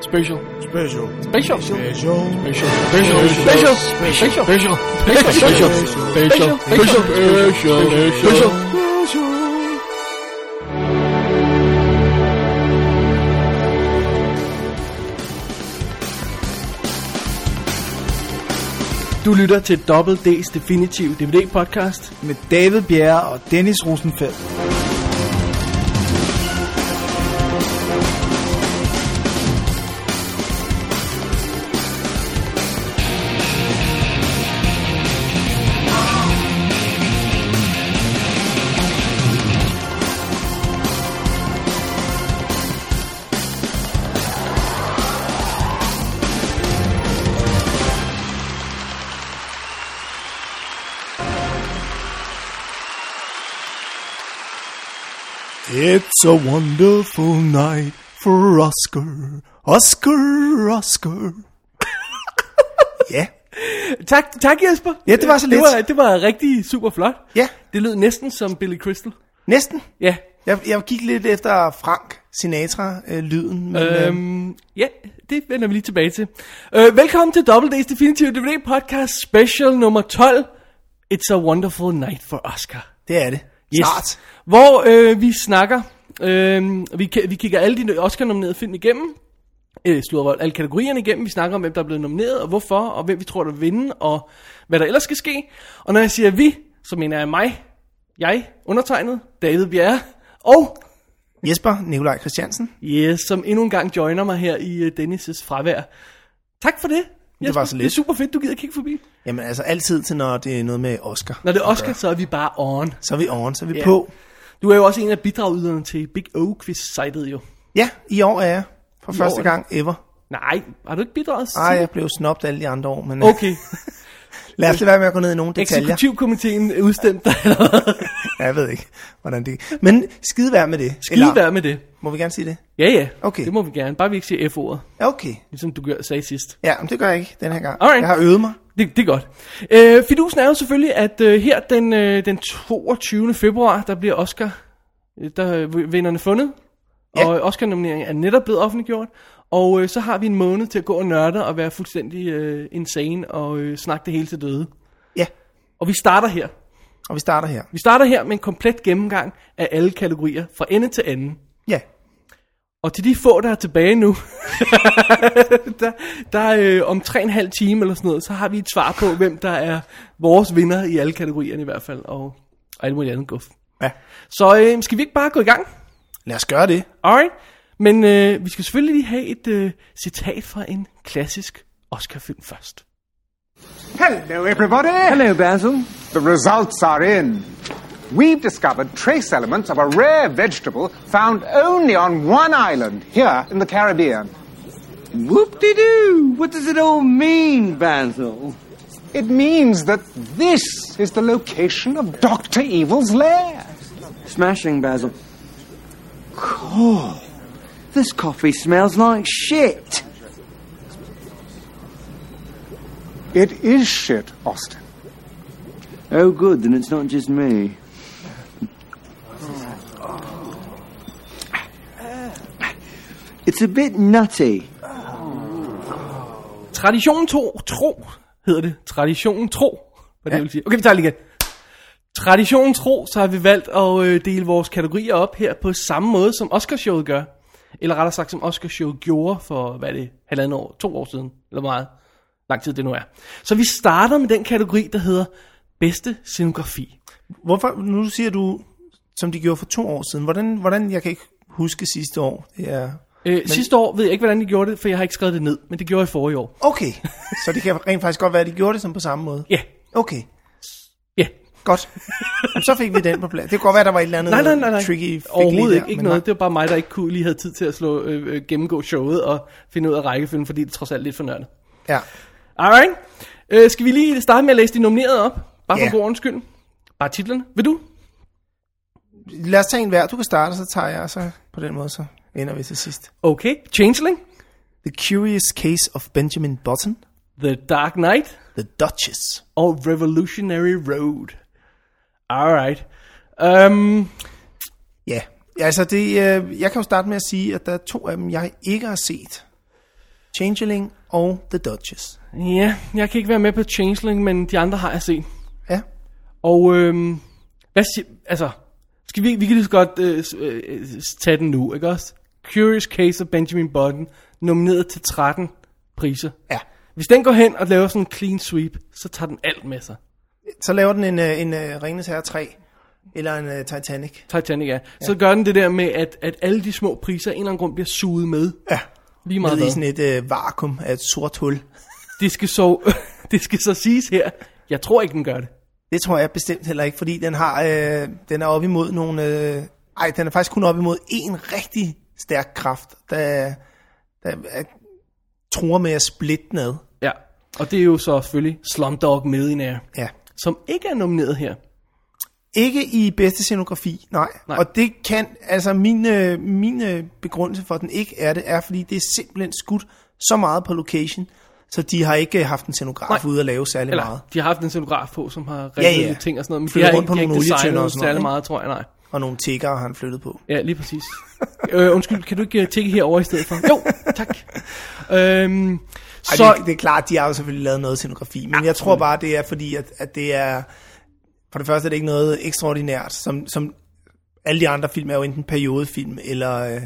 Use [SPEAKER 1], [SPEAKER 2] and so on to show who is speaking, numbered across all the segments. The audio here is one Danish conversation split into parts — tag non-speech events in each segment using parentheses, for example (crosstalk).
[SPEAKER 1] Special.
[SPEAKER 2] Special.
[SPEAKER 1] Special. Special. Special.
[SPEAKER 2] Special.
[SPEAKER 1] Special. Special. Special. Special. Special. Special. Special. Special. Special.
[SPEAKER 3] Du lytter til Double D's Definitive DVD podcast.
[SPEAKER 2] Med David Bjerre og Dennis Rosenfeldt. It's a wonderful night for Oscar. Oscar, Oscar. (laughs) ja.
[SPEAKER 3] Tak, tak Jesper.
[SPEAKER 2] Ja, det var så lidt.
[SPEAKER 3] Det var, det var rigtig super flot.
[SPEAKER 2] Ja,
[SPEAKER 3] Det lød næsten som Billy Crystal.
[SPEAKER 2] næsten.
[SPEAKER 3] Ja.
[SPEAKER 2] Jeg, jeg gik lidt efter Frank Sinatra-lyden, men øhm. øh,
[SPEAKER 3] Øhm, ja, det vender vi lige tilbage til. Øh, velkommen til Double D's Definitive DVD podcast special nummer 12. It's a wonderful night for Oscar.
[SPEAKER 2] det er det. Snart.
[SPEAKER 3] Hvor øh, vi snakker, øh, vi, ki- vi kigger alle de Oscar-nominerede film igennem, øh, slår alle kategorierne igennem, vi snakker om, hvem der er blevet nomineret, og hvorfor, og hvem vi tror, der vil vinde, og hvad der ellers skal ske. Og når jeg siger vi, så mener jeg mig, jeg, undertegnet, David Bjerre, og
[SPEAKER 2] Jesper Nikolaj Christiansen.
[SPEAKER 3] yes, som endnu en gang joiner mig her i øh, Dennis' fravær. Tak for det. Jesper.
[SPEAKER 2] var så lidt.
[SPEAKER 3] Det er super fedt, du gider kigge forbi.
[SPEAKER 2] Jamen altså altid til, når det er noget med Oscar.
[SPEAKER 3] Når det er Oscar, så er vi bare on.
[SPEAKER 2] Så er vi on, så er vi
[SPEAKER 3] Ja.
[SPEAKER 2] på.
[SPEAKER 3] Du er jo også en af bidragyderne til Big O-quiz-sitet jo.
[SPEAKER 2] Ja, i år er jeg. For I første
[SPEAKER 3] år
[SPEAKER 2] år.
[SPEAKER 3] er
[SPEAKER 2] gang ever.
[SPEAKER 3] Nej, har du ikke bidraget? til
[SPEAKER 2] Ej, jeg blev snobt alle de andre år, men okay.
[SPEAKER 3] Okay,
[SPEAKER 2] lad os lade være med at gå ned i nogle detaljer.
[SPEAKER 3] eksekutivkomiteen udstemte dig eller hvad?
[SPEAKER 2] Ja, jeg ved ikke, hvordan det Men skide være med det.
[SPEAKER 3] Skide være med det.
[SPEAKER 2] Må vi gerne sige det?
[SPEAKER 3] Ja, ja.
[SPEAKER 2] Okay.
[SPEAKER 3] Det må vi gerne. Bare vi ikke siger F-ordet,
[SPEAKER 2] Ja, okay.
[SPEAKER 3] ligesom du gør- sagde sidst.
[SPEAKER 2] Ja, men det gør jeg ikke den her gang.
[SPEAKER 3] Alright.
[SPEAKER 2] Jeg har øvet mig.
[SPEAKER 3] Det, det er godt. Øh, fidusen er jo selvfølgelig, at øh, her den, øh, den 22. februar, der bliver Oscar, øh, der øh, vinderne fundet.
[SPEAKER 2] Ja.
[SPEAKER 3] Ja. Og øh, Oscar-nomineringen er netop blevet offentliggjort. Og øh, så har vi en måned til at gå og nørde og være fuldstændig øh, insane og øh, snakke det hele til døde.
[SPEAKER 2] Ja,
[SPEAKER 3] Og vi starter her.
[SPEAKER 2] og vi starter her.
[SPEAKER 3] Vi starter her med en komplet gennemgang af alle kategorier fra ende til anden.
[SPEAKER 2] Ja,
[SPEAKER 3] Og til de få, der er tilbage nu, (laughs) der, der øh, om tre og en halv time eller sådan noget, så har vi et svar på, hvem der er vores vinder i alle kategorierne i hvert fald, og, og alt muligt andet guf.
[SPEAKER 2] ja.
[SPEAKER 3] Så øh, skal vi ikke bare gå i gang?
[SPEAKER 2] Lad os gøre det.
[SPEAKER 3] Alright. Men øh, vi skal selvfølgelig lige have et øh, citat fra en klassisk Oscar-film først.
[SPEAKER 4] Hello, everybody. Hello, Basil. The results are in. We've discovered trace elements of a rare vegetable found only on one island here in the Caribbean.
[SPEAKER 5] Whoop-de-doo! What does it all mean, Basil?
[SPEAKER 4] It means that this is the location of Dr. Evil's lair.
[SPEAKER 5] Smashing, Basil. Cool. This coffee smells like shit.
[SPEAKER 4] It is shit, Austin.
[SPEAKER 5] Oh, good, then it's not just me. It's a bit nutty.
[SPEAKER 3] Traditionen tro, tro hedder det. Traditionen tro, hvad det ja. vil sige. Okay, vi tager det lige igen. Traditionen tro, så har vi valgt at øh, dele vores kategorier op her på samme måde, som Oscarshowet gør. Eller rettere sagt, som Oscarshowet gjorde for, hvad er det, halvandet år, to år siden, eller hvor meget lang tid det nu er. Så vi starter med den kategori, der hedder bedste scenografi.
[SPEAKER 2] Hvorfor, nu siger du, som de gjorde for to år siden, hvordan, hvordan jeg kan ikke huske sidste år. Det er...
[SPEAKER 3] Øh, men... Sidste år ved jeg ikke, hvordan de gjorde det, for jeg har ikke skrevet det ned, men det gjorde jeg forrige år.
[SPEAKER 2] Okay, så det kan rent faktisk godt være, at de gjorde det som på samme måde.
[SPEAKER 3] Ja,
[SPEAKER 2] Okay,
[SPEAKER 3] ja.
[SPEAKER 2] godt. Jamen, så fik vi den på plads. Det kunne godt være, der var et eller andet
[SPEAKER 3] Nej, nej, nej, nej.
[SPEAKER 2] tricky fik
[SPEAKER 3] Overhovedet
[SPEAKER 2] lige
[SPEAKER 3] ikke,
[SPEAKER 2] der,
[SPEAKER 3] ikke
[SPEAKER 2] men
[SPEAKER 3] noget.
[SPEAKER 2] nej.
[SPEAKER 3] Det var bare mig, der ikke kunne, lige havde tid til at slå, øh, øh, gennemgå showet og finde ud af rækkefølgen, fordi det er trods alt lidt for nørdet.
[SPEAKER 2] Ja.
[SPEAKER 3] Alright. Øh, skal vi lige starte med at læse de nominerede op? Bare for
[SPEAKER 2] Ja.
[SPEAKER 3] yeah. god ordens skyld. Bare titlerne. Vil du?
[SPEAKER 2] Lad os tage en hver. Du kan starte, og så tager jeg, og så på den måde, så ender vi til sidst.
[SPEAKER 3] Okay. Changeling.
[SPEAKER 2] The Curious Case of Benjamin Button,
[SPEAKER 3] The Dark Knight.
[SPEAKER 2] The Duchess.
[SPEAKER 3] Og Revolutionary Road. Alright. Um,
[SPEAKER 2] Ja, altså det, øh, jeg kan jo starte med at sige, at der er to af dem, jeg ikke har set. Changeling og The Duchess.
[SPEAKER 3] Ja, jeg kan ikke være med på Changeling, men de andre har jeg set.
[SPEAKER 2] Ja.
[SPEAKER 3] Og øhm, hvad siger, altså, skal vi, vi kan lige så godt øh, s- øh, øh, tage den nu, ikke også? Curious Case of Benjamin Button, nomineret til 13 priser.
[SPEAKER 2] Ja.
[SPEAKER 3] Hvis den går hen og laver sådan en clean sweep, så tager den alt med sig.
[SPEAKER 2] Så laver den en, øh, en uh, Ringnes Herre 3, eller en uh, Titanic.
[SPEAKER 3] Titanic er. Så gør den det der med, at, at alle de små priser af en eller anden grund bliver suget med.
[SPEAKER 2] Ja.
[SPEAKER 3] Lige meget
[SPEAKER 2] Nede i
[SPEAKER 3] hvad.
[SPEAKER 2] sådan et uh, vakuum af et sort hul.
[SPEAKER 3] Det skal, så, (laughs) det skal så siges her. Jeg tror ikke, den gør det.
[SPEAKER 2] Det tror jeg bestemt heller ikke, fordi den har øh, den er op imod nogle... Øh, ej, den er faktisk kun op imod en rigtig stærk kraft, der, der er, tror med at splitte ned.
[SPEAKER 3] Ja. Og det er jo så selvfølgelig Slumdog Millionaire,
[SPEAKER 2] Ja.
[SPEAKER 3] som ikke er nomineret her.
[SPEAKER 2] Ikke i bedste scenografi, nej.
[SPEAKER 3] Nej.
[SPEAKER 2] nej. Og det kan, altså min, øh, min øh, begrundelse for, at den ikke er det, er fordi det er simpelthen skudt så meget på location, så de har ikke øh, haft en scenograf
[SPEAKER 3] Nej.
[SPEAKER 2] nej. ude at lave særlig
[SPEAKER 3] Eller,
[SPEAKER 2] meget.
[SPEAKER 3] de har haft en scenograf på, som har
[SPEAKER 2] Ja,
[SPEAKER 3] regnet ja,
[SPEAKER 2] ja.
[SPEAKER 3] ja. ting og sådan noget, men
[SPEAKER 2] Flyttet
[SPEAKER 3] de har
[SPEAKER 2] rundt
[SPEAKER 3] ikke,
[SPEAKER 2] på
[SPEAKER 3] de har
[SPEAKER 2] nogle
[SPEAKER 3] ikke
[SPEAKER 2] olietønder
[SPEAKER 3] designet
[SPEAKER 2] og sådan noget,
[SPEAKER 3] særlig
[SPEAKER 2] ikke?
[SPEAKER 3] meget, tror jeg, nej.
[SPEAKER 2] Og nogle tigger har han flyttet på.
[SPEAKER 3] Ja, lige præcis. øh, undskyld, kan du ikke øh, tigge herover i stedet for? Jo, tak. øhm,
[SPEAKER 2] Ej,
[SPEAKER 3] så,
[SPEAKER 2] så... det, det er klart, de har jo selvfølgelig lavet noget scenografi, men ja, jeg tror bare, det er fordi, at, at det er... For det første er det ikke noget ekstraordinært, som, som alle de andre film er jo enten periodefilm, eller, øh,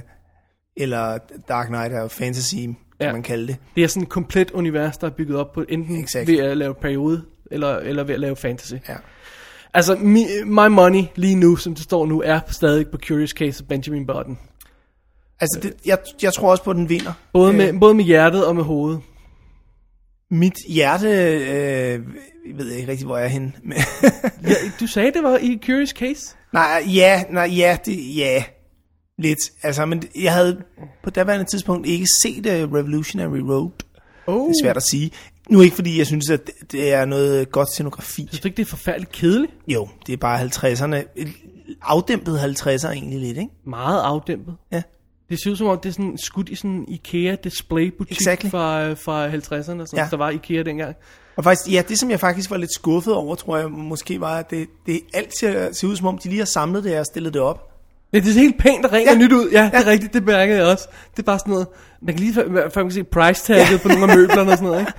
[SPEAKER 2] eller Dark Knight er jo fantasy, ja.
[SPEAKER 3] Ja.
[SPEAKER 2] kan man kalde det.
[SPEAKER 3] det er sådan et komplet univers, der er bygget op på, enten
[SPEAKER 2] Exakt.
[SPEAKER 3] ved at lave periode, eller, eller ved at lave fantasy.
[SPEAKER 2] Ja.
[SPEAKER 3] Altså, mi, my money lige nu, som det står nu, er stadig på Curious Case of Benjamin Button.
[SPEAKER 2] Altså, det, jeg, jeg tror også på, at den vinder.
[SPEAKER 3] Både, med, både med hjertet og med hovedet.
[SPEAKER 2] Mit hjerte, øh, jeg ved ikke rigtig, hvor jeg er henne. Men (laughs)
[SPEAKER 3] Ja, du sagde, det var i Curious Case?
[SPEAKER 2] nej, ja, nej, ja, det, ja, lidt. Altså, men jeg havde på daværende tidspunkt ikke set uh, Revolutionary Road.
[SPEAKER 3] Oh.
[SPEAKER 2] Det er svært at sige. Nu ikke fordi jeg synes, at det- det er noget godt scenografi.
[SPEAKER 3] Synes du ikke, det er forfærdeligt kedeligt?
[SPEAKER 2] Jo, det er bare 50'erne. Afdæmpet 50'er egentlig lidt, ikke?
[SPEAKER 3] Meget afdæmpet.
[SPEAKER 2] Ja.
[SPEAKER 3] Det ser ud som om, det er sådan skudt i sådan en IKEA display butik
[SPEAKER 2] Exactly.
[SPEAKER 3] fra, øh, fra 50'erne, og sådan, ja.
[SPEAKER 2] Ja.
[SPEAKER 3] der var IKEA dengang.
[SPEAKER 2] Og faktisk, ja, det som jeg faktisk var lidt skuffet over, tror jeg måske var, at det, det alt ser, ser ud som om, de lige har samlet det og stillet det op.
[SPEAKER 3] Ja, det ser helt pænt og rent ja. og
[SPEAKER 2] Ja.
[SPEAKER 3] nyt ud. Ja, ja, det er rigtigt, det mærker jeg også. Det er bare sådan noget, man kan lige før, før man kan se price tagget ja. på nogle af møblerne og sådan noget, ikke?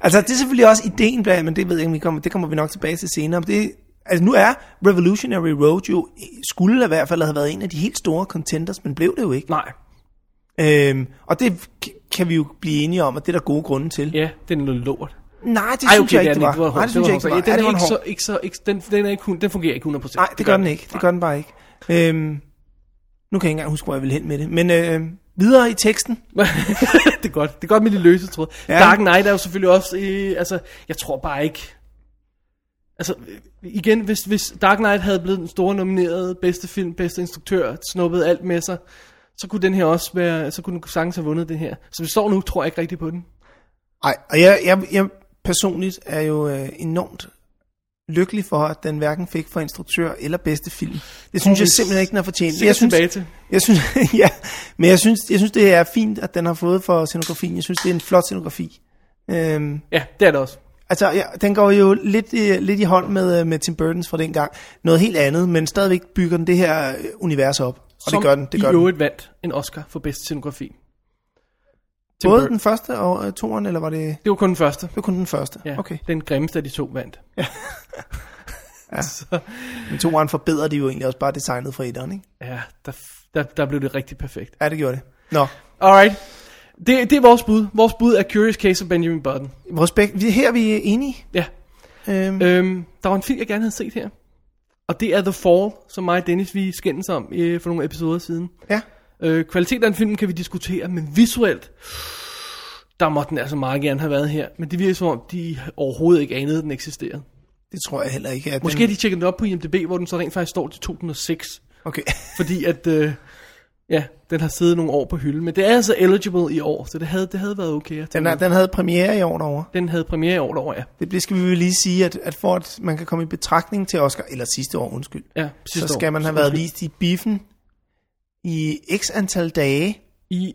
[SPEAKER 2] Altså, det er selvfølgelig også ideen bag, men det ved jeg ikke, om vi kommer, det kommer vi nok tilbage til senere. Men Det, altså, nu er Revolutionary Road jo, skulle i hvert fald have været en af de helt store contenders, men blev det jo ikke.
[SPEAKER 3] Nej,
[SPEAKER 2] Øhm, og det k- kan vi jo blive enige om, at det er der gode grunde til.
[SPEAKER 3] ja, den er noget lort.
[SPEAKER 2] Nej, det
[SPEAKER 3] Ej,
[SPEAKER 2] synes
[SPEAKER 3] okay,
[SPEAKER 2] jeg ikke,
[SPEAKER 3] det
[SPEAKER 2] det
[SPEAKER 3] er
[SPEAKER 2] var.
[SPEAKER 3] den ikke.
[SPEAKER 2] Nej, det synes jeg ikke, det var.
[SPEAKER 3] Den
[SPEAKER 2] Ja, det
[SPEAKER 3] er
[SPEAKER 2] var en
[SPEAKER 3] ikke
[SPEAKER 2] hård.
[SPEAKER 3] så, ikke så, ikke, den, den, er ikke, hun- den fungerer ikke 100%.
[SPEAKER 2] Nej, det gør den ikke. Det gør den bare ikke. Øhm, nu kan jeg ikke engang huske, hvor jeg ville hen med det. Men øh, videre i teksten.
[SPEAKER 3] (laughs) det er godt. Det er godt med de løse tråde. Ja.
[SPEAKER 2] Ja.
[SPEAKER 3] Dark Knight er jo selvfølgelig også... Øh, altså, jeg tror bare ikke... Altså, øh, igen, hvis, hvis Dark Knight havde blevet den store nominerede bedste film, bedste instruktør, snuppet alt med sig, så kunne den her også være... Så kunne den sagtens have vundet det her. Så vi står nu, tror jeg ikke rigtigt på den.
[SPEAKER 2] Nej, og jeg, jeg, jeg personligt er jo øh, enormt lykkelig for, at den hverken fik for instruktør eller bedste film. Det synes
[SPEAKER 3] vi
[SPEAKER 2] jeg simpelthen ikke, den har fortjent.
[SPEAKER 3] sikkert
[SPEAKER 2] Jeg synes,
[SPEAKER 3] tilbage til.
[SPEAKER 2] Jeg synes, (laughs) ja, men jeg synes, jeg synes, det er fint, at den har fået for scenografien. Jeg synes, det er en flot scenografi. Øhm,
[SPEAKER 3] Ja, det er det også.
[SPEAKER 2] Altså, ja, den går jo lidt, i- lidt i hånd med, øh, med Tim Burtons fra dengang. Noget helt andet, men stadigvæk bygger den det her øh, univers op. Og
[SPEAKER 3] Som
[SPEAKER 2] det gør den. Det gør
[SPEAKER 3] i
[SPEAKER 2] den.
[SPEAKER 3] øvrigt vandt en Oscar for bedste scenografi. Tim
[SPEAKER 2] Både
[SPEAKER 3] Burton.
[SPEAKER 2] den første og øh, toeren, eller var det... Det
[SPEAKER 3] Det var kun den første.
[SPEAKER 2] var kun den første.
[SPEAKER 3] Ja,
[SPEAKER 2] Okay.
[SPEAKER 3] Den grimmeste af de to vandt. (laughs)
[SPEAKER 2] Men toeren forbedrer det jo egentlig også bare designet fra etteren, ikke?
[SPEAKER 3] Ja, der, der, der blev det rigtig perfekt.
[SPEAKER 2] Ja, det gjorde det. Nå,
[SPEAKER 3] Alright. Det, det er vores bud. Vores bud er Curious Case of Benjamin Button.
[SPEAKER 2] vores bæk, vi, her er vi øh, enige.
[SPEAKER 3] Ja.
[SPEAKER 2] Øhm, øh.
[SPEAKER 3] Øhm, der var en film, jeg gerne havde set her. Og det er The Fall, som mig og Dennis vi skændes om øh, for nogle episoder siden.
[SPEAKER 2] Ja,
[SPEAKER 3] Øh, kvaliteten af den film kan vi diskutere, men visuelt, der må den altså meget gerne have været her. Men det virker som om, de overhovedet ikke anede, at den eksisterede.
[SPEAKER 2] det tror jeg heller ikke. At
[SPEAKER 3] Måske har
[SPEAKER 2] den,
[SPEAKER 3] de tjekket den op på IMDb, hvor den så rent faktisk står til 2006.
[SPEAKER 2] Okay. (laughs)
[SPEAKER 3] Fordi at, øh, ja, den har siddet nogle år på hylden. Men det er altså eligible i år, så det havde, det havde været okay. at
[SPEAKER 2] Den, er, den havde premiere i år derovre.
[SPEAKER 3] den havde premiere i år derovre, ja.
[SPEAKER 2] Det det skal vi vel lige sige, at, at for at man kan komme i betragtning til Oscar, eller sidste år, undskyld,
[SPEAKER 3] Ja,
[SPEAKER 2] så
[SPEAKER 3] sidste år.
[SPEAKER 2] skal man have været
[SPEAKER 3] Undskyld.
[SPEAKER 2] vist i biffen i x antal dage.
[SPEAKER 3] I,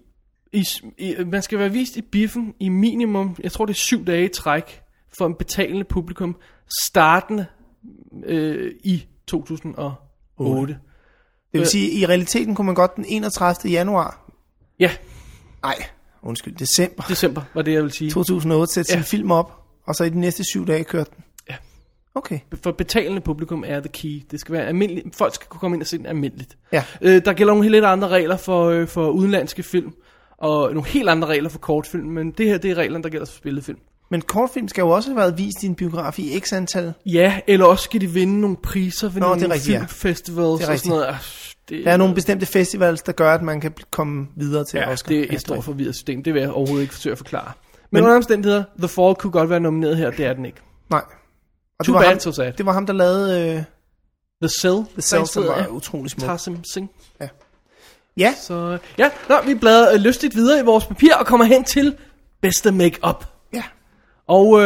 [SPEAKER 3] i, i, man skal være vist i biffen i minimum, jeg tror det er syv dage i træk, for en betalende publikum, startende øh, i 2008. Øh.
[SPEAKER 2] Det vil sige, at i realiteten kunne man godt den 31. januar.
[SPEAKER 3] Ja,
[SPEAKER 2] Nej, undskyld,
[SPEAKER 3] (laughs)
[SPEAKER 2] december
[SPEAKER 3] December var det, jeg ville sige.
[SPEAKER 2] 2008 sætte ja.
[SPEAKER 3] Ja.
[SPEAKER 2] sin film op, og så i de næste syv dage kørte den.
[SPEAKER 3] Ja.
[SPEAKER 2] Okay.
[SPEAKER 3] For betalende publikum er the key. Det skal være almindeligt. Folk skal kunne komme ind og se den almindeligt.
[SPEAKER 2] Ja.
[SPEAKER 3] Øh, der gælder nogle helt andre regler for, øh, for udenlandske film, og nogle helt andre regler for kortfilm, men det her, det er reglerne, der gælder for spillefilm.
[SPEAKER 2] Men kortfilm skal jo også have været vist i en biograf i x antal.
[SPEAKER 3] Ja, eller også skal de vinde nogle priser ved
[SPEAKER 2] Nå, det er
[SPEAKER 3] nogle
[SPEAKER 2] rigtigt, ja.
[SPEAKER 3] filmfestivals
[SPEAKER 2] Det er
[SPEAKER 3] og
[SPEAKER 2] rigtigt.
[SPEAKER 3] sådan noget. Ah, Det,
[SPEAKER 2] Der er nogle bestemte festivals, der gør, at man kan bl- komme videre til
[SPEAKER 3] ja,
[SPEAKER 2] Oscar.
[SPEAKER 3] det er
[SPEAKER 2] Ja,
[SPEAKER 3] et stort
[SPEAKER 2] rigtigt.
[SPEAKER 3] forvirret system. Det vil jeg overhovedet ikke forsøge at forklare. Men,
[SPEAKER 2] Men-
[SPEAKER 3] men under omstændigheder, The Fall kunne godt være nomineret her, det er den ikke.
[SPEAKER 2] Nej. Og det
[SPEAKER 3] Too
[SPEAKER 2] var,
[SPEAKER 3] bad,
[SPEAKER 2] ham,
[SPEAKER 3] so sad.
[SPEAKER 2] det var ham, der lavede øh,
[SPEAKER 3] The Cell,
[SPEAKER 2] The Cell, som
[SPEAKER 3] som
[SPEAKER 2] var utrolig smuk.
[SPEAKER 3] Tarsim Singh.
[SPEAKER 2] Ja,
[SPEAKER 3] Så øh, ja, nå, vi bladrer øh, lystigt videre i vores papir og kommer hen til bedste makeup.
[SPEAKER 2] ja.
[SPEAKER 3] Og øh,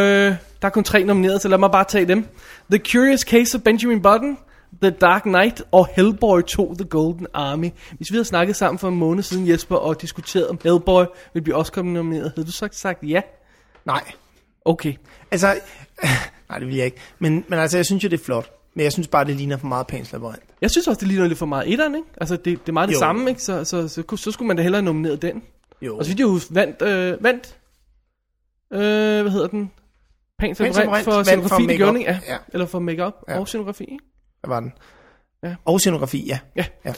[SPEAKER 3] der er kun tre nomineret, så lad mig bare tage dem. The Curious Case of Benjamin Button, The Dark Knight og Hellboy 2 The Golden Army. Hvis vi havde snakket sammen for en måned siden, Jesper, og diskuteret om Hellboy ville blive også kommet nomineret, havde du så sagt ja?
[SPEAKER 2] Nej.
[SPEAKER 3] Okay.
[SPEAKER 2] Altså, (laughs) nej, det vil jeg ikke. Men, men altså, jeg synes jo, det er flot. Men jeg synes bare, det ligner for meget Pans Labyrinth.
[SPEAKER 3] Jeg synes også, det ligner lidt for meget etteren, ikke? Altså, det, det er meget det
[SPEAKER 2] Jo.
[SPEAKER 3] samme, ikke? Så, så, så, så, så skulle man da hellere nominere den.
[SPEAKER 2] Jo.
[SPEAKER 3] Og så vidt jeg husker, vandt, øh, vandt, øh, hvad hedder den? Pans
[SPEAKER 2] Pans
[SPEAKER 3] Labyrinth
[SPEAKER 2] Labyrinth
[SPEAKER 3] for
[SPEAKER 2] vandt for
[SPEAKER 3] scenografi, det
[SPEAKER 2] makeup.
[SPEAKER 3] gjorde den, ikke?
[SPEAKER 2] Ja.
[SPEAKER 3] ja. Eller for makeup
[SPEAKER 2] Ja.
[SPEAKER 3] ja. og scenografi, ikke?
[SPEAKER 2] Hvad var den?
[SPEAKER 3] Ja.
[SPEAKER 2] Og scenografi, ja.
[SPEAKER 3] Ja.
[SPEAKER 2] Ja.
[SPEAKER 3] ja.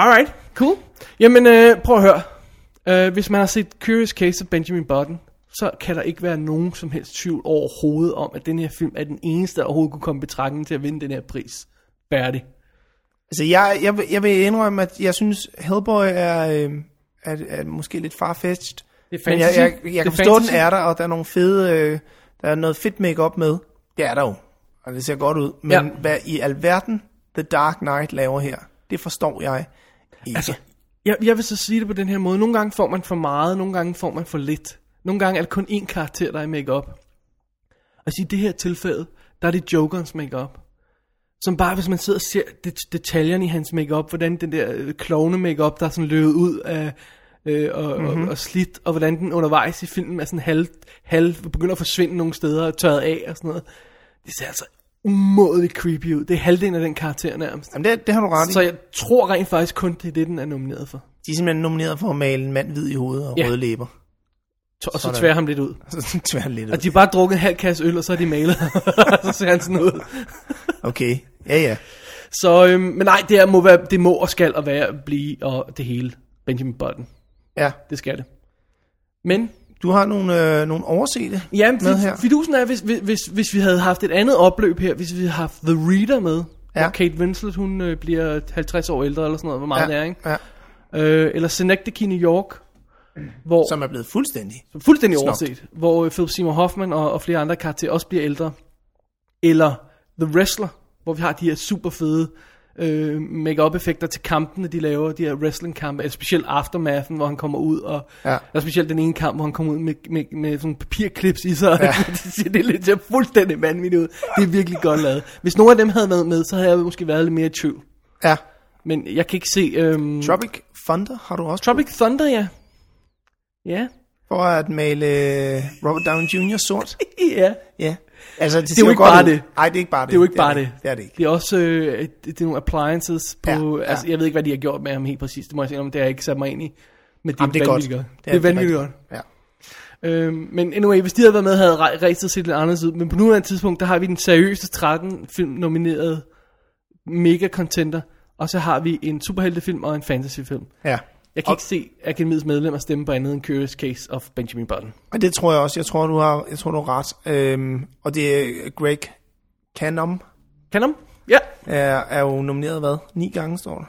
[SPEAKER 3] Alright, cool. Jamen, øh, prøv at høre. Øh, hvis man har set Curious Case of Benjamin Button, så kan der ikke være nogen som helst tvivl overhovedet om, at den her film er den eneste, der overhovedet kunne komme i betragtning til at vinde den her pris. Færdig.
[SPEAKER 2] Altså, jeg, jeg, vil- jeg vil indrømme, at jeg synes, Hellboy er, øh, er, er måske lidt farfetched.
[SPEAKER 3] Det er
[SPEAKER 2] Men jeg,
[SPEAKER 3] fantasy.
[SPEAKER 2] jeg, jeg,
[SPEAKER 3] Det er
[SPEAKER 2] kan forstå, at den
[SPEAKER 3] fantasy.
[SPEAKER 2] er der, og der er nogle fede, øh, der er noget fedt makeup med. Det er der jo, og det ser godt ud. Men ja.
[SPEAKER 3] Ja.
[SPEAKER 2] hvad i alverden The Dark Knight laver her, det forstår jeg ikke. Altså,
[SPEAKER 3] Jeg, jeg vil så sige det på den her måde. Nogle gange får man for meget, nogle gange får man for lidt. Nogle gange er det kun én karakter, der er i makeup. Og i det her tilfælde, der er det Jokerens makeup. Som bare, hvis man sidder og ser det, detaljerne i hans makeup, hvordan den der øh, klovne makeup der er sådan løbet ud af øh, og, mm-hmm. og, og, slidt, og hvordan den undervejs i filmen er sådan halv, halv begynder at forsvinde nogle steder og tørret af og sådan noget. Det ser altså umådeligt creepy ud. Det er halvdelen af den karakter nærmest.
[SPEAKER 2] jamen det, det har du ret i.
[SPEAKER 3] Så jeg tror rent faktisk kun, det er det, den er nomineret for.
[SPEAKER 2] De er simpelthen nomineret for at male en mand hvid i hovedet og ja.
[SPEAKER 3] Ja.
[SPEAKER 2] røde læber. (laughs)
[SPEAKER 3] To- og så
[SPEAKER 2] Sådan.
[SPEAKER 3] tværer ham lidt ud.
[SPEAKER 2] Altså, tvær lidt
[SPEAKER 3] Og
[SPEAKER 2] ud.
[SPEAKER 3] de har bare drukket en halv kasse øl, og så er de malet. (laughs) så ser han sådan ud.
[SPEAKER 2] Okay, ja ja.
[SPEAKER 3] Så, øhm, men nej, det, er, må være, det må og skal og være blive og det hele. Benjamin Button.
[SPEAKER 2] ja.
[SPEAKER 3] Det skal det. Men,
[SPEAKER 2] Du har nogle, øh, nogle oversete
[SPEAKER 3] ja,
[SPEAKER 2] med her.
[SPEAKER 3] men fidusen er, hvis, hvis, hvis, hvis vi havde haft et andet opløb her, hvis vi havde haft The Reader med,
[SPEAKER 2] Ja.
[SPEAKER 3] ja. hvor Kate Winslet, hun øh, bliver 50 år ældre eller sådan noget, hvor meget ja. det er, ikke?
[SPEAKER 2] ja,
[SPEAKER 3] Øh, eller Synecdoche i New York, hvor...
[SPEAKER 2] som er blevet fuldstændig.
[SPEAKER 3] fuldstændig
[SPEAKER 2] Snobt.
[SPEAKER 3] overset, hvor øh, Philip Seymour Hoffman og, og flere andre karakterer også bliver ældre. Eller The Wrestler, hvor vi har de her super fede øh, make-up effekter til kampene, de laver, de her wrestling-kampe, eller specielt Aftermathen, hvor han kommer ud, og
[SPEAKER 2] Ja.
[SPEAKER 3] eller specielt den ene kamp, hvor han kommer ud med, med, med sådan nogle papirklips i sig, ja. (laughs) det, ser, det er lidt ser fuldstændig vanvittigt ud. Det er virkelig godt lavet. Hvis nogen af dem havde været med, så havde jeg måske været lidt mere i tvivl.
[SPEAKER 2] Ja.
[SPEAKER 3] Men jeg kan ikke se... Øhm,
[SPEAKER 2] Tropic Thunder har du også
[SPEAKER 3] Tropic Thunder, ja. Ja. (laughs)
[SPEAKER 2] for at male øh, Robert Downey Jr.
[SPEAKER 3] (laughs)
[SPEAKER 2] sort.
[SPEAKER 3] Ja.
[SPEAKER 2] Ja. Altså, det, det
[SPEAKER 3] er jo ikke bare det.
[SPEAKER 2] Nej, det er ikke bare det.
[SPEAKER 3] Det er jo ikke bare
[SPEAKER 2] det.
[SPEAKER 3] det.
[SPEAKER 2] Det er det ikke.
[SPEAKER 3] Det er også øh, det det er nogle appliances på...
[SPEAKER 2] Ja, ja.
[SPEAKER 3] Ja, Altså, jeg ved ikke, hvad de har gjort med ham helt præcis. Det må jeg sige, om det har jeg ikke sat mig ind i. Men det,
[SPEAKER 2] Jamen, det er godt.
[SPEAKER 3] vanvittigt godt. Det er vanvittigt godt.
[SPEAKER 2] Ja.
[SPEAKER 3] Øhm, men anyway, hvis de havde været med, havde re- racet set lidt anderledes ud. Men på nuværende tidspunkt, der har vi den seriøse 13 film nomineret mega contender. Og så har vi en superheltefilm og en fantasyfilm.
[SPEAKER 2] ja.
[SPEAKER 3] Jeg kan ikke se Akademiets medlemmer stemme på andet end Curious Case of Benjamin Button.
[SPEAKER 2] Og det tror jeg også. Jeg tror, du har, jeg tror, du har ret. Øhm, og det er Greg Canom.
[SPEAKER 3] Kan ham? Ja.
[SPEAKER 2] Er, er jo nomineret, hvad? Ni gange, står der.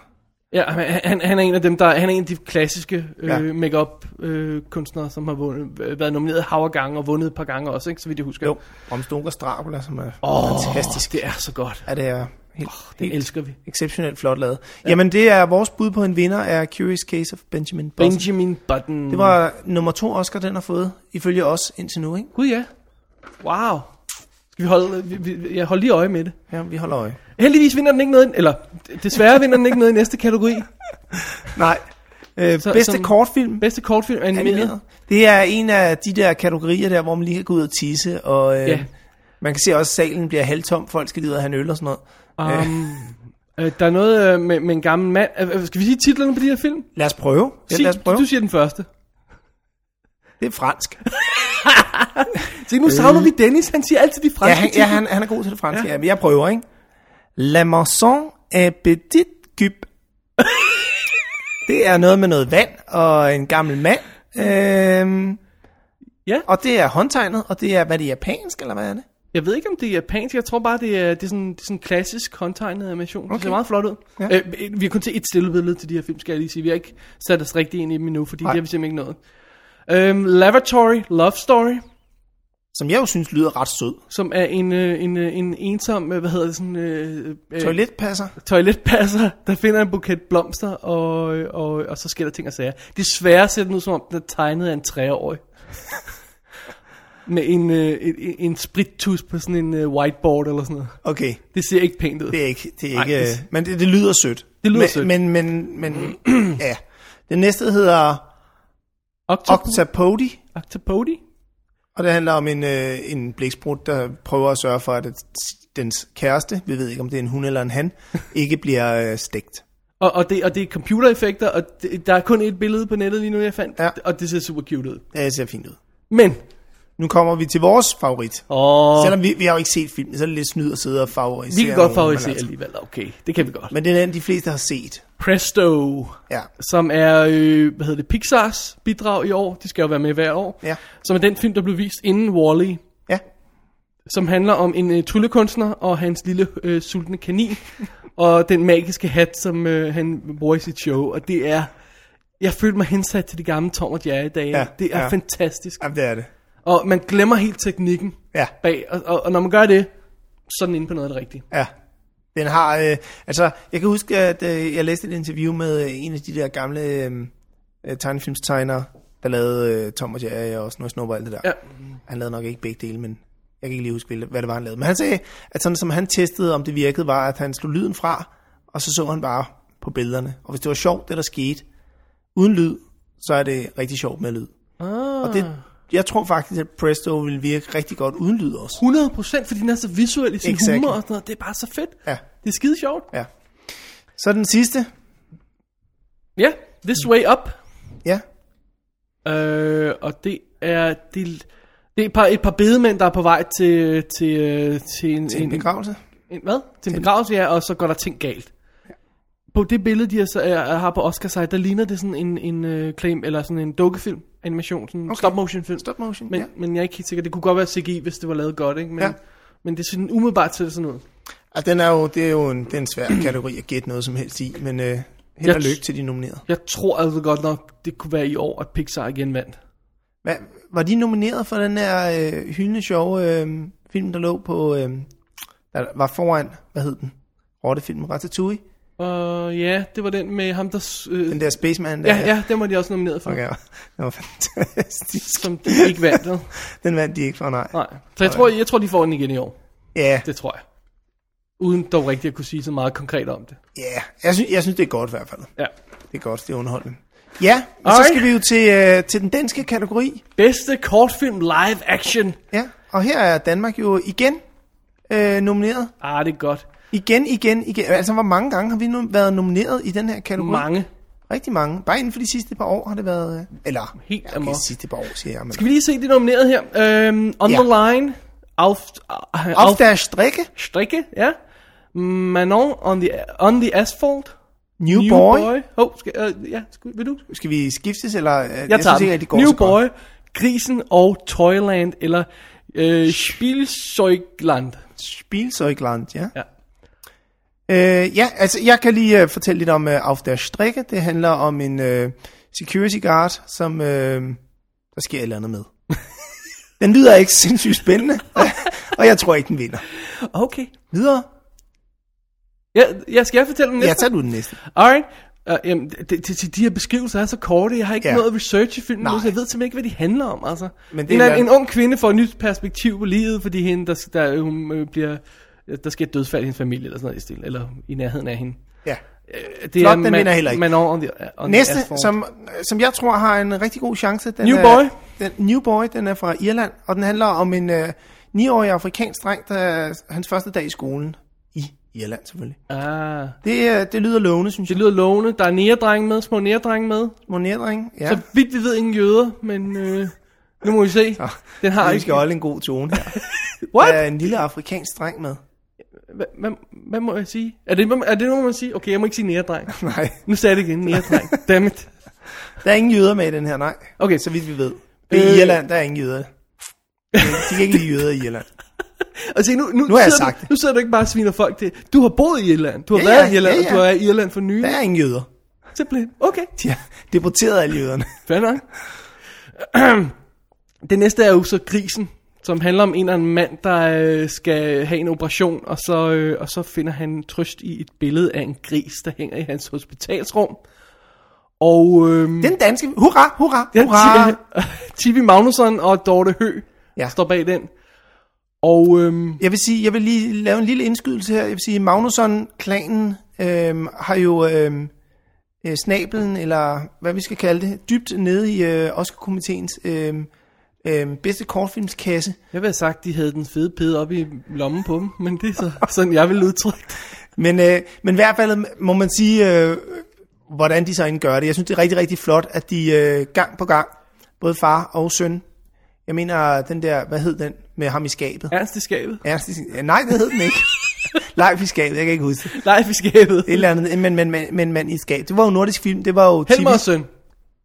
[SPEAKER 3] Ja, han, han, han er en af dem, der han er en af de klassiske øh,
[SPEAKER 2] Ja.
[SPEAKER 3] makeup øh, kunstnere, som har vundet, øh, været nomineret hav og gange og vundet et par gange også, ikke, så vidt jeg husker.
[SPEAKER 2] Jo. Om Stonkers Dracula, som er
[SPEAKER 3] Åh,
[SPEAKER 2] fantastisk.
[SPEAKER 3] det er så godt.
[SPEAKER 2] Er det er helt, oh,
[SPEAKER 3] Den
[SPEAKER 2] helt
[SPEAKER 3] elsker vi.
[SPEAKER 2] exceptionelt flot lavet. Ja. Jamen, det er vores bud på en vinder er Curious Case of Benjamin Button.
[SPEAKER 3] Benjamin Button.
[SPEAKER 2] Det var nummer to Oscar, den har fået, ifølge os indtil nu, ikke?
[SPEAKER 3] Gud ja. Wow. Skal vi holde, vi, vi, jeg holder lige øje med det.
[SPEAKER 2] Ja, vi holder øje.
[SPEAKER 3] Heldigvis vinder den ikke noget, i- eller desværre vinder den ikke noget i næste kategori.
[SPEAKER 2] Nej. Øh,
[SPEAKER 3] Så-
[SPEAKER 2] bedste
[SPEAKER 3] som-
[SPEAKER 2] kortfilm.
[SPEAKER 3] Bedste kortfilm animeret.
[SPEAKER 2] animeret. Det er en af de der kategorier der, hvor man lige kan gå ud og tisse, og øh, ja.
[SPEAKER 3] Ja.
[SPEAKER 2] man kan se også, at salen bliver halvtom, folk skal lige ud og have en øl og sådan noget.
[SPEAKER 3] Um, øh, der er noget øh, med, med en gammel mand. Øh, øh, skal vi sige titlerne på de her film?
[SPEAKER 2] Lad os prøve. Ja,
[SPEAKER 3] Sig,
[SPEAKER 2] lad os prøve.
[SPEAKER 3] Du siger den første.
[SPEAKER 2] Det er fransk.
[SPEAKER 3] Se, nu savner vi Dennis, han siger altid de franske
[SPEAKER 2] Øh. Ja, han, ja han, han er god til det franske. Ja. ja men jeg prøver, ikke? La maison est petit cube. det er noget med noget vand og en gammel mand. Øhm,
[SPEAKER 3] Ja.
[SPEAKER 2] Og det er håndtegnet, og det er, hvad det er japansk, eller hvad er det?
[SPEAKER 3] Jeg ved ikke, om det er japansk. Jeg tror bare, det er, det er, sådan, det er sådan en klassisk håndtegnet animation. Okay. Det ser
[SPEAKER 2] Okay.
[SPEAKER 3] meget flot ud.
[SPEAKER 2] Ja.
[SPEAKER 3] Ja. Øh, vi har kun set et stille billede til de her film, skal jeg lige sige. Vi har ikke sat os rigtig ind i dem endnu, fordi Nej.
[SPEAKER 2] Nej.
[SPEAKER 3] det har vi simpelthen ikke nået. Øhm, Lavatory Love Story,
[SPEAKER 2] Som jeg jo synes lyder ret sød.
[SPEAKER 3] som er en, øh, en, øh, en ensom, øh, hvad hedder det sådan... Øh, øh,
[SPEAKER 2] Toiletpasser.
[SPEAKER 3] toiletpasser, der finder en buket blomster, og, og, og så sker der ting og sager. Desværre ser den ud, som om den er tegnet af en treårig. Med en, øh, en, en- en sprittus på sådan en øh, whiteboard eller sådan noget.
[SPEAKER 2] Okay,
[SPEAKER 3] Det ser ikke pænt ud.
[SPEAKER 2] det er ikke... Det er
[SPEAKER 3] Nej,
[SPEAKER 2] ikke
[SPEAKER 3] det-
[SPEAKER 2] øh, men det, det lyder sødt.
[SPEAKER 3] Det lyder
[SPEAKER 2] men,
[SPEAKER 3] sødt.
[SPEAKER 2] Men, men, men (clears throat) ja. Det næste hedder
[SPEAKER 3] Octop-
[SPEAKER 2] Octapody,
[SPEAKER 3] Octopody?
[SPEAKER 2] og det handler om en, øh, en blæksprut, der prøver at sørge for, at et- dens kæreste, vi ved ikke om det er en hun eller en
[SPEAKER 3] (laughs)
[SPEAKER 2] han, ikke bliver øh, stegt.
[SPEAKER 3] Og, og, det, og det er computereffekter, og det, der er kun et billede på nettet lige nu, jeg fandt.
[SPEAKER 2] Ja.
[SPEAKER 3] Og det ser super cute ud.
[SPEAKER 2] Ja, Det ser fint ud.
[SPEAKER 3] Men,
[SPEAKER 2] Nu kommer vi til vores favorit.
[SPEAKER 3] åh,
[SPEAKER 2] Selvom vi, vi har jo ikke set filmen, så er det lidt snyd at sidde og favorisere.
[SPEAKER 3] vi kan
[SPEAKER 2] nogen,
[SPEAKER 3] godt
[SPEAKER 2] men
[SPEAKER 3] favorisere
[SPEAKER 2] altså-
[SPEAKER 3] alligevel. Okay, det kan vi godt.
[SPEAKER 2] Men det er den, de fleste har set.
[SPEAKER 3] Presto.
[SPEAKER 2] Ja.
[SPEAKER 3] som er, øh, hvad hedder det, Pixars bidrag i år. De skal jo være med hvert år.
[SPEAKER 2] Ja.
[SPEAKER 3] Som er den film, der blev vist inden Wall-E,
[SPEAKER 2] Ja.
[SPEAKER 3] som handler om en øh, tryllekunstner og hans lille øh, sultne
[SPEAKER 2] (laughs)
[SPEAKER 3] kanin, og den magiske hat, som øh, han bruger i sit show. Og det er, jeg følte mig hensat til de gamle Tom og Jerry dage.
[SPEAKER 2] Ja,
[SPEAKER 3] det er
[SPEAKER 2] ja.
[SPEAKER 3] fantastisk.
[SPEAKER 2] Jamen, det er det.
[SPEAKER 3] Og man glemmer helt teknikken
[SPEAKER 2] Ja.
[SPEAKER 3] bag, og, og, og når man gør det, så er den inde på noget af det rigtige.
[SPEAKER 2] Ja. Den har, øh, altså, jeg kan huske, at øh, jeg læste et interview med øh, en af de der gamle øh, øh, tegnefilmstegnere, der lavede øh, Tom og Jerry og Snow Snow og alt det der.
[SPEAKER 3] Ja.
[SPEAKER 2] Han lavede nok ikke begge dele, men jeg kan ikke lige huske, hvilke- hvad det var, han lavede. Men han sagde, at sådan som han testede, om det virkede, var, at han slog lyden fra, og så så han bare på billederne. Og hvis det var sjovt, det der skete, uden lyd, så er det rigtig sjovt med lyd. Ah. Og det, jeg tror faktisk, at Presto ville virke rigtig godt uden lyd også.
[SPEAKER 3] 100% fordi den er så visuel i sin
[SPEAKER 2] Exactly.
[SPEAKER 3] humor og sådan noget. Det er bare så fedt.
[SPEAKER 2] Ja.
[SPEAKER 3] Det er skide sjovt.
[SPEAKER 2] Ja. Så den sidste.
[SPEAKER 3] Ja, yeah, This Way Up.
[SPEAKER 2] Ja.
[SPEAKER 3] Øh, og det er, det, det er et, par, et par bedemænd, der er på vej til, til, øh, til, en,
[SPEAKER 2] Til en begravelse.
[SPEAKER 3] en, hvad? Til en begravelse, ja, og så går der ting galt. På det billede, de har, så, er, har på Oscar side, der ligner det sådan en, en øh, claim, eller sådan en dukkefilm, animation, sådan en okay. stop motion film.
[SPEAKER 2] Stop motion,
[SPEAKER 3] men,
[SPEAKER 2] ja.
[SPEAKER 3] men jeg er ikke helt sikker, det kunne godt være CGI, hvis det var lavet godt, ikke? Men,
[SPEAKER 2] Ja.
[SPEAKER 3] men det synes umiddelbart ser det sådan ud.
[SPEAKER 2] Altså, den er jo, det er jo en, det er en svær kategori at gætte noget som helst i, men øh, held
[SPEAKER 3] Jeg-
[SPEAKER 2] og lykke til de nominerede.
[SPEAKER 3] Jeg tror altså godt nok, det kunne være i år, at Pixar igen vandt.
[SPEAKER 2] Hvad, var de nomineret for den her øh, hyldende sjove øh, film, der lå på, øh, der var foran, hvad hed den? Rottefilmen Ratatouille?
[SPEAKER 3] Og ja, det var den med ham, der... Øh,
[SPEAKER 2] Den der Spaceman der?
[SPEAKER 3] ja, ja, den var de også nomineret
[SPEAKER 2] (laughs)
[SPEAKER 3] for.
[SPEAKER 2] Okay, den var fantastisk.
[SPEAKER 3] som de ikke vandt. vel?
[SPEAKER 2] Den vandt de ikke for, nej.
[SPEAKER 3] Nej. Så jeg tror, jeg tror, de får den igen i år.
[SPEAKER 2] Ja,
[SPEAKER 3] Det tror jeg. Uden dog rigtigt at kunne sige så meget konkret om det.
[SPEAKER 2] ja. Jeg, synes, jeg synes, det er godt i hvert fald.
[SPEAKER 3] Ja.
[SPEAKER 2] Det er godt, det er underholdende. Ja, og så
[SPEAKER 3] Alright.
[SPEAKER 2] skal vi jo til, øh, til den danske kategori.
[SPEAKER 3] Bedste kortfilm live action.
[SPEAKER 2] Ja, og her er Danmark jo igen øh, nomineret.
[SPEAKER 3] Ah, det er godt.
[SPEAKER 2] Igen, igen, igen. Altså, hvor mange gange har vi nu været nomineret i den her kategori?
[SPEAKER 3] Mange.
[SPEAKER 2] Rigtig mange. Bare inden for de sidste par år har det været... øh, Eller,
[SPEAKER 3] Helt
[SPEAKER 2] ja, okay,
[SPEAKER 3] amok.
[SPEAKER 2] de sidste par år, siger jeg. Men...
[SPEAKER 3] Kan vi lige se det nomineret her? Øhm, on
[SPEAKER 2] Ja.
[SPEAKER 3] the line. Alf, uh,
[SPEAKER 2] Alf
[SPEAKER 3] Alf
[SPEAKER 2] der strikke,
[SPEAKER 3] Strikke, ja. Manon on the, on the asphalt.
[SPEAKER 2] new, new boy. boy.
[SPEAKER 3] Åh, oh, skal, øh, ja, skal, vil du?
[SPEAKER 2] Skal vi skiftes, eller... øh, Jeg,
[SPEAKER 3] Jeg tager
[SPEAKER 2] synes ikke, at
[SPEAKER 3] den.
[SPEAKER 2] det går
[SPEAKER 3] New
[SPEAKER 2] så
[SPEAKER 3] Boy,
[SPEAKER 2] Godt.
[SPEAKER 3] Grisen og Toyland, eller øh, Spielzeugland.
[SPEAKER 2] Spielzeugland, ja.
[SPEAKER 3] Ja.
[SPEAKER 2] Øh, ja, altså, jeg kan lige øh, fortælle lidt om øh, Auf der strikke. Det handler om en øh, security guard, som... Øh, der sker et eller andet med. (laughs) den lyder ikke sindssygt spændende, (laughs) og jeg tror ikke, den vinder.
[SPEAKER 3] Okay.
[SPEAKER 2] Videre.
[SPEAKER 3] Ja, jeg skal jeg fortælle den
[SPEAKER 2] Ja,
[SPEAKER 3] næste?
[SPEAKER 2] tag du den næste.
[SPEAKER 3] Alright. Uh, jamen, det, det, det, de her beskrivelser er så korte, jeg har ikke
[SPEAKER 2] Ja.
[SPEAKER 3] noget research i filmen,
[SPEAKER 2] Nej.
[SPEAKER 3] nu, så jeg ved simpelthen ikke, hvad de handler om, altså.
[SPEAKER 2] Men
[SPEAKER 3] Men
[SPEAKER 2] det
[SPEAKER 3] det en,
[SPEAKER 2] er
[SPEAKER 3] anden, en
[SPEAKER 2] en-
[SPEAKER 3] ung kvinde får et nyt perspektiv på livet, fordi hende, der, der, hun øh, bliver, der sker et dødsfald i hendes familie, eller sådan noget i stil, eller i nærheden af hende.
[SPEAKER 2] Ja.
[SPEAKER 3] Øh, Det
[SPEAKER 2] Flot, den vinder heller ikke.
[SPEAKER 3] Man over on the, on the
[SPEAKER 2] Næste,
[SPEAKER 3] asphalt.
[SPEAKER 2] som, som jeg tror har en rigtig god chance. Den
[SPEAKER 3] New
[SPEAKER 2] er,
[SPEAKER 3] Boy.
[SPEAKER 2] Den, New Boy, den er fra Irland, og den handler om en øh, 9-årig afrikansk dreng, der er hans første dag i skolen. I Irland selvfølgelig.
[SPEAKER 3] Ah,
[SPEAKER 2] Det, øh, det lyder lovende, synes
[SPEAKER 3] det
[SPEAKER 2] jeg.
[SPEAKER 3] lyder lovende. Der er næredreng med, små næredreng med.
[SPEAKER 2] Monedring, ja.
[SPEAKER 3] Så vidt vi ved, ingen jøder, men øh, Nu må vi se.
[SPEAKER 2] Ah.
[SPEAKER 3] Den har
[SPEAKER 2] Vi skal
[SPEAKER 3] ikke...
[SPEAKER 2] holde en god tone (laughs) her. Der
[SPEAKER 3] What?
[SPEAKER 2] er en lille afrikansk dreng med.
[SPEAKER 3] Hvad, hvad, hvad må jeg sige? Er det, er det noget, man siger? Okay, jeg må ikke sige næredreng.
[SPEAKER 2] Nej.
[SPEAKER 3] Nu sagde jeg det igen, næredreng. Dammit.
[SPEAKER 2] Der er ingen jøder med i den her, nej.
[SPEAKER 3] Okay,
[SPEAKER 2] Så
[SPEAKER 3] så,
[SPEAKER 2] vidt vi ved. Det er
[SPEAKER 3] Øh.
[SPEAKER 2] øh... Irland, der er ingen jøder. De kan ikke lide jøder i Irland.
[SPEAKER 3] og se, nu, nu,
[SPEAKER 2] Nu har jeg
[SPEAKER 3] sidder
[SPEAKER 2] sagt
[SPEAKER 3] du,
[SPEAKER 2] det.
[SPEAKER 3] nu sidder du ikke bare og sviner folk til. Du har boet i Irland, du har
[SPEAKER 2] Ja,
[SPEAKER 3] været
[SPEAKER 2] ja,
[SPEAKER 3] i Irland,
[SPEAKER 2] ja,
[SPEAKER 3] og
[SPEAKER 2] ja.
[SPEAKER 3] du er i Irland for nylig.
[SPEAKER 2] Der er ingen jøder.
[SPEAKER 3] Simpelthen. Okay,
[SPEAKER 2] De har deporteret alle jøderne.
[SPEAKER 3] fair nok. (clears throat) Det næste er jo så grisen, som handler om en eller anden mand, der øh, skal have en operation, og så, øh, og så finder han trøst i et billede af en gris, der hænger i hans hospitalsrum. Og øhm,
[SPEAKER 2] Den danske... Hurra, hurra, hurra.
[SPEAKER 3] ja, (laughs) Tivi Magnusson og Dorte Hø ja.
[SPEAKER 2] Ja.
[SPEAKER 3] står bag den. Og øhm,
[SPEAKER 2] Jeg vil sige, jeg vil lige lave en lille indskydelse her. Jeg vil sige, Magnusson-klanen øhm, har jo øhm, øh, snabelen, eller hvad vi skal kalde det, dybt nede i øh, Oscar-komiteens øhm, øhm, bedste kortfilmskasse.
[SPEAKER 3] jeg vil have sagt, de havde den fede pede op i lommen på dem, men det er så, sådan, jeg vil udtrykke det.
[SPEAKER 2] Men, øh, men i hvert fald må man sige, øh, hvordan de så end gør det. Jeg synes, det er rigtig, rigtig flot, at de øh, gang på gang, både far og søn, jeg mener den der, hvad hed den, med ham i skabet? Ja.
[SPEAKER 3] Ernst i skabet.
[SPEAKER 2] Ernst, i- ja, nej, det hed den ikke. Leif i skabet, jeg kan ikke huske det.
[SPEAKER 3] Leif i skabet.
[SPEAKER 2] Et eller andet, men, men, men, men, men i skabet. Det var jo nordisk film, det var jo...
[SPEAKER 3] Helmer og
[SPEAKER 2] Tivis-
[SPEAKER 3] søn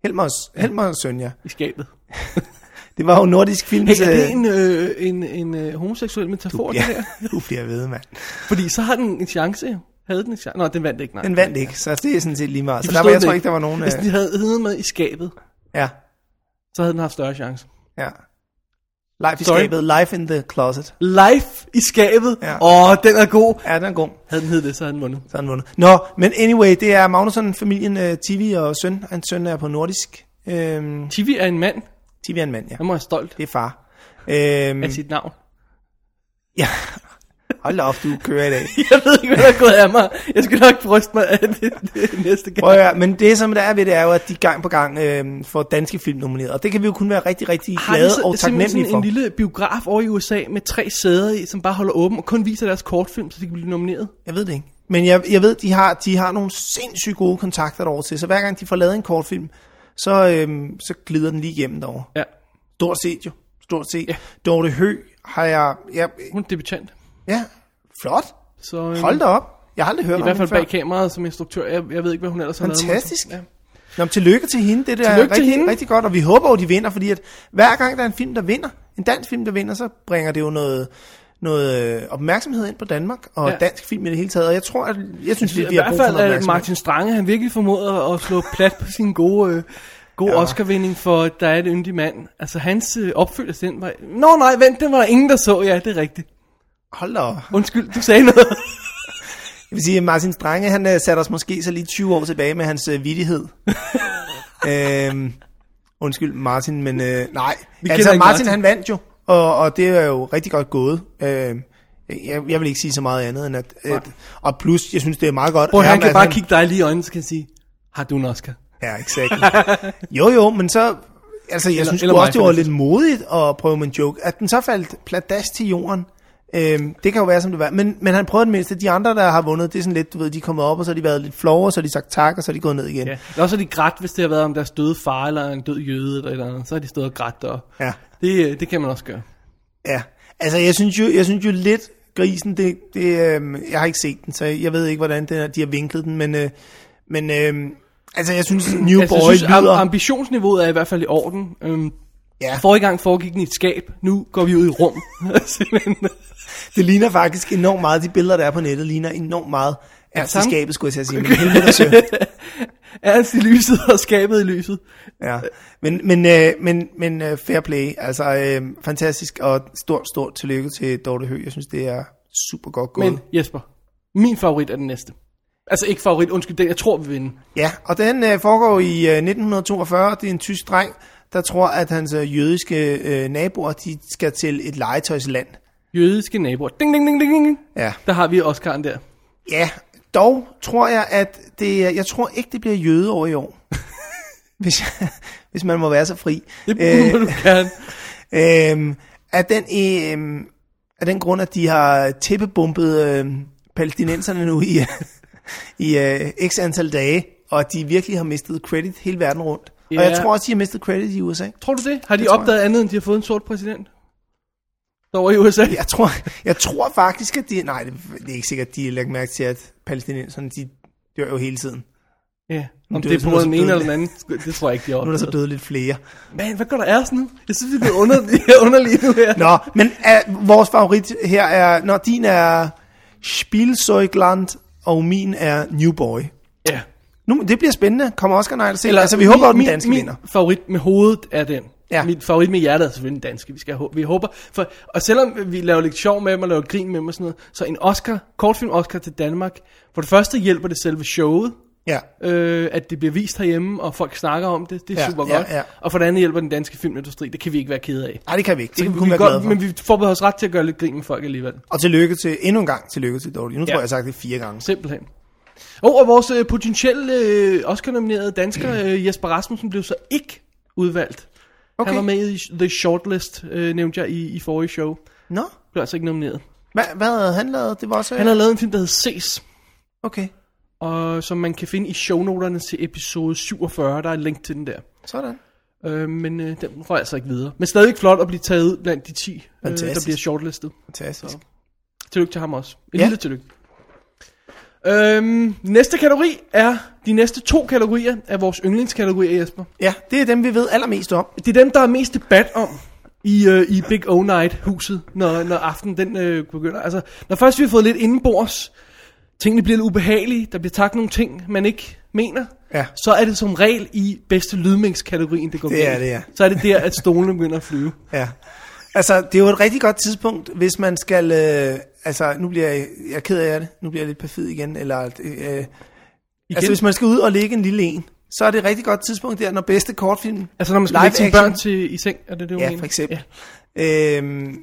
[SPEAKER 2] Helmers, Helmers søn, ja.
[SPEAKER 3] i skabet.
[SPEAKER 2] Det var jo nordisk film.
[SPEAKER 3] Hey, er det en, øh, en, en øh, homoseksuel metafor, det her?
[SPEAKER 2] ja, du bliver ved, mand.
[SPEAKER 3] Fordi så har den en chance. jo. Havde den en chance? Nå, den vandt ikke, nej.
[SPEAKER 2] Den vandt ikke, så det er sådan set lige meget. Så der
[SPEAKER 3] forstod
[SPEAKER 2] var, jeg
[SPEAKER 3] det
[SPEAKER 2] tror ikke, der var nogen...
[SPEAKER 3] Hvis
[SPEAKER 2] øh,
[SPEAKER 3] de havde heddet med i skabet,
[SPEAKER 2] Ja,
[SPEAKER 3] så havde den haft større chance.
[SPEAKER 2] ja. Life i
[SPEAKER 3] Sorry.
[SPEAKER 2] skabet, Life in the closet.
[SPEAKER 3] Life i skabet.
[SPEAKER 2] Ja.
[SPEAKER 3] Åh, den er god.
[SPEAKER 2] Ja, den er god.
[SPEAKER 3] Havde den heddet det, så havde den vundet.
[SPEAKER 2] Så har han vundet. Nå, men anyway, det er Magnusson, familien uh, Tivi og søn. Hans søn er på nordisk. Øhm,
[SPEAKER 3] Tivi er en mand.
[SPEAKER 2] Tivi er en mand, ja.
[SPEAKER 3] Han må være stolt
[SPEAKER 2] Det er far. Øhm,
[SPEAKER 3] af sit navn. (laughs)
[SPEAKER 2] ja. Hold da op, du kører i dag.
[SPEAKER 3] Jeg ved ikke, hvad der er gået af mig. Jeg skal nok bryste mig af det, det næste gang.
[SPEAKER 2] (laughs) Prøv at høre, men det som der er ved det, er jo, at de gang på gang øhm, får danske film nomineret. Og det kan vi jo kun være rigtig, rigtig
[SPEAKER 3] Har
[SPEAKER 2] glade
[SPEAKER 3] de så,
[SPEAKER 2] og
[SPEAKER 3] simpelthen
[SPEAKER 2] taknemmelige
[SPEAKER 3] sådan
[SPEAKER 2] for.
[SPEAKER 3] en lille biograf over i USA med tre sæder i, som bare holder åben og kun viser deres kortfilm, så de kan blive nomineret?
[SPEAKER 2] Jeg ved det ikke. Men jeg, jeg ved, de har, de har nogle sindssygt gode kontakter derovre til. Så hver gang de får lavet en kortfilm, så, øhm, så glider den lige igennem derovre.
[SPEAKER 3] Ja,
[SPEAKER 2] Stort set jo. Stort set.
[SPEAKER 3] Ja.
[SPEAKER 2] Ja. Dorte Hø har jeg... jeg
[SPEAKER 3] hun er debutant.
[SPEAKER 2] ja, flot.
[SPEAKER 3] Så øhm,
[SPEAKER 2] Hold da op. Jeg har aldrig hørt om
[SPEAKER 3] i hvert fald
[SPEAKER 2] hende
[SPEAKER 3] bag kameraet som instruktør. Jeg, jeg ved ikke, hvad hun ellers har
[SPEAKER 2] Fantastisk.
[SPEAKER 3] lavet.
[SPEAKER 2] før. Nå, men tillykke til hende. Det der er
[SPEAKER 3] Tillykke til
[SPEAKER 2] rigtig,
[SPEAKER 3] hende.
[SPEAKER 2] rigtig godt, og vi håber jo, de vinder, fordi at hver gang der er en film, der vinder, en dansk film, der vinder, så bringer det jo noget noget øh, opmærksomhed ind på Danmark og
[SPEAKER 3] Ja.
[SPEAKER 2] ja. dansk film i det hele taget. Og jeg tror, at jeg synes,
[SPEAKER 3] Ja.
[SPEAKER 2] vi,
[SPEAKER 3] I
[SPEAKER 2] vi har
[SPEAKER 3] hvert
[SPEAKER 2] brug for
[SPEAKER 3] fald øh,
[SPEAKER 2] noget
[SPEAKER 3] er
[SPEAKER 2] opmærksomhed.
[SPEAKER 3] Martin Strange, han virkelig formåede at- at slå plat på sin gode... Øh, God ja. Oscar-vinding for Der er et yndig mand. Altså hans øh, opfyldelse, den var... Nå nej, vent, den var der ingen, der så. Ja, det er rigtigt.
[SPEAKER 2] Hold da op.
[SPEAKER 3] Undskyld, du sagde
[SPEAKER 2] (laughs)
[SPEAKER 3] noget.
[SPEAKER 2] Jeg vil sige, at Martin Strange, han øh, satte os måske så lige 20 år tilbage med hans øh,
[SPEAKER 3] (laughs)
[SPEAKER 2] vittighed. øhm, undskyld Martin, men øh, nej.
[SPEAKER 3] kender
[SPEAKER 2] altså Martin,
[SPEAKER 3] ikke Martin.
[SPEAKER 2] Martin, han vandt jo, og, og det er jo rigtig godt gået. Øhm, jeg, jeg vil ikke sige så meget andet end at... Øh, og plus, jeg synes, det er meget godt...
[SPEAKER 3] Prøv,
[SPEAKER 2] at
[SPEAKER 3] han
[SPEAKER 2] ham,
[SPEAKER 3] kan
[SPEAKER 2] altså,
[SPEAKER 3] bare kigge dig lige i øjnene, så kan han sige, har du en Oscar?
[SPEAKER 2] Ja, exakt. (laughs) jo, jo, men så... Altså, jeg eller, synes
[SPEAKER 3] eller
[SPEAKER 2] eller
[SPEAKER 3] mig,
[SPEAKER 2] også, det var
[SPEAKER 3] for den
[SPEAKER 2] lidt modigt at prøve med en joke. At den så faldt pladask til jorden, øhm, det kan jo være, som det var. Men, men han prøvede det mindste. De andre, der har vundet, det er sådan lidt, du ved, de er kommet op, og så har de været lidt flove, og så har de sagt tak, og så er de gået ned igen.
[SPEAKER 3] Ja.
[SPEAKER 2] Ja.
[SPEAKER 3] Eller også er de grædt, hvis det har været om deres døde far eller en død jøde eller et eller andet. Så har de stået og grædt der.
[SPEAKER 2] Ja.
[SPEAKER 3] Det, øh, det kan man også gøre.
[SPEAKER 2] ja. Altså, jeg synes jo, jeg synes jo lidt, grisen, det, det, øhm, jeg har ikke set den, så jeg ved ikke, hvordan den er, de har vinklet den, men, øh, men øhm, altså, jeg synes, New
[SPEAKER 3] Altså,
[SPEAKER 2] Boy
[SPEAKER 3] jeg synes, am-
[SPEAKER 2] lyder...
[SPEAKER 3] ambitionsniveauet er i hvert fald i orden. Øhm,
[SPEAKER 2] ja,
[SPEAKER 3] Forrige gang foregik den i et skab, nu går vi ud i rum. (laughs) Simpelthen.
[SPEAKER 2] Det ligner faktisk enormt meget, de billeder, der er på nettet, ligner enormt meget
[SPEAKER 3] samme-
[SPEAKER 2] ærteskabet, skulle jeg til at sige. Men, helvede,
[SPEAKER 3] (laughs)
[SPEAKER 2] sø.
[SPEAKER 3] Ernst i lyset og skabet i lyset.
[SPEAKER 2] ja. men, men, øh, men, men øh, fair play, altså øh, fantastisk, og stort, stort tillykke til Dorte Høgh. Jeg synes, det er super godt gået.
[SPEAKER 3] Men Jesper, min favorit er den næste. Altså ikke favorit, undskyld, den jeg tror vi vinder.
[SPEAKER 2] Ja, og den øh, foregår i øh, 1942, det er en tysk dreng, der tror, at hans øh, jødiske øh, naboer, de skal til et legetøjsland.
[SPEAKER 3] Jødiske naboer. Ding, ding, ding, ding, ding.
[SPEAKER 2] Ja.
[SPEAKER 3] Der har vi Oscar'en der.
[SPEAKER 2] Ja, dog tror jeg, at det, er- jeg tror ikke, det bliver jøde over i år. hvis, (laughs) jeg, hvis man må være så fri. Øh,
[SPEAKER 3] Det må du gerne.
[SPEAKER 2] Øhm, af, den, øhm, af den grund, at de har tæppebumpet øhm, palæstinenserne nu (laughs) i, i øh, x antal dage, og at de virkelig har mistet credit hele verden rundt. Og jeg tror også, de har mistet credit i USA.
[SPEAKER 3] tror du det? Har de
[SPEAKER 2] Det tror jeg.
[SPEAKER 3] opdaget andet, end de har fået en sort præsident? Over i USA?
[SPEAKER 2] Jeg tror, jeg tror faktisk, at de... Nej, det, det er ikke sikkert, at de lægger mærke til, at palæstinenserne, de dør jo hele tiden.
[SPEAKER 3] Ja. Om
[SPEAKER 2] Men det
[SPEAKER 3] det,
[SPEAKER 2] er
[SPEAKER 3] det
[SPEAKER 2] jo
[SPEAKER 3] er på
[SPEAKER 2] sådan noget,
[SPEAKER 3] den ene
[SPEAKER 2] så
[SPEAKER 3] eller den anden, det tror jeg ikke, de har
[SPEAKER 2] Nu er der
[SPEAKER 3] opdaget.
[SPEAKER 2] så døde lidt flere.
[SPEAKER 3] Man, hvad går der ærst nu? Jeg synes, det bliver under, underligt nu her.
[SPEAKER 2] Nå, men uh, vores favorit her er... Når din er Spielzeugland, og min er New Boy.
[SPEAKER 3] Ja.
[SPEAKER 2] Nu, det bliver spændende. Kommer Oscar Night til. Eller, altså, vi håber, at den danske
[SPEAKER 3] min,
[SPEAKER 2] vinder.
[SPEAKER 3] Min favorit med hovedet er den. Ja.
[SPEAKER 2] Ja.
[SPEAKER 3] Min favorit med hjertet er selvfølgelig den danske. Vi, skal, hå- vi håber. For, og selvom vi laver lidt sjov med dem og laver grin med dem og sådan noget, så en Oscar, kortfilm Oscar til Danmark, for det første hjælper det selve showet,
[SPEAKER 2] Ja.
[SPEAKER 3] øh, at det bliver vist herhjemme, og folk snakker om det. Det er
[SPEAKER 2] Ja,
[SPEAKER 3] super
[SPEAKER 2] ja,
[SPEAKER 3] godt.
[SPEAKER 2] ja.
[SPEAKER 3] Og for det andet hjælper den danske filmindustri. Det kan vi ikke være kede af.
[SPEAKER 2] Nej, det kan vi ikke. Det, kan vi
[SPEAKER 3] vi
[SPEAKER 2] kun
[SPEAKER 3] kan
[SPEAKER 2] være glade for.
[SPEAKER 3] men vi forbeholder os ret til at gøre lidt grin med folk alligevel.
[SPEAKER 2] Og tillykke til, endnu en gang tillykke til Dorothy. Nu ja. tror
[SPEAKER 3] Ja.
[SPEAKER 2] jeg, jeg har sagt det fire gange.
[SPEAKER 3] Simpelthen. Og, og vores øh, potentielle øh, Oscar-nominerede dansker, øh, Jesper Rasmussen, blev så ikke udvalgt. Okay. Han var med i The Shortlist, øh, nævnte jeg i, i forrige show.
[SPEAKER 2] Nå,
[SPEAKER 3] Blev altså ikke nomineret.
[SPEAKER 2] hvad, hvad havde han lavet? Det var også...
[SPEAKER 3] Han har lavet en film, der hedder Ses,
[SPEAKER 2] Okay,
[SPEAKER 3] og, som man kan finde i shownoterne til episode 47. Der er et link til den der.
[SPEAKER 2] sådan.
[SPEAKER 3] Øh, men øh, den røg altså ikke videre. Men stadigvæk flot at blive taget ud blandt de 10, øh, der
[SPEAKER 2] Fantastisk.
[SPEAKER 3] bliver shortlistet.
[SPEAKER 2] Fantastisk.
[SPEAKER 3] Tillykke til ham også. En ja.
[SPEAKER 2] Ja.
[SPEAKER 3] lille tillykke. Øhm, næste kategori er de næste to kategorier af vores yndlingskategorier, Jesper.
[SPEAKER 2] Ja, det er dem, vi ved allermest om.
[SPEAKER 3] Det er dem, der er mest debat om i, øh, i Big O Night-huset, når, når aftenen den, øh, begynder. Altså, når først vi har fået lidt indenbords, tingene bliver lidt ubehagelige, der bliver sagt nogle ting, man ikke mener,
[SPEAKER 2] Ja.
[SPEAKER 3] så er det som regel i bedste lydmængskategorien, det går
[SPEAKER 2] Det
[SPEAKER 3] galt.
[SPEAKER 2] er det, ja.
[SPEAKER 3] Så er det der, at stolene begynder at
[SPEAKER 2] (laughs)
[SPEAKER 3] flyve.
[SPEAKER 2] Ja. Altså, det er jo et rigtig godt tidspunkt, hvis man skal... Øh, altså, nu bliver jeg, jeg er ked af det. Nu bliver jeg lidt perfid igen. Eller, øh, igen?
[SPEAKER 3] Igen.
[SPEAKER 2] Altså, hvis man skal ud og ligge en lille en, så er det et rigtig godt tidspunkt der, når bedste kortfilm...
[SPEAKER 3] Altså, når man skal
[SPEAKER 2] Live
[SPEAKER 3] lægge sine
[SPEAKER 2] action.
[SPEAKER 3] børn til, i seng, er det det, du
[SPEAKER 2] Ja,
[SPEAKER 3] mener?
[SPEAKER 2] for eksempel. Øhm,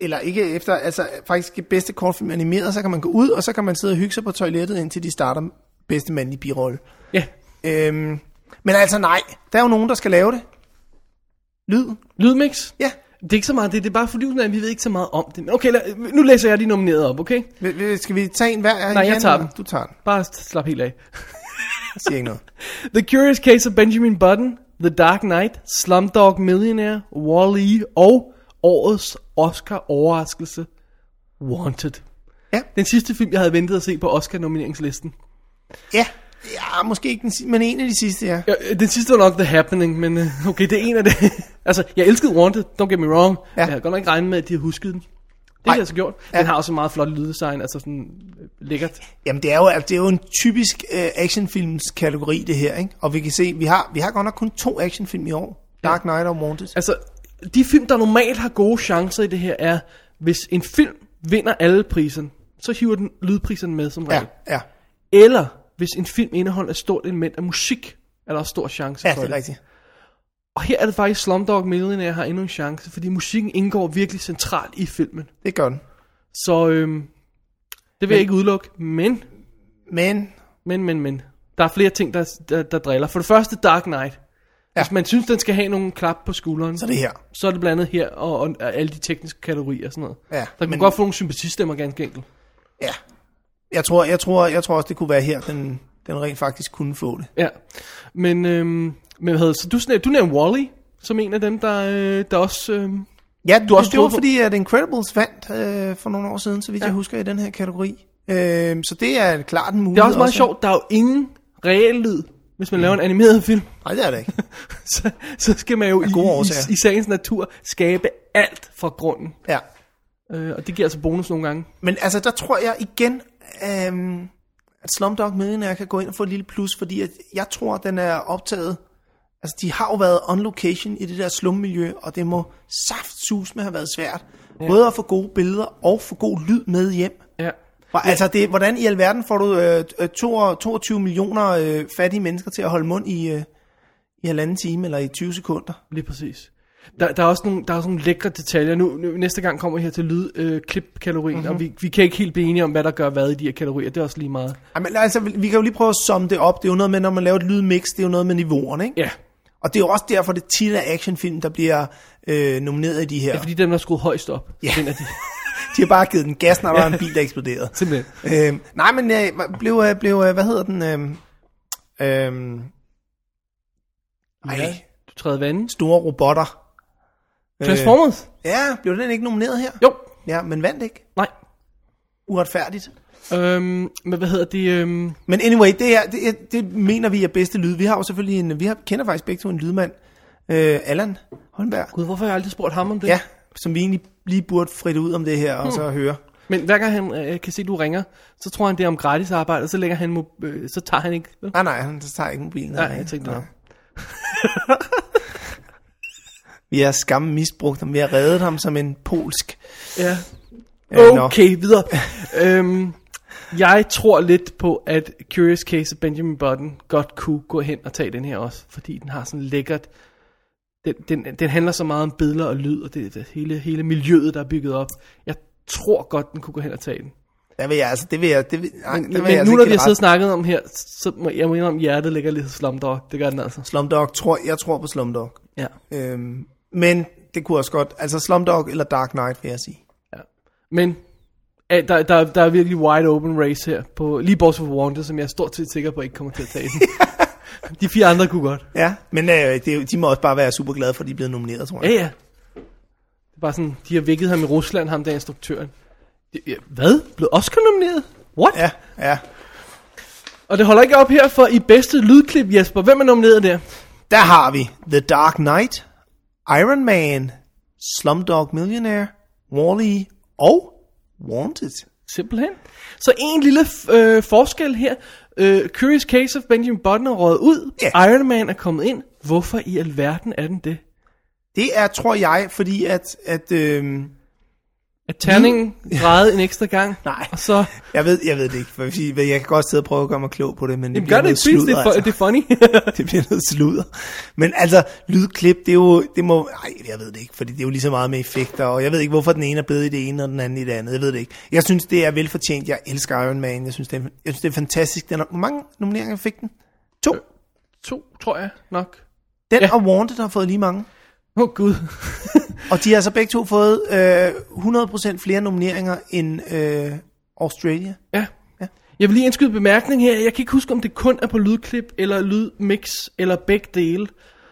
[SPEAKER 2] eller ikke efter, altså faktisk bedste kortfilm animeret, så kan man gå ud, og så kan man sidde og hygge sig på toilettet, indtil de starter bedste mandlige birolle.
[SPEAKER 3] Ja.
[SPEAKER 2] Øhm, men altså nej, der er jo nogen, der skal lave det. Lyd.
[SPEAKER 3] Lydmix?
[SPEAKER 2] Ja.
[SPEAKER 3] Det er ikke så meget det, det er bare fordi, at vi ved ikke så meget om det. Men okay, lad, nu læser jeg de nominerede op, okay?
[SPEAKER 2] Vil- vil- Skal vi tage en hver?
[SPEAKER 3] Nej, jeg
[SPEAKER 2] Jan,
[SPEAKER 3] tager
[SPEAKER 2] eller-
[SPEAKER 3] den.
[SPEAKER 2] Du tager den.
[SPEAKER 3] Bare slap helt af.
[SPEAKER 2] Jeg siger ikke noget.
[SPEAKER 3] The Curious Case of Benjamin Button, The Dark Knight, Slumdog Millionaire, Wall-E og årets Oscar-overraskelse, Wanted.
[SPEAKER 2] Ja.
[SPEAKER 3] Den sidste film, jeg havde ventet at se på Oscar-nomineringslisten.
[SPEAKER 2] Ja, ja måske ikke den sidste, men en af de sidste, ja.
[SPEAKER 3] Ja, øh, den sidste var nok The Happening, men øh, okay, det er en af det. (laughs) altså, jeg elskede Wanted, don't get me wrong. Ja.
[SPEAKER 2] Ja.
[SPEAKER 3] Jeg havde godt nok ikke regnet med, at de havde husket den. Det har jeg så gjort. Den
[SPEAKER 2] Ja.
[SPEAKER 3] har også meget flot lyddesign, altså sådan øh, lækkert.
[SPEAKER 2] Jamen, det er jo, altså, det er jo en typisk øh, actionfilms kategori, det her, ikke? Og vi kan se, vi har, vi har godt nok kun to actionfilm i år. Dark Knight og Wanted.
[SPEAKER 3] Altså, de film, der normalt har gode chancer i det her, er, hvis en film vinder alle priserne, så hiver den lydprisen med som regel.
[SPEAKER 2] Ja, ja.
[SPEAKER 3] Ja. Eller, hvis en film indeholder et stort element af musik, er der også stor chance
[SPEAKER 2] Ja,
[SPEAKER 3] for
[SPEAKER 2] det er rigtigt.
[SPEAKER 3] Og her er det faktisk Slumdog Millionaire har endnu en chance, fordi musikken indgår virkelig centralt i filmen.
[SPEAKER 2] Det gør den.
[SPEAKER 3] Så øhm, det vil men, jeg ikke udelukke, men,
[SPEAKER 2] Men
[SPEAKER 3] men, men, men. Der er flere ting, der, der, der driller. For det første Dark Knight. Ja.
[SPEAKER 2] Ja.
[SPEAKER 3] Hvis man synes, den skal have nogle klap på skulderen,
[SPEAKER 2] så er det her.
[SPEAKER 3] så er det blandt andet her og, og, og alle de tekniske kategorier og sådan noget.
[SPEAKER 2] Ja,
[SPEAKER 3] der kan man
[SPEAKER 2] men-
[SPEAKER 3] godt få nogle sympatistemmer ganske enkelt.
[SPEAKER 2] Ja. Jeg tror, jeg tror, jeg tror også, det kunne være her, den, den rent faktisk kunne få det.
[SPEAKER 3] Ja. Men, øhm, men hvad hedder, det? så du, snæv, du nævnte Wally, som en af dem, der, øh, der også... Øhm,
[SPEAKER 2] Ja, du
[SPEAKER 3] også
[SPEAKER 2] også det var
[SPEAKER 3] troet på-
[SPEAKER 2] fordi, at Incredibles vandt øh, for nogle år siden, så vidt ja. jeg husker, i den her kategori. Øh, så det er klart en mulighed.
[SPEAKER 3] det er også meget sjovt, der er jo ingen reel lyd, hvis man laver en animeret film. (laughs)
[SPEAKER 2] Nej, det er det ikke.
[SPEAKER 3] så, så skal man jo i,
[SPEAKER 2] gode årsager.
[SPEAKER 3] i, i sagens natur skabe alt fra grunden.
[SPEAKER 2] Ja.
[SPEAKER 3] Øh, og det giver altså bonus nogle gange.
[SPEAKER 2] Men altså, der tror jeg igen, øh, at Slumdog Millionaire kan gå ind og få et lille plus, fordi at jeg tror, at den er optaget... Altså, de har jo været on location i det der slummiljø, og det må saftsus med have været svært. Både at få gode billeder og få god lyd med hjem.
[SPEAKER 3] Ja.
[SPEAKER 2] Hvor, altså, det, hvordan i alverden får du øh, øh, to- 22 millioner øh, fattige mennesker til at holde mund i, øh, i halvanden time eller i 20 sekunder?
[SPEAKER 3] Lige præcis. Der, der er også nogle, der er også nogle lækre detaljer. Nu, nu, næste gang kommer vi her til lydklipkategorien, øh, klipkategorien, mm-hmm. og vi, vi kan ikke helt blive enige om, hvad der gør hvad i de her kategorier. Det er også lige meget.
[SPEAKER 2] Jamen, altså, vi vi kan jo lige prøve at summe det op. Det er jo noget med, når man laver et lydmix, det er jo noget med niveauerne, ikke?
[SPEAKER 3] Ja,
[SPEAKER 2] Og det er jo også derfor, det tit er actionfilm, der bliver øh, nomineret i de her.
[SPEAKER 3] ja fordi dem, der er skruet højst op.
[SPEAKER 2] Ja.
[SPEAKER 3] Den er de,
[SPEAKER 2] De har bare givet den gas, når der var en bil, der eksploderede.
[SPEAKER 3] simpelthen.
[SPEAKER 2] (laughs) Øhm, nej, men øh, blev, øh, blev, øh, hvad hedder den, øhm, øhm, Ej,
[SPEAKER 3] Ja. Du træder vandet.
[SPEAKER 2] store robotter.
[SPEAKER 3] Transformers?
[SPEAKER 2] Ja, blev den ikke nomineret her?
[SPEAKER 3] Jo.
[SPEAKER 2] Ja, men vandt ikke.
[SPEAKER 3] Nej.
[SPEAKER 2] Uretfærdigt.
[SPEAKER 3] Øhm, men hvad hedder det? Øhm,
[SPEAKER 2] Men anyway, det her, det, det mener vi er bedste lyd. Vi har jo selvfølgelig en, vi har, kender faktisk begge to en lydmand, øh, Allan Holmberg.
[SPEAKER 3] gud, hvorfor har jeg aldrig spurgt ham om det?
[SPEAKER 2] Ja, som vi egentlig lige burde fritte ud om det her, og så høre.
[SPEAKER 3] Men hver gang han øh, kan se, at du ringer, så tror han, det er om gratis arbejde, og så, lægger han, mo- øh, så tager han ikke... vel?
[SPEAKER 2] Nej, nej, han tager ikke mobilen.
[SPEAKER 3] Nej, jeg tænkte noget.
[SPEAKER 2] Vi har skamme misbrugt ham. Vi har reddet ham som en polsk.
[SPEAKER 3] Ja.
[SPEAKER 2] Øh, nå.
[SPEAKER 3] Okay,
[SPEAKER 2] (laughs)
[SPEAKER 3] videre. øhm, jeg tror lidt på, at Curious Case af Benjamin Button godt kunne gå hen og tage den her også, fordi den har sådan lækkert... Den, den, den handler så meget om billeder og lyd, og det, det hele, hele miljøet, der er bygget op. Jeg tror godt, den kunne gå hen og tage den.
[SPEAKER 2] Der vil jeg altså, det vil jeg, det vil, nej,
[SPEAKER 3] Men,
[SPEAKER 2] der
[SPEAKER 3] men
[SPEAKER 2] vil jeg
[SPEAKER 3] nu,
[SPEAKER 2] altså
[SPEAKER 3] når
[SPEAKER 2] ikke give
[SPEAKER 3] vi har siddet og
[SPEAKER 2] ret.
[SPEAKER 3] snakket om her, så må jeg må indrømme, at hjertet ligger lidt hos Slumdog. Det gør den altså.
[SPEAKER 2] Slumdog, tror, jeg tror på Slumdog.
[SPEAKER 3] Ja.
[SPEAKER 2] Øhm, men det kunne også godt, altså Slumdog eller Dark Knight, vil jeg sige.
[SPEAKER 3] Men øh, der, der, der er virkelig wide open race her, på, lige bortset fra Wanda, som jeg er stort set sikker på, ikke kommer til at tage (laughs) den. De fire andre kunne godt.
[SPEAKER 2] Ja, men øh, det, er jo- de må også bare være super glade for, at de er blevet nomineret, tror jeg.
[SPEAKER 3] Ja, ja. Det er bare sådan, de har vækket ham i Rusland, ham der instruktøren. Det, ja, hvad? Blev Oscar nomineret? What? Ja.
[SPEAKER 2] Ja, ja.
[SPEAKER 3] Og det holder ikke op her for i bedste lydklip, Jesper. Hvem er nomineret der?
[SPEAKER 2] Der har vi The Dark Knight, Iron Man, Slumdog Millionaire, Wall-E og Wanted.
[SPEAKER 3] Simpelthen. Så en lille øh, forskel her. Øh, Curious Case of Benjamin Button er røget ud.
[SPEAKER 2] Ja.
[SPEAKER 3] Iron Man er kommet ind. Hvorfor i alverden er den det?
[SPEAKER 2] Det er, tror jeg, fordi at, at øhm,
[SPEAKER 3] At terningen drejede en ekstra (laughs) gang.
[SPEAKER 2] Nej.
[SPEAKER 3] Og så...
[SPEAKER 2] jeg, ved, jeg ved det ikke, for jeg vil sige, jeg kan godt sidde og prøve at gøre mig klog på det, men det
[SPEAKER 3] Jamen, gør
[SPEAKER 2] bliver
[SPEAKER 3] det,
[SPEAKER 2] noget
[SPEAKER 3] please. Det
[SPEAKER 2] sludder,
[SPEAKER 3] er, fu-
[SPEAKER 2] altså.
[SPEAKER 3] det er funny.
[SPEAKER 2] (laughs) det bliver noget sludder. Men altså, lydklip, det er jo, det må, nej, jeg ved det ikke, fordi det er jo lige så meget med effekter, og jeg ved ikke, hvorfor den ene er bedre i det ene, og den anden i det andet, jeg ved det ikke. Jeg synes, det er velfortjent, jeg elsker Iron Man, jeg synes, det er, jeg synes, det er fantastisk. Den er, hvor mange nomineringer fik den? To.
[SPEAKER 3] (laughs) to, tror jeg nok.
[SPEAKER 2] Den
[SPEAKER 3] Øh, Ja.
[SPEAKER 2] ja. og Wanted har fået lige mange.
[SPEAKER 3] Åh, oh, Gud.
[SPEAKER 2] Og de har så begge to fået øh, 100% flere nomineringer end øh, Australia.
[SPEAKER 3] Ja. Jeg vil lige indskyde en bemærkning her. Jeg kan ikke huske, om det kun er på lydklip, eller lydmix, eller begge dele.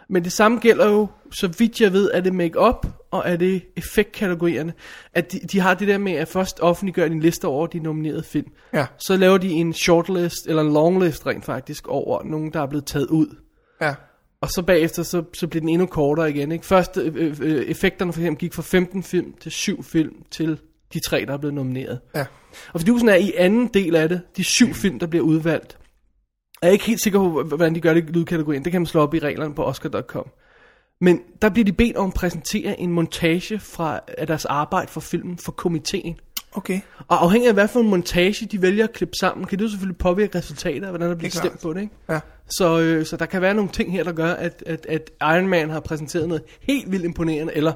[SPEAKER 3] Men det samme gælder jo, så vidt jeg ved, er det make-up, og er det effektkategorierne. At de, de har det der med, at først offentliggør en liste over de nominerede film.
[SPEAKER 2] Ja.
[SPEAKER 3] Så laver de en shortlist, eller en longlist rent faktisk, over nogen, der er blevet taget ud.
[SPEAKER 2] Ja.
[SPEAKER 3] Og så bagefter, så, så blev den endnu kortere igen. Ikke? Først øh, øh, øh, effekterne for eksempel gik fra 15 film til 7 film til de tre, der er blevet nomineret.
[SPEAKER 2] Ja.
[SPEAKER 3] Og fidusen er i anden del af det, de syv film, der bliver udvalgt. Jeg er ikke helt sikker på, h- hvordan de gør det i lydkategorien. Det kan man slå op i reglerne på Oscar.com. Men der bliver de bedt om at præsentere en montage fra, af deres arbejde for filmen for komiteen.
[SPEAKER 2] Okay.
[SPEAKER 3] Og afhængig af, hvad for en montage de vælger at klippe sammen, kan det jo selvfølgelig påvirke resultater, og hvordan der bliver
[SPEAKER 2] Det er
[SPEAKER 3] stemt
[SPEAKER 2] klart.
[SPEAKER 3] på det. Ikke?
[SPEAKER 2] Ja.
[SPEAKER 3] Så, øh, så der kan være nogle ting her, der gør, at, at, at Iron Man har præsenteret noget helt vildt imponerende, eller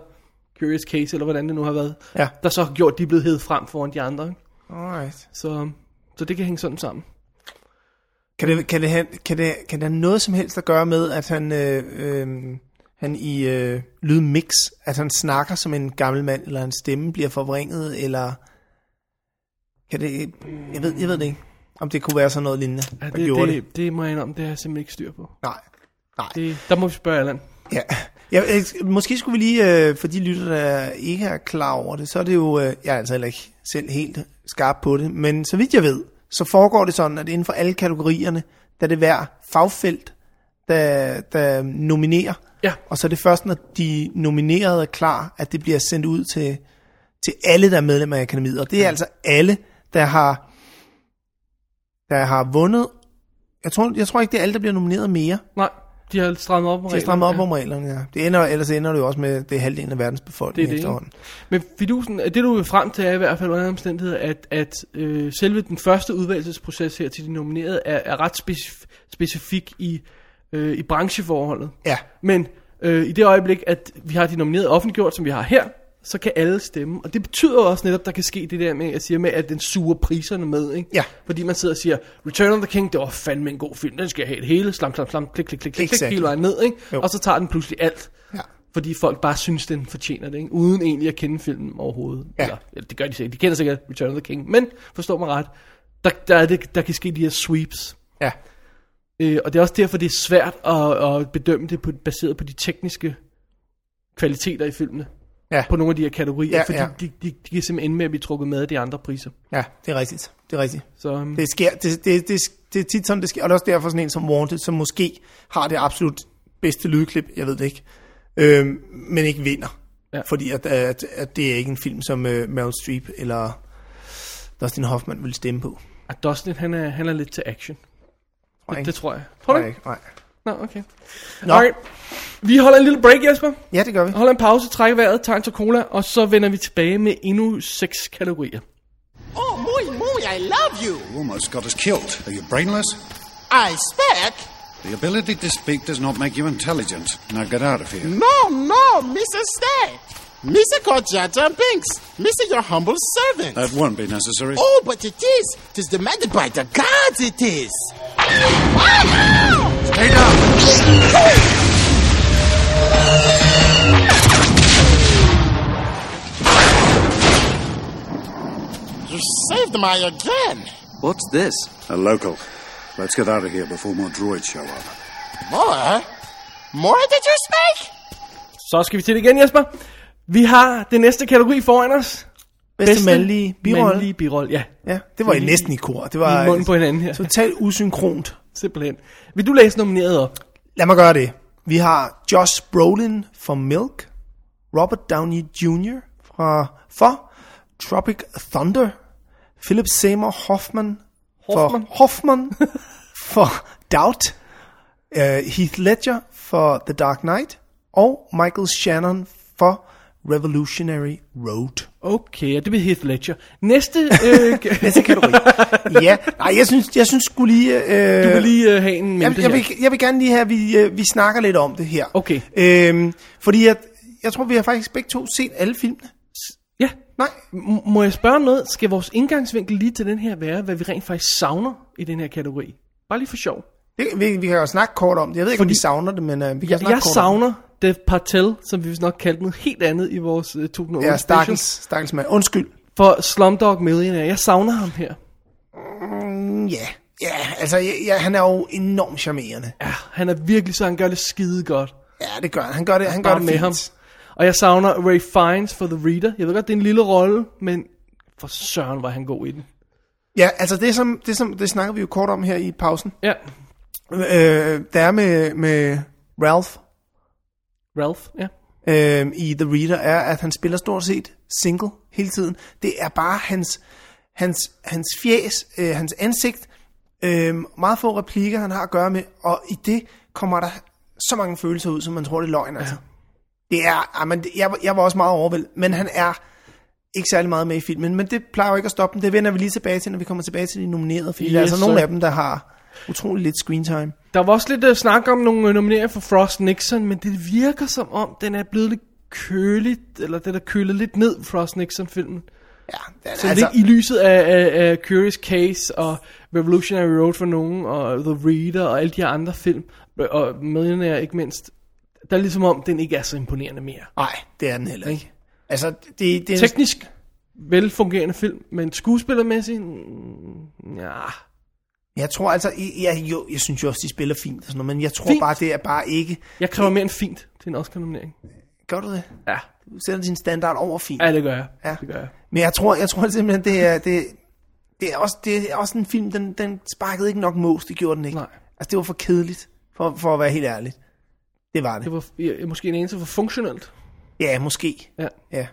[SPEAKER 3] Curious Case, eller hvordan det nu har været,
[SPEAKER 2] Ja.
[SPEAKER 3] der så har gjort, at de er blevet hævet frem foran de andre. Ikke?
[SPEAKER 2] Alright.
[SPEAKER 3] Så, så det kan hænge sådan sammen.
[SPEAKER 2] Kan det, kan, det have, kan, det, kan det have noget som helst at gøre med, at han, øh, øh, han i øh, lydmix, at han snakker som en gammel mand, eller hans stemme bliver forvrænget, eller kan det, jeg ved, jeg ved det ikke, om det kunne være sådan noget lignende, ja,
[SPEAKER 3] det,
[SPEAKER 2] der gjorde det. det.
[SPEAKER 3] det. det må jeg indrømme, det har jeg simpelthen ikke styr på.
[SPEAKER 2] Nej, nej.
[SPEAKER 3] Det, der må vi spørge Allan.
[SPEAKER 2] Ja. Ja, øh, måske skulle vi lige, øh, for de lytter, der ikke er klar over det, så er det jo, øh, jeg er altså heller ikke selv helt skarp på det, men så vidt jeg ved, så foregår det sådan, at inden for alle kategorierne, der er det hver fagfelt, der, der nominerer,
[SPEAKER 3] Ja.
[SPEAKER 2] og så er det først, når de nominerede er klar, at det bliver sendt ud til, til alle, der er medlemmer af akademiet, og det er altså alle, der har, der har vundet, jeg tror, jeg tror ikke, det er alle, der bliver nomineret mere,
[SPEAKER 3] Nej, de har strammet op på
[SPEAKER 2] de har strammet op om reglerne, ja. Det ender, ellers ender det jo også med, at det er halvdelen af verdens
[SPEAKER 3] Det er
[SPEAKER 2] befolkning
[SPEAKER 3] det, ikke?
[SPEAKER 2] efterhånden.
[SPEAKER 3] Men fidusen, det du vil frem til er i hvert fald under alle omstændigheder, at, at øh, selve den første udvalgelsesproces her til de nominerede er, er ret specif- specifik i, øh, i brancheforholdet.
[SPEAKER 2] Ja.
[SPEAKER 3] Men øh, i det øjeblik, at vi har de nominerede offentliggjort, som vi har her, så kan alle stemme. Og det betyder jo også netop, der kan ske det der med, jeg siger med, at den suger priserne med. Ikke?
[SPEAKER 2] Ja.
[SPEAKER 3] Fordi man sidder og siger, Return of the King, det var fandme en god film, den skal jeg have det hele, slam, slam, slam, klik, klik, klik, klik, klik
[SPEAKER 2] Exactly.
[SPEAKER 3] hele vejen ned. Ikke?
[SPEAKER 2] Jo.
[SPEAKER 3] Og så tager den pludselig alt.
[SPEAKER 2] Ja.
[SPEAKER 3] Fordi folk bare synes, den fortjener det, ikke? uden egentlig at kende filmen overhovedet.
[SPEAKER 2] Ja.
[SPEAKER 3] Eller, eller, det gør de sikkert. De kender sikkert Return of the King. Men, forstå mig ret, der, der, er det, der kan ske de her sweeps.
[SPEAKER 2] Ja.
[SPEAKER 3] Øh, og det er også derfor, det er svært at, at bedømme det på, baseret på de tekniske kvaliteter i filmene.
[SPEAKER 2] Ja.
[SPEAKER 3] På nogle af de her kategorier,
[SPEAKER 2] Ja,
[SPEAKER 3] fordi
[SPEAKER 2] ja.
[SPEAKER 3] De, de, de kan simpelthen ende med at blive trukket med af de andre priser.
[SPEAKER 2] Ja, det er rigtigt. Det er rigtigt.
[SPEAKER 3] Så, øhm,
[SPEAKER 2] Det, sker, det, det, det, det er tit sådan, det sker. Og det er også derfor sådan en som Wanted, som måske har det absolut bedste lydklip, jeg ved det ikke, øh, men ikke vinder.
[SPEAKER 3] Ja.
[SPEAKER 2] Ja. Fordi at, at, at det er ikke en film, som øh, Meryl Streep eller Dustin Hoffman vil stemme på.
[SPEAKER 3] at Dustin, han er, han er lidt til action.
[SPEAKER 2] Tror jeg
[SPEAKER 3] Det,
[SPEAKER 2] ikke.
[SPEAKER 3] det tror jeg.
[SPEAKER 2] Tror
[SPEAKER 3] Tror du
[SPEAKER 2] jeg
[SPEAKER 3] ikke?
[SPEAKER 2] ikke. Nej.
[SPEAKER 3] Nå, okay.
[SPEAKER 2] Nå.
[SPEAKER 3] Alright. Vi holder en lille break, Jesper.
[SPEAKER 2] Ja, det gør vi.
[SPEAKER 3] Holder en pause, trækker vejret, tager en tår cola, og så vender vi tilbage med endnu seks kategorier.
[SPEAKER 6] Oh, muy, muy, I love you.
[SPEAKER 7] You almost got us killed. Are you brainless?
[SPEAKER 6] I speak.
[SPEAKER 7] The ability to speak does not make you intelligent. Now get out of here.
[SPEAKER 6] No, no, Mrs. Stay. Missy called Jaja Binks. Missy, your humble servant.
[SPEAKER 7] That won't be necessary.
[SPEAKER 6] oh, but it is. It is demanded by the gods, it is.
[SPEAKER 7] Stay down!
[SPEAKER 6] You saved my again.
[SPEAKER 5] What's this?
[SPEAKER 7] A local. Let's get out of here before more droids show up.
[SPEAKER 6] More? More did you speak?
[SPEAKER 3] Så skal vi til det igen, Jesper. Vi har den næste kategori foran os.
[SPEAKER 2] Bedste, bedste mandlige birolle.
[SPEAKER 3] Mandlige birolle, ja.
[SPEAKER 2] Ja, det var I næsten i kor. Det var
[SPEAKER 3] I munden
[SPEAKER 2] (laughs)
[SPEAKER 3] på hinanden her.
[SPEAKER 2] totalt usynkront.
[SPEAKER 3] Simpelthen. Vil du læse nomineret op?
[SPEAKER 2] Lad mig gøre det. Vi har Josh Brolin fra Milk, Robert Downey Jr. fra for Tropic Thunder, Philip Seymour Hoffman
[SPEAKER 3] Hoffman?
[SPEAKER 2] for
[SPEAKER 3] (laughs)
[SPEAKER 2] Hoffman for Doubt, uh, Heath Ledger for The Dark Knight og Michael Shannon for Revolutionary
[SPEAKER 3] (laughs)
[SPEAKER 2] Road.
[SPEAKER 3] Okay, og det bliver Heath Ledger. Næste,
[SPEAKER 2] (laughs)
[SPEAKER 3] øh, (laughs) ka-
[SPEAKER 2] Næste kategori. ja, nej, jeg synes, jeg synes skulle lige... Øh,
[SPEAKER 3] du vil lige øh, have en mente
[SPEAKER 2] jeg, jeg, vil, jeg vil gerne lige have, at vi, øh, vi snakker lidt om det her.
[SPEAKER 3] Okay.
[SPEAKER 2] Øhm, fordi jeg, jeg tror, vi har faktisk begge to set alle filmene.
[SPEAKER 3] Ja.
[SPEAKER 2] Nej.
[SPEAKER 3] M- må jeg spørge om noget? Skal vores indgangsvinkel lige til den her være, hvad vi rent faktisk savner i den her kategori? Bare lige for sjov.
[SPEAKER 2] Det, vi, vi kan jo snakke kort om det. Jeg ved ikke, om vi savner det, men øh, vi kan
[SPEAKER 3] Jeg,
[SPEAKER 2] snakke
[SPEAKER 3] jeg
[SPEAKER 2] kort om
[SPEAKER 3] savner Dev Patel, som vi vist nok kaldte noget helt andet i vores øh, 2008
[SPEAKER 2] det. Ja,
[SPEAKER 3] special,
[SPEAKER 2] stakkels, stakkels mand. Undskyld.
[SPEAKER 3] for Slumdog Millionaire. Jeg savner ham her.
[SPEAKER 2] Mm, Ja, ja altså, ja, ja, han er jo enormt charmerende.
[SPEAKER 3] Ja, han er virkelig så, han gør det skide godt.
[SPEAKER 2] Ja, det gør han. Han gør det, han gør
[SPEAKER 3] Bare
[SPEAKER 2] det
[SPEAKER 3] med
[SPEAKER 2] fint.
[SPEAKER 3] ham. Og jeg savner Ray Fiennes for The Reader. Jeg ved godt, det er en lille rolle, men for søren var han god i den.
[SPEAKER 2] Ja, altså, det, som, det, som, det snakker vi jo kort om her i pausen.
[SPEAKER 3] Ja,
[SPEAKER 2] Øh, der er med, med Ralph
[SPEAKER 3] Ralph, ja.
[SPEAKER 2] øh, i The Reader, er, at han spiller stort set single hele tiden. Det er bare hans, hans, hans fjæs, øh, hans ansigt, øh, meget få replikker, han har at gøre med, og i det kommer der så mange følelser ud, som man tror, det er løgn. Altså. Det er, jamen, jeg, var- jeg var også meget overvældet, men han er ikke særlig meget med i filmen, men det plejer jo ikke at stoppe dem. Det vender vi lige tilbage til, når vi kommer tilbage til de nominerede, fordi yes, der er
[SPEAKER 3] Yes,
[SPEAKER 2] altså nogle
[SPEAKER 3] sir.
[SPEAKER 2] af dem, der har utrolig lidt screen time.
[SPEAKER 3] Der var også lidt uh, snak om nogle øh, nomineringer for Frost Nixon, men det virker som om, den er blevet lidt køligt, eller den er kølet lidt ned, Frost Nixon-filmen.
[SPEAKER 2] Ja,
[SPEAKER 3] Så altså, lidt i lyset af, af, af Curious Case og Revolutionary Road for nogen, og The Reader og alle de her andre film, og Millionaire ikke mindst, der er ligesom om, den ikke er så imponerende mere.
[SPEAKER 2] Nej, det er den heller ikke. Altså, det, det er en
[SPEAKER 3] Teknisk velfungerende film, men skuespillermæssigt, mm, ja,
[SPEAKER 2] Jeg tror altså, jeg, jeg, jo, jeg synes jo også, de spiller fint og sådan noget, men jeg tror
[SPEAKER 3] Fint.
[SPEAKER 2] fint. bare, det er bare ikke...
[SPEAKER 3] jeg kræver mere end fint til en Oscar-nominering.
[SPEAKER 2] Gør du det?
[SPEAKER 3] Ja,
[SPEAKER 2] Du sætter din standard over fint.
[SPEAKER 3] ja det gør jeg.
[SPEAKER 2] Ja.
[SPEAKER 3] Det gør jeg.
[SPEAKER 2] Men jeg tror, jeg tror simpelthen, det er, det, det, er også, det er også en film, den, den sparkede ikke nok mås, det gjorde den ikke.
[SPEAKER 3] Nej.
[SPEAKER 2] Altså, det var for kedeligt, for, for at være helt ærlig. Det var det.
[SPEAKER 3] Det var ja, måske en anelse for funktionelt.
[SPEAKER 2] Ja, måske.
[SPEAKER 3] Ja.
[SPEAKER 2] Ja,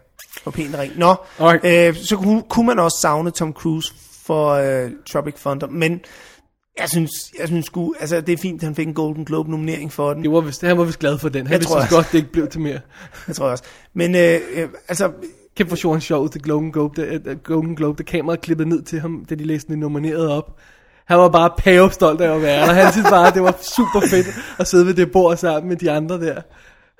[SPEAKER 2] for pænt ring. Nå,
[SPEAKER 3] Alright.
[SPEAKER 2] øh, så kunne, kunne man også savne Tom Cruise for øh, Tropic Thunder, men jeg synes, jeg synes sgu, altså det er fint, at han fik en Golden Globe-nominering for den.
[SPEAKER 3] Det var vist, han var vist glad for den. Han
[SPEAKER 2] Jeg
[SPEAKER 3] vidste
[SPEAKER 2] tror
[SPEAKER 3] vist
[SPEAKER 2] også.
[SPEAKER 3] godt, det ikke blev til mere.
[SPEAKER 2] Det tror jeg også. Men øh, øh, altså,
[SPEAKER 3] Kæft hvor sjovt sjov ud til Golden Globe, da, uh, Golden Globe, da kameraet klippede ned til ham, da de læste det nomineret op. Han var bare pavestolt af at være der. Han syntes bare, at det var super fedt at sidde ved det bord sammen med de andre der.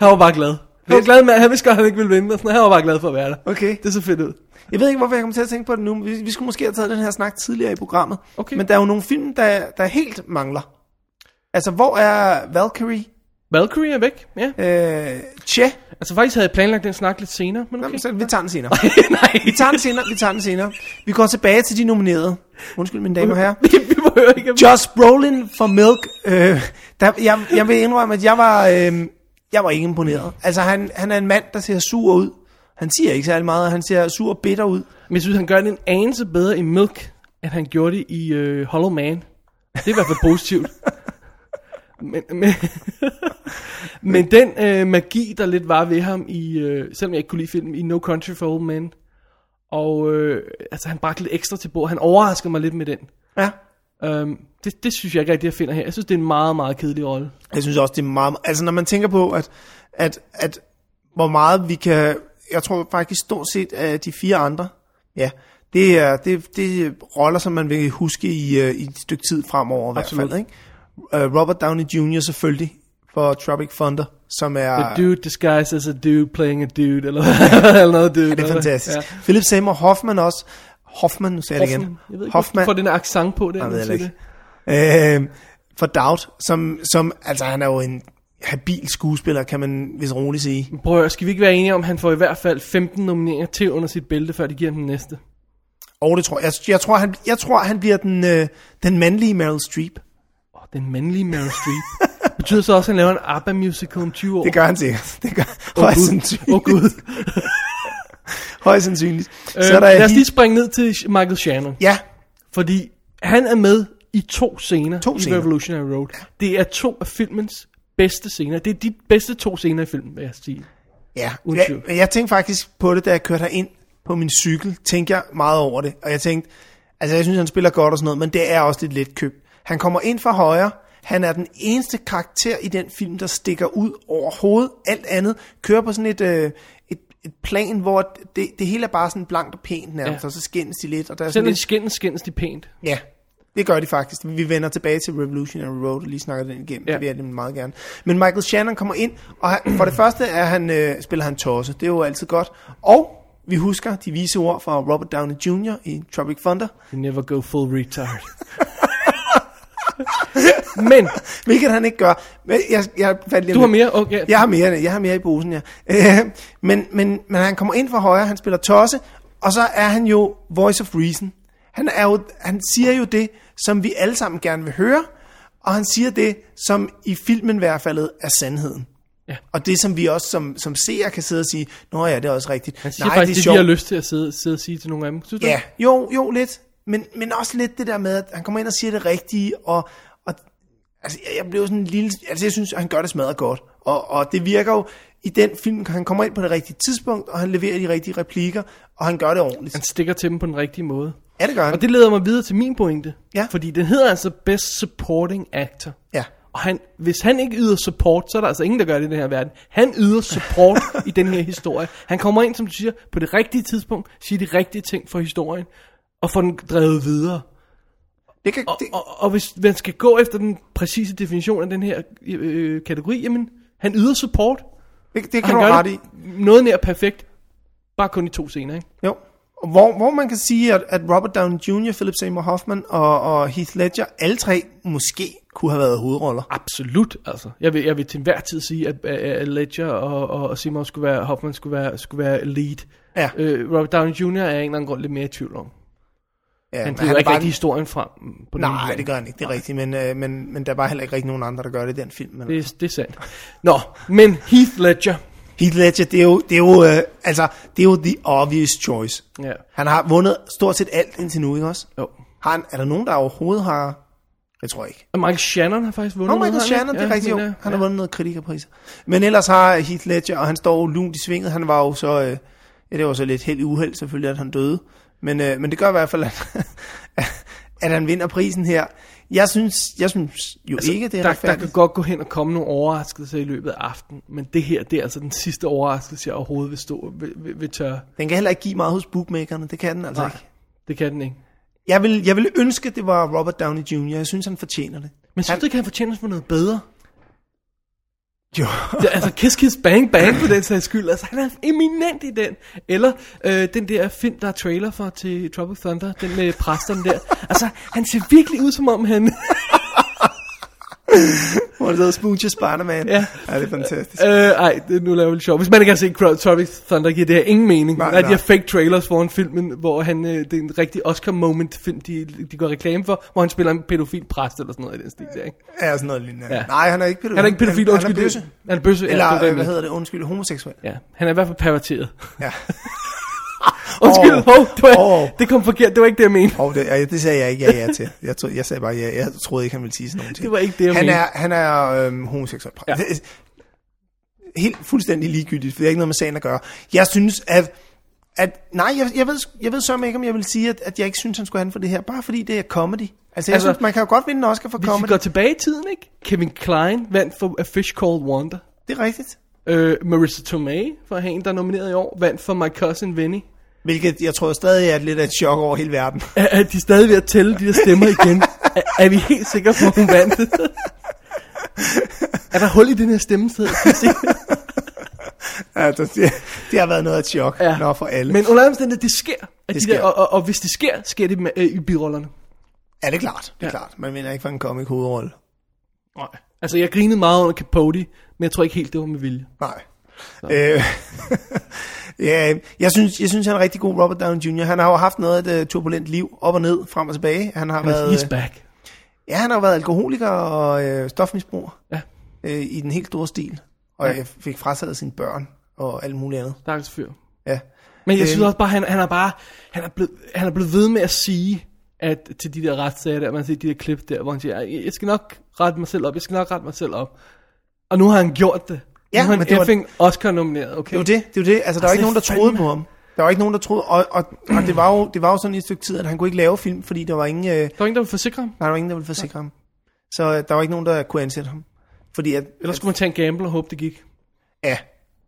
[SPEAKER 3] Han var bare glad. Han var
[SPEAKER 2] Lidt.
[SPEAKER 3] glad med, han vidste godt, at han ikke ville vinde, og sådan, noget. han var bare glad for at være der.
[SPEAKER 2] Okay.
[SPEAKER 3] Det så fedt ud.
[SPEAKER 2] jeg ved ikke, hvorfor jeg kommer til at tænke på det nu. men Vi, vi skulle måske have taget den her snak tidligere i programmet.
[SPEAKER 3] Okay.
[SPEAKER 2] Men der er jo nogle film, der, der helt mangler. Altså, hvor er Valkyrie?
[SPEAKER 3] Valkyrie er væk, ja.
[SPEAKER 2] Øh, Che?
[SPEAKER 3] Altså faktisk havde jeg planlagt den snak lidt senere, men okay.
[SPEAKER 2] Okay. Så, vi tager den senere.
[SPEAKER 3] (laughs) Nej, (laughs)
[SPEAKER 2] Vi tager den senere, vi tager den senere. Vi går tilbage til de nominerede. Undskyld, mine damer og herrer.
[SPEAKER 3] vi, vi behøver ikke at...
[SPEAKER 2] Josh Brolin for Milk. Øh, der, jeg, jeg vil indrømme, at jeg var, øh, jeg var ikke imponeret. Altså, han, han er en mand, der ser sur ud. Han siger ikke særlig meget, og han ser sur og bitter ud.
[SPEAKER 3] Men jeg synes, han gør det en anelse bedre i Milk, end han gjorde det i øh, Hollow Man. Det er i hvert fald (laughs) positivt. Men, men, (laughs) men den øh, magi, der lidt var ved ham i, øh, selvom jeg ikke kunne lide filmen, i No Country for Old Men, og øh, altså, han bragte lidt ekstra til bord. Han overraskede mig lidt med den.
[SPEAKER 2] Ja.
[SPEAKER 3] Øhm, det, det synes jeg ikke rigtig, jeg finder her. Jeg synes, det er en meget, meget kedelig rolle.
[SPEAKER 2] Jeg synes også, det er meget... Altså, når man tænker på, at, at, at hvor meget vi kan... Jeg tror faktisk stort set, at de fire andre, ja, det er, det, det er roller, som man vil huske i, øh, i et stykke tid fremover, i hvert
[SPEAKER 3] Absolut.
[SPEAKER 2] fald, ikke? Øh, Robert Downey Jr. selvfølgelig, for Tropic Thunder, som er...
[SPEAKER 3] A dude disguised as a dude playing a dude, eller (laughs) hvad? eller noget dude.
[SPEAKER 2] det er
[SPEAKER 3] eller hvad?
[SPEAKER 2] fantastisk. Ja. Philip Seymour Hoffman også. Hoffman, nu sagde jeg det
[SPEAKER 3] Hoffman.
[SPEAKER 2] igen.
[SPEAKER 3] Jeg ved ikke, Hoffman. får den der accent på det.
[SPEAKER 2] Jeg
[SPEAKER 3] når
[SPEAKER 2] ved
[SPEAKER 3] man
[SPEAKER 2] heller
[SPEAKER 3] siger
[SPEAKER 2] ikke. Øh, for Doubt, som, som, altså han er jo en habil skuespiller, kan man vist roligt sige.
[SPEAKER 3] det. Prøv at høre, skal vi ikke være enige om, at han får i hvert fald 15 nomineringer til under sit bælte, før de giver ham den næste?
[SPEAKER 2] Og det tror jeg, jeg tror, han, jeg tror, han bliver den, øh, den mandlige Meryl Streep.
[SPEAKER 3] Åh, den mandlige Meryl
[SPEAKER 2] (laughs)
[SPEAKER 3] Streep. Betyder så også, at han laver en ABBA-musical om 20 år?
[SPEAKER 2] Det gør han sikkert. Det gør oh, højst,
[SPEAKER 3] Åh,
[SPEAKER 2] sandsynligt.
[SPEAKER 3] oh,
[SPEAKER 2] (laughs)
[SPEAKER 3] gud.
[SPEAKER 2] højst sandsynligt. Øh,
[SPEAKER 3] Så Øhm, lad os lige springe ned til Sh- Michael Shannon.
[SPEAKER 2] Ja,
[SPEAKER 3] Fordi han er med i to scener
[SPEAKER 2] To
[SPEAKER 3] i
[SPEAKER 2] scener.
[SPEAKER 3] Revolutionary Road. Det er to af filmens bedste scener. Det er de bedste to scener i filmen, vil jeg sige.
[SPEAKER 2] Altså, ja.
[SPEAKER 3] Uden tvivl.
[SPEAKER 2] Jeg, men jeg tænkte faktisk på det, da jeg kørte ind på min cykel, tænkte jeg meget over det. Og jeg tænkte, altså jeg synes, han spiller godt og sådan noget, men det er også lidt let køb. Han kommer ind fra højre, han er den eneste karakter i den film, der stikker ud overhovedet. Alt andet kører på sådan et, øh, et, et plan, hvor det, det hele er bare sådan blankt og pænt nærmest,
[SPEAKER 3] Ja.
[SPEAKER 2] ja. og så skændes de lidt. Og der er sådan
[SPEAKER 3] Selvom de
[SPEAKER 2] lidt,
[SPEAKER 3] skændes, skændes de pænt.
[SPEAKER 2] Ja, det gør de faktisk. Vi vender tilbage til Revolutionary Road og lige snakker den igennem. Ja.
[SPEAKER 3] Ja.
[SPEAKER 2] Det vil jeg nemlig meget gerne. Men Michael Shannon kommer ind, og han, for det første er han, øh, spiller han tosse. Det er jo altid godt. Og vi husker de vise ord fra Robert Downey Jr. i Tropic Thunder, (laughs)
[SPEAKER 3] You never go full retard. (laughs) Men,
[SPEAKER 2] hvilket han ikke gør. Men jeg, jeg fandt lige
[SPEAKER 3] du har mere? Okay.
[SPEAKER 2] Jeg har mere, jeg har mere i posen, ja. Øh, men, men, men han kommer ind fra højre, han spiller tosse, og så er han jo voice of reason. Han, er jo, han siger jo det, som vi alle sammen gerne vil høre, og han siger det, som i filmen i hvert fald er sandheden.
[SPEAKER 3] Ja.
[SPEAKER 2] Og det, som vi også som, som seere kan sidde og sige, nå ja, det er også rigtigt.
[SPEAKER 3] Han siger Nej, faktisk det, det vi har lyst til at sidde, sidde og sige til nogle af dem. Synes du?
[SPEAKER 2] Ja, jo, jo lidt. Men, men også lidt det der med, at han kommer ind og siger det rigtige, og, og altså, jeg- jeg blev sådan en lille... Altså, jeg synes, at han gør det smadret godt. Og, og det virker jo i den film, han kommer ind på det rigtige tidspunkt, og han leverer de rigtige replikker, og han gør det ordentligt.
[SPEAKER 3] Han stikker til dem på den rigtige måde.
[SPEAKER 2] Ja, det gør han.
[SPEAKER 3] Og det leder mig videre til min pointe.
[SPEAKER 2] Ja.
[SPEAKER 3] Fordi den hedder altså Best Supporting Actor.
[SPEAKER 2] Ja.
[SPEAKER 3] Og han, hvis han ikke yder support, så er der altså ingen, der gør det i den her verden. Han yder
[SPEAKER 2] (laughs)
[SPEAKER 3] support i den her historie. Han kommer ind, som du siger, på det rigtige tidspunkt, siger de rigtige ting for historien, og får den drevet videre.
[SPEAKER 2] Det kan,
[SPEAKER 3] Og,
[SPEAKER 2] det,
[SPEAKER 3] og, og hvis man skal gå efter den præcise definition af den her øh, kategori, jamen, han yder support.
[SPEAKER 2] det, det kan
[SPEAKER 3] og han
[SPEAKER 2] du
[SPEAKER 3] gør
[SPEAKER 2] have ret
[SPEAKER 3] det
[SPEAKER 2] i.
[SPEAKER 3] noget nær perfekt, bare kun i to scener, ikke?
[SPEAKER 2] Jo. Og Hvor, hvor man kan sige, at, at Robert Downey Jr., Philip Seymour Hoffman og, og Heath Ledger, alle tre måske kunne have været hovedroller.
[SPEAKER 3] Absolut, altså. Jeg vil, jeg vil til enhver tid sige, at, at Ledger og, og, og Simon skulle være, Hoffman skulle være, skulle være lead.
[SPEAKER 2] Ja.
[SPEAKER 3] Øh, Robert Downey Jr. er jeg af en eller anden grund lidt mere i tvivl om.
[SPEAKER 2] Ja,
[SPEAKER 3] Han
[SPEAKER 2] men
[SPEAKER 3] driver
[SPEAKER 2] er
[SPEAKER 3] ikke
[SPEAKER 2] bare
[SPEAKER 3] rigtig historien frem. På den
[SPEAKER 2] Nej,
[SPEAKER 3] måde.
[SPEAKER 2] det gør han ikke, det er rigtigt, men, øh, men, men der er bare heller ikke rigtig nogen andre, der gør det i den film. Men...
[SPEAKER 3] det, er- det er sandt. Nå, men Heath Ledger.
[SPEAKER 2] Heath Ledger, det er jo, det er jo, øh, altså, det er jo the obvious choice.
[SPEAKER 3] Ja.
[SPEAKER 2] Han har vundet stort set alt indtil nu, ikke også?
[SPEAKER 3] Jo.
[SPEAKER 2] Har han, er der nogen, der overhovedet har... Jeg tror ikke.
[SPEAKER 3] Og Michael Shannon har faktisk vundet
[SPEAKER 2] Nå, Michael
[SPEAKER 3] noget, har han
[SPEAKER 2] Shannon,
[SPEAKER 3] ikke?
[SPEAKER 2] det er
[SPEAKER 3] Ja,
[SPEAKER 2] rigtigt, jo.
[SPEAKER 3] mener
[SPEAKER 2] Han
[SPEAKER 3] jeg.
[SPEAKER 2] har vundet noget kritikerpriser. Men ellers har Heath Ledger, og han står jo lunt i svinget. Han var jo så... Øh, ja, det var så lidt helt uheld selvfølgelig, at han døde. Men, øh, men det gør i hvert fald, at, (laughs) at han vinder prisen her. Jeg synes, jeg synes jo altså, ikke, det er
[SPEAKER 3] der, der kan
[SPEAKER 2] retfærdigt.
[SPEAKER 3] godt gå hen og komme nogle overraskelser i løbet af aftenen, men det her, det er altså den sidste overraskelse, jeg overhovedet vil, stå, vil, vil, vil tørre.
[SPEAKER 2] Den kan heller ikke give meget hos bookmakerne. Det kan den altså ikke.
[SPEAKER 3] Det kan den ikke.
[SPEAKER 2] Jeg vil, jeg vil ønske, det var Robert Downey Jr. Jeg synes, han fortjener det.
[SPEAKER 3] Men synes
[SPEAKER 2] Han-
[SPEAKER 3] du ikke, han fortjener for noget bedre?
[SPEAKER 2] Jo.
[SPEAKER 3] Ja, altså Kiss Kiss Bang Bang for den sags skyld. Altså han er eminent i den. Eller øh, den der film, der er trailer for til Trouble Thunder. Den med præsterne der. Altså han ser virkelig ud som om han...
[SPEAKER 2] hvor det hedder Smooches Spider-Man.
[SPEAKER 3] Ja.
[SPEAKER 2] ja, det er fantastisk.
[SPEAKER 3] Øh, ej, det, nu laver vi det sjovt. Hvis man ikke har set Crowd Tropic Thunder, giver det her ingen mening.
[SPEAKER 2] Nej,
[SPEAKER 3] Nej, nej. De
[SPEAKER 2] nej.
[SPEAKER 3] har fake trailers foran filmen, hvor han, øh, det er en rigtig Oscar-moment-film, de, de gør reklame for, hvor han spiller en pædofil præst eller sådan noget i den stil der, ikke?
[SPEAKER 2] Ja, sådan noget lignende.
[SPEAKER 3] Ja.
[SPEAKER 2] Ja. Nej, han er ikke pædofil.
[SPEAKER 3] Han er ikke pædofil,
[SPEAKER 2] han, han
[SPEAKER 3] undskyld.
[SPEAKER 2] er bøsse.
[SPEAKER 3] det- Han er bøsse, ja, det var
[SPEAKER 2] Eller,
[SPEAKER 3] det,
[SPEAKER 2] øh,
[SPEAKER 3] jeg
[SPEAKER 2] hvad
[SPEAKER 3] mente.
[SPEAKER 2] hedder det? Undskyld, homoseksuel.
[SPEAKER 3] Ja, han er i hvert fald perverteret.
[SPEAKER 2] Ja.
[SPEAKER 3] Undskyld,
[SPEAKER 2] Åh.
[SPEAKER 3] oh, hov, det, var,
[SPEAKER 2] Åh.
[SPEAKER 3] det kom forkert, det var ikke det, jeg mente.
[SPEAKER 2] Og det, ja, det sagde jeg ikke ja, ja til. Jeg, tro, jeg sagde bare ja. Jeg troede ikke, han ville sige sådan noget.
[SPEAKER 3] Det var ikke det, jeg
[SPEAKER 2] han
[SPEAKER 3] mente.
[SPEAKER 2] er, han er øhm, homoseksuel.
[SPEAKER 3] Ja.
[SPEAKER 2] Ja. Helt fuldstændig ligegyldigt, for det har ikke noget med sagen at gøre. Jeg synes, at... at nej, jeg, jeg, ved, jeg ved så ikke, om jeg vil sige, at, at jeg ikke synes, han skulle have den for det her. Bare fordi det er comedy. Altså, jeg
[SPEAKER 3] Altså,
[SPEAKER 2] altså, synes, man kan jo godt vinde en Oscar for
[SPEAKER 3] Hvis vi
[SPEAKER 2] comedy.
[SPEAKER 3] går tilbage i tiden, ikke? Kevin Klein vandt for A Fish Called Wanda.
[SPEAKER 2] Det er rigtigt.
[SPEAKER 3] Øh, Marissa Tomei, for at have en, der er nomineret i år, vandt for My Cousin Vinny.
[SPEAKER 2] Hvilket jeg tror stadig er lidt af et chok over hele
[SPEAKER 3] (laughs)
[SPEAKER 2] verden.
[SPEAKER 3] Er, er de stadig ved at tælle de der stemmer igen? er, er vi helt sikre på, at hun vandt? er der hul i den her stemmeseddel?
[SPEAKER 2] altså, det, det har været noget af et chok ja. Nå, for alle.
[SPEAKER 3] Men under alle omstændigheder, det sker. At det de
[SPEAKER 2] sker.
[SPEAKER 3] Der, og, og, og, hvis det sker, sker det med, øh, i birollerne.
[SPEAKER 2] Ja, det er klart. Det er ja. klart. Man vinder ikke for en comic hovedrolle.
[SPEAKER 3] Nej. Altså, jeg grinede meget under Capote, men jeg tror ikke helt, det var med vilje.
[SPEAKER 2] Nej. Øh, (laughs) ja, jeg synes, jeg synes, han er rigtig god, Robert Downey Jr. Han har jo haft noget af et øh, turbulent liv, op og ned, frem og tilbage. Han har,
[SPEAKER 3] Men
[SPEAKER 2] været,
[SPEAKER 3] he's back.
[SPEAKER 2] ja, han har jo været alkoholiker og øh, stofmisbruger
[SPEAKER 3] Ja,
[SPEAKER 2] øh, i den helt store stil. Og jeg fik frataget sine børn og alt muligt andet.
[SPEAKER 3] stakkels fyr.
[SPEAKER 2] Ja.
[SPEAKER 3] Men jeg
[SPEAKER 2] Øhm.
[SPEAKER 3] synes også bare, han, han er bare, han er, blevet, han er blevet ved med at sige, at til de der retssager der, man ser de der klip der, hvor han siger, "Jeg- jeg skal nok rette mig selv op, jeg skal nok rette mig selv op. Og nu har han gjort det.
[SPEAKER 2] Ja,
[SPEAKER 3] nu er
[SPEAKER 2] men
[SPEAKER 3] han
[SPEAKER 2] det var-
[SPEAKER 3] effing Oscar nomineret, okay?
[SPEAKER 2] Det er jo det, det er jo det. Altså, der var ikke nogen, der troede på ham. Der var ikke nogen, der troede, og, og, og det, var jo, det var jo sådan i et stykke tid, at han kunne ikke lave film, fordi der var ingen, øh,
[SPEAKER 3] Der var ingen, der ville forsikre ham.
[SPEAKER 2] der var ingen der ville forsikre ham. Så øh, der var ikke nogen, der kunne ansætte ham. Fordi at,
[SPEAKER 3] Ellers skulle man tage en gamble og håbe, det gik.
[SPEAKER 2] Ja.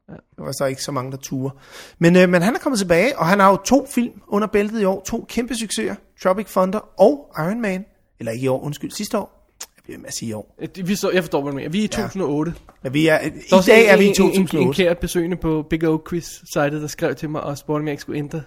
[SPEAKER 2] Der var så ikke så mange, der ture. Men, øh, men han er kommet tilbage, og han har jo to film under bæltet i år. To kæmpe succeser. Tropic Thunder og Iron Man. Eller ikke i år, undskyld, sidste år. Jeg bliver med at sige i år.
[SPEAKER 3] Øh, det- Vi står, jeg forstår, hvad du mener. Vi er i 2008. Ja.
[SPEAKER 2] Men vi er, I dag er vi i
[SPEAKER 3] En, en, en
[SPEAKER 2] 2008.
[SPEAKER 3] kære besøgende på Big Oak Quiz-sitet, der skrev til mig og spurgte, om jeg ikke skulle ændre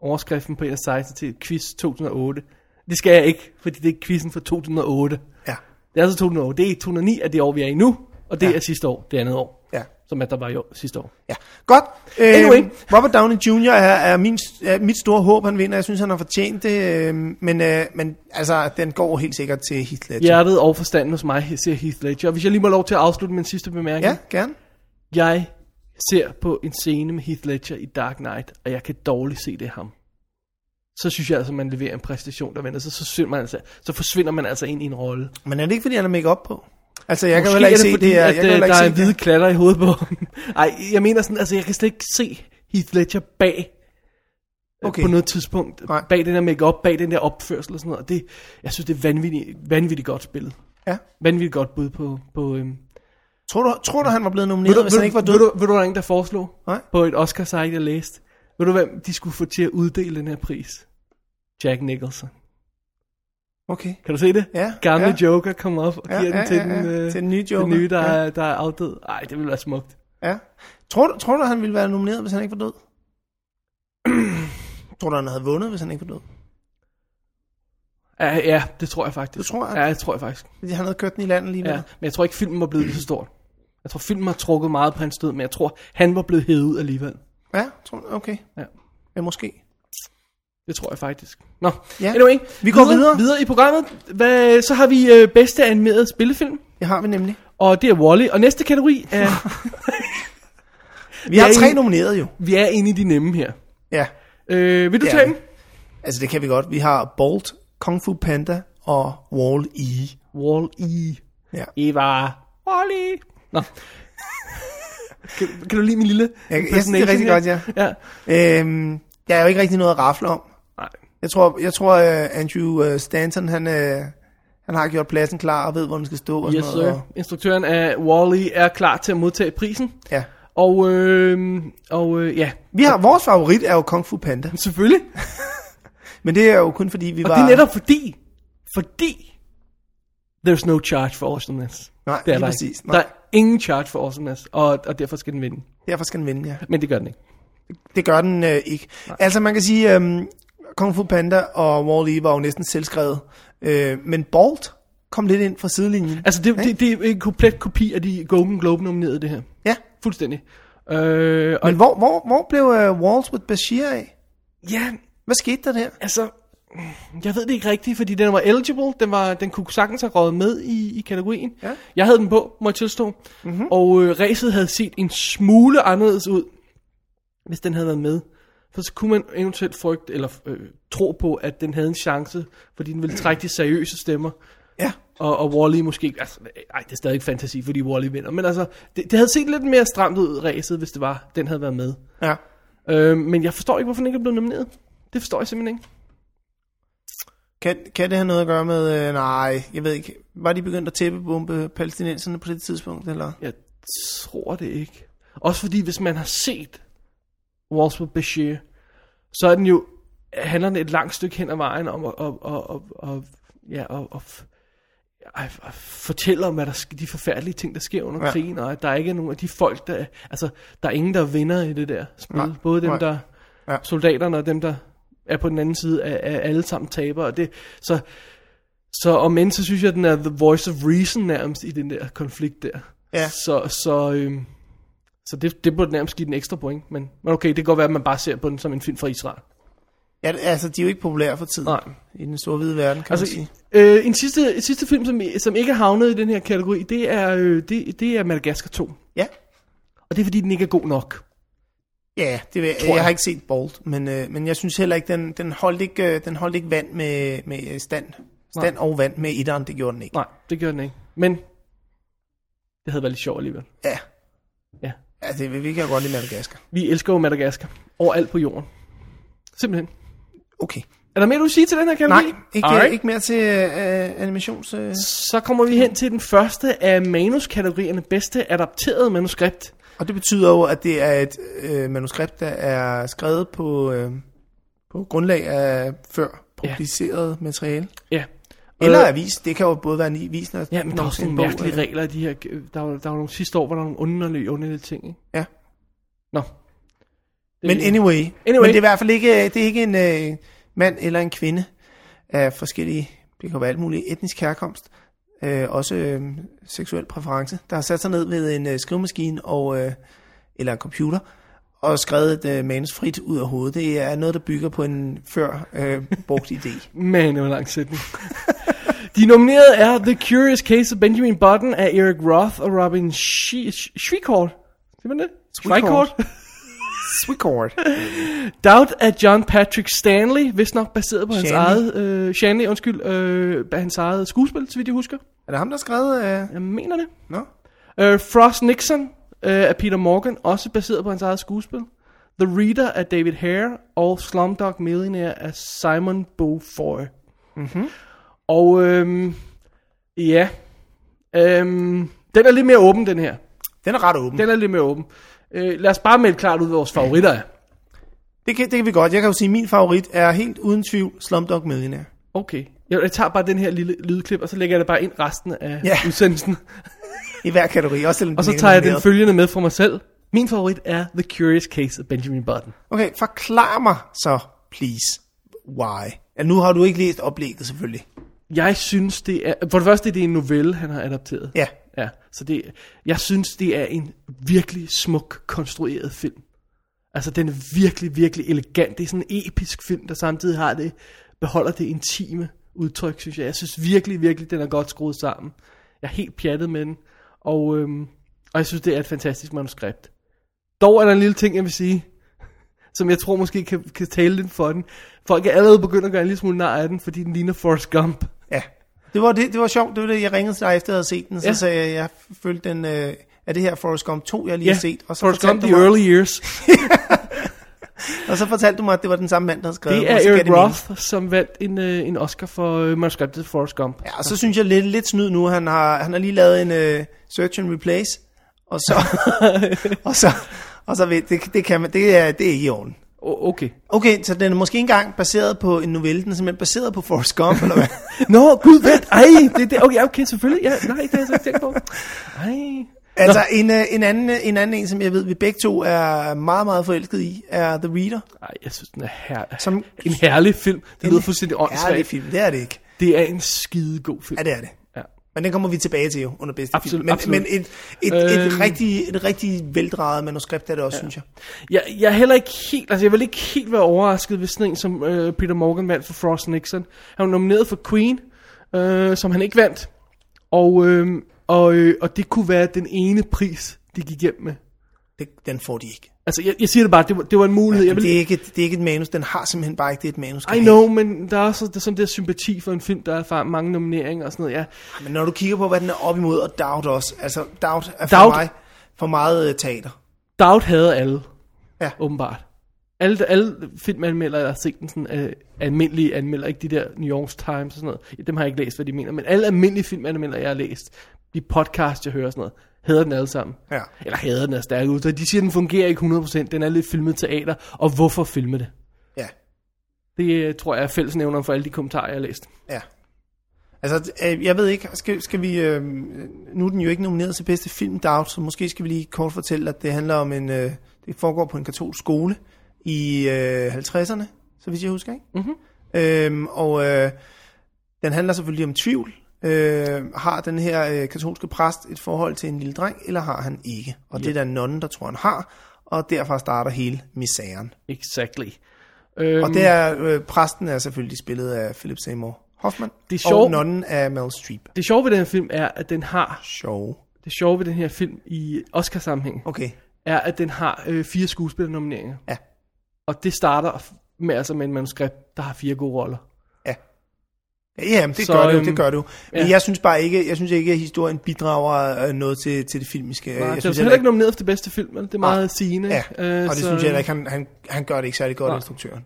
[SPEAKER 3] overskriften på jeres site til Quiz 2008. Det skal jeg ikke, fordi det er quizzen fra 2008.
[SPEAKER 2] Ja,
[SPEAKER 3] Det er altså 2008. Det er 2009 af det år, vi er i nu, og det ja. er sidste år, det andet år,
[SPEAKER 2] ja.
[SPEAKER 3] som at der var i år, sidste år.
[SPEAKER 2] Ja, godt.
[SPEAKER 3] Anyway.
[SPEAKER 2] Øhm, Robert Downey Jr. er, er, min, er mit store håb, han vinder. Jeg synes, han har fortjent det. øhm, Men, øh, men altså, den går helt sikkert til Heath Ledger.
[SPEAKER 3] Hjertet og forstanden hos mig ser Heath Ledger. Og Hvis jeg lige må lov til at afslutte med en sidste bemærkning.
[SPEAKER 2] Ja, gerne.
[SPEAKER 3] Jeg ser på en scene med Heath Ledger i Dark Knight, og jeg kan dårligt se det er ham. Så synes jeg altså, man leverer en præstation, der vender sig. Så, forsvinder man altså, så forsvinder man altså ind i en rolle. Jeg
[SPEAKER 2] Men er det ikke, fordi han er make op på? Altså, jeg kan jo heller ikke se det her. Jeg
[SPEAKER 3] at,
[SPEAKER 2] kan jo
[SPEAKER 3] øh,
[SPEAKER 2] heller ikke
[SPEAKER 3] der er
[SPEAKER 2] se
[SPEAKER 3] en hvide
[SPEAKER 2] det.
[SPEAKER 3] klatter i hovedet på ham. (laughs) Ej, jeg mener sådan, altså jeg kan slet ikke se Heath Ledger bag okay.
[SPEAKER 2] Okay.
[SPEAKER 3] på noget tidspunkt. Nej.
[SPEAKER 2] Nej.
[SPEAKER 3] Bag den der make bag den der opførsel og sådan noget. Og det, jeg synes, det er vanvittigt, vanvittigt godt spillet.
[SPEAKER 2] Ja.
[SPEAKER 3] Vanvittigt godt bud på... på øhm.
[SPEAKER 2] Tror du, tror du, han var blevet
[SPEAKER 3] ved,
[SPEAKER 2] nomineret,
[SPEAKER 3] du,
[SPEAKER 2] hvis han
[SPEAKER 3] ved,
[SPEAKER 2] ikke var
[SPEAKER 3] ikke
[SPEAKER 2] død?
[SPEAKER 3] ved, du, ved du, hvad der er en, der foreslog
[SPEAKER 2] Nej.
[SPEAKER 3] på et Oscar-site, jeg læste? Ved du, hvem de skulle få til at uddele den her pris? Jack Nicholson.
[SPEAKER 2] Okay.
[SPEAKER 3] Kan du se det?
[SPEAKER 2] Ja,
[SPEAKER 3] Gamle
[SPEAKER 2] ja.
[SPEAKER 3] Joker kommer op og
[SPEAKER 2] Ja,
[SPEAKER 3] giver den
[SPEAKER 2] ja,
[SPEAKER 3] til,
[SPEAKER 2] ja,
[SPEAKER 3] den,
[SPEAKER 2] ja.
[SPEAKER 3] øh,
[SPEAKER 2] Til den nye Joker.
[SPEAKER 3] Den nye, der,
[SPEAKER 2] Ja.
[SPEAKER 3] er, der er afdød. Ej, det ville være smukt.
[SPEAKER 2] Ja. Tror du, tror du, han ville være nomineret, hvis han ikke var død? (clears throat) tror du, han havde vundet, hvis han ikke var død?
[SPEAKER 3] Ja, ja, det tror jeg faktisk.
[SPEAKER 2] Det tror jeg.
[SPEAKER 3] Ja, det tror jeg faktisk.
[SPEAKER 2] Fordi han havde kørt den i landet lige med.
[SPEAKER 3] Ja,
[SPEAKER 2] Ja.
[SPEAKER 3] men jeg tror ikke, filmen var blevet lige så stor. Jeg tror, filmen har trukket meget på hans død, men jeg tror, han var blevet hævet ud alligevel.
[SPEAKER 2] ja tror du? Okay.
[SPEAKER 3] Ja.
[SPEAKER 2] Ja, måske.
[SPEAKER 3] Det tror jeg faktisk. Nå, ja.
[SPEAKER 2] Ja.
[SPEAKER 3] anyway.
[SPEAKER 2] Vi går videre.
[SPEAKER 3] Videre i programmet. Hvad, så har vi øh, bedste animeret spillefilm,
[SPEAKER 2] Det har vi nemlig.
[SPEAKER 3] og det er Wall-E. Og næste kategori
[SPEAKER 2] (laughs)
[SPEAKER 3] er,
[SPEAKER 2] Vi har
[SPEAKER 3] Ja, I-
[SPEAKER 2] tre nomineret jo.
[SPEAKER 3] vi er inde i de nemme her.
[SPEAKER 2] Ja.
[SPEAKER 3] Øh, vil du
[SPEAKER 2] Ja.
[SPEAKER 3] tage den?
[SPEAKER 2] Altså, det kan vi godt. Vi har Bolt, Kung Fu Panda og Wall-E.
[SPEAKER 3] Wall-E.
[SPEAKER 2] Ja.
[SPEAKER 3] Eva.
[SPEAKER 2] (laughs)
[SPEAKER 3] Wall-E. Nå. kan, kan du lide min lille
[SPEAKER 2] jeg synes, det er rigtig
[SPEAKER 3] impersonation her?
[SPEAKER 2] godt,
[SPEAKER 3] ja.
[SPEAKER 2] Øhm, der er jo ikke rigtig noget at rafle om.
[SPEAKER 3] Nej.
[SPEAKER 2] Jeg tror, jeg tror uh, Andrew uh, Stanton, han, uh, han har gjort pladsen klar og ved, hvor den skal stå. Og
[SPEAKER 3] Yes,
[SPEAKER 2] sådan noget.
[SPEAKER 3] sir.
[SPEAKER 2] Og,
[SPEAKER 3] Instruktøren af Wall-E er klar til at modtage prisen.
[SPEAKER 2] ja.
[SPEAKER 3] Og, øh, og øh, ja,
[SPEAKER 2] Vi har, vores favorit er jo Kung Fu Panda.
[SPEAKER 3] selvfølgelig.
[SPEAKER 2] Men det er jo kun fordi, vi
[SPEAKER 3] Og
[SPEAKER 2] var...
[SPEAKER 3] det er netop fordi, fordi, there's no charge for awesomeness.
[SPEAKER 2] Nej,
[SPEAKER 3] det er
[SPEAKER 2] lige
[SPEAKER 3] der
[SPEAKER 2] præcis.
[SPEAKER 3] Ikke.
[SPEAKER 2] Nej.
[SPEAKER 3] Der er ingen charge for awesomeness, og, og derfor skal den vinde.
[SPEAKER 2] Derfor skal den vinde, ja.
[SPEAKER 3] Men det gør den ikke.
[SPEAKER 2] Det gør den øh, ikke. Nej. Altså, man kan sige, øhm, Kung Fu Panda og Wall-E var jo næsten selvskrevet. Øh, men Bolt, kom lidt ind fra sidelinjen.
[SPEAKER 3] Altså, det, det, det er en komplet kopi af de Golden Globe nominerede, det her.
[SPEAKER 2] Ja,
[SPEAKER 3] Fuldstændig. Øh, og
[SPEAKER 2] men hvor, hvor, hvor blev uh, Walls with Bashir af?
[SPEAKER 3] ja,
[SPEAKER 2] Hvad skete der der?
[SPEAKER 3] altså, jeg ved det ikke rigtigt, fordi den var eligible, den, var, den kunne sagtens have røget med i, i kategorien.
[SPEAKER 2] Ja.
[SPEAKER 3] Jeg havde den på, må jeg tilstå, mm-hmm. og øh, racet havde set en smule anderledes ud, hvis den havde været med. For så kunne man eventuelt frygte, eller øh, tro på, at den havde en chance, fordi den ville trække de seriøse stemmer.
[SPEAKER 2] Ja.
[SPEAKER 3] Og, og Wall-E måske ikke... Altså, ej, det er stadig ikke fantasi, fordi Wall-E vinder. Men altså, det, det havde set lidt mere stramt ud, ræset, hvis det var, den havde været med.
[SPEAKER 2] Ja.
[SPEAKER 3] Øh, men jeg forstår ikke, hvorfor den ikke er blevet nomineret. Det forstår jeg simpelthen ikke.
[SPEAKER 2] Kan, kan det have noget at gøre med, øh, nej, jeg ved ikke, var de begyndt at tæppebombe palæstinenserne på det tidspunkt, eller?
[SPEAKER 3] Jeg tror det ikke. Også fordi, hvis man har set Walls with Bashir, så er den jo, handler den et langt stykke hen ad vejen om at, at, at, at, at, ja, at, at, at, at fortælle om, hvad der, sk- de forfærdelige ting, der sker under
[SPEAKER 2] Ja.
[SPEAKER 3] ja. krigen, og at der ikke er nogen af de folk, der... Altså, der er ingen, der er vinder i det der spil.
[SPEAKER 2] Nej.
[SPEAKER 3] Både dem,
[SPEAKER 2] Nej.
[SPEAKER 3] der...
[SPEAKER 2] Ja.
[SPEAKER 3] Ja. Soldaterne og dem, der er på den anden side, er, er alle sammen tabere. Og det, så, så om end, så synes jeg, at den er the voice of reason nærmest i den der konflikt der.
[SPEAKER 2] Ja.
[SPEAKER 3] Så, så, øhm, så det, det burde nærmest give den ekstra point. Men, men okay, det kan godt være, at man bare ser på den som en film fra Israel.
[SPEAKER 2] Ja, altså, de er jo ikke populære for tiden.
[SPEAKER 3] Nej.
[SPEAKER 2] I den store hvide verden, kan altså, man sige.
[SPEAKER 3] øh, en sidste, en sidste film, som, som ikke er havnet i den her kategori, det er, øh, det, det er Madagaskar 2.
[SPEAKER 2] Ja.
[SPEAKER 3] Og det er, fordi den ikke er god nok.
[SPEAKER 2] Ja, det vil, jeg,
[SPEAKER 3] jeg.
[SPEAKER 2] jeg har ikke set Bolt, men, øh, men jeg synes heller ikke, den, den, holdt ikke, øh, den holdt ikke vand med, med øh, stand. Stand og vand med etteren, det gjorde den ikke.
[SPEAKER 3] Nej, det gør den ikke. Men det havde været lidt sjovt alligevel.
[SPEAKER 2] Ja.
[SPEAKER 3] Ja.
[SPEAKER 2] Ja, det vil vi kan jo godt lide Madagaskar.
[SPEAKER 3] Vi elsker jo Madagaskar. Overalt på jorden. Simpelthen.
[SPEAKER 2] Okay.
[SPEAKER 3] Er der mere, du vil sige til den her kategori?
[SPEAKER 2] Nej, ikke,
[SPEAKER 3] Alright.
[SPEAKER 2] øh, ikke mere til øh, animations... Øh.
[SPEAKER 3] Så kommer vi hen til den første af manuskategorierne. Bedste adapteret manuskript.
[SPEAKER 2] Og det betyder jo, at det er et øh, manuskript, der er skrevet på, øh, på grundlag af før publiceret ja. materiale.
[SPEAKER 3] Ja.
[SPEAKER 2] Eller
[SPEAKER 3] Øh,
[SPEAKER 2] avis. Det kan jo både være en i- vis, når
[SPEAKER 3] Ja, men der
[SPEAKER 2] når
[SPEAKER 3] er også
[SPEAKER 2] sådan en
[SPEAKER 3] nogle
[SPEAKER 2] bog,
[SPEAKER 3] mærkelige
[SPEAKER 2] øh,
[SPEAKER 3] regler i de her... Der var, der var nogle sidste år, hvor der var nogle underlige, underlige ting, ikke?
[SPEAKER 2] Ja.
[SPEAKER 3] Nå. Det-
[SPEAKER 2] Men anyway,
[SPEAKER 3] Anyway.
[SPEAKER 2] Men det er i hvert fald ikke, det er ikke en øh, mand eller en kvinde af forskellige, det kan være alt muligt, etnisk herkomst, øh, også øh, seksuel præference, der har sat sig ned ved en øh, skrivemaskine og, øh, eller en computer, og skrevet et øh, manus frit ud af hovedet. Det er noget, der bygger på en før øh, brugt idé.
[SPEAKER 3] (laughs) Man, det var en lang sætning. De nominerede er The Curious Case of Benjamin Button af Eric Roth og Robin Shi- Sh- Shricourt. Siger man det?
[SPEAKER 2] Shricourt. Sweetcord.
[SPEAKER 3] Doubt af John Patrick Stanley, vist nok baseret på hans
[SPEAKER 2] Shanley.
[SPEAKER 3] eget... Øh, Shanley, undskyld. Øh, hans eget skuespil, så vidt jeg husker.
[SPEAKER 2] Er det ham, der har skrevet? Øh,
[SPEAKER 3] Jeg mener det.
[SPEAKER 2] Nå?
[SPEAKER 3] Uh, Frost Nixon uh, af Peter Morgan, også baseret på hans eget skuespil. The Reader af David Hare og Slumdog Millionaire af Simon Beaufoy. Mm-hmm.
[SPEAKER 2] Mhm.
[SPEAKER 3] Og øhm, ja, øhm, den er lidt mere åben, den her.
[SPEAKER 2] Den er ret åben.
[SPEAKER 3] Den er lidt mere åben. Øh, lad os bare melde klart ud, hvad vores favoritter er.
[SPEAKER 2] Det, kan, det kan vi godt. Jeg kan jo sige, at min favorit er helt uden tvivl Slumdog Millionaire.
[SPEAKER 3] Okay, jeg, jeg tager bare den her lille lydklip, og så lægger jeg det bare ind resten af
[SPEAKER 2] Ja. (laughs)
[SPEAKER 3] yeah. udsendelsen.
[SPEAKER 2] I hver kategori, også selvom
[SPEAKER 3] Og så
[SPEAKER 2] er
[SPEAKER 3] tager jeg den
[SPEAKER 2] nomineret.
[SPEAKER 3] følgende med fra mig selv. Min favorit er The Curious Case of Benjamin Button.
[SPEAKER 2] Okay, forklar mig så, please, why. Ja, nu har du ikke læst oplægget, selvfølgelig.
[SPEAKER 3] Jeg synes, det er... For det første, det er en novelle, han har adapteret.
[SPEAKER 2] Ja.
[SPEAKER 3] Ja, så det, jeg synes, det er en virkelig smuk konstrueret film. Altså, den er virkelig, virkelig elegant. Det er sådan en episk film, der samtidig har det, beholder det intime udtryk, synes jeg. Jeg synes virkelig, virkelig, den er godt skruet sammen. Jeg er helt pjattet med den, og, øhm, og jeg synes, det er et fantastisk manuskript. Dog er der en lille ting, jeg vil sige, (laughs) som jeg tror måske kan, kan tale lidt for den. Folk er allerede begyndt at gøre en lille smule nar af den, fordi den ligner Forrest Gump.
[SPEAKER 2] Ja. Det var, det, det var sjovt, det var det, jeg ringede til dig efter, at jeg havde set den, så ja.
[SPEAKER 3] Ja.
[SPEAKER 2] sagde jeg, jeg følte den, øh, er det her Forrest Gump 2, jeg lige har set? Og så,
[SPEAKER 3] Forrest Gump
[SPEAKER 2] fortalte
[SPEAKER 3] The
[SPEAKER 2] du mig,
[SPEAKER 3] Early Years.
[SPEAKER 2] og så fortalte du mig, at det var den samme mand, der havde skrevet
[SPEAKER 3] Det
[SPEAKER 2] den,
[SPEAKER 3] er
[SPEAKER 2] og så gav
[SPEAKER 3] Eric
[SPEAKER 2] mening.
[SPEAKER 3] Roth, som vandt en, øh, en Oscar for øh, manuskriptet til Forrest Gump.
[SPEAKER 2] Ja, og så synes jeg lidt, lidt snyd nu, han har, han har lige lavet en øh, search and replace, og (laughs) så, og så, og så ved, det, det, kan man, det, er, det er ikke i orden.
[SPEAKER 3] O- okay.
[SPEAKER 2] Okay, så den er måske ikke engang baseret på en novelle, den er simpelthen baseret på Forrest Gump, eller hvad? (laughs)
[SPEAKER 3] Nå, gud, vent. Ej, det, det, okay, okay, selvfølgelig. Ja, nej, det har jeg så ikke tænkt på. Ej.
[SPEAKER 2] Altså, en, øh, en, anden, øh, en anden en, som jeg ved, vi begge to er meget, meget forelsket i, er The Reader.
[SPEAKER 3] Ej, jeg synes, den er her-
[SPEAKER 2] Som
[SPEAKER 3] en herlig film. Det lyder fuldstændig
[SPEAKER 2] Ærlig
[SPEAKER 3] åndssvagt.
[SPEAKER 2] film, det er det ikke.
[SPEAKER 3] Det er en skide god film.
[SPEAKER 2] Ja, det er det.
[SPEAKER 3] Ja.
[SPEAKER 2] Men den kommer vi tilbage til jo, under bedste
[SPEAKER 3] Absolut,
[SPEAKER 2] film. Men,
[SPEAKER 3] absolut.
[SPEAKER 2] men et, et, et,
[SPEAKER 3] Øhm.
[SPEAKER 2] rigtig, et rigtig veldrejet manuskript er det også, ja. synes jeg.
[SPEAKER 3] Jeg, jeg er heller ikke helt, altså jeg vil ikke helt være overrasket, hvis sådan en som øh, Peter Morgan vandt for Frost Nixon. Han var nomineret for Queen, øh, som han ikke vandt. Og, øh, og, øh, og det kunne være den ene pris, de gik hjem med.
[SPEAKER 2] Det, den får de ikke. Altså,
[SPEAKER 3] Altså jeg, jeg siger det bare, det var, det var en mulighed. jeg
[SPEAKER 2] vil...
[SPEAKER 3] vil,
[SPEAKER 2] det, er ikke et, det er ikke et manus. Den har simpelthen bare ikke det, et manus kan
[SPEAKER 3] I
[SPEAKER 2] have.
[SPEAKER 3] know, men der er også der er sådan der sympati for en film, der er fra mange nomineringer og sådan noget. Ja,
[SPEAKER 2] Men når du kigger på, hvad den er op imod, og Doubt også. Altså, Doubt er for
[SPEAKER 3] Doubt-
[SPEAKER 2] Doubt. mig for meget øh, teater.
[SPEAKER 3] Doubt havde alle,
[SPEAKER 2] Ja.
[SPEAKER 3] åbenbart. Alle, der- alle filmanmeldere, der har set den sådan, øh, almindelige anmelder, ikke de der New York Times og sådan noget, Ja, dem har jeg ikke læst, hvad de mener, men alle almindelige filmanmeldere, jeg har læst, de podcasts, jeg hører og sådan noget, hader den alle sammen.
[SPEAKER 2] Ja.
[SPEAKER 3] Eller hader den er stærk ud. De siger, den fungerer ikke 100%, den er lidt filmet teater, og hvorfor filme det?
[SPEAKER 2] Ja,
[SPEAKER 3] Det øh, tror jeg er fællesnævneren for alle de kommentarer, jeg har læst.
[SPEAKER 2] ja. Altså, øh, jeg ved ikke, skal, skal vi... Øh, nu er den jo ikke nomineret til bedste film, Doubt, så måske skal vi lige kort fortælle, at det handler om en... Øh, det foregår på en katolsk skole i øh, 50'erne, så vidt jeg husker, ikke? Mm-hmm. Øhm, og øh, den handler selvfølgelig om tvivl. Øh, har den her øh, katolske præst et forhold til en lille dreng, eller har han ikke? Og det er der nonnen, der tror, han har, og derfor starter hele misæren.
[SPEAKER 3] Exactly. Øhm,
[SPEAKER 2] Og det er, øh, præsten er selvfølgelig spillet af Philip Seymour Hoffman.
[SPEAKER 3] Det er
[SPEAKER 2] Og
[SPEAKER 3] sjovt.
[SPEAKER 2] nonnen af Meryl Streep.
[SPEAKER 3] det sjove ved den her film er, at den har,
[SPEAKER 2] Sjov.
[SPEAKER 3] det sjove ved den her film i Oscar-sammenhæng,
[SPEAKER 2] Okay.
[SPEAKER 3] er, at den har øh, fire skuespillernomineringer.
[SPEAKER 2] Ja.
[SPEAKER 3] Og det starter med, altså med en manuskript, der har fire gode roller.
[SPEAKER 2] Øh, Ja, jamen, det,
[SPEAKER 3] Så,
[SPEAKER 2] så, gør det, jo,
[SPEAKER 3] øhm,
[SPEAKER 2] det gør det jo. Men
[SPEAKER 3] ja.
[SPEAKER 2] ja. jeg synes bare ikke, jeg synes ikke, at historien bidrager øh, noget til, til det filmiske.
[SPEAKER 3] Nej,
[SPEAKER 2] jeg
[SPEAKER 3] det er
[SPEAKER 2] synes
[SPEAKER 3] heller ikke nomineret for det bedste film, men det er meget
[SPEAKER 2] Nej.
[SPEAKER 3] sigende.
[SPEAKER 2] Ja,
[SPEAKER 3] øh,
[SPEAKER 2] og det
[SPEAKER 3] så-
[SPEAKER 2] synes jeg heller ikke, han, han, han gør det ikke særlig godt,
[SPEAKER 3] Nej.
[SPEAKER 2] instruktøren.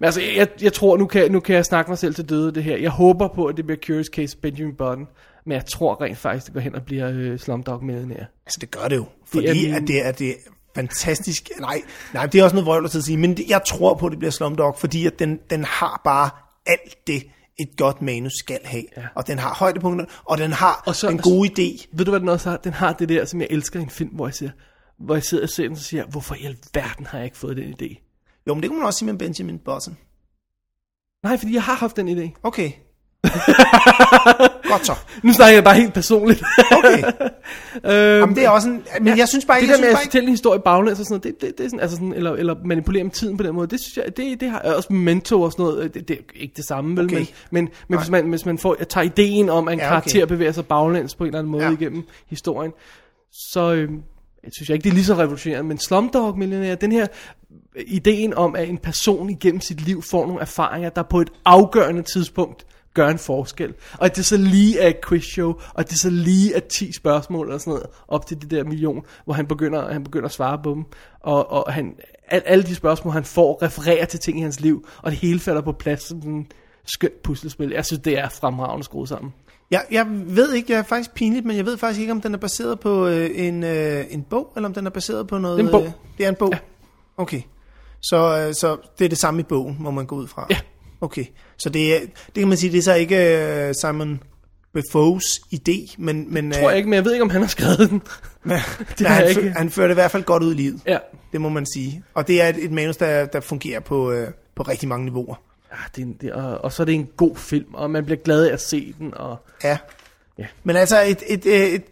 [SPEAKER 3] Men altså, jeg, jeg tror, nu kan, nu kan jeg snakke mig selv til døde af det her. Jeg håber på, at det bliver Curious Case of Benjamin Button, men jeg tror rent faktisk, det går hen og bliver øh, Slumdog Millionaire.
[SPEAKER 2] Altså, det gør det jo. Fordi det
[SPEAKER 3] min-
[SPEAKER 2] er, at det er, det er fantastisk. Nej, nej, det er også noget vrøvl at sidde og sige, men det, jeg tror på, at det bliver Slumdog, fordi at den, den har bare alt det, et godt manus skal have. Ja. Og den har højdepunkter, og den har
[SPEAKER 3] Og
[SPEAKER 2] og
[SPEAKER 3] så-
[SPEAKER 2] så, en god idé.
[SPEAKER 3] Ved du, hvad den også har? Den har det der, som jeg elsker i en film, hvor jeg, siger, hvor jeg sidder og ser den og siger, hvorfor i alverden har jeg ikke fået den idé?
[SPEAKER 2] Jo, men det kunne man også sige med Benjamin Button.
[SPEAKER 3] Nej, fordi jeg har haft den idé. (laughs)
[SPEAKER 2] Okay. Godt så.
[SPEAKER 3] Nu snakker jeg bare helt personligt.
[SPEAKER 2] Okay.
[SPEAKER 3] (laughs) øhm,
[SPEAKER 2] Jamen, det er også en... Men jeg synes bare
[SPEAKER 3] det
[SPEAKER 2] ikke...
[SPEAKER 3] der
[SPEAKER 2] Jeg
[SPEAKER 3] med
[SPEAKER 2] synes
[SPEAKER 3] at
[SPEAKER 2] bare ikke
[SPEAKER 3] fortælle en historie baglæns og sådan noget, det, det, det er sådan, altså sådan, eller, eller manipulere med tiden på den måde, det synes jeg, det, det har også mentor og sådan noget, øh, det, det er ikke det samme, vel,
[SPEAKER 2] Okay.
[SPEAKER 3] men, men, men hvis, man, hvis man får, tager ideen om, at en ja,
[SPEAKER 2] Ja, okay.
[SPEAKER 3] karakter bevæger sig baglæns på en eller anden måde ja.
[SPEAKER 2] Ja.
[SPEAKER 3] igennem historien, så øh, jeg synes jeg ikke, det er lige så revolutionerende, men Slumdog Millionaire, den her øh, ideen om, at en person igennem sit liv får nogle erfaringer, der på et afgørende tidspunkt gør en forskel. Og at det så lige er et quizshow, og at det så lige er 10 spørgsmål eller sådan noget, op til det der million, hvor han begynder, han begynder at svare på dem. Og, og han, al, alle de spørgsmål, han får, refererer til ting i hans liv, og det hele falder på plads som sådan et skønt puslespil. Jeg synes, det er fremragende skruet sammen.
[SPEAKER 2] jeg, jeg ved ikke, jeg er faktisk pinligt, men jeg ved faktisk ikke, om den er baseret på øh, en, øh, en bog, eller om den er baseret på noget...
[SPEAKER 3] Det er en bog.
[SPEAKER 2] Øh, det er en bog?
[SPEAKER 3] Ja.
[SPEAKER 2] Ja. Okay. Så, øh, så det er det samme i bogen, må man gå ud fra?
[SPEAKER 3] Ja.
[SPEAKER 2] Okay. Så det, er, det kan man sige, det er så ikke øh, Simon Befoe's idé, men... men
[SPEAKER 3] Tror jeg
[SPEAKER 2] (laughs)
[SPEAKER 3] ikke, (laughs) men jeg ved ikke, om han har skrevet den.
[SPEAKER 2] Men,
[SPEAKER 3] Det
[SPEAKER 2] det
[SPEAKER 3] har
[SPEAKER 2] han,
[SPEAKER 3] jeg
[SPEAKER 2] ikke.
[SPEAKER 3] ikke.
[SPEAKER 2] han fører det i hvert fald godt ud i livet.
[SPEAKER 3] ja.
[SPEAKER 2] Det må man sige. Og det er et, et manus, der, der fungerer på, øh, på rigtig mange niveauer.
[SPEAKER 3] Ah, det, er en- det, og, og så er det en god film, og man bliver glad af at se den, og
[SPEAKER 2] Ja.
[SPEAKER 3] Ja.
[SPEAKER 2] ja. Men altså et, et, øh, et,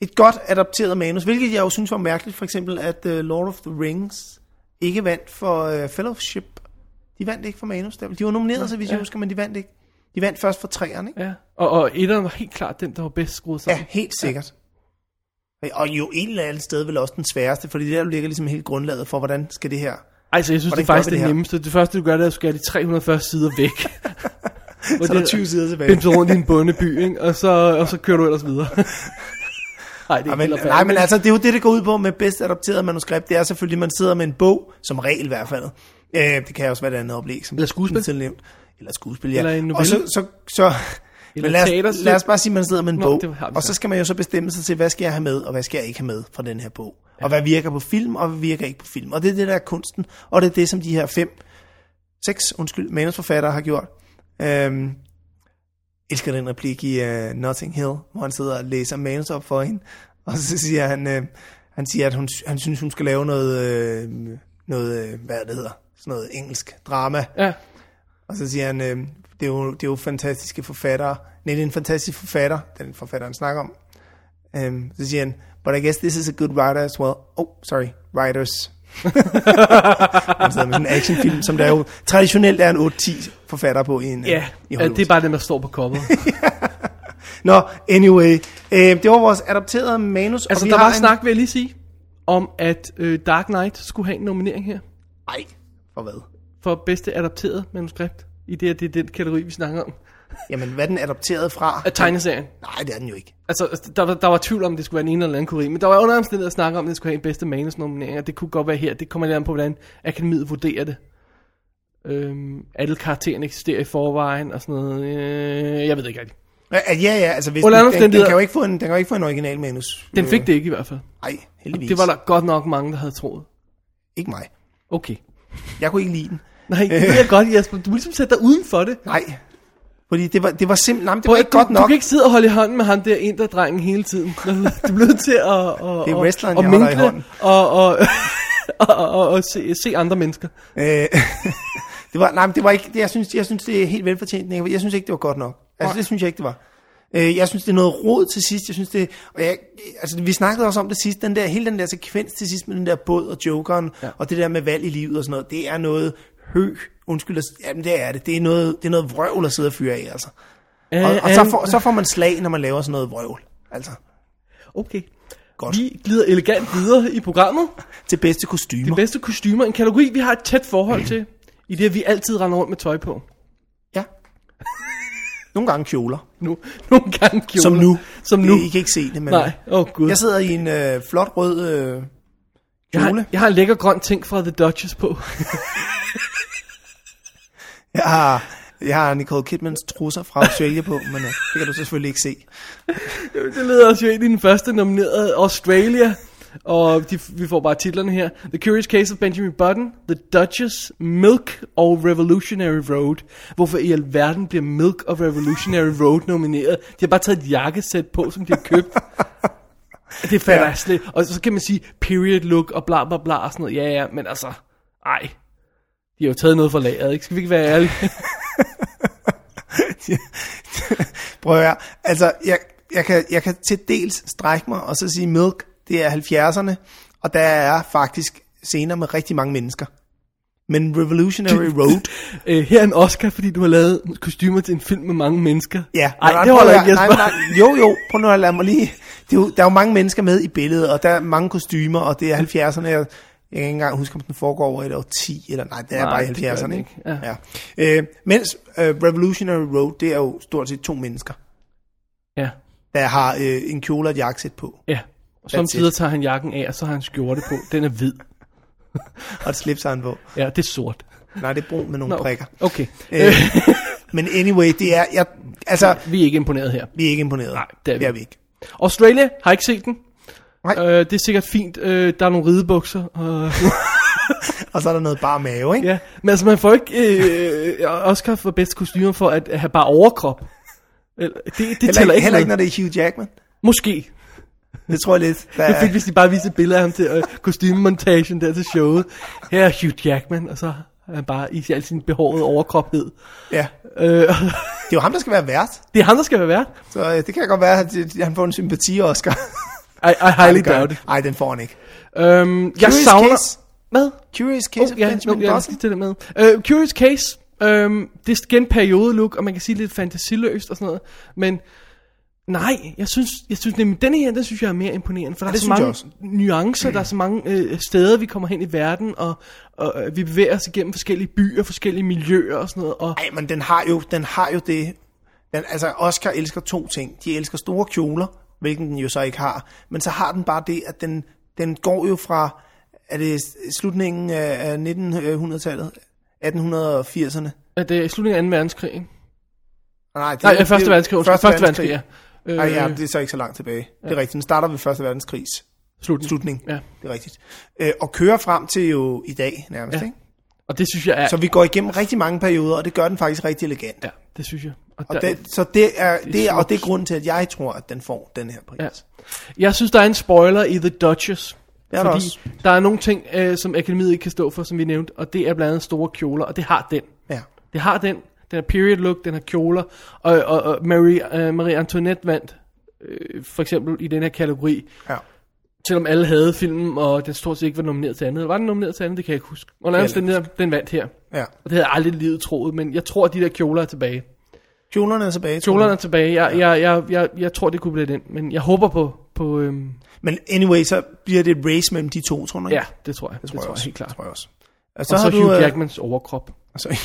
[SPEAKER 2] et godt adapteret manus, hvilket jeg jo synes var mærkeligt, for eksempel at uh, Lord of the Rings ikke vandt for uh, Fellowship. De vandt ikke for manus. der. De var nomineret, så hvis ja. jeg husker, men de vandt ikke. De vandt først for træerne, ikke?
[SPEAKER 3] ja. Og, og etteren var helt klart den, der var bedst skruet
[SPEAKER 2] Ja,
[SPEAKER 3] sammen.
[SPEAKER 2] helt sikkert. Ja. Og jo et eller andet sted vel også den sværeste, fordi der ligger ligesom helt grundlaget for, hvordan skal det her...
[SPEAKER 3] Altså, jeg synes, det
[SPEAKER 2] Hvordan
[SPEAKER 3] er
[SPEAKER 2] gør
[SPEAKER 3] faktisk
[SPEAKER 2] vi det
[SPEAKER 3] det,
[SPEAKER 2] her?
[SPEAKER 3] nemmeste. Det første, du gør, det er, at du skærer de 340 sider
[SPEAKER 2] (laughs)
[SPEAKER 3] væk. Hvor
[SPEAKER 2] Så er der 20 sider tilbage.
[SPEAKER 3] Bimser rundt i en bondeby, ikke? Og, så, og så kører du
[SPEAKER 2] (laughs)
[SPEAKER 3] ellers videre. nej, det er
[SPEAKER 2] Ja,
[SPEAKER 3] ikke
[SPEAKER 2] men,
[SPEAKER 3] helt
[SPEAKER 2] nej, men altså, det er jo det, det går ud på med bedst adapteret manuskript. Det er selvfølgelig, at man sidder med en bog, som regel i hvert fald. Øh, det kan også være et andet oplæg. Som
[SPEAKER 3] Eller skuespil.
[SPEAKER 2] Tidligere nævnt. Eller skuespil, ja.
[SPEAKER 3] Eller en novelle.
[SPEAKER 2] Og så, så, så
[SPEAKER 3] Eller
[SPEAKER 2] men lad,
[SPEAKER 3] teater,
[SPEAKER 2] os, lad os bare sige, at man sidder med en
[SPEAKER 3] Nå,
[SPEAKER 2] bog,
[SPEAKER 3] det har vi
[SPEAKER 2] og
[SPEAKER 3] så.
[SPEAKER 2] så skal man jo så bestemme sig til, hvad skal jeg have med, og hvad skal jeg ikke have med fra den her bog. Ja. Og hvad virker på film, og hvad virker ikke på film. Og det er det, der er kunsten, og det er det, som de her fem, seks, undskyld, manusforfattere har gjort. Øhm, elsker den replik i uh, Notting Hill, hvor han sidder og læser manus op for hende, og så siger han, øh, han siger, at hun, han synes, hun skal lave noget, øh, noget øh, hvad det hedder, sådan noget engelsk drama.
[SPEAKER 3] Ja,
[SPEAKER 2] Og så siger han, øh, Det er jo, det er jo fantastiske forfattere. Nej, det er en fantastisk forfatter, den forfatter, han snakker om. Øhm, så siger han, but I guess this is a good writer as well. Oh, sorry, writers. (laughs) han sidder med sådan en actionfilm, som der jo traditionelt er en 8-10 forfatter på i, en, øh,
[SPEAKER 3] Ja,
[SPEAKER 2] i
[SPEAKER 3] ja,
[SPEAKER 2] Hollywood.
[SPEAKER 3] det er bare dem, der står på
[SPEAKER 2] (laughs)
[SPEAKER 3] coveret.
[SPEAKER 2] Nå, anyway. Øh, det var vores adopterede manus.
[SPEAKER 3] altså,
[SPEAKER 2] og vi
[SPEAKER 3] der
[SPEAKER 2] har
[SPEAKER 3] var
[SPEAKER 2] en...
[SPEAKER 3] snak, vil jeg lige sige, om at øh, Dark Knight skulle have en nominering her
[SPEAKER 2] Nej, for hvad?
[SPEAKER 3] for bedste adapteret manuskript. I det, at det er den kategori, vi snakker om.
[SPEAKER 2] Jamen, hvad er den adopteret fra?
[SPEAKER 3] Af tegneserien.
[SPEAKER 2] Nej, det er den jo ikke.
[SPEAKER 3] Altså, der, var- der var tvivl om, det skulle være den ene eller anden kategori, men der var under omstændigheder at snakke om, at det skulle have en bedste manusnominering, og det kunne godt være her. Det kommer lidt an på, hvordan akademiet vurderer det. Øhm, alle karaktererne eksisterer i forvejen og sådan noget. Øh, jeg ved det ikke rigtigt.
[SPEAKER 2] Ja, ja, ja altså, hvis den,
[SPEAKER 3] Under alle
[SPEAKER 2] den, den,
[SPEAKER 3] omstændigheder-
[SPEAKER 2] kan jo ikke få en, den kan jo ikke få en original manus.
[SPEAKER 3] Den fik det ikke i hvert fald.
[SPEAKER 2] Nej, heldigvis.
[SPEAKER 3] Det var der godt nok mange, der havde troet.
[SPEAKER 2] Ikke mig.
[SPEAKER 3] Okay.
[SPEAKER 2] Jeg kunne ikke lide den.
[SPEAKER 3] Nej, det ved jeg godt, Jesper. Du må ligesom sætte dig uden for det.
[SPEAKER 2] Nej. Fordi det var, det var simpelthen... Nej, men det
[SPEAKER 3] Prøv
[SPEAKER 2] var
[SPEAKER 3] at-
[SPEAKER 2] ikke godt
[SPEAKER 3] du,
[SPEAKER 2] nok.
[SPEAKER 3] du kan ikke sidde og holde i hånden med ham der inderdrengen hele tiden. Du bliver nødt til at, at,
[SPEAKER 2] Det er wrestleren,
[SPEAKER 3] at,
[SPEAKER 2] jeg
[SPEAKER 3] at
[SPEAKER 2] holder i
[SPEAKER 3] mingle
[SPEAKER 2] hånden.
[SPEAKER 3] og, og, (laughs) og, og, og, og se, se andre mennesker.
[SPEAKER 2] Øh, (laughs) det var, nej, men det var ikke, det, jeg, synes, jeg synes, det er helt velfortjent. Nick. Jeg synes ikke, det var godt nok. Altså, det synes jeg ikke, det var. Øh, jeg synes, det er noget råd til sidst. Jeg synes, det, og jeg, altså, vi snakkede også om det sidst, den der, hele den der sekvens til sidst med den der båd og jokeren, ja. og det der med valg i livet og sådan noget, det er noget hø. Undskyld, at s- jamen det er det. Det er noget, det er noget vrøvl at sidde og fyre af, altså. Og,
[SPEAKER 3] Øh,
[SPEAKER 2] og så, får, så får man slag, når man laver sådan noget vrøvl. Altså,
[SPEAKER 3] Okay.
[SPEAKER 2] Godt.
[SPEAKER 3] Vi glider elegant videre i programmet.
[SPEAKER 2] til bedste kostymer.
[SPEAKER 3] Bedste kostymer, en kategori, vi har et tæt forhold til. I det, at vi altid render rundt med tøj på.
[SPEAKER 2] Ja. Nogle gange kjoler,
[SPEAKER 3] Nu, (laughs) nogle gange kjoler.
[SPEAKER 2] som nu.
[SPEAKER 3] Som nu.
[SPEAKER 2] I, I kan ikke se det, men...
[SPEAKER 3] Nej, åh oh, gud.
[SPEAKER 2] Jeg sidder i en øh, flot rød øh,
[SPEAKER 3] jeg,
[SPEAKER 2] kjole.
[SPEAKER 3] har, jeg har en lækker grøn ting fra The Duchess på.
[SPEAKER 2] Jeg har, jeg har Nicole Kidmans trusser fra Australia på, men øh, det kan du selvfølgelig ikke se. (laughs)
[SPEAKER 3] det leder os jo ind i den første nominerede, Australia. Og de, vi får bare titlerne her. The Curious Case of Benjamin Button, The Duchess, Milk og Revolutionary Road. Hvorfor i alverden bliver Milk og Revolutionary Road nomineret? De har bare taget et jakkesæt på, som de har
[SPEAKER 2] (laughs)
[SPEAKER 3] købt. det fatter jeg slet. Og så kan man sige period look og bla bla bla og sådan noget. Ja ja, men altså, ej. De har jo taget noget fra lageret, ikke? Skal vi ikke være
[SPEAKER 2] (laughs)
[SPEAKER 3] ærlige?
[SPEAKER 2] Prøv at høre. Altså, jeg, jeg, kan, jeg kan til dels strække mig og så sige, Milk, det er 70'erne, og der er faktisk scener med rigtig mange mennesker. Men Revolutionary Road,
[SPEAKER 3] øh, her er en Oscar, fordi du har lavet kostymer til en film med mange mennesker.
[SPEAKER 2] ja.
[SPEAKER 3] Ej,
[SPEAKER 2] nej,
[SPEAKER 3] det
[SPEAKER 2] prøv
[SPEAKER 3] holder
[SPEAKER 2] at
[SPEAKER 3] ikke,
[SPEAKER 2] høre.
[SPEAKER 3] Jesper.
[SPEAKER 2] Nej, nej, jo, jo, prøv nu at lade mig lige. Det er jo, der er jo mange mennesker med i billedet, og der er mange kostymer, og det er 70'erne. Jeg, jeg kan ikke engang huske, om den foregår over et år 10, eller nej, det er
[SPEAKER 3] Nej,
[SPEAKER 2] bare i
[SPEAKER 3] det gør
[SPEAKER 2] 70'erne.
[SPEAKER 3] den
[SPEAKER 2] Ikke?
[SPEAKER 3] ikke,
[SPEAKER 2] Ja. Ja. Øh, mens øh, Revolutionary Road, det er jo stort set to mennesker,
[SPEAKER 3] Ja,
[SPEAKER 2] der har øh, en kjole og et jakkesæt på,
[SPEAKER 3] ja. Og samtidig
[SPEAKER 2] it.
[SPEAKER 3] tager han jakken af, og så har han skjorte på. Den er hvid.
[SPEAKER 2] og et slips har han på.
[SPEAKER 3] Ja, det er sort.
[SPEAKER 2] Nej, det er brun med nogle
[SPEAKER 3] Nå,
[SPEAKER 2] prikker.
[SPEAKER 3] Okay,
[SPEAKER 2] Øh, men anyway, det er, jeg, altså,
[SPEAKER 3] vi er ikke imponeret her.
[SPEAKER 2] vi er ikke imponeret.
[SPEAKER 3] Nej, det er vi
[SPEAKER 2] Det er vi ikke.
[SPEAKER 3] Australia har ikke set den.
[SPEAKER 2] Nej.
[SPEAKER 3] Øh, det er sikkert fint. Øh, der er nogle ridebukser. Og, (laughs)
[SPEAKER 2] Og så er der noget bare mave, ikke?
[SPEAKER 3] ja. Men altså, man får ikke øh, Oscar for bedste kostymer for at have bare overkrop. Eller- Det, det
[SPEAKER 2] heller
[SPEAKER 3] tæller
[SPEAKER 2] ikke,
[SPEAKER 3] ikke,
[SPEAKER 2] heller ikke, når
[SPEAKER 3] noget.
[SPEAKER 2] det er Hugh Jackman.
[SPEAKER 3] Måske.
[SPEAKER 2] Det tror jeg lidt. Der
[SPEAKER 3] (laughs) Det
[SPEAKER 2] er-
[SPEAKER 3] fik, hvis de bare viste et billede af ham til øh, kostymemontagen der til showet. Her er Hugh Jackman, og så er han bare i al sin behårede overkrophed.
[SPEAKER 2] ja.
[SPEAKER 3] Øh, (laughs)
[SPEAKER 2] Det er jo ham, der skal være vært,
[SPEAKER 3] det er ham, der skal være vært.
[SPEAKER 2] så øh, det kan godt være, at øh, han får en sympati, Oscar.
[SPEAKER 3] (laughs) I, I highly doubt it.
[SPEAKER 2] Nej, den får han ikke.
[SPEAKER 3] Øhm, jeg
[SPEAKER 2] Curious
[SPEAKER 3] savner...
[SPEAKER 2] Case.
[SPEAKER 3] Hvad?
[SPEAKER 2] Curious Case
[SPEAKER 3] Oh,
[SPEAKER 2] oh,
[SPEAKER 3] ja,
[SPEAKER 2] ja,
[SPEAKER 3] no,
[SPEAKER 2] Benjamin
[SPEAKER 3] jeg er
[SPEAKER 2] Button.
[SPEAKER 3] lige til det med. Øh, Curious Case. Øhm, det er igen periodelook, og man kan sige lidt fantasiløst og sådan noget. Men nej, jeg synes, jeg synes nemlig, denne her, den synes jeg er mere imponerende. For der er
[SPEAKER 2] det
[SPEAKER 3] så
[SPEAKER 2] synes jeg
[SPEAKER 3] mange
[SPEAKER 2] også.
[SPEAKER 3] nuancer, der er så mange øh, steder, vi kommer hen i verden, og, og øh, vi bevæger os igennem forskellige byer, forskellige miljøer og sådan noget. Og,
[SPEAKER 2] Ej, men den har jo, den har jo det. Den, altså, Oscar elsker to ting. De elsker store kjoler, hvilken den jo så ikke har. Men så har den bare det, at den, den går jo fra, er det slutningen af af 1900-tallet? 1880'erne?
[SPEAKER 3] at det er i slutningen af 2. verdenskrig. ikke?
[SPEAKER 2] Nej, det,
[SPEAKER 3] Nej,
[SPEAKER 2] det-
[SPEAKER 3] øh, første verdenskrig. undskyld.
[SPEAKER 2] Første
[SPEAKER 3] Første
[SPEAKER 2] verdenskrig.
[SPEAKER 3] verdenskrig, ja. Øh,
[SPEAKER 2] Ej, ja, det er så ikke så langt tilbage. Det er rigtigt. Den starter ved første verdenskrigs
[SPEAKER 3] slutningen.
[SPEAKER 2] slutning.
[SPEAKER 3] Ja.
[SPEAKER 2] Det er rigtigt. Øh, og kører frem til jo i dag nærmest,
[SPEAKER 3] Ja.
[SPEAKER 2] ja. ikke?
[SPEAKER 3] Og det synes jeg er...
[SPEAKER 2] Så vi går igennem rigtig mange perioder, og det gør den faktisk rigtig elegant.
[SPEAKER 3] Ja, det synes jeg.
[SPEAKER 2] Og
[SPEAKER 3] der-
[SPEAKER 2] det, så det er, det er, og
[SPEAKER 3] smukt.
[SPEAKER 2] det er grunden til, at jeg tror, at den får den her pris.
[SPEAKER 3] Ja. Jeg synes, der er en spoiler i The Duchess.
[SPEAKER 2] Det er der
[SPEAKER 3] fordi
[SPEAKER 2] også.
[SPEAKER 3] der er nogle ting, øh, som akademiet ikke kan stå for, som vi nævnte, og det er blandt andet store kjoler, og det har den.
[SPEAKER 2] Ja.
[SPEAKER 3] Det har den. Den har period look, den har kjoler. Og, og, og Marie, uh, Marie Antoinette vandt, øh, for eksempel, i den her kategori.
[SPEAKER 2] Ja.
[SPEAKER 3] Selvom alle havde filmen, og den stort set ikke var nomineret til andet. Eller var den nomineret til andet? Det kan jeg ikke huske. Og lad os den, der, den vandt her.
[SPEAKER 2] Ja.
[SPEAKER 3] Og det havde jeg aldrig i livet troet, men jeg tror, at de der kjoler er tilbage.
[SPEAKER 2] Kjolerne er tilbage. tror
[SPEAKER 3] Kjolerne
[SPEAKER 2] jeg.
[SPEAKER 3] er tilbage. Jeg, jeg, jeg, jeg, jeg tror, det kunne blive den. Men jeg håber på... på øhm,
[SPEAKER 2] Men anyway, så bliver det et race mellem de to, tror jeg.
[SPEAKER 3] ja, det tror jeg. Det tror jeg,
[SPEAKER 2] også.
[SPEAKER 3] helt klart.
[SPEAKER 2] Det tror jeg også. Og
[SPEAKER 3] Så
[SPEAKER 2] så,
[SPEAKER 3] og
[SPEAKER 2] har
[SPEAKER 3] så
[SPEAKER 2] du,
[SPEAKER 3] Hugh
[SPEAKER 2] øh,
[SPEAKER 3] Jackmans overkrop.
[SPEAKER 2] Altså, (laughs)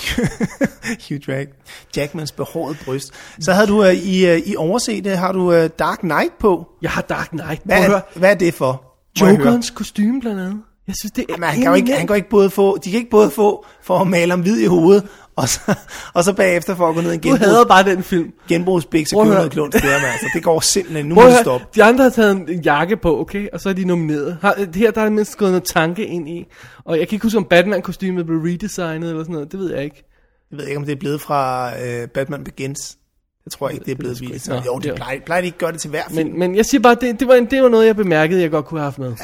[SPEAKER 2] Hugh Jack, Jackmans behårede bryst. Så havde du øh, i, øh, i overset, øh, har du øh, Dark Knight på.
[SPEAKER 3] Jeg har Dark Knight. Prøv at
[SPEAKER 2] Hvad,
[SPEAKER 3] høre.
[SPEAKER 2] er, hvad er det for? Må jeg høre?
[SPEAKER 3] Jokerens kostume blandt andet. Jeg synes, det er
[SPEAKER 2] Jamen, han kan jo ikke, han kan jo ikke både få, de kan ikke både få for at male ham hvid i hovedet, og så, og så bagefter for at gå ned i en
[SPEAKER 3] Du hader
[SPEAKER 2] genbrugs,
[SPEAKER 3] bare den film.
[SPEAKER 2] genbrugsbæk, så
[SPEAKER 3] Prøv at
[SPEAKER 2] købe
[SPEAKER 3] høre.
[SPEAKER 2] noget klont til ham, altså. Det går simpelthen, nu må
[SPEAKER 3] Prøv
[SPEAKER 2] du
[SPEAKER 3] at høre,
[SPEAKER 2] stoppe.
[SPEAKER 3] de andre har taget en, en jakke på, okay? Og så er de nomineret. Har, her der er mindst gået noget tanke ind i. Og jeg kan ikke huske, om Batman-kostymet blev redesignet eller sådan noget. Det ved jeg ikke.
[SPEAKER 2] Jeg ved ikke, om det er blevet fra øh, Batman Begins. Jeg tror ikke, det er blevet
[SPEAKER 3] sgu ikke.
[SPEAKER 2] vist.
[SPEAKER 3] Nå,
[SPEAKER 2] Jo,
[SPEAKER 3] ja.
[SPEAKER 2] det plejer, plejer de ikke at gøre det til hver film.
[SPEAKER 3] Men, men jeg siger bare, det, det, var en, det var noget, jeg bemærkede, jeg godt kunne have haft med. Ja.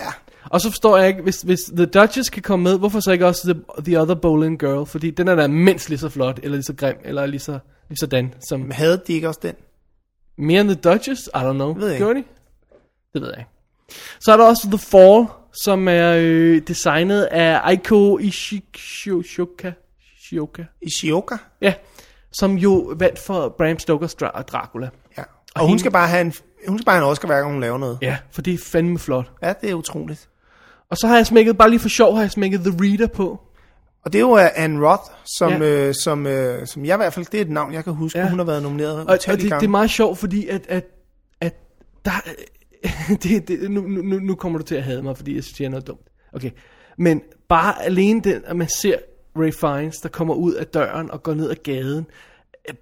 [SPEAKER 3] Og så forstår jeg ikke, hvis, hvis The Duchess kan komme med, hvorfor så ikke også The, the Other Bowling Girl? Fordi den er da mindst lige så flot, eller lige så grim, eller lige så lige sådan, som
[SPEAKER 2] Men havde de ikke også den?
[SPEAKER 3] mere end The Duchess? I don't know.
[SPEAKER 2] ved jeg
[SPEAKER 3] Gjorde de? Det ved jeg ikke. Så er der også The Fall, som er øh, designet af Aiko Ishishioka. Shioka.
[SPEAKER 2] Ishioka?
[SPEAKER 3] Ja, som jo vandt for Bram Stokers Dra- Dracula.
[SPEAKER 2] Ja.
[SPEAKER 3] Og
[SPEAKER 2] Og, hun
[SPEAKER 3] hende-
[SPEAKER 2] skal bare have en, hun skal bare have en Oscar, hver gang hun laver noget.
[SPEAKER 3] Ja, for det er fandme flot.
[SPEAKER 2] Ja, det er utroligt.
[SPEAKER 3] Og så har jeg smækket, bare lige for sjov, har jeg smækket The Reader på.
[SPEAKER 2] Og det er jo øh, Anne Roth, som,
[SPEAKER 3] Ja.
[SPEAKER 2] ja. øh, som, øh, som jeg i hvert fald, det er et navn, jeg kan huske,
[SPEAKER 3] Ja.
[SPEAKER 2] ja. hun har været nomineret
[SPEAKER 3] Og, og
[SPEAKER 2] utallige
[SPEAKER 3] det, det er
[SPEAKER 2] gange.
[SPEAKER 3] meget sjovt, fordi at, at, at der, (laughs) det, det, nu, nu, nu kommer du til at hade mig, fordi jeg siger noget dumt. Okay. Men bare alene den, at man ser Ray Fiennes, der kommer ud af døren og går ned ad gaden,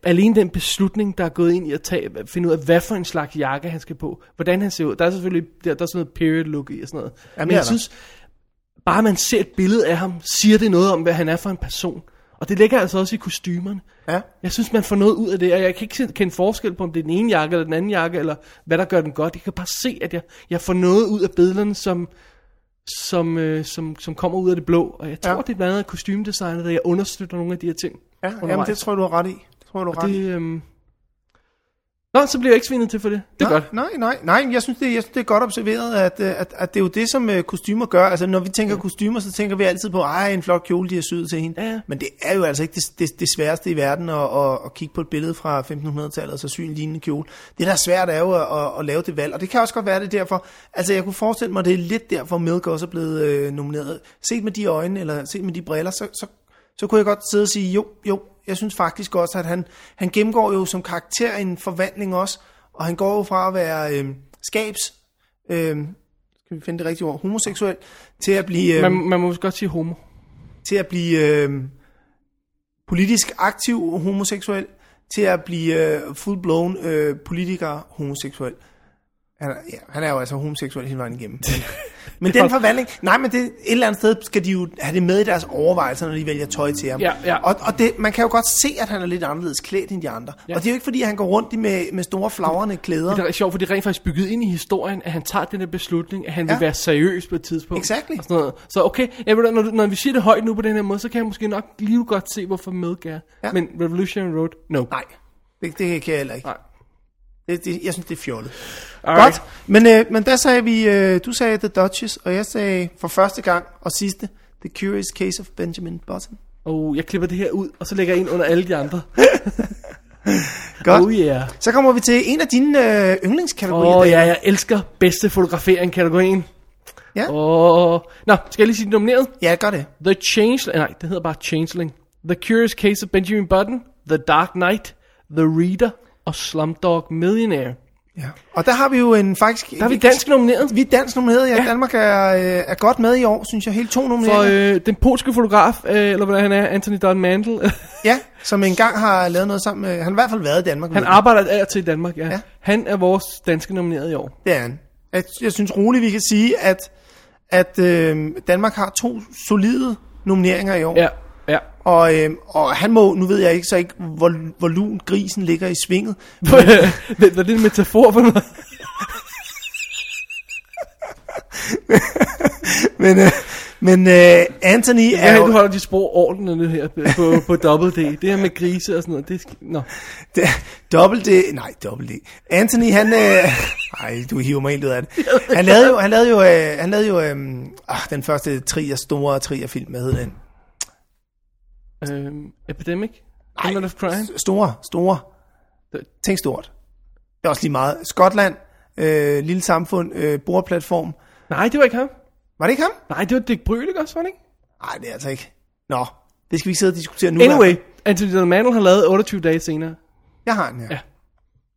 [SPEAKER 3] alene den beslutning, der er gået ind i at tage, at finde ud af, hvad for en slags jakke han skal på, hvordan han ser ud. Der er selvfølgelig der, der er sådan noget period look i og sådan noget.
[SPEAKER 2] Jamen,
[SPEAKER 3] Men
[SPEAKER 2] det
[SPEAKER 3] jeg
[SPEAKER 2] er der.
[SPEAKER 3] synes, bare man ser et billede af ham, siger det noget om, hvad han er for en person. Og det ligger altså også i kostymerne.
[SPEAKER 2] Ja.
[SPEAKER 3] Jeg synes, man får noget ud af det, og jeg kan ikke se- kende forskel på, om det er den ene jakke eller den anden jakke, eller hvad der gør den godt. Jeg kan bare se, at jeg, jeg får noget ud af billederne, som, som, øh, som, som kommer ud af det blå. Og jeg tror, ja.
[SPEAKER 2] Ja.
[SPEAKER 3] det er blandt andet kostymedesignet, der jeg understøtter nogle af de her ting.
[SPEAKER 2] Ja, jamen,
[SPEAKER 3] undervejs.
[SPEAKER 2] det tror jeg, du har ret i. Det tror jeg, du har ret i.
[SPEAKER 3] Det, øhm... Nå, så bliver jeg ikke svinet til for det. Det er
[SPEAKER 2] nej,
[SPEAKER 3] godt.
[SPEAKER 2] nej, nej, nej, jeg synes, det, jeg synes, det er godt observeret, at, øh, at, at det er jo det, som øh, kostymer gør. Altså, når vi tænker kostymer, så tænker vi altid på, ej, en flot kjole, de har syet til hende.
[SPEAKER 3] Ja, ja.
[SPEAKER 2] Men det er jo altså ikke det, det, det sværeste i verden at, at, at kigge på et billede fra 1500-tallet og så sy en lignende kjole. Det, der er svært, er jo at, at, at lave det valg, og det kan også godt være, det er derfor. Altså, jeg kunne forestille mig, det er lidt derfor, Milk også er blevet øh, nomineret. Set med de øjne, eller set med de briller, så, så, så kunne jeg godt sidde og sige, jo, jo, jeg synes faktisk også, at han, han gennemgår jo som karakter en forvandling også, og han går jo fra at være øh, skabs... Øh, skal vi finde det rigtige ord? Homoseksuel, til at blive... Øh,
[SPEAKER 3] Man, man må også godt sige homo.
[SPEAKER 2] til at blive øh, politisk aktiv homoseksuel, til at blive øh, full-blown øh, politiker homoseksuel. Han er, ja, han er jo altså homoseksuel hele vejen
[SPEAKER 3] (laughs)
[SPEAKER 2] igennem. men den forvandling, nej, men det, et eller andet sted skal de jo have det med i deres overvejelser, når de vælger tøj til ham.
[SPEAKER 3] Ja, ja.
[SPEAKER 2] Og, og det, man kan jo godt se, at han er lidt anderledes klædt end de andre. Ja. Og det er jo ikke, fordi han går rundt i med, med store flagrende klæder.
[SPEAKER 3] Det er sjovt, for det er rent faktisk bygget ind i historien, at han tager den der beslutning, at han ja. vil
[SPEAKER 2] Ja.
[SPEAKER 3] være seriøs på et tidspunkt.
[SPEAKER 2] Exactly.
[SPEAKER 3] Og sådan noget. Så okay, jeg ved, da, når, du- når vi siger det højt nu på den her måde, så kan jeg måske nok lige godt se, hvorfor Milk er. Ja.
[SPEAKER 2] Ja.
[SPEAKER 3] Men Revolutionary Road, no.
[SPEAKER 2] Nej, det, det kan jeg heller ikke.
[SPEAKER 3] Nej.
[SPEAKER 2] Det, det, jeg synes, det er fjollet.
[SPEAKER 3] Alright.
[SPEAKER 2] Godt, men, øh, men der sagde vi, øh, du sagde The Duchess, og jeg sagde for første gang og sidste, The Curious Case of Benjamin Button.
[SPEAKER 3] Og jeg klipper det her ud, og så lægger jeg ind under alle de andre.
[SPEAKER 2] Godt.
[SPEAKER 3] Oh yeah.
[SPEAKER 2] Så kommer vi til en af dine øh, yndlingskategorier.
[SPEAKER 3] Åh oh, ja,
[SPEAKER 2] Daniel.
[SPEAKER 3] jeg elsker bedste fotografering-kategorien.
[SPEAKER 2] Ja.
[SPEAKER 3] Åh. Oh. Nå, skal jeg lige sige det nomineret?
[SPEAKER 2] ja, gør det.
[SPEAKER 3] The Changeling, nej, det hedder bare Changeling. The Curious Case of Benjamin Button, The Dark Knight, The Reader og Slumdog Millionaire.
[SPEAKER 2] Ja. Og der har vi jo en faktisk...
[SPEAKER 3] Der er vi dansk nomineret.
[SPEAKER 2] Vi er dansk nomineret, ja. ja. Danmark er, øh, er godt med i år, synes jeg. Helt to
[SPEAKER 3] For
[SPEAKER 2] nomineringer.
[SPEAKER 3] øh, den polske fotograf, øh, eller hvad han er, Anthony Don Mandel, (laughs)
[SPEAKER 2] Ja, som engang har lavet noget sammen med... Han har i hvert fald været i Danmark.
[SPEAKER 3] han
[SPEAKER 2] ved jeg.
[SPEAKER 3] arbejder af og til i Danmark, ja. ja.
[SPEAKER 2] Ja.
[SPEAKER 3] Han er vores danske nomineret i år.
[SPEAKER 2] Det er han. Jeg, jeg synes roligt, vi kan sige, at, at øh, Danmark har to solide nomineringer i år.
[SPEAKER 3] Ja, ja. (laughs)
[SPEAKER 2] Og, øh, og han må, nu ved jeg ikke så ikke, hvor, hvor lun grisen ligger i svinget.
[SPEAKER 3] Hvad var det en metafor for noget?
[SPEAKER 2] Men, øh, Men øh, Anthony
[SPEAKER 3] Ja,
[SPEAKER 2] er (laughs)
[SPEAKER 3] du
[SPEAKER 2] jo,
[SPEAKER 3] holder de sprog ordentligt her på, på dobbelt D. Det her med grise og sådan noget, det skal... Nå.
[SPEAKER 2] dobbelt D, nej, dobbelt D. Anthony, han, øh, nej, du hiver mig helt ud af det. Han lavede jo, han lavede jo, øh, han lavede jo øh, ah, den første trier, store trier film, hvad hed den?
[SPEAKER 3] Øhm, Epidemic? Element of Crime?
[SPEAKER 2] Store, store. Tænk stort. Det er også lige meget. Skotland, øh, lille samfund, øh, boreplatform.
[SPEAKER 3] Nej, det var ikke ham.
[SPEAKER 2] Var det ikke ham?
[SPEAKER 3] Nej, det var Dick Bryl, ikke også, var det ikke?
[SPEAKER 2] Nej, det er altså ikke. Nå, det skal vi ikke sidde og diskutere nu.
[SPEAKER 3] Anyway, Anthony Delmano har lavet 28 dage senere.
[SPEAKER 2] Jeg har den her.
[SPEAKER 3] Ja.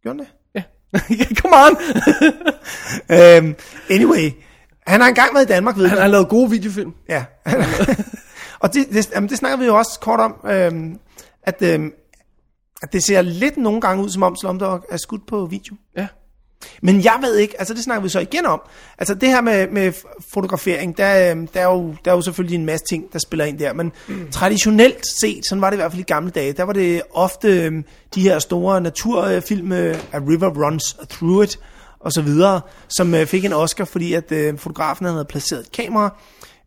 [SPEAKER 2] Gjorde den det?
[SPEAKER 3] (laughs) Ja. Come on!
[SPEAKER 2] Øhm, anyway, han har engang været i Danmark, ved
[SPEAKER 3] Han
[SPEAKER 2] jeg.
[SPEAKER 3] har lavet gode videofilm.
[SPEAKER 2] Ja. (laughs) og det, det, jamen, det snakker vi jo også kort om, øhm, at, øhm, at det ser lidt nogle gange ud, som om Slumdog er skudt på video.
[SPEAKER 3] Ja.
[SPEAKER 2] Men jeg ved ikke, altså det snakker vi så igen om. Altså det her med, med fotografering, der, øhm, der, er jo, der er jo selvfølgelig en masse ting, der spiller ind der. Men mm. traditionelt set, sådan var det i hvert fald i gamle dage, der var det ofte øhm, de her store naturfilm, øh, A River Runs Through It, og så videre, som øh, fik en Oscar, fordi at øh, fotografen havde placeret et kamera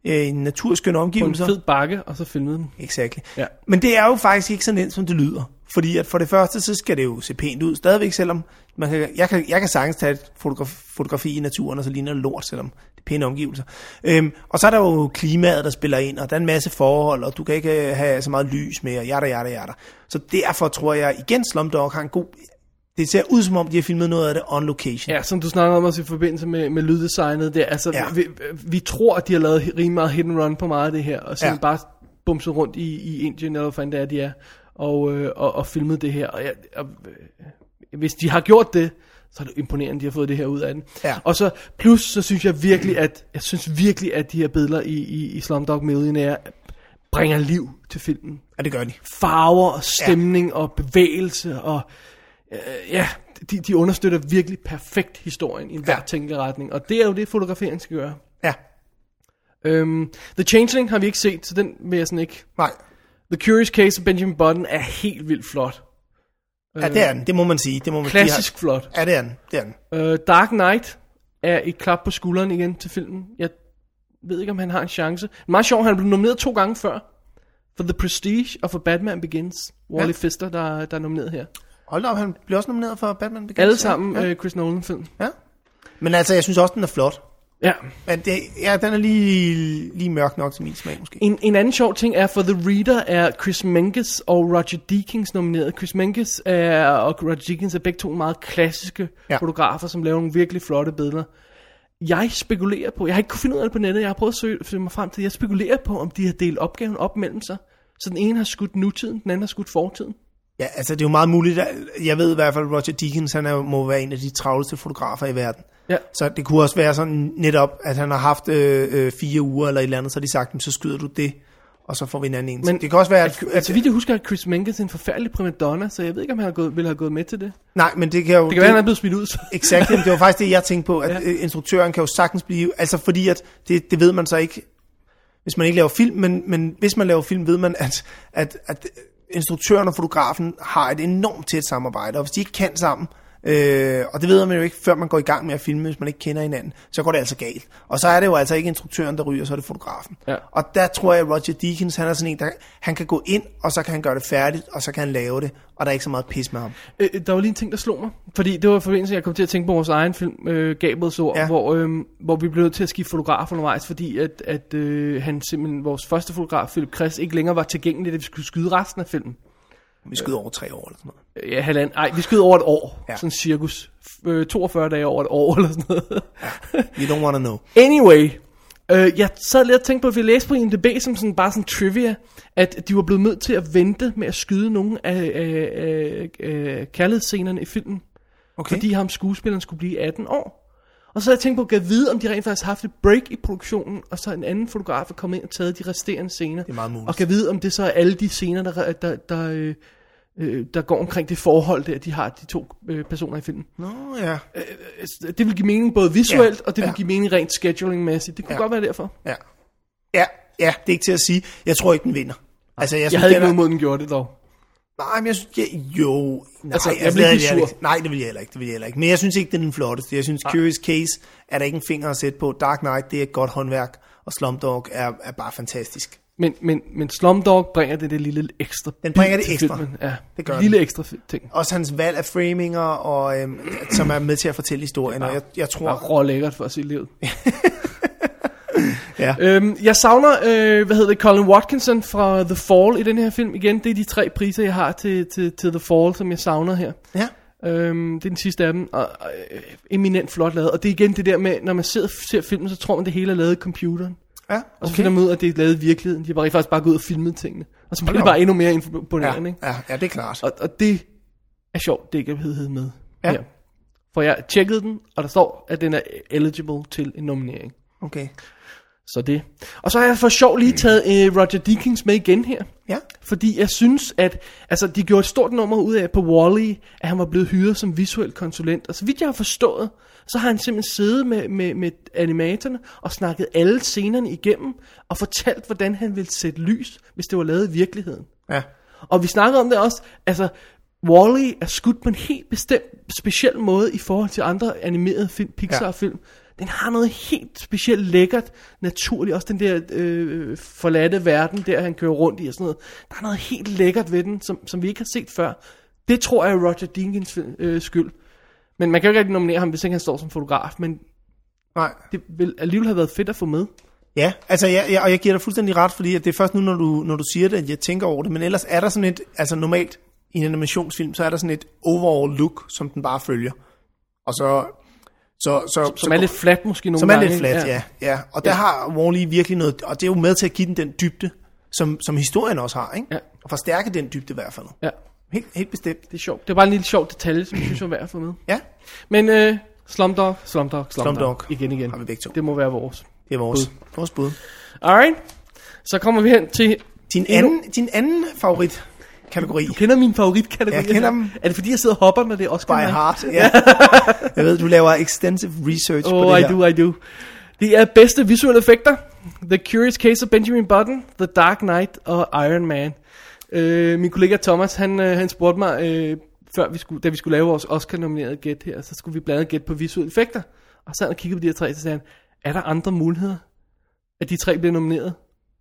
[SPEAKER 2] øh, i en naturskøn
[SPEAKER 3] På en
[SPEAKER 2] omgivelser.
[SPEAKER 3] fed bakke, og så filmede den.
[SPEAKER 2] Exactly.
[SPEAKER 3] Ja.
[SPEAKER 2] Men det er jo faktisk ikke så nemt, som det lyder. Fordi at for det første, så skal det jo se pænt ud stadigvæk, selvom man kan, jeg, kan, jeg kan sagtens tage et fotografi, fotografi i naturen, og så ligner det lort, selvom det er pæne omgivelser. Øhm, og så er der jo klimaet, der spiller ind, og der er en masse forhold, og du kan ikke øh, have så meget lys med, og jada, jada, jada. Så derfor tror jeg igen, Slumdog har en god... Det ser ud som om, de har filmet noget af det on location.
[SPEAKER 3] Ja, som du snakker om også i forbindelse med, med lyddesignet der. Altså,
[SPEAKER 2] Ja.
[SPEAKER 3] ja. vi, vi tror, at de har lavet rimelig meget hit and run på meget af det her, og så
[SPEAKER 2] Ja.
[SPEAKER 3] ja. bare bumset rundt i, i Indien, eller hvad fanden det er, de er, og, øh, og, og filmet det her. Og, jeg, og, øh, hvis de har gjort det, så er det imponerende, at de har fået det her ud af den.
[SPEAKER 2] Ja.
[SPEAKER 3] Og så plus, så synes jeg virkelig, at jeg synes virkelig, at de her billeder i, i, i Slumdog Millionaire bringer liv til filmen
[SPEAKER 2] Og det gør de.
[SPEAKER 3] farver og stemning ja. og bevægelse og øh, ja, de, de understøtter virkelig perfekt historien i
[SPEAKER 2] Ja.
[SPEAKER 3] hver ja. tænkelig retning, og det er jo det, fotografering skal gøre.
[SPEAKER 2] Ja,
[SPEAKER 3] Øhm, The Changeling har vi ikke set, så den vil jeg sådan ikke.
[SPEAKER 2] nej.
[SPEAKER 3] The Curious Case of Benjamin Button er helt vildt flot.
[SPEAKER 2] Ja, det er den. Det må man sige. Det må man de har-
[SPEAKER 3] Øh, Klassisk flot.
[SPEAKER 2] Ja, det er den. Det er den.
[SPEAKER 3] Øh, Dark Knight er et klap på skulderen igen til filmen. Jeg ved ikke, om han har en chance. Meget sjovt, han blev nomineret to gange før. For The Prestige og for Batman Begins. Wally
[SPEAKER 2] Ja.
[SPEAKER 3] ja. Fister, der, der er nomineret her.
[SPEAKER 2] Hold da op, han blev også nomineret for Batman Begins.
[SPEAKER 3] Alle
[SPEAKER 2] ja.
[SPEAKER 3] sammen øh, Chris Nolan-film.
[SPEAKER 2] Ja. Men altså, jeg synes også, den er flot.
[SPEAKER 3] Ja.
[SPEAKER 2] Men det, ja, den er lige, lige mørk nok til min smag, måske.
[SPEAKER 3] En, en anden sjov ting er, for The Reader er Chris Menges og Roger Deakins nomineret. Chris Menges er, og Roger Deakins er begge to meget klassiske
[SPEAKER 2] Ja.
[SPEAKER 3] ja. fotografer, som laver nogle virkelig flotte billeder. Jeg spekulerer på, jeg har ikke kunnet finde ud af det på nettet, jeg har prøvet at søge, finde mig frem til, jeg spekulerer på, om de har delt opgaven op mellem sig. Så den ene har skudt nutiden, den anden har skudt fortiden.
[SPEAKER 2] Ja, altså, det er jo meget muligt. at- Jeg ved i hvert fald, at Roger Deakins, han er, jo- må være en af de travleste fotografer i verden.
[SPEAKER 3] Ja.
[SPEAKER 2] Så det kunne også være sådan netop, at han har haft øh, øh, fire uger eller et eller andet, så har de sagt, "Men så skyder du det, og så får vi en anden en. Men,
[SPEAKER 3] Men-
[SPEAKER 2] det kan også være, at,
[SPEAKER 3] Altså, altså vidt jeg husker, at Chris Menges er en forfærdelig primadonna, så jeg ved ikke, om han har gået, ville have gået med til det. Det
[SPEAKER 2] nej, men det kan jo...
[SPEAKER 3] kan være, han er blevet smidt ud. Så.
[SPEAKER 2] Exakt, det var faktisk det, jeg tænkte på, at ja. instruktøren kan jo sagtens blive, altså fordi at, det, det ved man så ikke, hvis man ikke laver film, men, men hvis man laver film, ved man, at, at, at instruktøren og fotografen har et enormt tæt samarbejde, og hvis de ikke kan sammen, øh, og det ved man jo ikke, før man går i gang med at filme, hvis man ikke kender hinanden, så går det altså galt. Og så er det jo altså ikke instruktøren, der ryger, så er det fotografen.
[SPEAKER 3] Ja.
[SPEAKER 2] Og der tror jeg, at Roger Deakins, han er sådan en, der, han kan gå ind, og så kan han gøre det færdigt, og så kan han lave det, og der er ikke så meget pis med ham.
[SPEAKER 3] Øh, der var lige en ting, der slog mig. Fordi det var i forbindelse, jeg kom til at tænke på vores egen film, øh, Gabels ord,
[SPEAKER 2] Ja.
[SPEAKER 3] ja. hvor, øh, hvor vi blev nødt til at skifte fotograf undervejs, fordi at, at øh, han simpelthen, vores første fotograf, Philip Kress, ikke længere var tilgængelig, da vi skulle skyde resten af filmen.
[SPEAKER 2] Vi skyder over tre år eller sådan noget.
[SPEAKER 3] Øh, Ja, halvand. Ej, vi skød over et år.
[SPEAKER 2] Ja.
[SPEAKER 3] Ja. Sådan cirkus. F- Øh, 42 dage over et år, (laughs) eller sådan noget.
[SPEAKER 2] You don't wanna know.
[SPEAKER 3] Anyway, øh, jeg sad lidt og tænkte på, at vi læste på IMDb som sådan, bare sådan trivia, at de var blevet nødt til at vente med at skyde nogle af, af, af, af kærlighedsscenerne i filmen,
[SPEAKER 2] Okay.
[SPEAKER 3] fordi ham skuespilleren skulle blive 18 år. Og så havde jeg tænkt på, at jeg vide, om de rent faktisk har haft et break i produktionen, og så en anden fotograf er kommet ind og taget de resterende scener. Det
[SPEAKER 2] er meget muligt.
[SPEAKER 3] Og kan vide, om det så er alle de scener, der, der, der, øh, øh, der går omkring det forhold, der de har, de to øh, personer i filmen. Øh,
[SPEAKER 2] Nå ja,
[SPEAKER 3] Det vil give mening både visuelt,
[SPEAKER 2] øh, Ja,
[SPEAKER 3] ja, og det vil
[SPEAKER 2] ja.
[SPEAKER 3] ja. give mening rent scheduling-mæssigt. Det
[SPEAKER 2] Ja. Altså,
[SPEAKER 3] kunne ja. godt være derfor.
[SPEAKER 2] ja. Ja, ja, det er ikke til at sige. Jeg tror ikke, den vinder. Altså, jeg, synes,
[SPEAKER 3] Jeg havde
[SPEAKER 2] den
[SPEAKER 3] ikke noget
[SPEAKER 2] er...
[SPEAKER 3] imod, den gjorde det dog.
[SPEAKER 2] Nej, men jeg synes... Jeg... Jo... Nej,
[SPEAKER 3] Altså, jeg
[SPEAKER 2] altså,
[SPEAKER 3] blev
[SPEAKER 2] det
[SPEAKER 3] ikke
[SPEAKER 2] jeg
[SPEAKER 3] sur.
[SPEAKER 2] ikke. Nej, det vil jeg heller ikke. Det vil jeg heller ikke. Men jeg synes ikke, det er den flotteste. Jeg synes, Curious Case er der ikke en finger at sætte på. Dark Knight, det er et godt håndværk. og Slumdog er, er bare fantastisk.
[SPEAKER 3] Men, men, men Slumdog bringer det, det lille ekstra
[SPEAKER 2] Den bringer
[SPEAKER 3] bid
[SPEAKER 2] det
[SPEAKER 3] til
[SPEAKER 2] ekstra.
[SPEAKER 3] Filmen. Ja,
[SPEAKER 2] Det gør
[SPEAKER 3] lille ekstra fi- ting.
[SPEAKER 2] Også hans valg af framinger, og, øhm, (clears throat) som er med til at fortælle historien, og jeg, jeg
[SPEAKER 3] Bare
[SPEAKER 2] tror...
[SPEAKER 3] rå lækkert for at se livet.
[SPEAKER 2] Ja.
[SPEAKER 3] (laughs) Øhm, jeg savner, øh, hvad hedder det, Colin Watkinson fra The Fall i den her film igen. Det er de tre priser, jeg har til, til, til The Fall, som jeg savner her.
[SPEAKER 2] Ja.
[SPEAKER 3] Øhm, det er den sidste af dem, og, og øh, eminent flot lavet. Og det er igen det der med, når man sidder, ser filmen, så tror man, det hele er lavet i computeren.
[SPEAKER 2] Ja,
[SPEAKER 3] Og så finder man ud af, at det er lavet i virkeligheden. De har bare rent faktisk bare gået ud og filmet tingene. Og så bliver det
[SPEAKER 2] da op.
[SPEAKER 3] bare endnu mere imponerende,
[SPEAKER 2] ja,
[SPEAKER 3] ikke?
[SPEAKER 2] ja, ja, det er klart.
[SPEAKER 3] Og, og det er sjovt, det ikke er heddet med.
[SPEAKER 2] Ja.
[SPEAKER 3] her. For jeg tjekkede den, og der står, at den er eligible til en nominering.
[SPEAKER 2] Okay.
[SPEAKER 3] Så det. Og så har jeg for sjov lige taget øh, Roger Deakins med igen her.
[SPEAKER 2] Mm. Ja,
[SPEAKER 3] Fordi jeg synes, at altså, de gjorde et stort nummer ud af på Wall-E, at han var blevet hyret som visuel konsulent. Og så vidt jeg har forstået, så har han simpelthen siddet med, med, med animatorerne og snakket alle scenerne igennem og fortalt, hvordan han ville sætte lys, hvis det var lavet i virkeligheden.
[SPEAKER 2] ja,
[SPEAKER 3] Og vi snakker om det også, altså Wall-E er skudt på en helt bestemt, speciel måde i forhold til andre animerede film, Pixar-film. Den har noget helt specielt lækkert, naturligt. Også den der øh, forladte verden, der han kører rundt i og sådan noget. Der er noget helt lækkert ved den, som, som vi ikke har set før. Det tror jeg er Roger Dinkins øh, skyld. Men man kan jo ikke rigtig nominere ham, hvis ikke han står som fotograf. Men
[SPEAKER 2] nej.
[SPEAKER 3] det vil alligevel have været fedt at få med.
[SPEAKER 2] Ja, altså ja, ja, og jeg giver dig fuldstændig ret, fordi at det er først nu, når du, når du siger det, at jeg tænker over det, men ellers er der sådan et, altså normalt i en animationsfilm, så er der sådan et overall look, som den bare følger. Og så... så, så
[SPEAKER 3] Som
[SPEAKER 2] så,
[SPEAKER 3] er lidt flat måske nogle
[SPEAKER 2] Som er
[SPEAKER 3] gange.
[SPEAKER 2] lidt
[SPEAKER 3] ikke?
[SPEAKER 2] flat, ja. ja. ja. Og der ja. har Wall-E virkelig noget, og det er jo med til at give den den dybde, som, som historien også har, ikke?
[SPEAKER 3] Ja.
[SPEAKER 2] Og forstærke den dybde i hvert fald.
[SPEAKER 3] ja.
[SPEAKER 2] Helt, helt bestemt.
[SPEAKER 3] Det er sjovt. Det er bare en lille sjov detalje, som jeg synes var værd at få med.
[SPEAKER 2] Ja,
[SPEAKER 3] Men øh, Slumdog, Slumdog, Slumdog,
[SPEAKER 2] Slumdog.
[SPEAKER 3] igen igen.
[SPEAKER 2] Har vi begge to.
[SPEAKER 3] Det må være vores.
[SPEAKER 2] det er vores bud. Vores bud.
[SPEAKER 3] Alright, så kommer vi hen til...
[SPEAKER 2] Din, anden, din anden favorit kategori
[SPEAKER 3] Du kender min favoritkategori. Altså,
[SPEAKER 2] Jeg kender dem.
[SPEAKER 3] Er det fordi, jeg sidder og hopper, når det er Oscar?
[SPEAKER 2] by
[SPEAKER 3] night?
[SPEAKER 2] heart. (laughs) Ja. jeg ved, du laver extensive research på
[SPEAKER 3] Oh,
[SPEAKER 2] det
[SPEAKER 3] I
[SPEAKER 2] her.
[SPEAKER 3] do, I do. Det er bedste visuelle effekter. The Curious Case of Benjamin Button, The Dark Knight og Iron Man. Øh, min kollega Thomas, han, øh, han spurgte mig, øh, før vi skulle, da vi skulle lave vores Oscar-nominerede gæt her, så skulle vi blandt andet gætte på visuelle effekter. Og så sad han og kiggede på de her tre, så sagde han, er der andre muligheder, at de tre bliver nomineret,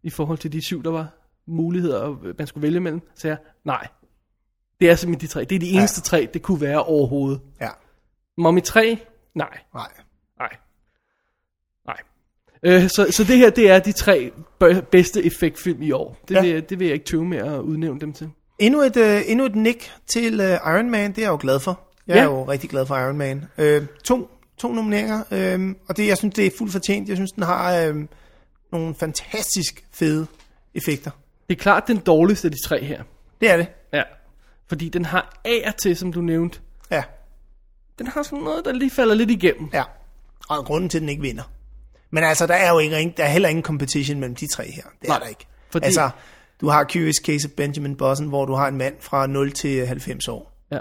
[SPEAKER 3] i forhold til de syv, der var muligheder, og øh, man skulle vælge mellem? Så sagde jeg, nej. Det er simpelthen de tre. Det er de eneste ja. tre, det kunne være overhovedet.
[SPEAKER 2] Ja,
[SPEAKER 3] Mommy 3? Nej.
[SPEAKER 2] nej.
[SPEAKER 3] Nej. Nej. Øh, så, så det her, det er de tre bø- bedste effektfilm i år. Det,
[SPEAKER 2] Ja.
[SPEAKER 3] ja. vil, jeg- det vil jeg ikke tøve med at udnævne dem til.
[SPEAKER 2] Endnu et, øh, endnu et nick til øh, Iron Man, det er jeg jo glad for. Jeg ja.
[SPEAKER 3] Ja.
[SPEAKER 2] er jo rigtig glad for Iron Man. Øh, to, to nomineringer, øh, og det, jeg synes, det er fuldt fortjent. Jeg synes, den har øh, nogle fantastisk fede effekter.
[SPEAKER 3] Det er klart den dårligste af de tre her.
[SPEAKER 2] Det er det,
[SPEAKER 3] Ja. Fordi den har af og til, som du nævnte,
[SPEAKER 2] ja.
[SPEAKER 3] den har sådan noget, der lige falder lidt igennem.
[SPEAKER 2] ja. Og grunden til, at den ikke vinder. Men altså, der er jo ikke, der er heller ingen competition mellem de tre her. Det er
[SPEAKER 3] Nej,
[SPEAKER 2] der ikke. Fordi...
[SPEAKER 3] fordi-
[SPEAKER 2] Altså, du har Curious Case of Benjamin Bossen, hvor du har en mand fra 0 til 90 år,
[SPEAKER 3] Ja.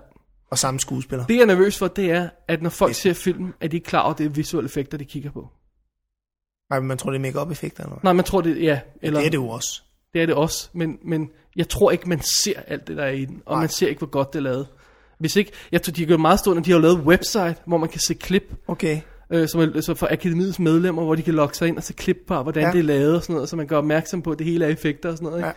[SPEAKER 2] og samme skuespiller.
[SPEAKER 3] Det jeg er nervøs for, det er, at når folk ser filmen, er de ikke klar over, at det er visuelle effekter, de kigger på.
[SPEAKER 2] Nej, men man tror, det er make-up effekter eller hvad?
[SPEAKER 3] Nej, man tror det, ja. Eller,
[SPEAKER 2] Det er det jo også.
[SPEAKER 3] Det er det også, men, men jeg tror ikke, man ser alt det, der er i den, og Nej. man ser ikke, hvor godt det er lavet. Hvis ikke, jeg tror, de har gjort meget stående, de har jo lavet en website, hvor man kan se klip,
[SPEAKER 2] Okay.
[SPEAKER 3] øh, som er, så for akademiets medlemmer, hvor de kan logge sig ind og se klip på, hvordan
[SPEAKER 2] Ja.
[SPEAKER 3] ja. det er lavet og sådan noget, så man gør opmærksom på, at det hele er effekter og sådan noget. Ikke?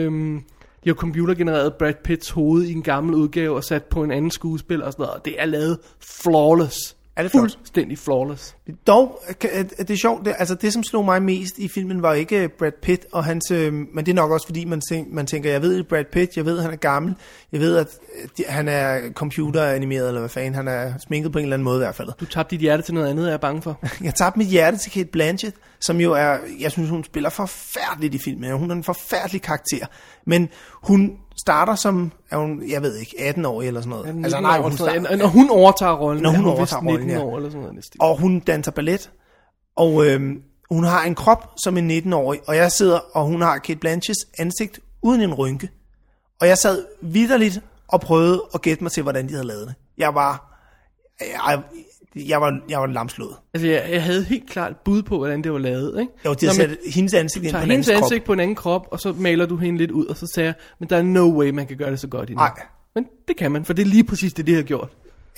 [SPEAKER 3] Ja. Øhm, de har computergenereret Brad Pitts hoved i en gammel udgave og sat på en anden skuespiller og sådan noget, og det er lavet flawless.
[SPEAKER 2] Er det flot?
[SPEAKER 3] Fuldstændig flawless.
[SPEAKER 2] Dog, kan- er- er det er sjovt, det, altså det som slog mig mest i filmen var ikke øh, Brad Pitt og hans, øh, men det er nok også fordi man, tænk, man tænker, jeg ved Brad Pitt, jeg ved han er gammel, jeg ved at øh, de- han er computeranimeret eller hvad fanden, han er sminket på en eller anden måde i hvert fald.
[SPEAKER 3] Du tabte dit hjerte til noget andet, er jeg er bange for.
[SPEAKER 2] Jeg tabte mit hjerte til Kate Blanchett, som jo er, jeg synes hun spiller forfærdeligt i filmen, hun er en forfærdelig karakter, men hun starter som, er hun, jeg ved ikke, 18 år eller sådan noget. Altså nej, hun
[SPEAKER 3] Sådan
[SPEAKER 2] starter,
[SPEAKER 3] noget. når hun overtager rollen,
[SPEAKER 2] Når
[SPEAKER 3] er
[SPEAKER 2] hun
[SPEAKER 3] vist
[SPEAKER 2] overtager rollen,
[SPEAKER 3] 19
[SPEAKER 2] ja.
[SPEAKER 3] år eller sådan noget. i den stil.
[SPEAKER 2] og hun danser ballet, og øhm, hun har en krop som en 19-årig, og jeg sidder, og hun har Kate Blanchets ansigt uden en rynke. Og jeg sad vidderligt og prøvede at gætte mig til, hvordan de havde lavet det. Jeg var, jeg, jeg var, jeg var lamslået.
[SPEAKER 3] Altså, jeg, jeg havde helt klart et bud på, hvordan det var lavet, ikke?
[SPEAKER 2] Jeg var til
[SPEAKER 3] Nå,
[SPEAKER 2] at
[SPEAKER 3] men
[SPEAKER 2] sætte hendes ansigt ind på
[SPEAKER 3] tager
[SPEAKER 2] en
[SPEAKER 3] hendes
[SPEAKER 2] andens krop.
[SPEAKER 3] ansigt på en anden krop, og så maler du hende lidt ud, og så sagde jeg, men der er no way, man kan gøre det så godt endnu.
[SPEAKER 2] Nej.
[SPEAKER 3] Men det kan man, for det er lige præcis det, de har gjort.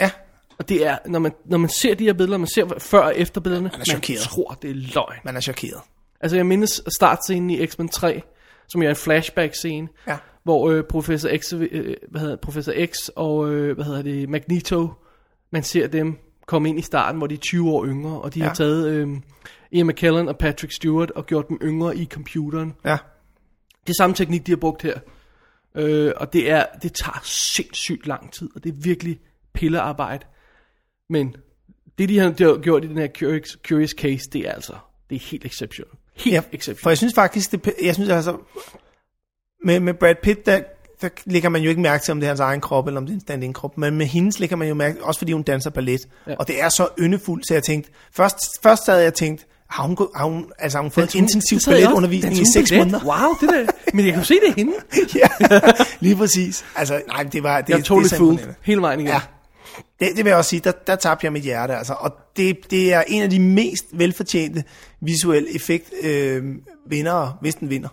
[SPEAKER 2] Ja,
[SPEAKER 3] Og det er, når man, når man ser de her billeder, man ser før og efter billederne, man
[SPEAKER 2] chokeret.
[SPEAKER 3] tror, det er løgn.
[SPEAKER 2] man er chokeret.
[SPEAKER 3] Altså jeg mindes startscenen i X-Men 3, som jo er en flashback-scene,
[SPEAKER 2] Ja.
[SPEAKER 3] hvor øh, professor, X, øh, hvad hedder, professor X og øh, hvad hedder det, Magneto, man ser dem komme ind i starten, hvor de er 20 år yngre, og de ja. har taget øh, Ian McKellen og Patrick Stewart og gjort dem yngre i computeren.
[SPEAKER 2] Ja.
[SPEAKER 3] Det er samme teknik, de har brugt her. Øh, og det, er, det tager sindssygt lang tid, og det er virkelig pillearbejde. Men det, de har der- gjort i den her Curious, curious Case, det er altså det er helt exceptionelt. Helt ja,
[SPEAKER 2] ja, for
[SPEAKER 3] exceptionelt.
[SPEAKER 2] jeg synes faktisk, det, jeg synes altså, med, med Brad Pitt, der, der lægger man jo ikke mærke til, om det er hans egen krop, eller om det er en stand krop, men med hendes lægger man jo mærke, også fordi hun danser ballet, ja. og det er så yndefuldt, så jeg tænkte, først, først sad jeg og tænkte, har hun, gået- har hun, altså, har hun fået en intensiv
[SPEAKER 3] Det sad jeg også.
[SPEAKER 2] balletundervisning i
[SPEAKER 3] Danser hun
[SPEAKER 2] seks
[SPEAKER 3] ballet?
[SPEAKER 2] måneder?
[SPEAKER 3] Wow, det der. Men jeg kan jo se, det er hende.
[SPEAKER 2] (laughs) ja, lige præcis. Altså, nej, det var... Det,
[SPEAKER 3] Jeg er totally
[SPEAKER 2] det,
[SPEAKER 3] fooled
[SPEAKER 2] imponerende.
[SPEAKER 3] hele vejen igen.
[SPEAKER 2] Ja. Det, det vil jeg også sige, der, der tabte jeg mit hjerte, altså. Og det, det er en af de mest velfortjente visuelle effekt øh, vindere, hvis den vinder,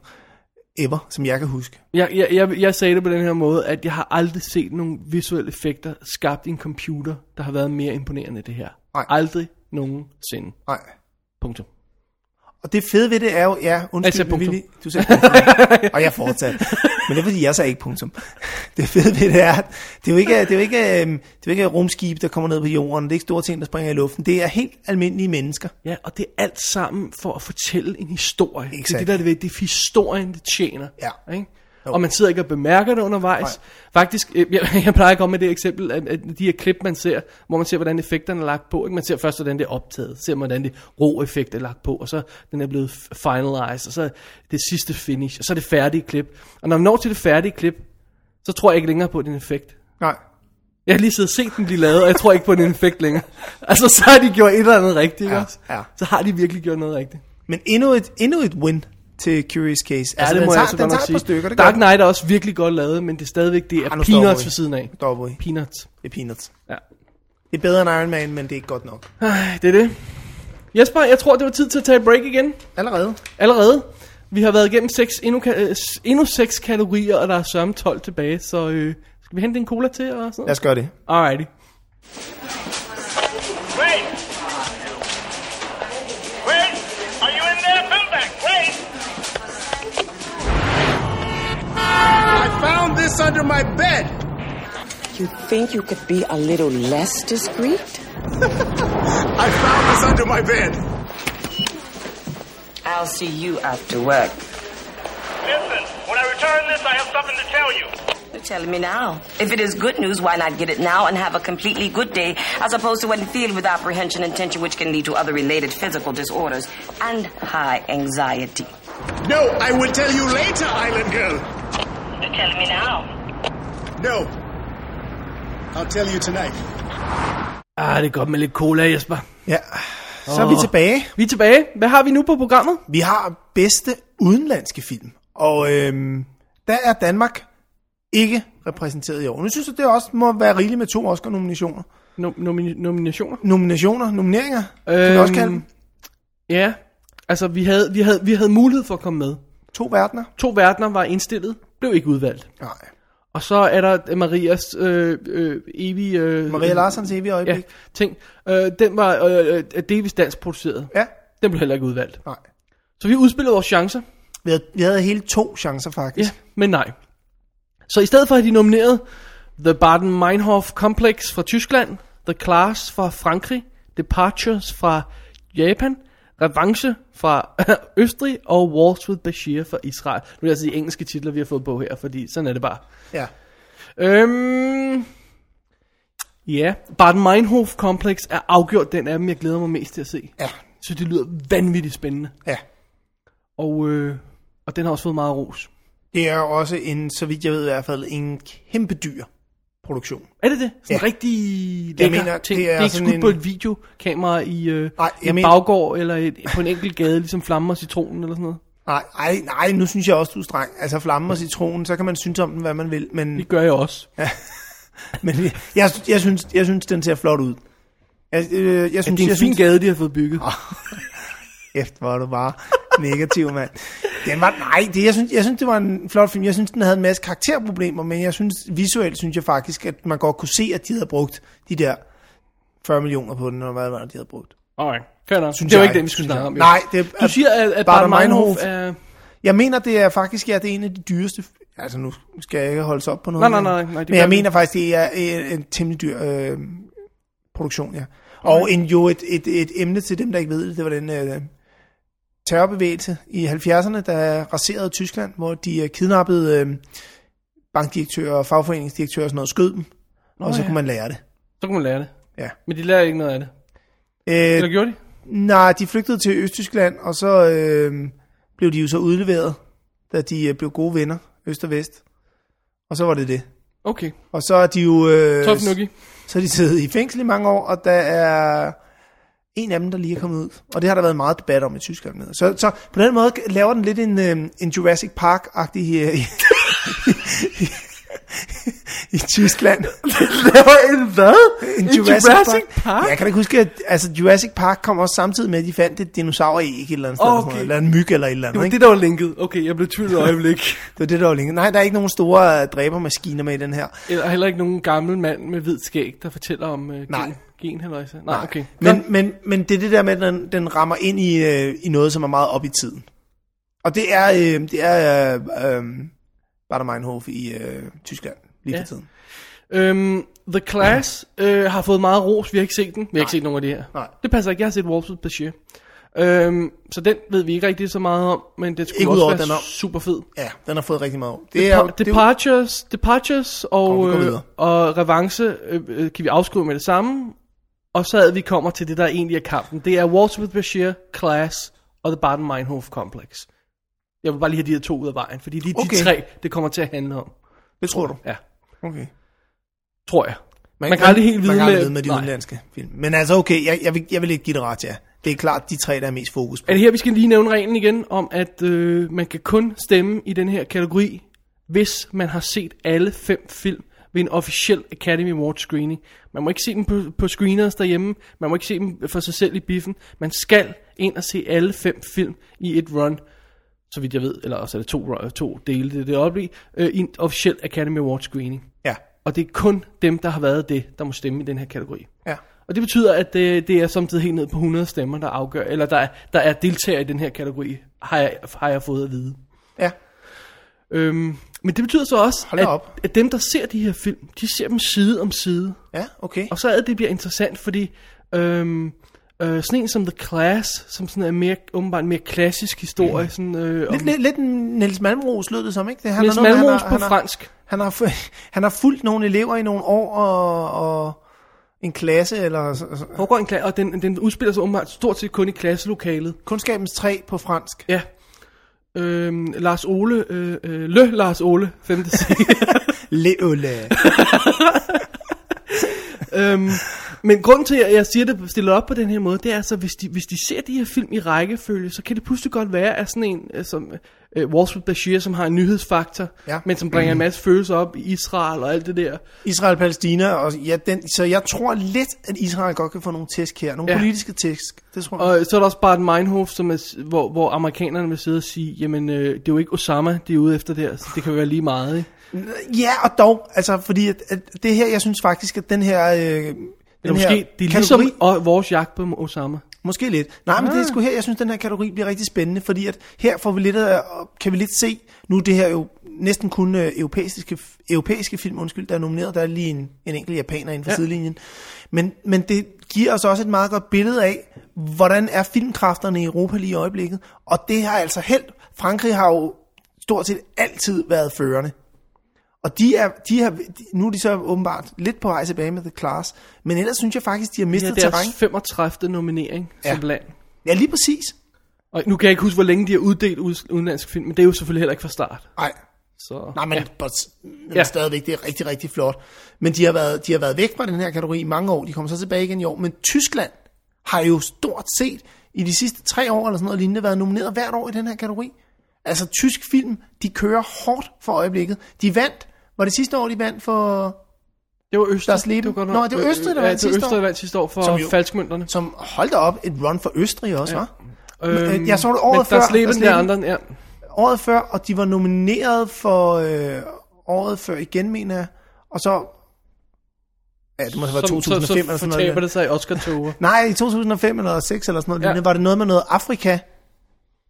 [SPEAKER 2] ever, som jeg kan huske.
[SPEAKER 3] Jeg, jeg, jeg, jeg sagde det på den her måde, at jeg har aldrig set nogle visuelle effekter skabt i en computer, der har været mere imponerende end det her.
[SPEAKER 2] Nej.
[SPEAKER 3] Aldrig nogensinde.
[SPEAKER 2] Nej.
[SPEAKER 3] Punktum.
[SPEAKER 2] Og det fede ved det er jo, ja, undskyld,
[SPEAKER 3] Altså,
[SPEAKER 2] men
[SPEAKER 3] punktum.
[SPEAKER 2] Willy, du sagde punktum. og jeg fortsatte. Men det er fordi, jeg sagde ikke punktum. Det fede ved det er, at det er jo ikke, det er jo ikke, øhm, det er jo ikke rumskib, der kommer ned på jorden, det er ikke store ting, der springer i luften, det er helt almindelige mennesker.
[SPEAKER 3] Ja, og det er alt sammen for at fortælle en historie. Exactly. Det er
[SPEAKER 2] Exakt.
[SPEAKER 3] det, der er det vigtige. Det er historien, det tjener.
[SPEAKER 2] Ja.
[SPEAKER 3] Ikke? Og man sidder ikke og bemærker det undervejs. Nej. Faktisk, øh, jeg, (laughs) jeg plejer at komme med det eksempel, at, at de her klip, man ser, hvor man ser, hvordan effekterne er lagt på. Ikke? Man ser først, hvordan det er optaget. Ser man, hvordan det rå effekt er lagt på. Og så den er blevet f- finalized. Og så det sidste finish. Og så det færdige klip. Og når man når til det færdige klip, så tror jeg ikke længere på den effekt.
[SPEAKER 2] Nej.
[SPEAKER 3] Jeg har lige siddet og set den blive lavet, og jeg tror ikke på den
[SPEAKER 2] (laughs)
[SPEAKER 3] effekt længere. Altså, så har de gjort et eller andet rigtigt, ja,
[SPEAKER 2] ja.
[SPEAKER 3] Så har de virkelig gjort noget rigtigt.
[SPEAKER 2] Men endnu et, endnu et win til Curious Case.
[SPEAKER 3] Ja, det
[SPEAKER 2] den tager,
[SPEAKER 3] må jeg altså
[SPEAKER 2] den tager
[SPEAKER 3] godt nok
[SPEAKER 2] et
[SPEAKER 3] sige.
[SPEAKER 2] par stykker, det
[SPEAKER 3] Dark
[SPEAKER 2] gør den.
[SPEAKER 3] Knight er også virkelig godt lavet, men det er stadigvæk, det er
[SPEAKER 2] Ej, nu stopper
[SPEAKER 3] peanuts
[SPEAKER 2] vi.
[SPEAKER 3] ved siden af.
[SPEAKER 2] Stopper vi.
[SPEAKER 3] Peanuts.
[SPEAKER 2] E. Det er peanuts.
[SPEAKER 3] Ja.
[SPEAKER 2] Det er bedre end Iron Man, men det er ikke godt nok.
[SPEAKER 3] Ej, det er det. Jesper, jeg tror, det var tid til at tage et break igen.
[SPEAKER 2] Allerede.
[SPEAKER 3] Allerede. Vi har været igennem seks, endnu, ka- øh, s- endnu seks kategorier, og der er sørme 12 tilbage, så øh, skal vi hente en cola til og sådan
[SPEAKER 2] Lad os gøre det.
[SPEAKER 3] noget? Alrighty.
[SPEAKER 8] Wait! Wait! Are you in there? Come back! Wait!
[SPEAKER 4] I found this under my bed.
[SPEAKER 9] You think you could be a little less discreet?
[SPEAKER 4] (laughs) I found this under my bed.
[SPEAKER 9] I'll see you after work.
[SPEAKER 8] Listen, when I return this, I have something to tell you.
[SPEAKER 9] You're telling me now. If it is good news, why not get it now and have a completely good day, as opposed to when filled with apprehension and tension, which can lead to other related physical disorders and high anxiety.
[SPEAKER 4] No, I will tell you later, Island Girl.
[SPEAKER 9] You're telling me now.
[SPEAKER 4] No. I'll tell you tonight.
[SPEAKER 3] Ah, det er godt med lidt cola, Jesper.
[SPEAKER 2] Ja. Så er vi tilbage.
[SPEAKER 3] Vi er tilbage. Hvad har vi nu på programmet?
[SPEAKER 2] Vi har bedste udenlandske film. Og øhm, der er Danmark ikke repræsenteret i år. Nu synes jeg, det også må være rigeligt med to Oscar-nominationer.
[SPEAKER 3] No- nomi- nominationer?
[SPEAKER 2] Nominationer? Nomineringer? Øhm, kan man også kalde dem.
[SPEAKER 3] Ja, altså vi havde, vi, havde, vi havde mulighed for at komme med.
[SPEAKER 2] To verdener?
[SPEAKER 3] To verdener var indstillet, blev ikke udvalgt.
[SPEAKER 2] Nej.
[SPEAKER 3] Og så er der Marias øh, øh, evige... Øh,
[SPEAKER 2] Maria Larsens evige
[SPEAKER 3] ja,
[SPEAKER 2] øjeblik?
[SPEAKER 3] ting. Øh, den var øh, øh, delvis dansk produceret.
[SPEAKER 2] Ja. ja.
[SPEAKER 3] Den blev heller ikke udvalgt.
[SPEAKER 2] Nej.
[SPEAKER 3] Så vi udspillede vores chancer.
[SPEAKER 2] Vi havde, vi havde hele to chancer, faktisk.
[SPEAKER 3] Ja, men nej. Så i stedet for at de nomineret The Baden-Meinhof Complex fra Tyskland, The Class fra Frankrig, Departures fra Japan, Revanche fra (laughs) Østrig og Wars with Bashir fra Israel. Nu er det altså de engelske titler, vi har fået på her, fordi sådan er det bare.
[SPEAKER 2] Ja. ja.
[SPEAKER 3] Øhm... Ja, Baden-Meinhof Complex er afgjort den af dem, jeg glæder mig mest til at se.
[SPEAKER 2] Ja.
[SPEAKER 3] Så det lyder vanvittigt spændende.
[SPEAKER 2] ja.
[SPEAKER 3] Og, øh, og den har også fået meget ros.
[SPEAKER 2] Det er jo også en, så vidt jeg ved i hvert fald, en kæmpe dyr produktion.
[SPEAKER 3] Er det det? Sådan en
[SPEAKER 2] Ja.
[SPEAKER 3] rigtig lækker
[SPEAKER 2] mener,
[SPEAKER 3] ting.
[SPEAKER 2] det
[SPEAKER 3] Det
[SPEAKER 2] er
[SPEAKER 3] er, det er ikke
[SPEAKER 2] sådan
[SPEAKER 3] skudt
[SPEAKER 2] en-
[SPEAKER 3] på et videokamera i, øh,
[SPEAKER 2] Nej,
[SPEAKER 3] i
[SPEAKER 2] jeg
[SPEAKER 3] en
[SPEAKER 2] mener-
[SPEAKER 3] baggård eller et, på en enkelt gade, ligesom flammer og citronen eller sådan noget.
[SPEAKER 2] Nej, nej, nej, nu synes jeg også, du er streng. Altså flamme og citronen, så kan man synes om den, hvad man vil. Men,
[SPEAKER 3] Det gør jeg også. Ja,
[SPEAKER 2] men jeg, jeg, synes, jeg synes, den ser flot ud. Jeg, øh, jeg synes, Ah.
[SPEAKER 3] det er
[SPEAKER 2] jeg
[SPEAKER 3] en fin
[SPEAKER 2] synes,
[SPEAKER 3] gade, de har fået bygget.
[SPEAKER 2] Kæft, hvor er du bare negativ, mand. Den var, nej, det, jeg, synes, jeg synes, det var en flot film. Jeg synes, den havde en masse karakterproblemer, men jeg synes, visuelt synes jeg faktisk, at man godt kunne se, at de havde brugt de der 40 millioner på den, og hvad var det, de havde brugt?
[SPEAKER 3] Alright, fair nok.
[SPEAKER 2] Synes
[SPEAKER 3] det var
[SPEAKER 2] jeg.
[SPEAKER 3] ikke den, vi skulle
[SPEAKER 2] Synes
[SPEAKER 3] snakke
[SPEAKER 2] jeg.
[SPEAKER 3] om. jo.
[SPEAKER 2] Nej, det er-
[SPEAKER 3] Du siger, at, at
[SPEAKER 2] Baader
[SPEAKER 3] Bader Meinhof
[SPEAKER 2] Meinhof.
[SPEAKER 3] er...
[SPEAKER 2] Jeg mener, det er faktisk, ja, det er en af de dyreste... Altså, nu skal jeg ikke holde sig op på noget.
[SPEAKER 3] Nej, nej,
[SPEAKER 2] men-
[SPEAKER 3] nej, nej, det
[SPEAKER 2] men jeg
[SPEAKER 3] gør vi.
[SPEAKER 2] mener faktisk, det er en, en temmelig dyr øh, produktion, ja. Og en, jo et, et, et emne til dem, der ikke ved det, det var den øh, terrorbevægelse i 70'erne, der raserede Tyskland, hvor de øh, kidnappede øh, bankdirektører og fagforeningsdirektører og sådan noget, skød dem, Nå, og så
[SPEAKER 3] ja.
[SPEAKER 2] ja. kunne man lære det.
[SPEAKER 3] Så kunne man lære det.
[SPEAKER 2] Ja.
[SPEAKER 3] Men de lærer ikke noget af det.
[SPEAKER 2] Øh,
[SPEAKER 3] Eller gjorde de?
[SPEAKER 2] Nej, de flygtede til Østtyskland, og så øh, blev de jo så udleveret, da de øh, blev gode venner, øst og vest. Og så var det det.
[SPEAKER 3] Okay.
[SPEAKER 2] Og så er de jo øh,
[SPEAKER 3] Tof Nuki.
[SPEAKER 2] så er de siddet i fængsel i mange år, og der er en af dem, der lige er kommet ud. Og det har der været meget debat om i Tyskland. Med. Så, så på den måde laver den lidt en, øh, en Jurassic Park-agtig her i, i Tyskland.
[SPEAKER 3] Laver en hvad?
[SPEAKER 2] En
[SPEAKER 3] Jurassic Park?
[SPEAKER 2] Ja, jeg kan da ikke huske, at altså, Jurassic Park kom også samtidig med, at de fandt et dinosauræg et eller andet sted,
[SPEAKER 3] Okay.
[SPEAKER 2] okay. sådan noget, eller en myg eller et eller
[SPEAKER 3] Det
[SPEAKER 2] andet.
[SPEAKER 3] var
[SPEAKER 2] Ikke?
[SPEAKER 3] det, der var linket. Okay, jeg blev i tvivl et
[SPEAKER 2] (laughs)
[SPEAKER 3] øjeblik.
[SPEAKER 2] Det var det, der var længe. Nej, der er ikke nogen store øh, dræbermaskiner med i den her.
[SPEAKER 3] Eller heller ikke nogen gammel mand med hvid skæg, der fortæller om uh,
[SPEAKER 2] Nej.
[SPEAKER 3] gen, gen halløjsa. Nej, okay.
[SPEAKER 2] Men, men, men det er det der med, at den, den rammer ind i, øh, i noget, som er meget op i tiden. Og det er, øh, det er øh, øh, Bader Meinhof i øh, Tyskland lige
[SPEAKER 3] Ja.
[SPEAKER 2] for tiden.
[SPEAKER 3] Øhm, The Class øh, har fået meget ros. Vi har ikke set den. Vi har ikke set nogen af de her.
[SPEAKER 2] Nej.
[SPEAKER 3] Det passer ikke. Jeg har set Wolves with Bashir. Øhm, så den ved vi ikke rigtig så meget om, men det skulle
[SPEAKER 2] Ikke
[SPEAKER 3] også
[SPEAKER 2] udover
[SPEAKER 3] være
[SPEAKER 2] den om.
[SPEAKER 3] super fed.
[SPEAKER 2] Ja, den har fået rigtig meget om. Det er,
[SPEAKER 3] Depar-
[SPEAKER 2] det er jo,
[SPEAKER 3] Departures, Departures og,
[SPEAKER 2] Og vi går
[SPEAKER 3] og, øh,
[SPEAKER 2] videre.
[SPEAKER 3] og Revanche øh, øh, kan vi afskrive med det samme. Og så er vi kommer til det, der egentlig er kampen. Det er Waltz with Bashir, Class og The Baden Meinhof Complex. Jeg vil bare lige have de her to ud af vejen, fordi det er okay.
[SPEAKER 2] Okay.
[SPEAKER 3] de tre, det kommer til at handle om.
[SPEAKER 2] det tror du.
[SPEAKER 3] Ja,
[SPEAKER 2] Okay.
[SPEAKER 3] tror jeg. Man kan aldrig helt vide
[SPEAKER 2] man kan aldrig
[SPEAKER 3] med-
[SPEAKER 2] vide med de
[SPEAKER 3] nej.
[SPEAKER 2] udenlandske film. Men altså okay, jeg, jeg, vil, jeg vil ikke give det ret, ja. Det er klart de tre, der er mest fokus på.
[SPEAKER 3] Er det her, vi skal lige nævne reglen igen, om at øh, man kan kun stemme i den her kategori, hvis man har set alle fem film ved en officiel Academy Award screening. Man må ikke se dem på, på screeners derhjemme, man må ikke se dem for sig selv i biffen. Man skal ind og se alle fem film i et run, så vidt jeg ved, eller også er det to, ru- to dele, det er det op i, øh, i en officiel Academy Award screening.
[SPEAKER 2] Ja,
[SPEAKER 3] Og det er kun dem, der har været det, der må stemme i den her kategori.
[SPEAKER 2] ja.
[SPEAKER 3] Og det betyder, at øh, det, det er samtidig helt ned på 100 stemmer, der afgør, eller der, er- der er deltagere i den her kategori, har jeg, har jeg fået at vide.
[SPEAKER 2] ja.
[SPEAKER 3] Øhm, men det betyder så også,
[SPEAKER 2] Hold da
[SPEAKER 3] at,
[SPEAKER 2] op.
[SPEAKER 3] at dem, der ser de her film, de ser dem side om side.
[SPEAKER 2] Ja, okay.
[SPEAKER 3] Og så er det, det bliver interessant, fordi øhm, øh, sådan en som The Class, som sådan er mere, åbenbart en mere klassisk historie, mm. sådan, øh, om
[SPEAKER 2] Lidt, lidt, lidt en Niels Malmros lød det som, ikke? Det, han
[SPEAKER 3] Niels
[SPEAKER 2] har noget med, han
[SPEAKER 3] Malmros
[SPEAKER 2] har-
[SPEAKER 3] på
[SPEAKER 2] han har-
[SPEAKER 3] fransk.
[SPEAKER 2] Han har, fu- (laughs) han har fulgt nogle elever i nogle år og, og en klasse, eller så- så-
[SPEAKER 3] Foregår en klasse, og den, den udspiller sig åbenbart stort set kun i klasselokalet.
[SPEAKER 2] kundskabens træ på fransk.
[SPEAKER 3] Ja. Øhm, Lars Ole, øh, øh, Lø Lars Ole,
[SPEAKER 2] (laughs)
[SPEAKER 3] 5. serie.
[SPEAKER 2] Leola.
[SPEAKER 3] øhm, men grund til, at jeg siger det stillet op på den her måde, det er altså, hvis de, hvis de ser de her film i rækkefølge, så kan det pludselig godt være, at sådan en øh, som øh, Wall Street Bashir, som har en nyhedsfaktor,
[SPEAKER 2] Ja. Mm-hmm.
[SPEAKER 3] men som bringer en masse følelser op i Israel og alt det der.
[SPEAKER 2] (laughs) Israel-Palæstina, og ja, den, så jeg tror lidt, at Israel godt kan få nogle tæsk her. Nogle
[SPEAKER 3] Ja.
[SPEAKER 2] ja. politiske tæsk, det tror jeg.
[SPEAKER 3] Og så er der også Bart Meinhof, som er, s- hvor, hvor amerikanerne vil sidde og sige, jamen øh, det er jo ikke Osama, de er ude efter der, så det kan være lige meget. Ikke?
[SPEAKER 2] Ja, og dog, altså, fordi at, at det her, jeg synes faktisk, at den her... Øh, den
[SPEAKER 3] Den måske,
[SPEAKER 2] her
[SPEAKER 3] det er ligesom og, vores jagt på Osama.
[SPEAKER 2] Måske lidt. Nej, men det er sgu her, jeg synes, den her kategori bliver rigtig spændende, fordi at her får vi lidt, af- kan vi lidt se, nu er det her jo næsten kun øh, europæiske, europæiske film, undskyld, der er nomineret, der er lige en, en enkelt japaner inden for
[SPEAKER 3] Ja.
[SPEAKER 2] ja. sidelinjen, men, men det giver os også et meget godt billede af, hvordan er filmkræfterne i Europa lige i øjeblikket, og det har altså held. Frankrig har jo stort set altid været førende. Og de er, de har, de, nu er de så åbenbart lidt på vej tilbage med The Class, men ellers synes jeg faktisk, de har
[SPEAKER 3] Det er
[SPEAKER 2] mistet ja, terræn.
[SPEAKER 3] deres 35. nominering ja. som
[SPEAKER 2] Ja.
[SPEAKER 3] land.
[SPEAKER 2] Ja, lige præcis.
[SPEAKER 3] Og nu kan jeg ikke huske, hvor længe de har uddelt ud- udenlandsk film, men det er jo selvfølgelig heller ikke fra start.
[SPEAKER 2] Nej,
[SPEAKER 3] Så,
[SPEAKER 2] Nej, men,
[SPEAKER 3] ja.
[SPEAKER 2] ja. but, men
[SPEAKER 3] Ja.
[SPEAKER 2] ja. stadigvæk, det er rigtig, rigtig flot. Men de har, været, de har været væk fra den her kategori i mange år. De kommer så tilbage igen i år. Men Tyskland har jo stort set i de sidste tre år eller sådan noget lignende været nomineret hvert år i den her kategori. Altså tysk film, de kører hårdt for øjeblikket. De vandt, var det sidste år, de vandt for,
[SPEAKER 3] Det var Østrig.
[SPEAKER 2] Lars Leben.
[SPEAKER 3] Det var godt
[SPEAKER 2] Nå, det var
[SPEAKER 3] Øh,
[SPEAKER 2] Østrig, der
[SPEAKER 3] ja,
[SPEAKER 2] vandt
[SPEAKER 3] det var
[SPEAKER 2] sidste
[SPEAKER 3] Østrig, der
[SPEAKER 2] år.
[SPEAKER 3] vandt sidste år for
[SPEAKER 2] Som jo-
[SPEAKER 3] falskmønterne.
[SPEAKER 2] som holdt op, et run for Østrig også, ja. var?
[SPEAKER 3] Øhm,
[SPEAKER 2] jeg så det
[SPEAKER 3] men
[SPEAKER 2] året før.
[SPEAKER 3] Lars Leben,
[SPEAKER 2] Lars
[SPEAKER 3] der
[SPEAKER 2] Leben.
[SPEAKER 3] andre, ja.
[SPEAKER 2] Året før, og de var nomineret for øh, året før igen, mener jeg. Og så Ja, det må have været
[SPEAKER 3] Som-
[SPEAKER 2] 2005
[SPEAKER 3] så, så
[SPEAKER 2] eller sådan noget.
[SPEAKER 3] fortaber det sig i oscar toger
[SPEAKER 2] Nej, i 2005 eller 6 eller sådan noget.
[SPEAKER 3] Ja.
[SPEAKER 2] Ja. Var det noget med noget Afrika,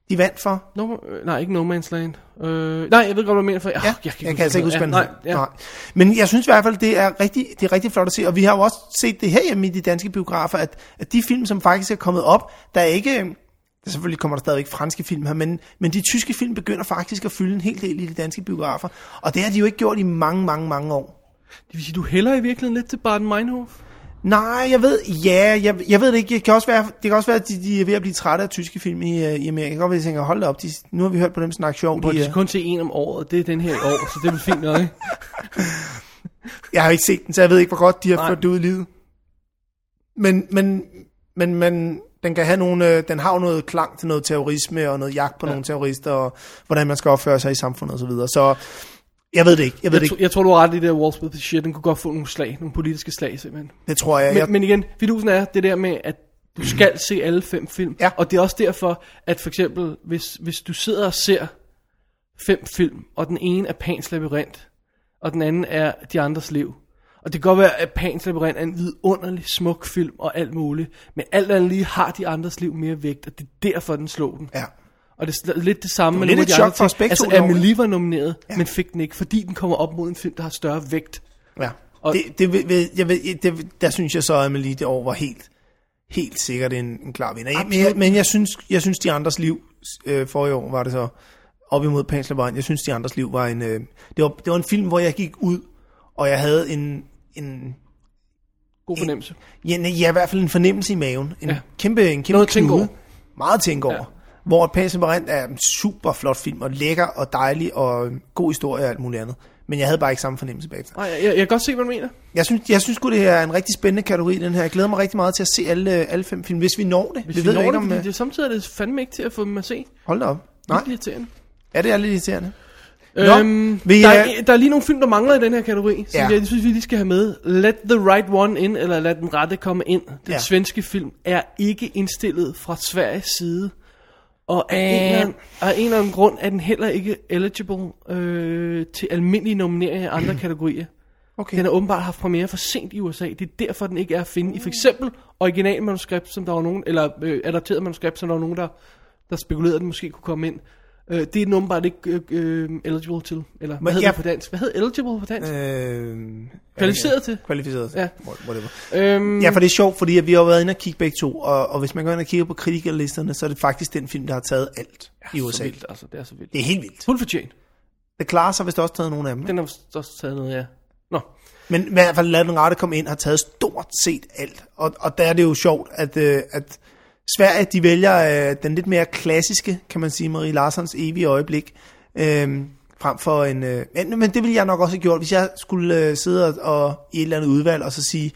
[SPEAKER 2] de vandt for?
[SPEAKER 3] no, øh, Nej, ikke No Man's Land. Øh, nej, jeg ved godt, hvad du mener. For, ja,
[SPEAKER 2] Ja, jeg, jeg kan altså ikke huske,
[SPEAKER 3] ja,
[SPEAKER 2] hvad den
[SPEAKER 3] nej,
[SPEAKER 2] hed.
[SPEAKER 3] ja.
[SPEAKER 2] Nej. Men jeg synes i hvert fald, det er rigtig, det er rigtig flot at se, og vi har jo også set det her hjemme i de danske biografer, at, at de film, som faktisk er kommet op, der er ikke... Der selvfølgelig kommer der stadigvæk franske film her, men, men de tyske film begynder faktisk at fylde en hel del i de danske biografer, og det har de jo ikke gjort i mange, mange, mange år.
[SPEAKER 3] Det vil sige, du hælder i virkeligheden lidt til Baden Meinhof.
[SPEAKER 2] Nej, jeg ved, ja, jeg, jeg ved det ikke. Det kan også være, det kan også være at de, de er ved at blive trætte af tyske film i, øh, i Amerika. Jeg kan godt være, at de tænker, hold da op, de, nu har vi hørt på dem snakke sjov.
[SPEAKER 3] Hvor
[SPEAKER 2] De,
[SPEAKER 3] de
[SPEAKER 2] øh,
[SPEAKER 3] skal kun se en om året, og det er den her i år, så det er vel fint nok, ikke?
[SPEAKER 2] Jeg har ikke set den, så jeg ved ikke, hvor godt de har
[SPEAKER 3] Nej.
[SPEAKER 2] ført det ud i livet. Men, men, men, men den, kan have nogle, øh, den har jo noget klang til noget terrorisme og noget jagt på ja. nogle terrorister, og hvordan man skal opføre sig i samfundet osv. Så, videre. så jeg ved det ikke. Jeg ved
[SPEAKER 3] Jeg,
[SPEAKER 2] det,
[SPEAKER 3] tro,
[SPEAKER 2] ikke.
[SPEAKER 3] jeg tror, du har ret i det der Walls with the shit. Den kunne godt få nogle slag, nogle politiske slag, simpelthen.
[SPEAKER 2] det tror jeg. jeg
[SPEAKER 3] Men, men igen, fidusen er det der med, at du skal se alle fem film.
[SPEAKER 2] Ja.
[SPEAKER 3] Og det er også derfor, at for eksempel, hvis, hvis du sidder og ser fem film, og den ene er Pans Labyrinth, og den anden er De Andres Liv. Og det kan godt være, at Pans Labyrinth er en vidunderlig smuk film og alt muligt, men alt andet lige har De Andres Liv mere vægt, og det er derfor, den slog den.
[SPEAKER 2] ja.
[SPEAKER 3] Og det er sl- lidt det samme med
[SPEAKER 2] lidt
[SPEAKER 3] nogle af
[SPEAKER 2] et
[SPEAKER 3] de
[SPEAKER 2] chok
[SPEAKER 3] andre
[SPEAKER 2] for os
[SPEAKER 3] ting.
[SPEAKER 2] begge
[SPEAKER 3] Altså,
[SPEAKER 2] to, dog,
[SPEAKER 3] Amelie var nomineret, ja. men fik den ikke, fordi den kommer op mod en film, der har større vægt.
[SPEAKER 2] Ja.
[SPEAKER 3] Og-
[SPEAKER 2] det, det, ved- ved- jeg ved, det, der synes jeg så, at Amelie det år var helt, helt sikkert en, en klar vinder. Jeg, men jeg, men jeg, synes, jeg synes, de andres liv øh, for i år var det så op imod Panslevaren. Jeg synes, de andres liv var en... Øh, det, var, det var en film, hvor jeg gik ud, og jeg havde en, en
[SPEAKER 3] God fornemmelse.
[SPEAKER 2] Ja, nej, ja, i hvert fald en fornemmelse i maven. En
[SPEAKER 3] Ja.
[SPEAKER 2] ja. kæmpe, en kæmpe
[SPEAKER 3] Noget at
[SPEAKER 2] knude.
[SPEAKER 3] tænke over.
[SPEAKER 2] Meget at tænke over.
[SPEAKER 3] Ja.
[SPEAKER 2] Ja. Hvor et Pans Labyrinth er en super flot film, og lækker og dejlig, og øhm, god historie og alt muligt andet. Men jeg havde bare ikke samme fornemmelse bagefter.
[SPEAKER 3] Nej, jeg, jeg kan godt se, hvad du mener.
[SPEAKER 2] Jeg synes, jeg synes godt det er en rigtig spændende kategori, den her. Jeg glæder mig rigtig meget til at se alle, alle fem film, hvis vi når det.
[SPEAKER 3] Hvis
[SPEAKER 2] vi
[SPEAKER 3] vi
[SPEAKER 2] ved
[SPEAKER 3] når
[SPEAKER 2] jo ikke,
[SPEAKER 3] det,
[SPEAKER 2] om...
[SPEAKER 3] fordi
[SPEAKER 2] øh,
[SPEAKER 3] det, samtidig er det fandme ikke til at få dem at se.
[SPEAKER 2] Hold da op.
[SPEAKER 3] Nej.
[SPEAKER 2] Nej,
[SPEAKER 3] Det er irriterende.
[SPEAKER 2] ja, det er lidt irriterende. Nå,
[SPEAKER 3] Øhm,
[SPEAKER 2] vi,
[SPEAKER 3] der,
[SPEAKER 2] øh,
[SPEAKER 3] er, der er lige nogle film, der mangler i den her kategori, som
[SPEAKER 2] Ja.
[SPEAKER 3] jeg synes, vi lige skal have med. Let the Right One In, eller Lad den Rette Komme Ind, den
[SPEAKER 2] Ja.
[SPEAKER 3] svenske film, er ikke indstillet fra Sveriges side. Og af, en eller anden, af en eller anden grund er den heller ikke eligible øh, til almindelige nomineringer i
[SPEAKER 2] (clears throat)
[SPEAKER 3] andre kategorier.
[SPEAKER 2] Okay.
[SPEAKER 3] Den har åbenbart haft premiere for sent i USA. Det er derfor, den ikke er at finde i for eksempel originalmanuskript, som der var nogen, eller øh, adapteret manuskript, som der var nogen, der, der spekulerede, at den måske kunne komme ind. Øh, det er den åbenbart ikke øh, øh, eligible til. Eller hvad
[SPEAKER 2] Men
[SPEAKER 3] hedder
[SPEAKER 2] jeg-
[SPEAKER 3] det på dansk? Hvad hedder eligible på dansk? Øh,
[SPEAKER 2] Øh,
[SPEAKER 3] Kvalificeret til.
[SPEAKER 2] Kvalificeret til.
[SPEAKER 3] Ja.
[SPEAKER 2] Ja. Whatever.
[SPEAKER 3] øhm,
[SPEAKER 2] Ja, for det er sjovt, fordi at vi har været inde og kigge begge to, og, og hvis man går ind og kigger på kritikerlisterne, så er det faktisk den film, der har taget alt ja, i
[SPEAKER 3] så
[SPEAKER 2] USA.
[SPEAKER 3] vildt, altså. Det er så vildt.
[SPEAKER 2] Det er helt vildt.
[SPEAKER 3] Fuldt fortjent.
[SPEAKER 2] Det klarer sig, hvis der også taget nogle af dem. ikke?
[SPEAKER 3] Den har vist også taget noget, ja. Nå.
[SPEAKER 2] Men i hvert fald lad den rette komme ind, har taget stort set alt. Og, og der er det jo sjovt, at, øh, at Sverige, de vælger øh, den lidt mere klassiske, kan man sige, Marie Larsons evige øjeblik, øh, frem for en... Øh, men, men det ville jeg nok også have gjort, hvis jeg skulle øh, sidde og, og i et eller andet udvalg og så sige...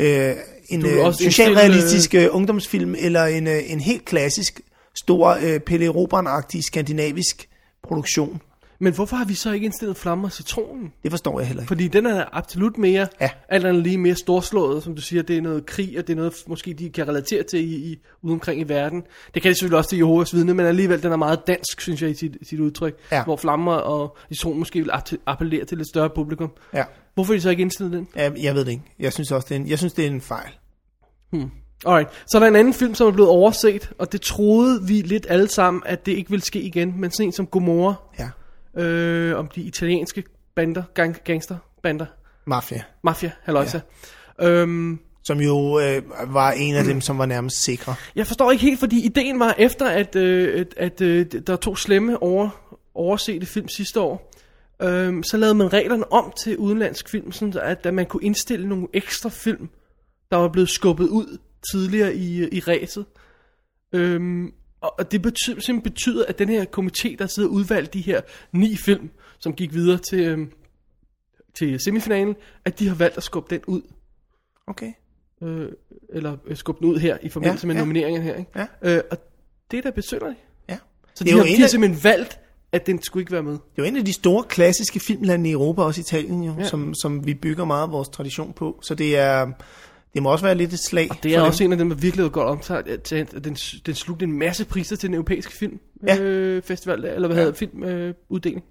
[SPEAKER 2] Øh, en
[SPEAKER 3] Du vil
[SPEAKER 2] øh,
[SPEAKER 3] også
[SPEAKER 2] socialrealistisk øh, ungdomsfilm, eller en, øh, en helt klassisk, stor øh, Pelle Robern-agtig skandinavisk produktion.
[SPEAKER 3] Men hvorfor har vi så ikke indstillet Flamme og Citronen?
[SPEAKER 2] Det forstår jeg heller ikke.
[SPEAKER 3] Fordi den er absolut mere, ja.
[SPEAKER 2] Ja.
[SPEAKER 3] alt andet lige mere storslået, som du siger, det er noget krig, og det er noget, måske de kan relatere til i, i, ude omkring i verden. Det kan de selvfølgelig også til Jehovas vidne, men alligevel, den er meget dansk, synes jeg, i sit, sit udtryk.
[SPEAKER 2] Ja.
[SPEAKER 3] Hvor flammer og isolen måske vil atte- appellere til et lidt større publikum.
[SPEAKER 2] Ja.
[SPEAKER 3] Hvorfor er de så ikke indstillet den?
[SPEAKER 2] Ja, jeg ved det ikke. Jeg synes også, det er en, jeg synes, det er en fejl.
[SPEAKER 3] Alright, så er der en anden film, som er blevet overset, og det troede vi lidt alle sammen, at det ikke ville ske igen, men sådan en som Gomorra,
[SPEAKER 2] Ja.
[SPEAKER 3] øh, om de italienske bander, gang, gangsterbander,
[SPEAKER 2] Mafia.
[SPEAKER 3] mafia, halløjsa. Ja. Øhm,
[SPEAKER 2] Som jo øh, var en af dem, som var nærmest sikre.
[SPEAKER 3] Jeg forstår ikke helt, fordi ideen var efter, at, øh, at, at øh, der er to slemme over, oversete film sidste år, øh, så lavede man reglerne om til udenlandsk film, sådan at, at man kunne indstille nogle ekstra film, der var blevet skubbet ud tidligere i, øh, i ræset. Øhm, og og det betyder, simpelthen betyder, at den her komité, der sidder og udvalgte de her ni film, som gik videre til, øhm, til semifinalen, at de har valgt at skubbe den ud
[SPEAKER 2] Okay.
[SPEAKER 3] øh, eller øh, skubbe den ud her i forbindelse ja,
[SPEAKER 2] Ja,
[SPEAKER 3] med ja.
[SPEAKER 2] ja.
[SPEAKER 3] nomineringen her. Ikke?
[SPEAKER 2] Ja.
[SPEAKER 3] Øh, og det er da besynderligt.
[SPEAKER 2] Ja.
[SPEAKER 3] Så
[SPEAKER 2] Det
[SPEAKER 3] de,
[SPEAKER 2] er
[SPEAKER 3] har,
[SPEAKER 2] jo
[SPEAKER 3] de
[SPEAKER 2] en
[SPEAKER 3] har
[SPEAKER 2] af-
[SPEAKER 3] simpelthen valgt, at den skulle ikke være med.
[SPEAKER 2] Det er jo en af de store klassiske filmlande i Europa, også Italien jo,
[SPEAKER 3] Ja.
[SPEAKER 2] ja. som, som vi bygger meget af vores tradition på. Så det er... Det må også være lidt et slag.
[SPEAKER 3] Det er
[SPEAKER 2] for
[SPEAKER 3] også
[SPEAKER 2] dem.
[SPEAKER 3] en af dem, der virkelig er godt omtalt. at Den, den slugte en masse priser til den europæiske filmfestival,
[SPEAKER 2] Ja.
[SPEAKER 3] øh, festival der, eller hvad ja. hedder filmuddeling. Øh, uddeling.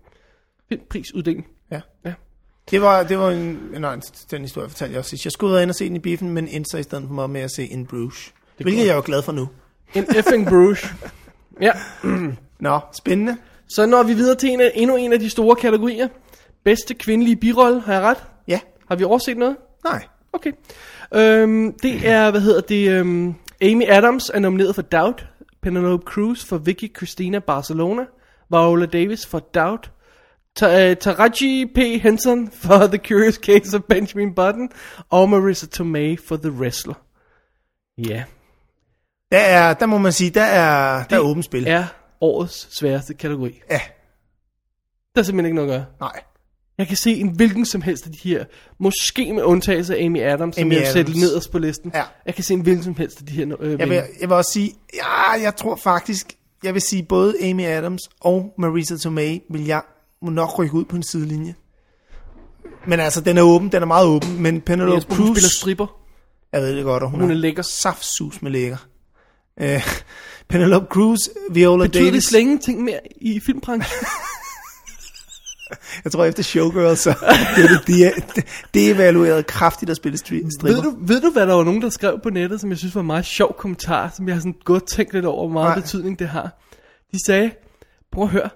[SPEAKER 3] Filmprisuddeling.
[SPEAKER 2] Ja.
[SPEAKER 3] ja.
[SPEAKER 2] Det var, det var en, en, en, den historie, fortalte jeg også sidst. Jeg skulle være inde og se den i biffen, men endte så i stedet for mig med at se In Bruges. Hvilket jeg er jo glad for nu.
[SPEAKER 3] En effing Bruges. Ja,
[SPEAKER 2] Nå, spændende.
[SPEAKER 3] så når vi videre til en af, endnu en af de store kategorier. Bedste kvindelige birolle, har jeg ret?
[SPEAKER 2] Ja,
[SPEAKER 3] Har vi overset noget?
[SPEAKER 2] nej.
[SPEAKER 3] Okay. Øhm, det er, hvad hedder det, øhm, Amy Adams er nomineret for Doubt, Penelope Cruz for Vicky Cristina Barcelona, Viola Davis for Doubt, Ta- øh, Taraji P. Henson for The Curious Case of Benjamin Button, og Marissa Tomei for The Wrestler. Ja,
[SPEAKER 2] Der, er, der må man sige, der er, der er åbent spil.
[SPEAKER 3] er årets sværeste kategori.
[SPEAKER 2] Ja.
[SPEAKER 3] Der er simpelthen ikke noget at gøre.
[SPEAKER 2] Nej.
[SPEAKER 3] Jeg kan se en hvilken som helst af de her, måske med undtagelse af Amy Adams, som
[SPEAKER 2] Amy
[SPEAKER 3] jeg vil sætte
[SPEAKER 2] Adams.
[SPEAKER 3] nederst på listen.
[SPEAKER 2] Ja.
[SPEAKER 3] Jeg kan se en hvilken som helst af de her. Øh,
[SPEAKER 2] Jeg vil,
[SPEAKER 3] vinde.
[SPEAKER 2] jeg vil også sige, ja, jeg tror faktisk, jeg vil sige, både Amy Adams og Marisa Tomei vil jeg må nok rykke ud på en sidelinje. Men altså, den er åben, den er meget åben, men Penelope
[SPEAKER 3] Jesper, hun
[SPEAKER 2] Cruz,
[SPEAKER 3] spiller stripper.
[SPEAKER 2] jeg ved det godt, og hun,
[SPEAKER 3] Hun er lækker.
[SPEAKER 2] saftsus med lækker. Øh, (laughs) Penelope Cruz, Viola
[SPEAKER 3] Betyder det
[SPEAKER 2] Davis,
[SPEAKER 3] slet ingenting mere i filmbranchen?
[SPEAKER 2] jeg tror efter Showgirls, så (laughs) blev det de, de evalueret kraftigt at spille stri-
[SPEAKER 3] ved,
[SPEAKER 2] stripper.
[SPEAKER 3] du, ved du, hvad der var nogen, der skrev på nettet, som jeg synes var en meget sjov kommentar, som jeg har sådan godt tænkt lidt over, hvor meget
[SPEAKER 2] Nej.
[SPEAKER 3] betydning det har. De sagde, prøv at høre,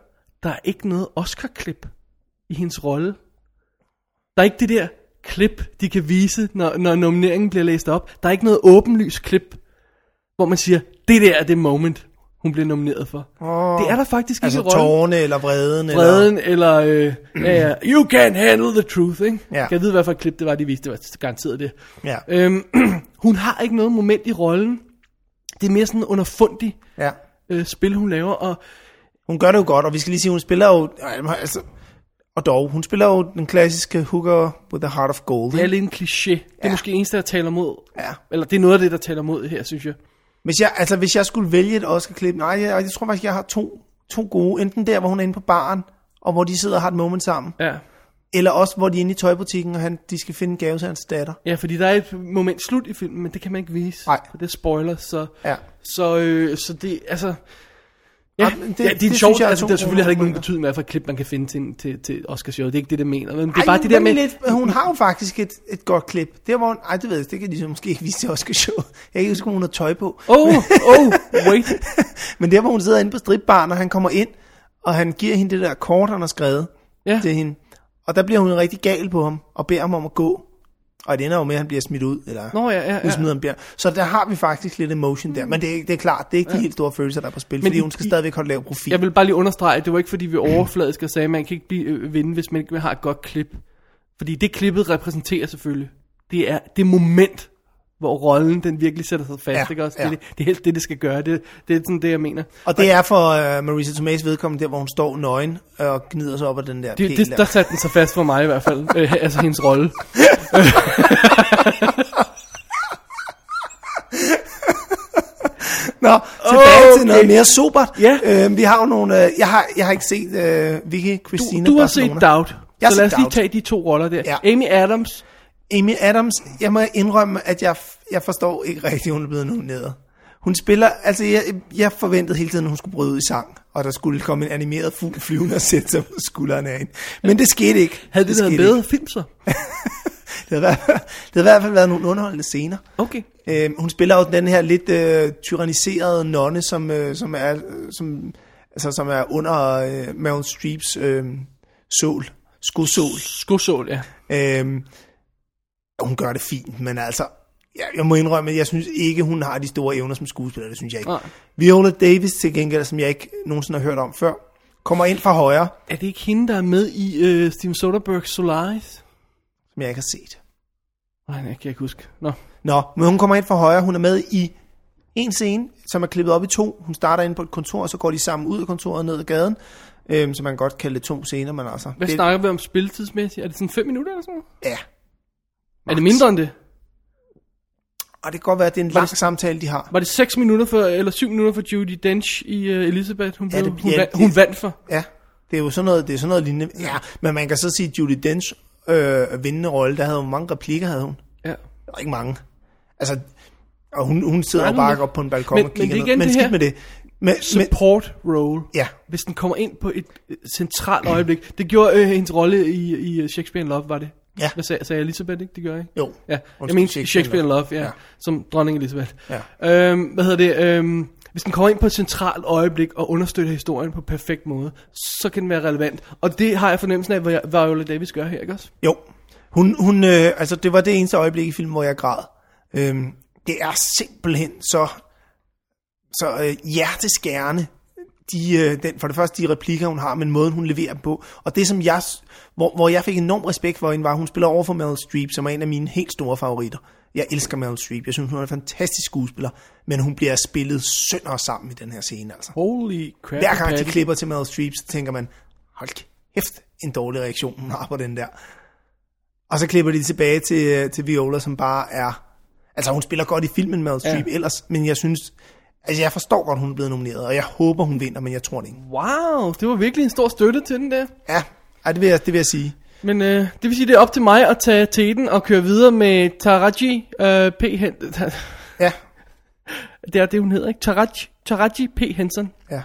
[SPEAKER 3] der er ikke noget Oscar-klip i hendes rolle. Der er ikke det der klip, de kan vise, når, når nomineringen bliver læst op. Der er ikke noget åbenlyst klip, hvor man siger, det der er det moment, hun bliver nomineret for. Oh, det er der faktisk
[SPEAKER 2] Altså
[SPEAKER 3] ikke i rollen.
[SPEAKER 2] tårne eller vreden. Eller,
[SPEAKER 3] Vreden, eller, øh, (clears throat) ja, ja, you can handle the truth, ikke?
[SPEAKER 2] Ja.
[SPEAKER 3] Kan jeg vide, hvad for et klip det var, de viste? Det var garanteret det.
[SPEAKER 2] ja,
[SPEAKER 3] Øhm, hun har ikke noget moment i rollen. Det er mere sådan en underfundig
[SPEAKER 2] ja.
[SPEAKER 3] øh, spil, hun laver, og
[SPEAKER 2] Hun gør det jo godt, og vi skal lige sige, hun spiller jo... Altså, og dog, hun spiller jo den klassiske hooker with a heart of gold.
[SPEAKER 3] det er
[SPEAKER 2] ikke?
[SPEAKER 3] lidt en kliché. Det er måske eneste, der taler mod.
[SPEAKER 2] Ja.
[SPEAKER 3] Eller det er noget af det, der taler mod her, synes jeg.
[SPEAKER 2] Hvis jeg, altså, hvis jeg skulle vælge et Oscar-klip... Nej, jeg, jeg tror faktisk, jeg har to, to gode. Enten der, hvor hun er inde på baren, og hvor de sidder og har et moment sammen.
[SPEAKER 3] Ja.
[SPEAKER 2] Eller også, hvor de er inde i tøjbutikken, og han, de skal finde en gave til hans datter.
[SPEAKER 3] ja, fordi der er et moment slut i filmen, men det kan man ikke vise.
[SPEAKER 2] Nej.
[SPEAKER 3] For det er spoiler, så...
[SPEAKER 2] Ja.
[SPEAKER 3] Så, øh, så det, altså... Ja,
[SPEAKER 2] men
[SPEAKER 3] det,
[SPEAKER 2] det-
[SPEAKER 3] ja, det,
[SPEAKER 2] det
[SPEAKER 3] er
[SPEAKER 2] synes
[SPEAKER 3] sjovt,
[SPEAKER 2] jeg er
[SPEAKER 3] altså
[SPEAKER 2] to
[SPEAKER 3] det er selvfølgelig har det ikke
[SPEAKER 2] gode
[SPEAKER 3] nogen
[SPEAKER 2] momenter.
[SPEAKER 3] betydning, hvad for et klip man kan finde til, til, til Oscar Show. Det er ikke det, det mener. Men det er
[SPEAKER 2] Ej,
[SPEAKER 3] bare det der med...
[SPEAKER 2] Lidt, hun har jo faktisk et, et godt klip. Der, hvor hun, ej, det ved jeg, det kan de så måske ikke vise til Oscar Show. Jeg kan ikke huske, om hun har tøj på.
[SPEAKER 3] Oh, oh, wait.
[SPEAKER 2] Men der, hvor hun sidder inde på stripbaren, og han kommer ind, og han giver hende det der kort, han har skrevet
[SPEAKER 3] Ja.
[SPEAKER 2] til hende. Og der bliver hun rigtig gal på ham, og beder ham om at gå. Og det ender jo med, at han bliver smidt ud, eller
[SPEAKER 3] Nå, ja, ja, ja.
[SPEAKER 2] hun smider ham bjerg. Så der har vi faktisk lidt emotion der. Men det, er- det er klart, det er ikke de helt store følelser, der er på spil,
[SPEAKER 3] Men
[SPEAKER 2] fordi
[SPEAKER 3] i-
[SPEAKER 2] hun skal
[SPEAKER 3] i-
[SPEAKER 2] stadigvæk holde lav profil.
[SPEAKER 3] Jeg vil bare lige understrege, at det var ikke
[SPEAKER 2] (clears throat)
[SPEAKER 3] fordi vi overfladisk og sagde, at man kan ikke blive, øh, vinde, hvis man ikke har et godt klip. Fordi det klippet repræsenterer selvfølgelig, det er det moment, hvor rollen den virkelig sætter sig fast.
[SPEAKER 2] Ja,
[SPEAKER 3] ikke også?
[SPEAKER 2] ja.
[SPEAKER 3] Det, er det, det er helt det, det skal gøre. Det, det er sådan det, jeg mener.
[SPEAKER 2] Og det er for uh, Marisa Tomei's vedkommende, der hvor hun står nøgen øh, og gnider sig op af den der
[SPEAKER 3] Det,
[SPEAKER 2] pæl
[SPEAKER 3] det, der
[SPEAKER 2] der.
[SPEAKER 3] satte den sig fast for mig i hvert
[SPEAKER 2] (laughs)
[SPEAKER 3] fald. øh, altså hendes rolle.
[SPEAKER 2] Nå, tilbage okay.
[SPEAKER 3] Okay.
[SPEAKER 2] til noget mere sobert.
[SPEAKER 3] Ja.
[SPEAKER 2] Øhm, vi har jo nogle... Øh, jeg, har, jeg har ikke set øh, Vicky Christina
[SPEAKER 3] Du, du har set
[SPEAKER 2] Barcelona.
[SPEAKER 3] Doubt.
[SPEAKER 2] Jeg har
[SPEAKER 3] så lad os
[SPEAKER 2] set
[SPEAKER 3] lige
[SPEAKER 2] Doubt.
[SPEAKER 3] tage de to roller der.
[SPEAKER 2] Ja.
[SPEAKER 3] Amy Adams.
[SPEAKER 2] Amy Adams, jeg må indrømme, at jeg, jeg forstår ikke rigtigt, hun er blevet nomineret. Hun spiller, altså jeg, jeg forventede hele tiden, at hun skulle bryde ud i sang, og der skulle komme en animeret fugl flyvende og sætte sig på skulderen af hende. Men det skete ikke.
[SPEAKER 3] Havde det, været en
[SPEAKER 2] skete
[SPEAKER 3] bedre
[SPEAKER 2] ikke.
[SPEAKER 3] film så?
[SPEAKER 2] Det havde, været- det havde i hvert fald været nogle underholdende scener.
[SPEAKER 3] Okay.
[SPEAKER 2] Øhm, hun spiller jo den her lidt øh, tyranniserede nonne, som, øh, som, er, øh, som, altså, som er under øh, Meryl Streeps øh, sol, skosål.
[SPEAKER 3] Skosål, ja.
[SPEAKER 2] Øhm, og hun gør det fint, men altså, jeg, jeg må indrømme, at jeg synes ikke, hun har de store evner som skuespiller, det synes jeg ikke.
[SPEAKER 3] Nej.
[SPEAKER 2] Viola Davis til gengæld, som jeg ikke nogensinde har hørt om før, kommer ind fra højre,
[SPEAKER 3] Er det ikke hende, der er med i øh, Steven Soderberghs Solaris?
[SPEAKER 2] som jeg ikke har set.
[SPEAKER 3] Nej, jeg kan ikke huske. Nå.
[SPEAKER 2] Nå, men hun kommer ind fra højre, hun er med i en scene, som er klippet op i to. Hun starter inde på et kontor, og så går de sammen ud af kontoret og ned ad gaden, øhm, så man kan godt kalde det to scener, men altså...
[SPEAKER 3] Hvad det...
[SPEAKER 2] det,
[SPEAKER 3] snakker vi om spiltidsmæssigt? Er det sådan 5 minutter eller sådan
[SPEAKER 2] Ja,
[SPEAKER 3] noget? Er det mindre end det?
[SPEAKER 2] og det kan godt være, at det er en lang samtale, de har.
[SPEAKER 3] Var det 6 minutter for, eller 7 minutter for Judy Dench i uh, Elizabeth? Hun,
[SPEAKER 2] Ja,
[SPEAKER 3] blev,
[SPEAKER 2] det-
[SPEAKER 3] hun,
[SPEAKER 2] ja,
[SPEAKER 3] vandt,
[SPEAKER 2] det-
[SPEAKER 3] hun vandt for.
[SPEAKER 2] Ja, det er jo sådan noget, det er sådan noget lignende. Ja, men man kan så sige, at Judy Dench øh, vindende rolle, der havde hun mange replikker, havde hun.
[SPEAKER 3] Ja.
[SPEAKER 2] Der var ikke mange. Altså, og hun, hun sidder
[SPEAKER 3] Nej,
[SPEAKER 2] og
[SPEAKER 3] hun-
[SPEAKER 2] bakker op på en balkon
[SPEAKER 3] Men-
[SPEAKER 2] og
[SPEAKER 3] men det
[SPEAKER 2] kigger
[SPEAKER 3] er igen
[SPEAKER 2] ned. Men
[SPEAKER 3] det her-
[SPEAKER 2] skidt med det. Men, men,
[SPEAKER 3] support role.
[SPEAKER 2] Ja.
[SPEAKER 3] Hvis den kommer ind på et øh, centralt øjeblik. Det gjorde øh, hendes rolle i, i øh, Shakespeare in Love, var det?
[SPEAKER 2] Ja.
[SPEAKER 3] Hvad sagde, sagde jeg Elisabeth, ikke? Det gjorde jeg, ikke?
[SPEAKER 2] Jo.
[SPEAKER 3] Ja. Jeg
[SPEAKER 2] Undskyld,
[SPEAKER 3] mener
[SPEAKER 2] Shakespeare in
[SPEAKER 3] Shakespeare in
[SPEAKER 2] Love.
[SPEAKER 3] Love, ja.
[SPEAKER 2] Ja.
[SPEAKER 3] Som dronning Elisabeth.
[SPEAKER 2] Ja.
[SPEAKER 3] Øhm, hvad hedder det? Øhm, hvis den kommer ind på et centralt øjeblik og understøtter historien på perfekt måde, så kan den være relevant. Og det har jeg fornemmelsen af, hvad Viola Davis gør her, ikke også?
[SPEAKER 2] Jo. Hun, hun, øh, altså, det var det eneste øjeblik i filmen, hvor jeg græd. Øhm, det er simpelthen så, så øh, hjerteskærende, de, øh, den, for det første de replikker, hun har, men måden, hun leverer dem på. Og det, som jeg, s- hvor, hvor jeg fik enorm respekt for hende, var, at hun spiller over for Meryl Streep, som er en af mine helt store favoritter. Jeg elsker Meryl Streep. Jeg synes, hun er en fantastisk skuespiller, men hun bliver spillet sønder sammen i den her scene, altså.
[SPEAKER 3] Holy crap.
[SPEAKER 2] Hver gang de
[SPEAKER 3] Patty.
[SPEAKER 2] klipper til Meryl Streep, så tænker man, hold kæft, en dårlig reaktion, hun har på den der. Og så klipper de tilbage til, øh, til Viola, som bare er... Altså, hun spiller godt i filmen Meryl Streep ja. ellers, men jeg synes... Altså, jeg forstår godt, hun er blevet nomineret, og jeg håber, hun vinder, men jeg tror det ikke.
[SPEAKER 3] Wow, det var virkelig en stor støtte til den der.
[SPEAKER 2] Ja, ej, det, vil jeg, det vil jeg sige.
[SPEAKER 3] Men øh, det vil sige, det er op til mig at tage teten og køre videre med Taraji øh, P. Hen (laughs)
[SPEAKER 2] Ja,
[SPEAKER 3] det er det, hun hedder, ikke? Taraji, Taraji P. Henson
[SPEAKER 2] ja.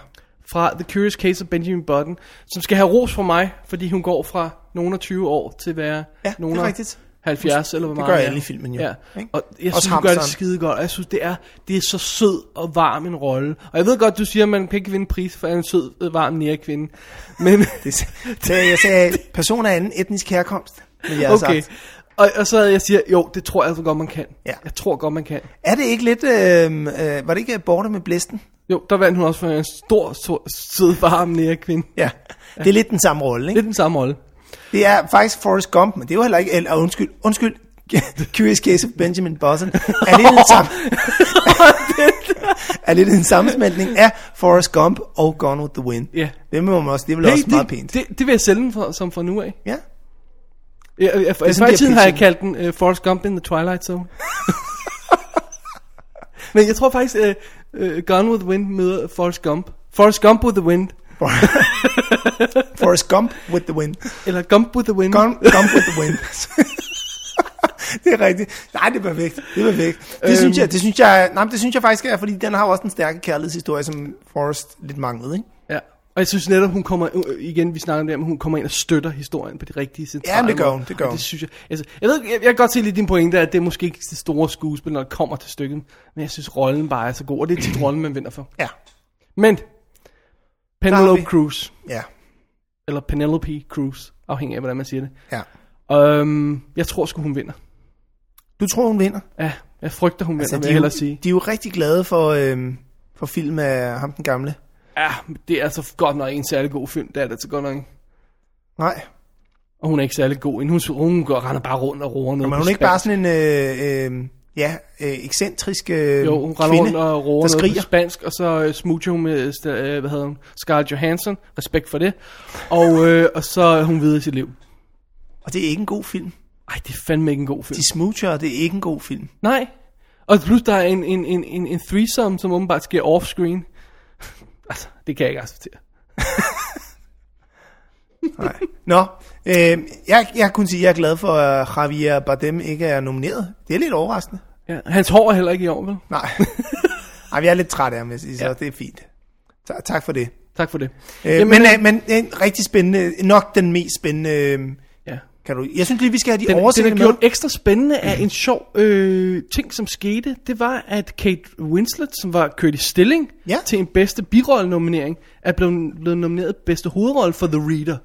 [SPEAKER 3] fra The Curious Case of Benjamin Button, som skal have ros fra mig, fordi hun går fra nogen af 20 år til at være
[SPEAKER 2] Ja, det er
[SPEAKER 3] nogen af
[SPEAKER 2] rigtigt.
[SPEAKER 3] 70 eller hvor
[SPEAKER 2] Det
[SPEAKER 3] meget.
[SPEAKER 2] gør
[SPEAKER 3] det er.
[SPEAKER 2] alle i filmen, jo.
[SPEAKER 3] Ja.
[SPEAKER 2] Ikke?
[SPEAKER 3] Og jeg
[SPEAKER 2] Også
[SPEAKER 3] synes, hun gør det
[SPEAKER 2] hamsteren.
[SPEAKER 3] skide godt, og jeg synes, det er, det er så sød og varm en rolle. Og jeg ved godt, du siger, at man kan ikke vinde pris for en sød, øh, varm nære
[SPEAKER 2] (laughs)
[SPEAKER 3] kvinde. Men
[SPEAKER 2] Det, så jeg sagde, person af anden etnisk herkomst, vil jeg altså. okay.
[SPEAKER 3] okay.
[SPEAKER 2] sagt.
[SPEAKER 3] Og, og så jeg siger, jo, det tror jeg altså godt, man kan.
[SPEAKER 2] Ja.
[SPEAKER 3] Jeg tror godt, man kan.
[SPEAKER 2] Er det ikke lidt... Øh, øh, var det ikke Borte med Blæsten?
[SPEAKER 3] Jo, der vandt hun også for en stor, stor sød, varm nære kvinde.
[SPEAKER 2] Ja. Det er lidt den samme rolle, ikke?
[SPEAKER 3] Lidt den samme rolle.
[SPEAKER 2] Det er faktisk Forrest Gump, men det er jo heller ikke... Eller, undskyld, undskyld. (laughs) Curious Case of Benjamin Button. Er det den samme... er det den sammensmeltning af Forrest Gump og Gone with the Wind?
[SPEAKER 3] Ja.
[SPEAKER 2] Det må man også... Det er vel også meget pænt.
[SPEAKER 3] Det, det, vil jeg sælge den for, som fra nu af.
[SPEAKER 2] Ja.
[SPEAKER 3] Jeg, jeg, jeg,
[SPEAKER 2] sådan,
[SPEAKER 3] før i
[SPEAKER 2] de
[SPEAKER 3] tiden
[SPEAKER 2] har
[SPEAKER 3] har jeg
[SPEAKER 2] pitchet
[SPEAKER 3] kaldt den uh, Forrest Gump in the Twilight Zone. (laughs) Men jeg tror faktisk, uh, uh, Gone with the Wind møder Forrest Gump. Forrest Gump with the Wind.
[SPEAKER 2] Forrest Gump with the Wind.
[SPEAKER 3] Eller Gump with the Wind.
[SPEAKER 2] Gump, Gump with the Wind. (laughs) det er rigtigt. Nej, det er perfekt. Det er perfekt. Det, synes, jeg, det, synes, jeg, nej, men det synes jeg faktisk er, fordi den har jo også en stærke kærlighedshistorie, som Forrest lidt manglede, ikke?
[SPEAKER 3] Ja. Og jeg synes netop, hun kommer, øh, igen, vi snakker om det, her, men hun kommer ind og støtter historien på de rigtige centrale
[SPEAKER 2] Ja, men det gør
[SPEAKER 3] måder.
[SPEAKER 2] hun, det gør
[SPEAKER 3] Og
[SPEAKER 2] hun.
[SPEAKER 3] Det synes jeg, altså, jeg, ved, ikke, jeg, jeg kan godt se lidt din pointe, at det er måske ikke det store skuespil, når det kommer til stykket, men jeg synes, rollen bare er så god, og det er
[SPEAKER 2] (clears throat)
[SPEAKER 3] tit rollen, man vinder for.
[SPEAKER 2] Ja.
[SPEAKER 3] Men,
[SPEAKER 2] vi-
[SPEAKER 3] Penelope Cruz,
[SPEAKER 2] Ja.
[SPEAKER 3] eller Penelope Cruz, afhængig af, hvordan man siger det.
[SPEAKER 2] Ja.
[SPEAKER 3] Øhm, jeg tror sgu, hun vinder.
[SPEAKER 2] Du tror, hun vinder?
[SPEAKER 3] Ja, jeg frygter, hun
[SPEAKER 2] Altså, de,
[SPEAKER 3] vinder, vil jeg
[SPEAKER 2] er jo,
[SPEAKER 3] hellere sige.
[SPEAKER 2] de er jo rigtig glade for, øhm, for film af ham den gamle.
[SPEAKER 3] Ja, men det er altså godt nok ikke en særlig god film, det er det altså godt nok ikke.
[SPEAKER 2] Nej,
[SPEAKER 3] Og hun er ikke særlig god, endnu. hun, hun går, render bare rundt og roer noget.
[SPEAKER 2] men
[SPEAKER 3] på
[SPEAKER 2] hun er ikke
[SPEAKER 3] spansk.
[SPEAKER 2] bare sådan en øh, øh, ja, øh, ekscentrisk øh,
[SPEAKER 3] Jo, hun render
[SPEAKER 2] kvinde,
[SPEAKER 3] rundt og roer
[SPEAKER 2] der
[SPEAKER 3] noget på
[SPEAKER 2] skriger.
[SPEAKER 3] spansk, og så øh, smoocher hun med, øh, sta- øh, hvad hedder hun, Scarlett Johansson, respekt for det, og, øh, og så er hun videre i sit liv.
[SPEAKER 2] Og det er ikke en god film.
[SPEAKER 3] Ej, det er fandme ikke en god film.
[SPEAKER 2] De smoocher, og det er ikke en god film.
[SPEAKER 3] Nej. Og plus der er en, en, en, en, en threesome, som åbenbart sker offscreen. (laughs) altså, det kan jeg ikke acceptere.
[SPEAKER 2] Nej. Nå, øh, jeg, jeg kunne sige, at jeg er glad for, at Javier Bardem ikke er nomineret. Det er lidt overraskende.
[SPEAKER 3] Ja. Hans hår er heller ikke i år, vel? (laughs)
[SPEAKER 2] Nej. Ej, men jeg er lidt træt af ham, vil jeg sige, så det er fint. Ta- tak for det.
[SPEAKER 3] Tak for det.
[SPEAKER 2] Øh,
[SPEAKER 3] Jamen,
[SPEAKER 2] men, øh, men øh, rigtig spændende, nok den mest spændende... Øh,
[SPEAKER 3] Ja.
[SPEAKER 2] kan du, jeg synes lige, vi skal have de
[SPEAKER 3] Den, den
[SPEAKER 2] oversættende
[SPEAKER 3] er
[SPEAKER 2] med. Mhm.
[SPEAKER 3] gjort ekstra spændende af en sjov øh, ting, som skete. Det var, at Kate Winslet, som var kørt i stilling
[SPEAKER 2] Ja.
[SPEAKER 3] til en bedste birolle-nominering, er blevet, blevet nomineret bedste hovedrolle for The Reader.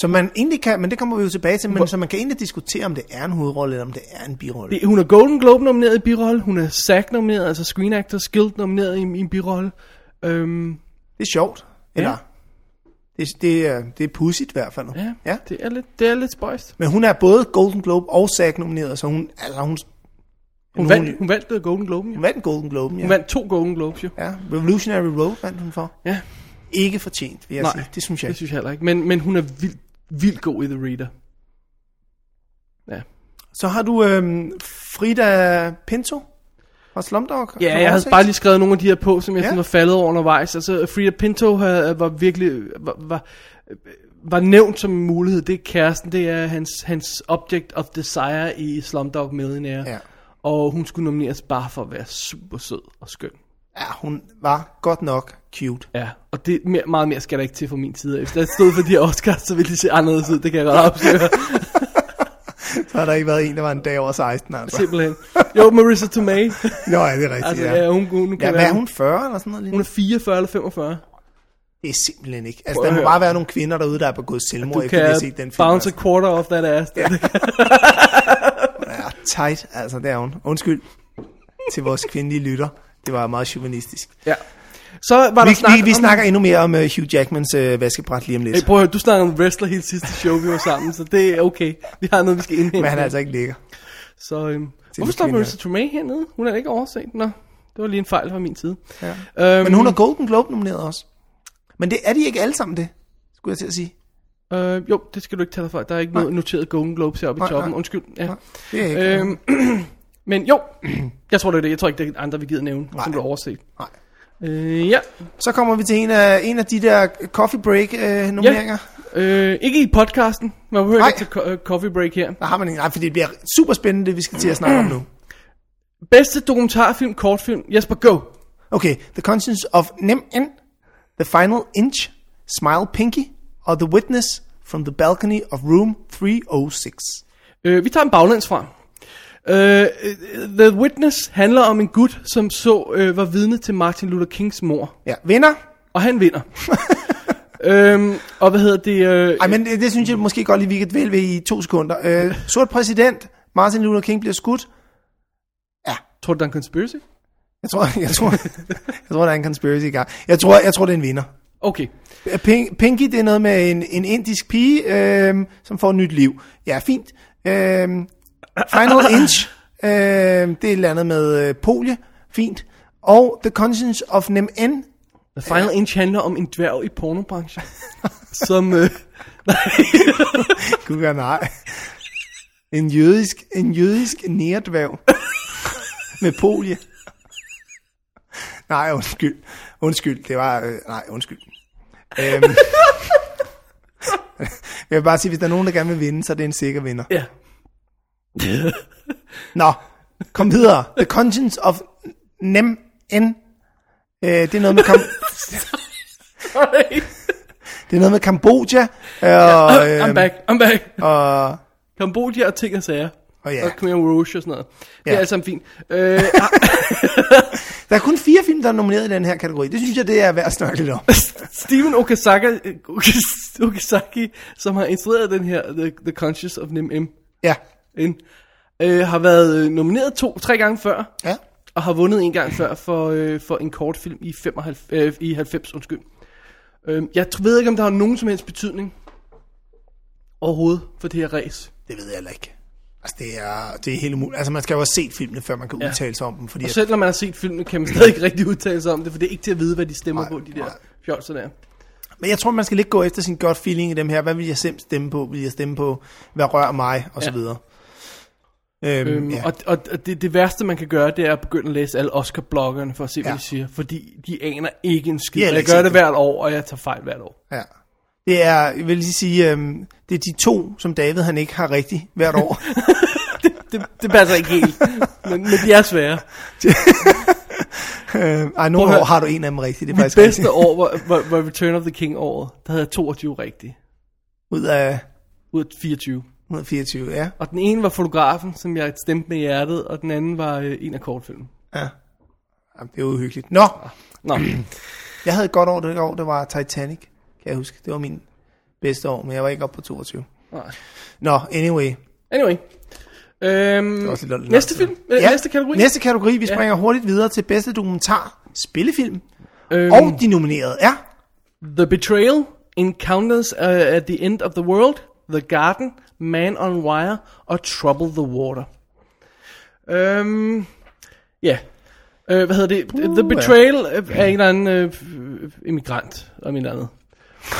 [SPEAKER 2] Som man egentlig kan, men det kommer vi jo tilbage til, men så man kan egentlig diskutere, om det er en hovedrolle, eller om det er en birolle.
[SPEAKER 3] Det, hun er Golden Globe-nomineret i birolle, hun er SAG-nomineret, altså Screen Actors Guild-nomineret i, i en birolle. Øhm,
[SPEAKER 2] Det er sjovt, eller?
[SPEAKER 3] Ja.
[SPEAKER 2] Det, det, er, det er pudsigt i hvert fald.
[SPEAKER 3] ja, ja, det er lidt, det er lidt spøjst.
[SPEAKER 2] Men hun er både Golden Globe og SAG nomineret, så hun, altså hun,
[SPEAKER 3] Hun,
[SPEAKER 2] Nu-
[SPEAKER 3] vandt, hun vandt øh, Golden Globe, jo.
[SPEAKER 2] hun vandt Golden Globe. Ja.
[SPEAKER 3] Hun vandt to Golden Globes, jo.
[SPEAKER 2] ja, Revolutionary Road vandt hun for.
[SPEAKER 3] Ja.
[SPEAKER 2] Ikke fortjent, vil jeg sige. altså, Det synes jeg
[SPEAKER 3] Det
[SPEAKER 2] ikke.
[SPEAKER 3] synes jeg heller ikke. Men, men hun er vildt, vildt god i The Reader. Ja.
[SPEAKER 2] Så har du øhm, Frida Pinto fra Slumdog.
[SPEAKER 3] Ja,
[SPEAKER 2] Som
[SPEAKER 3] jeg havde
[SPEAKER 2] oversæt.
[SPEAKER 3] bare lige skrevet nogle af de her på, som jeg
[SPEAKER 2] Ja.
[SPEAKER 3] ja. sådan var faldet over undervejs. Altså, Frida Pinto havde, var virkelig... øh, Var, var, var nævnt som en mulighed. Det er kæresten, det er hans, hans object of desire i Slumdog Millionaire.
[SPEAKER 2] Ja.
[SPEAKER 3] Og hun skulle nomineres bare for at være super sød og skøn.
[SPEAKER 2] Ja, hun var godt nok cute.
[SPEAKER 3] Ja, og det mere, meget mere skal der ikke til fra min side. Hvis der stod for de her Oscars, så ville de se anderledes ud. Det kan jeg godt
[SPEAKER 2] (laughs)
[SPEAKER 3] afsløre.
[SPEAKER 2] Så har der ikke været en, der var en dag over 16, altså.
[SPEAKER 3] Simpelthen. Jo, Marissa Tomei.
[SPEAKER 2] Nå, ja, det er rigtigt,
[SPEAKER 3] Altså,
[SPEAKER 2] ja.
[SPEAKER 3] ja, hun, hun, hun kan
[SPEAKER 2] Ja, hvad
[SPEAKER 3] være,
[SPEAKER 2] er hun, 40 eller sådan noget? lige nu?
[SPEAKER 3] Hun er 44 eller 45.
[SPEAKER 2] Det er simpelthen ikke. Altså,
[SPEAKER 3] Prøv at
[SPEAKER 2] der må
[SPEAKER 3] høre.
[SPEAKER 2] bare være nogle kvinder derude, der er begået selvmord,
[SPEAKER 3] Du
[SPEAKER 2] efter de har
[SPEAKER 3] kan
[SPEAKER 2] set den film.
[SPEAKER 3] bounce
[SPEAKER 2] Altså.
[SPEAKER 3] a quarter off that ass. Ja.
[SPEAKER 2] Ja, tight, altså, det er hun. Undskyld til vores kvindelige lytter. Det var meget chauvinistisk.
[SPEAKER 3] (laughs) ja. Så var
[SPEAKER 2] Vi,
[SPEAKER 3] der snak
[SPEAKER 2] vi, vi
[SPEAKER 3] om-
[SPEAKER 2] snakker endnu mere om uh, Hugh Jackmans uh, vaskebræt lige om lidt.
[SPEAKER 3] (laughs) Hey, prøv at høre, du snakkede om wrestler hele sidste show, vi var sammen, så det er okay. Vi har noget, vi skal indhente.
[SPEAKER 2] Men han er altså ikke lækker.
[SPEAKER 3] Så øhm,
[SPEAKER 2] nu
[SPEAKER 3] hvorfor står
[SPEAKER 2] kvinder.
[SPEAKER 3] Marissa Tomei hernede? Hun er da ikke overset. Nå, det var lige en fejl fra min side.
[SPEAKER 2] Ja.
[SPEAKER 3] Øhm,
[SPEAKER 2] Men hun er Golden Globe nomineret også. Men det er de ikke alle sammen det, skulle jeg til at sige.
[SPEAKER 3] Øh, jo, det skal du ikke tage dig for. Der er ikke noget noteret Golden Globes heroppe i
[SPEAKER 2] Nej,
[SPEAKER 3] toppen.
[SPEAKER 2] nej.
[SPEAKER 3] Undskyld. Ja.
[SPEAKER 2] Det er ikke.
[SPEAKER 3] Øhm, (clears throat) men jo, (clears throat) jeg tror det er det. Jeg tror ikke, det er andre, vi gider nævne, Nej. som blev overset.
[SPEAKER 2] Nej.
[SPEAKER 3] Øh, ja,
[SPEAKER 2] Så kommer vi til en af, en af de der coffee break øh,
[SPEAKER 3] ja.
[SPEAKER 2] nomineringer.
[SPEAKER 3] Øh, ikke i podcasten. Man behøver
[SPEAKER 2] Nej.
[SPEAKER 3] ikke til co- øh, coffee break her.
[SPEAKER 2] Der har man en. Nej, for det bliver super spændende, det vi skal til at snakke om nu.
[SPEAKER 3] Bedste dokumentarfilm, kortfilm. Jesper, go.
[SPEAKER 2] Okay, The Conscience of Nimn, The Final Inch, Smile Pinky og The Witness from the Balcony of Room 306.
[SPEAKER 3] Øh, vi tager en baglæns fra. Øh, The Witness handler om en gut, som så øh, var vidne til Martin Luther Kings mor.
[SPEAKER 2] Ja, vinder.
[SPEAKER 3] Og
[SPEAKER 2] (laughs)
[SPEAKER 3] han vinder. øhm, og hvad hedder det? Øh,
[SPEAKER 2] Ej, men det, det synes jeg måske godt lige, vi kan vælge ved i to sekunder. Øh, sort præsident, Martin Luther King bliver skudt.
[SPEAKER 3] tror du, der er en conspiracy?
[SPEAKER 2] Jeg tror, jeg tror, (laughs) jeg tror der er en conspiracy i gang. Jeg tror, jeg tror det er en vinder.
[SPEAKER 3] Okay.
[SPEAKER 2] Pink, Øh, Pinky, det er noget med en, en indisk pige, øhm, som får et nyt liv. Ja, fint. Øhm, Final Inch, øhm, det er et eller andet med øh, polie. Fint. Og The Conscience of Nem N.
[SPEAKER 3] The Final Inch handler om en dværg i pornobranchen. (laughs) som... Øh,
[SPEAKER 2] Gud, ja, nej. En jødisk, en jødisk nærdværg med polie. Nej, undskyld. Undskyld, det var... Øh, nej, undskyld. Øhm, jeg vil bare sige, hvis der er nogen, der gerne vil vinde, så er det en sikker vinder.
[SPEAKER 3] ja.
[SPEAKER 2] Nå, kom videre. The Conscience of Nem N. Øh, det er noget med, Kam-
[SPEAKER 3] (laughs)
[SPEAKER 2] det er noget med Kambodja. Øh, og,
[SPEAKER 3] I'm
[SPEAKER 2] øhm,
[SPEAKER 3] back, I'm back.
[SPEAKER 2] og,
[SPEAKER 3] Kambodja og ting og sager.
[SPEAKER 2] og ja.
[SPEAKER 3] Og Khmer Rouge og sådan noget. Det
[SPEAKER 2] Ja.
[SPEAKER 3] er alt sammen fint. Øh, (laughs)
[SPEAKER 2] Der er kun fire film, der er nomineret i den her kategori. Det synes jeg, det er værd at snakke lidt om.
[SPEAKER 3] Steven Okazaki, Okas- Okazaki, som har instrueret den her The, The Conscious of Nim M,
[SPEAKER 2] Ja.
[SPEAKER 3] N, øh, har været øh, nomineret to, tre gange før,
[SPEAKER 2] Ja.
[SPEAKER 3] og har vundet en gang før for, øh, for en kortfilm i, 95, øh, i 90. Undskyld. Øh, jeg tr- ved ikke, om der har nogen som helst betydning overhovedet for det her race.
[SPEAKER 2] Det ved jeg heller ikke. Altså, det er, det er helt umuligt. Altså, man skal jo have set filmene, før man kan
[SPEAKER 3] Ja.
[SPEAKER 2] udtale sig om dem. Fordi
[SPEAKER 3] Og selv når man har set filmen, kan man stadig ikke rigtig udtale sig om det, for det er ikke til at vide, hvad de stemmer
[SPEAKER 2] Nej,
[SPEAKER 3] på, de der
[SPEAKER 2] nej.
[SPEAKER 3] fjolser der.
[SPEAKER 2] Men jeg tror, man skal lidt gå efter sin godt feeling i dem her. Hvad vil jeg selv stemme på? Vil jeg stemme på, hvad rører mig? Og så
[SPEAKER 3] Ja.
[SPEAKER 2] videre. Øhm,
[SPEAKER 3] Øhm,
[SPEAKER 2] ja.
[SPEAKER 3] ja. Og, og og det, det værste, man kan gøre, det er at begynde at læse alle Oscar-bloggerne for at se,
[SPEAKER 2] Ja.
[SPEAKER 3] hvad ja. de siger. Fordi de aner ikke en skid.
[SPEAKER 2] De
[SPEAKER 3] Ja,
[SPEAKER 2] har
[SPEAKER 3] jeg
[SPEAKER 2] ikke
[SPEAKER 3] gør
[SPEAKER 2] set
[SPEAKER 3] det
[SPEAKER 2] det.
[SPEAKER 3] hvert år, og jeg tager fejl hvert år.
[SPEAKER 2] ja. Det er, jeg vil lige sige, øhm, det er de to, som David han ikke har rigtigt hvert
[SPEAKER 3] (laughs)
[SPEAKER 2] år.
[SPEAKER 3] Det, det passer ikke helt, men, men de er svære.
[SPEAKER 2] øhm, ej,
[SPEAKER 3] at
[SPEAKER 2] nogle
[SPEAKER 3] høre.
[SPEAKER 2] år har du en af dem rigtigt. Det er
[SPEAKER 3] Mit
[SPEAKER 2] faktisk
[SPEAKER 3] bedste
[SPEAKER 2] rigtigt.
[SPEAKER 3] år var, var, var Return of the King-året. Der havde jeg 22 rigtige
[SPEAKER 2] Ud af,
[SPEAKER 3] ud af 24.
[SPEAKER 2] ud af 24, ja.
[SPEAKER 3] Og den ene var fotografen, som jeg stemte med i hjertet, og den anden var øh, en af kortfilmen.
[SPEAKER 2] Jamen, det er uhyggeligt. Nå,
[SPEAKER 3] Nå,
[SPEAKER 2] Jeg havde et godt år det år, det var Titanic, kan jeg huske. Det var min bedste år, men jeg var ikke oppe på 22.
[SPEAKER 3] Nej.
[SPEAKER 2] Nå, anyway.
[SPEAKER 3] anyway. Øhm,
[SPEAKER 2] også lidt langt
[SPEAKER 3] næste
[SPEAKER 2] tid.
[SPEAKER 3] film? Øh, Næste kategori?
[SPEAKER 2] Næste kategori, vi springer ja. hurtigt videre til bedste dokumentar, spillefilm.
[SPEAKER 3] Øhm,
[SPEAKER 2] Og de nominerede er...
[SPEAKER 3] The Betrayal, Encounters uh, at the End of the World, The Garden, Man on Wire og Trouble the Water. Øhm, ja. Øh, hvad hedder det? the Betrayal øh, er en eller anden øh, immigrant, om en andet.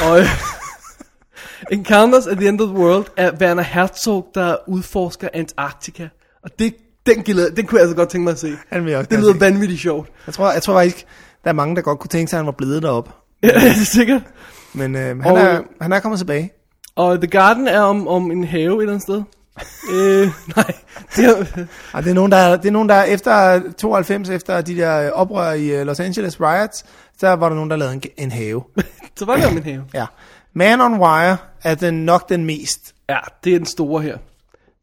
[SPEAKER 3] Og øh, (laughs) Encounters at the End of the World er Werner Herzog, der udforsker Antarktika. Og det, den, glæder, den kunne jeg altså godt tænke mig at se.
[SPEAKER 2] Han vil jeg også
[SPEAKER 3] Det
[SPEAKER 2] gerne
[SPEAKER 3] lyder
[SPEAKER 2] se.
[SPEAKER 3] vanvittigt sjovt.
[SPEAKER 2] Jeg tror, jeg tror faktisk, der er mange, der godt kunne tænke sig, at han var blevet deroppe.
[SPEAKER 3] Ja, det er sikkert.
[SPEAKER 2] Men øh, han,
[SPEAKER 3] Og-
[SPEAKER 2] er, han er kommet tilbage.
[SPEAKER 3] Og The Garden er om, om en have et eller andet sted. øh, (laughs) nej. Det er,
[SPEAKER 2] Ej, det, er nogen, der, er- det er nogen, der er efter 92, efter de der øh, oprør i øh, Los Angeles riots, der var der nogen, der lavede en, en have.
[SPEAKER 3] så var det om en have.
[SPEAKER 2] Ja. Man on Wire er den nok den mest.
[SPEAKER 3] Ja, det er den store her.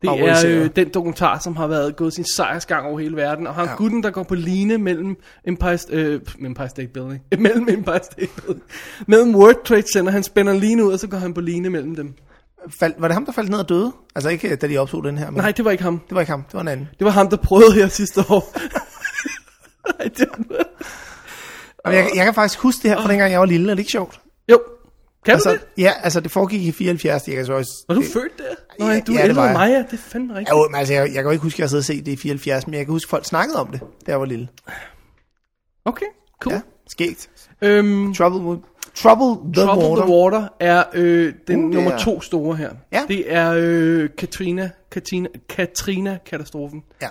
[SPEAKER 3] Det er
[SPEAKER 2] Favoriserer.
[SPEAKER 3] øh, den dokumentar, som har været gået sin sejrsgang over hele verden, og har ja. gutten, der går på line mellem Empire, St- øh, pff, Empire State Building, (laughs) øh, mellem Empire State Building, mellem World Trade Center, han spænder line ud, og så går han på line mellem dem.
[SPEAKER 2] Fald, var det ham, der faldt ned og døde? Altså ikke, da de optog den her. Men
[SPEAKER 3] Nej, det var ikke ham.
[SPEAKER 2] Det var ikke ham, det var en anden.
[SPEAKER 3] Det var ham, der prøvede her sidste år. (laughs) Nej, det var...
[SPEAKER 2] Og jeg, jeg kan faktisk huske det her fra dengang, jeg var lille. Er det ikke sjovt?
[SPEAKER 3] Jo, kan altså, du
[SPEAKER 2] Altså,
[SPEAKER 3] det?
[SPEAKER 2] ja, altså det foregik i 74. Jeg kan så også...
[SPEAKER 3] Var du
[SPEAKER 2] det-
[SPEAKER 3] født der?
[SPEAKER 2] Ja,
[SPEAKER 3] Nej, du
[SPEAKER 2] ja,
[SPEAKER 3] er
[SPEAKER 2] det
[SPEAKER 3] ældre
[SPEAKER 2] var
[SPEAKER 3] end mig,
[SPEAKER 2] jeg.
[SPEAKER 3] ja, det er fandme rigtigt.
[SPEAKER 2] Ja, jo, men altså, jeg, jeg kan jo ikke huske, at jeg havde set det i 74, men jeg kan huske, at folk snakkede om det, da jeg var lille.
[SPEAKER 3] Okay, cool.
[SPEAKER 2] Ja, skægt.
[SPEAKER 3] Øhm,
[SPEAKER 2] Trouble, with, trouble the
[SPEAKER 3] Trouble
[SPEAKER 2] Trouble Water.
[SPEAKER 3] the Water er øh, den
[SPEAKER 2] Uh,
[SPEAKER 3] uh,
[SPEAKER 2] det
[SPEAKER 3] nummer
[SPEAKER 2] er-
[SPEAKER 3] to store her.
[SPEAKER 2] Ja.
[SPEAKER 3] Det er øh, Katrina, Katrina, Katrina-katastrofen.
[SPEAKER 2] Ja.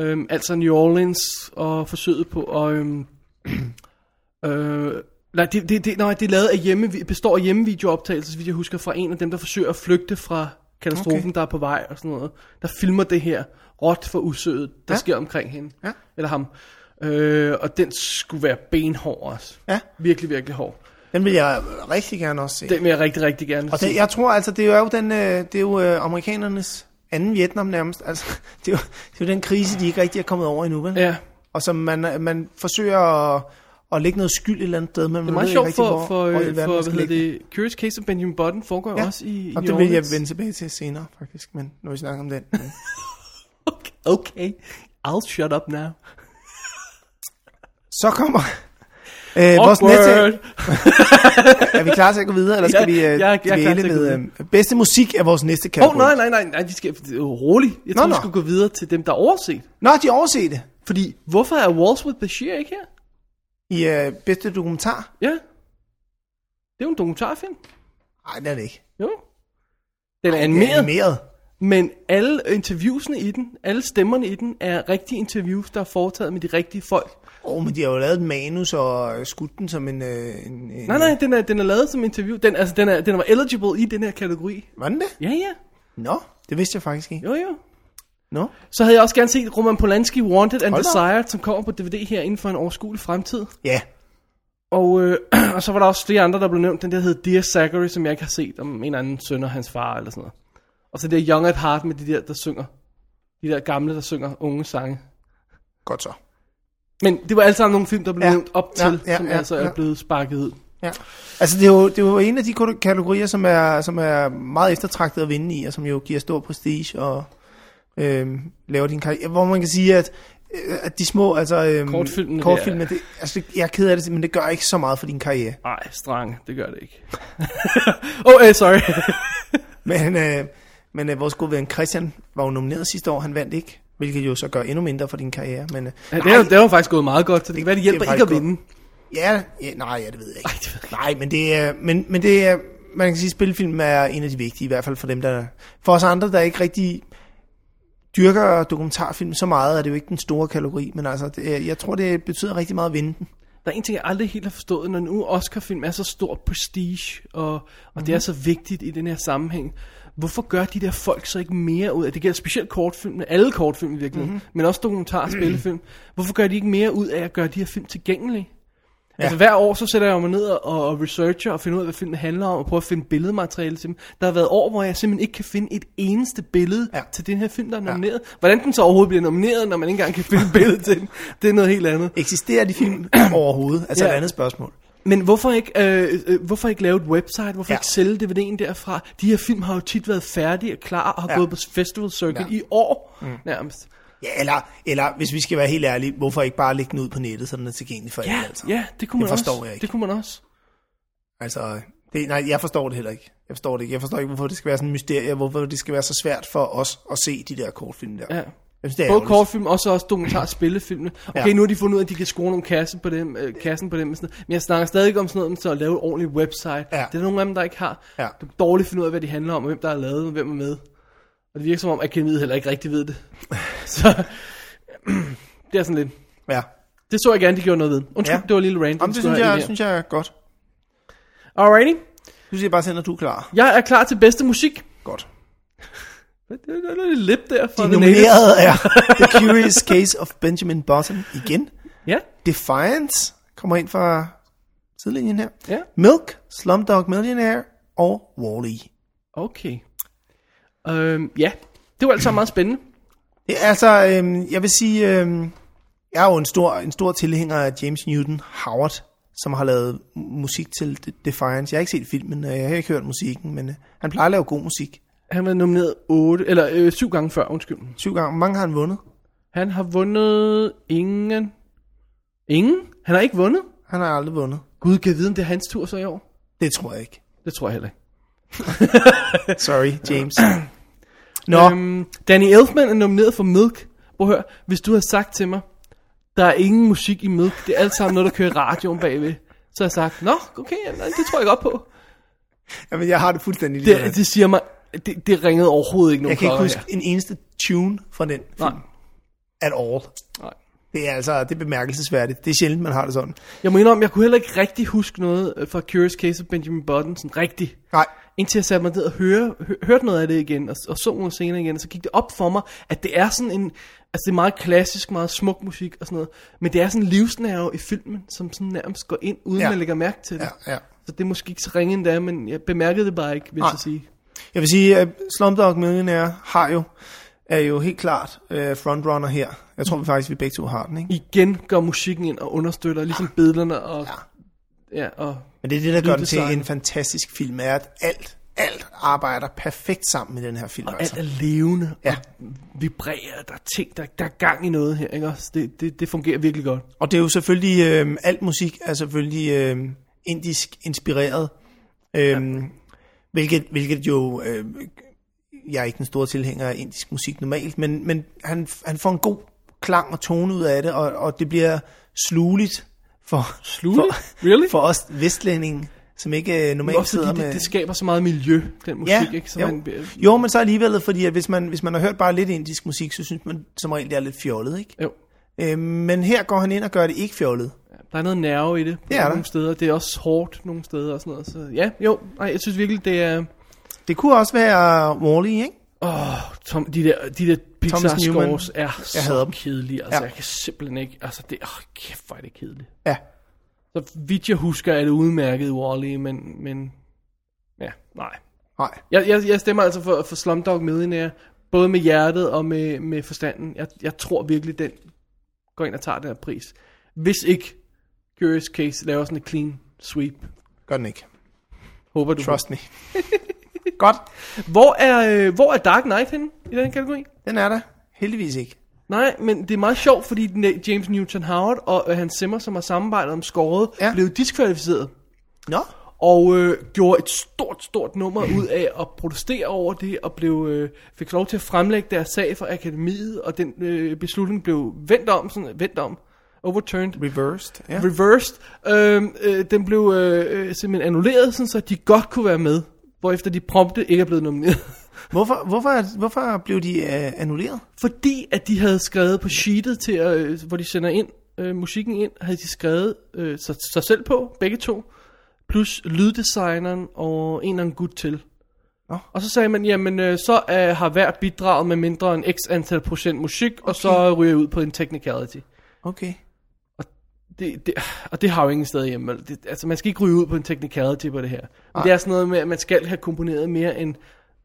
[SPEAKER 3] Øhm, altså New Orleans og forsøget på at... Øhm, (clears throat) øh, nej, det, det, det, nej, det er lavet af hjemme, består af hjemmevideooptagelser, hvis jeg husker, fra en af dem, der forsøger at flygte fra katastrofen, okay. der er på vej og sådan noget. Der filmer det her råt for usødet, der
[SPEAKER 2] Ja.
[SPEAKER 3] sker omkring hende.
[SPEAKER 2] Ja.
[SPEAKER 3] Eller ham. Øh, og den skulle være benhård også.
[SPEAKER 2] Ja.
[SPEAKER 3] Virkelig, virkelig hård.
[SPEAKER 2] Den vil jeg rigtig gerne også se.
[SPEAKER 3] Den vil jeg rigtig, rigtig gerne
[SPEAKER 2] Og
[SPEAKER 3] se.
[SPEAKER 2] det, jeg tror altså, det er jo, den, øh, det er jo øh, amerikanernes anden Vietnam nærmest. (laughs) Altså, det, er jo, det er jo den krise, de ikke rigtig er kommet over endnu, vel?
[SPEAKER 3] Ja,
[SPEAKER 2] Og som man, øh, man forsøger at, at lægge noget skyld et eller andet sted, men
[SPEAKER 3] det er
[SPEAKER 2] man
[SPEAKER 3] meget
[SPEAKER 2] ved ikke
[SPEAKER 3] sjovt
[SPEAKER 2] rigtig,
[SPEAKER 3] for,
[SPEAKER 2] hvor,
[SPEAKER 3] for,
[SPEAKER 2] hvor i verden
[SPEAKER 3] øh, for
[SPEAKER 2] man
[SPEAKER 3] hvad
[SPEAKER 2] skal
[SPEAKER 3] hedder
[SPEAKER 2] lægge
[SPEAKER 3] det, Curious Case of Benjamin Button foregår ja. også i, i
[SPEAKER 2] og
[SPEAKER 3] New
[SPEAKER 2] det vil jeg
[SPEAKER 3] Orleans.
[SPEAKER 2] vende tilbage til senere, faktisk, men når vi snakker om den. (laughs)
[SPEAKER 3] Okay, okay, I'll shut up now.
[SPEAKER 2] Så kommer øh, vores næste...
[SPEAKER 3] Awkward.
[SPEAKER 2] Er vi klar til at gå videre, eller skal
[SPEAKER 3] (laughs) Ja,
[SPEAKER 2] vi
[SPEAKER 3] jeg er-
[SPEAKER 2] øh,
[SPEAKER 3] jeg er klar til
[SPEAKER 2] dvæle
[SPEAKER 3] at gå
[SPEAKER 2] med... Øh, bedste musik er vores næste
[SPEAKER 3] Åh,
[SPEAKER 2] kategori.
[SPEAKER 3] oh, nej, nej, nej, nej, vi skal det er jo roligt. Jeg
[SPEAKER 2] Nå,
[SPEAKER 3] tror, vi
[SPEAKER 2] nå.
[SPEAKER 3] skulle gå videre til dem, der er overset.
[SPEAKER 2] Nå, de overser det
[SPEAKER 3] Fordi, hvorfor er Walls with Bashir ikke her?
[SPEAKER 2] i øh, bedste dokumentar.
[SPEAKER 3] Ja. Det er jo en dokumentarfilm.
[SPEAKER 2] Nej, det er det ikke.
[SPEAKER 3] Jo. Den er
[SPEAKER 2] Det er
[SPEAKER 3] animeret,
[SPEAKER 2] animeret.
[SPEAKER 3] men alle interviewsene i den, alle stemmerne i den, er rigtige interviews, der er foretaget med de rigtige folk.
[SPEAKER 2] Åh, oh, men de har jo lavet et manus og øh, skudt den som en... Øh, en, en
[SPEAKER 3] Nej, nej, den er, den er lavet som interview. Den, altså, den, er, den var eligible i den her kategori.
[SPEAKER 2] Var den det?
[SPEAKER 3] Ja, ja.
[SPEAKER 2] Nå, det vidste jeg faktisk ikke.
[SPEAKER 3] Jo, jo.
[SPEAKER 2] Nå.
[SPEAKER 3] Så havde jeg også gerne set Roman Polanski Wanted and
[SPEAKER 2] Hold da op.
[SPEAKER 3] Desired, som kommer på DVD her inden for en overskuelig fremtid.
[SPEAKER 2] Ja.
[SPEAKER 3] Og, øh, (clears throat) og så var der også flere andre, der blev nævnt. Den der hed Dear Zachary, som jeg ikke har set, om en eller anden søn og hans far eller sådan noget. Og så det der Young at Heart med de der, der synger. De der gamle, der synger unge sange.
[SPEAKER 2] Godt så.
[SPEAKER 3] Men det var alle sammen nogle film, der blev
[SPEAKER 2] Ja.
[SPEAKER 3] ja. nævnt op til, ja, ja, som ja, altså er
[SPEAKER 2] ja.
[SPEAKER 3] blevet sparket ud.
[SPEAKER 2] Ja. Altså, det er, jo, det er jo en af de kate- kategorier, som er, som er meget eftertragtet at vinde i, og som jo giver stor prestige og øh, laver din karriere. Hvor man kan sige, at, øh, at de små, altså... Øh,
[SPEAKER 3] Kortfilmene,
[SPEAKER 2] kortfilmene det, altså, jeg er ked af det, men det gør ikke så meget for din karriere.
[SPEAKER 3] Nej, strang, det gør det ikke. (laughs) Åh, oh, eh,
[SPEAKER 2] (laughs)
[SPEAKER 3] sorry.
[SPEAKER 2] Men, øh, men øh, vores gode ven Christian var jo nomineret sidste år, han vandt ikke. Hvilket jo så gør endnu mindre for din karriere. Men, øh,
[SPEAKER 3] Ja, det, er, det er jo faktisk gået meget godt, så det kan være, det hjælper
[SPEAKER 2] det er
[SPEAKER 3] ikke at
[SPEAKER 2] faktisk
[SPEAKER 3] vinde.
[SPEAKER 2] Ja, ja nej, ja, det ved jeg ikke.
[SPEAKER 3] Ej, det ved jeg
[SPEAKER 2] Nej, men det er, men, men det er, man kan sige, at spillefilm er en af de vigtige, i hvert fald for dem, der, for os andre, der ikke rigtig dyrker dokumentarfilm så meget, er det jo ikke den store kategori, men altså, det, er- jeg tror, det betyder rigtig meget at vinde den.
[SPEAKER 3] Der er en ting, jeg aldrig helt har forstået, når nu Oscar-film er så stor prestige, og, og mm-hmm. det er så vigtigt i den her sammenhæng. Hvorfor gør de der folk så ikke mere ud af, det gælder specielt kortfilmene, alle kortfilm i virkeligheden, mm-hmm. men også dokumentar og (clears throat) spillefilm, hvorfor gør de ikke mere ud af at gøre de her film tilgængelige? Ja. Altså hver år, så sætter jeg mig ned og, og researcher og finder ud af, hvad filmen handler om, og prøver at finde billedmateriale til dem. Der har været år, hvor jeg simpelthen ikke kan finde et eneste billede
[SPEAKER 2] Ja.
[SPEAKER 3] ja. til den her film, der er nomineret. Ja. Hvordan den så overhovedet bliver nomineret, når man ikke engang kan finde et billede til den, det er noget helt andet.
[SPEAKER 2] Eksisterer de
[SPEAKER 3] (clears throat)
[SPEAKER 2] film overhovedet? Altså
[SPEAKER 3] Ja.
[SPEAKER 2] et andet spørgsmål.
[SPEAKER 3] Men hvorfor ikke, øh, øh, hvorfor ikke lave et website? Hvorfor
[SPEAKER 2] Ja.
[SPEAKER 3] ja. ikke sælge DVD'en derfra? De her film har jo tit været færdige og klar og har
[SPEAKER 2] Ja.
[SPEAKER 3] ja. gået på festival circuit
[SPEAKER 2] Ja.
[SPEAKER 3] ja. i år mm. nærmest.
[SPEAKER 2] Ja, eller, eller hvis vi skal være helt ærlige, hvorfor ikke bare lægge den ud på nettet, så den er tilgængelig for
[SPEAKER 3] Ja,
[SPEAKER 2] alle? Altså?
[SPEAKER 3] ja, det kunne man
[SPEAKER 2] Det forstår
[SPEAKER 3] også.
[SPEAKER 2] jeg ikke.
[SPEAKER 3] Det kunne man også.
[SPEAKER 2] Altså, det, nej, jeg forstår det heller ikke. Jeg forstår det ikke. Jeg forstår ikke, hvorfor det skal være sådan en mysterie, hvorfor det skal være så svært for os at se de der kortfilm der.
[SPEAKER 3] Ja.
[SPEAKER 2] Jeg synes, det er
[SPEAKER 3] Både
[SPEAKER 2] ærgerligt.
[SPEAKER 3] kortfilm og så også dokumentar spillefilmene. Okay,
[SPEAKER 2] Ja.
[SPEAKER 3] ja. nu har de fundet ud af, at de kan score nogle kassen på dem, øh, kassen på dem og sådan noget. Men jeg snakker stadig om sådan noget, om så at lave et ordentligt website. Ja. Det er der nogle af dem, der ikke har.
[SPEAKER 2] Ja.
[SPEAKER 3] Du kan dårligt finde ud af, hvad de handler om, og hvem der har lavet, og hvem er med. Og det virker som om, akademiet heller ikke rigtig ved det. (laughs) så (clears throat) det er sådan lidt...
[SPEAKER 2] Ja.
[SPEAKER 3] Det så jeg gerne, de gjorde noget ved. Undskyld,
[SPEAKER 2] Ja.
[SPEAKER 3] ja. det var en lille random.
[SPEAKER 2] Jamen, det synes jeg, synes jeg er godt.
[SPEAKER 3] Alrighty.
[SPEAKER 2] Du siger bare selv, når du er klar.
[SPEAKER 3] Jeg er klar til bedste musik.
[SPEAKER 2] Godt.
[SPEAKER 3] Det det- det er lidt lip der for
[SPEAKER 2] De
[SPEAKER 3] The
[SPEAKER 2] nominerede er (laughs) The Curious Case of Benjamin Bottom igen.
[SPEAKER 3] Ja,
[SPEAKER 2] Defiance kommer ind fra sidelinjen her.
[SPEAKER 3] Ja.
[SPEAKER 2] Milk, Slumdog Millionaire og Wall-E.
[SPEAKER 3] okay. Øhm, ja, det var alt sammen meget spændende.
[SPEAKER 2] Ja, altså, øhm, jeg vil sige, øhm, jeg er jo en stor, en stor tilhænger af James Newton Howard, som har lavet mu- musik til De- Defiance. Jeg har ikke set filmen, og jeg har ikke hørt musikken, men øh, han plejer at lave god musik.
[SPEAKER 3] Han var nomineret 8, eller øh, 7 gange før, undskyld.
[SPEAKER 2] Syv gange. Hvor mange har han vundet?
[SPEAKER 3] Han har vundet ingen. Ingen? Han har ikke vundet?
[SPEAKER 2] Han har aldrig vundet.
[SPEAKER 3] Gud, kan vide, om det er hans tur så i år?
[SPEAKER 2] Det tror jeg ikke.
[SPEAKER 3] Det tror jeg heller ikke.
[SPEAKER 2] Sorry, (clears throat) James. Nå,
[SPEAKER 3] Øhm, Danny Elfman er nomineret for Milk. Prøv at høre, hvis du havde sagt til mig, der er ingen musik i Milk, det er alt sammen noget, der kører i radioen bagved. Så har jeg sagt, nå, okay, jamen, det tror jeg godt på.
[SPEAKER 2] jamen, jeg har det fuldstændig lige.
[SPEAKER 3] Det, det siger mig, det, det ringede overhovedet ikke nogen
[SPEAKER 2] jeg kan ikke
[SPEAKER 3] klokker
[SPEAKER 2] huske en eneste tune fra den
[SPEAKER 3] her. Nej,
[SPEAKER 2] at all.
[SPEAKER 3] nej.
[SPEAKER 2] Det er altså, det er bemærkelsesværdigt. Det er sjældent, man har det sådan.
[SPEAKER 3] Jeg må indrømme, jeg kunne heller ikke rigtig huske noget øh, fra Curious Case of Benjamin Button, sådan rigtigt.
[SPEAKER 2] Nej,
[SPEAKER 3] Indtil jeg satte mig ned og høre, hø, hørte noget af det igen, og, og så nogle scener igen, og så gik det op for mig, at det er sådan en, altså det er meget klassisk, meget smuk musik og sådan noget, men det er sådan en livsnerve i filmen, som sådan nærmest går ind, uden
[SPEAKER 2] Ja.
[SPEAKER 3] ja. man lægger mærke til det.
[SPEAKER 2] ja, ja.
[SPEAKER 3] Så det er måske ikke så ringe endda, men jeg bemærkede det bare ikke, vil
[SPEAKER 2] Nej.
[SPEAKER 3] jeg så sige.
[SPEAKER 2] Jeg vil sige, at Slumdog Millionaire har jo, er jo helt klart øh, frontrunner her. Jeg tror vi faktisk, vi begge to har den, ikke?
[SPEAKER 3] Igen går musikken ind og understøtter, ligesom billederne og... Ja, ja og
[SPEAKER 2] Men det er det, der gør den til
[SPEAKER 3] Lyddesign.
[SPEAKER 2] en fantastisk film, er at alt, alt arbejder perfekt sammen i den her film.
[SPEAKER 3] Og alt
[SPEAKER 2] Altså.
[SPEAKER 3] er levende
[SPEAKER 2] Ja.
[SPEAKER 3] ja. og vibrerer, der er ting, der, der er gang i noget her, ikke også? Det, det, det fungerer virkelig godt.
[SPEAKER 2] Og det er jo selvfølgelig, øh, alt musik er selvfølgelig øh, indisk inspireret, øh, ja. hvilket, hvilket jo, øh, jeg er ikke den store tilhænger af indisk musik normalt, men, men han, han får en god klang og tone ud af det, og, og det bliver slueligt for,
[SPEAKER 3] Slueligt?
[SPEAKER 2] for,
[SPEAKER 3] Really?
[SPEAKER 2] for os vestlændinge, som ikke øh, normalt
[SPEAKER 3] Også
[SPEAKER 2] sidder
[SPEAKER 3] fordi
[SPEAKER 2] med...
[SPEAKER 3] det, det skaber så meget miljø, den musik,
[SPEAKER 2] Ja,
[SPEAKER 3] ikke? Så
[SPEAKER 2] jo.
[SPEAKER 3] man, bliver-
[SPEAKER 2] jo, men så alligevel, fordi at hvis, man, hvis man har hørt bare lidt indisk musik, så synes man som regel, det er lidt fjollet, ikke?
[SPEAKER 3] jo.
[SPEAKER 2] Øh, men her går han ind og gør det ikke fjollet.
[SPEAKER 3] Der er noget nerve i det på
[SPEAKER 2] Det er der.
[SPEAKER 3] nogle steder. Det er også hårdt nogle steder og sådan noget. Så ja, jo. Nej, jeg synes virkelig, det er...
[SPEAKER 2] Det kunne også være Wall-E, ikke?
[SPEAKER 3] Åh, Tom, de der, de der Pixar
[SPEAKER 2] Newman.
[SPEAKER 3] scores er så
[SPEAKER 2] hader dem.
[SPEAKER 3] kedelige. Altså,
[SPEAKER 2] Ja.
[SPEAKER 3] ja. jeg kan simpelthen ikke... Altså, det... Åh, kæft, hvor er det kedeligt.
[SPEAKER 2] Ja.
[SPEAKER 3] Så vidt jeg husker, er det udmærket Wall-E, men... men ja, nej.
[SPEAKER 2] Nej.
[SPEAKER 3] Jeg, jeg, jeg stemmer altså for, for Slumdog Millionaire, både med hjertet og med, med forstanden. Jeg, jeg tror virkelig, den går ind og tager den her pris. Hvis ikke Curious Case laver sådan en clean sweep.
[SPEAKER 2] Gør den ikke.
[SPEAKER 3] Håber du.
[SPEAKER 2] Trust me. Godt.
[SPEAKER 3] Hvor er, øh, hvor er Dark Knight henne i den kategori?
[SPEAKER 2] Den er der. Heldigvis ikke.
[SPEAKER 3] Nej, men det er meget sjovt, fordi den- James Newton Howard og øh, Hans Zimmer, som har samarbejdet om skåret,
[SPEAKER 2] Ja.
[SPEAKER 3] ja. blev diskvalificeret.
[SPEAKER 2] Nå.
[SPEAKER 3] og øh, gjorde et stort,
[SPEAKER 2] (laughs)
[SPEAKER 3] stort nummer ud af at protestere over det, og blev, øh, fik lov til at fremlægge deres sag for akademiet, og den øh, beslutning blev vendt om, sådan, vendt om, overturned,
[SPEAKER 2] Reversed. Ja.
[SPEAKER 3] reversed, øh, øh, den blev øh, øh, simpelthen annulleret, sådan, så de godt kunne være med, hvorefter de prompte ikke er blevet nomineret.
[SPEAKER 2] Hvorfor, hvorfor, hvorfor blev de øh, annulleret?
[SPEAKER 3] Fordi at de havde skrevet på sheetet, til at, øh, hvor de sender ind øh, musikken ind, havde de skrevet øh, sig, sig selv på, begge to, plus lyddesigneren og en eller anden gut til.
[SPEAKER 2] Nå.
[SPEAKER 3] Og så sagde man, jamen øh, så øh, har hvert bidraget med mindre end x antal procent musik, okay. og så ryger jeg ud på en technicality.
[SPEAKER 2] Okay.
[SPEAKER 3] Det, det, og det har jo ingen sted hjemme. vel? Det, altså man skal ikke ryge ud på en technicality på det her. Men det er sådan noget med, at man skal have komponeret mere end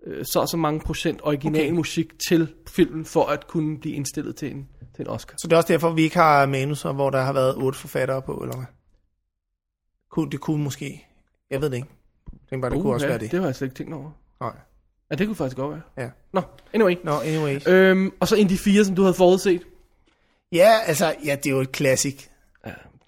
[SPEAKER 3] øh, så og så mange procent original okay. musik til filmen, for at kunne blive indstillet til en, til en Oscar.
[SPEAKER 2] Så det er også derfor, vi ikke har manuser, hvor der har været otte forfattere på, eller hvad? Kunne, det kunne måske. Jeg ved det ikke. Det, bare, det kunne også
[SPEAKER 3] ja,
[SPEAKER 2] være det.
[SPEAKER 3] det har jeg slet ikke tænkt over.
[SPEAKER 2] Nej.
[SPEAKER 3] Ja, det kunne faktisk godt være.
[SPEAKER 2] Ja.
[SPEAKER 3] Nå, anyway.
[SPEAKER 2] Nå, anyway.
[SPEAKER 3] Øhm, og så en af de fire, som du havde forudset.
[SPEAKER 2] Ja, altså, ja, det er jo et klassik.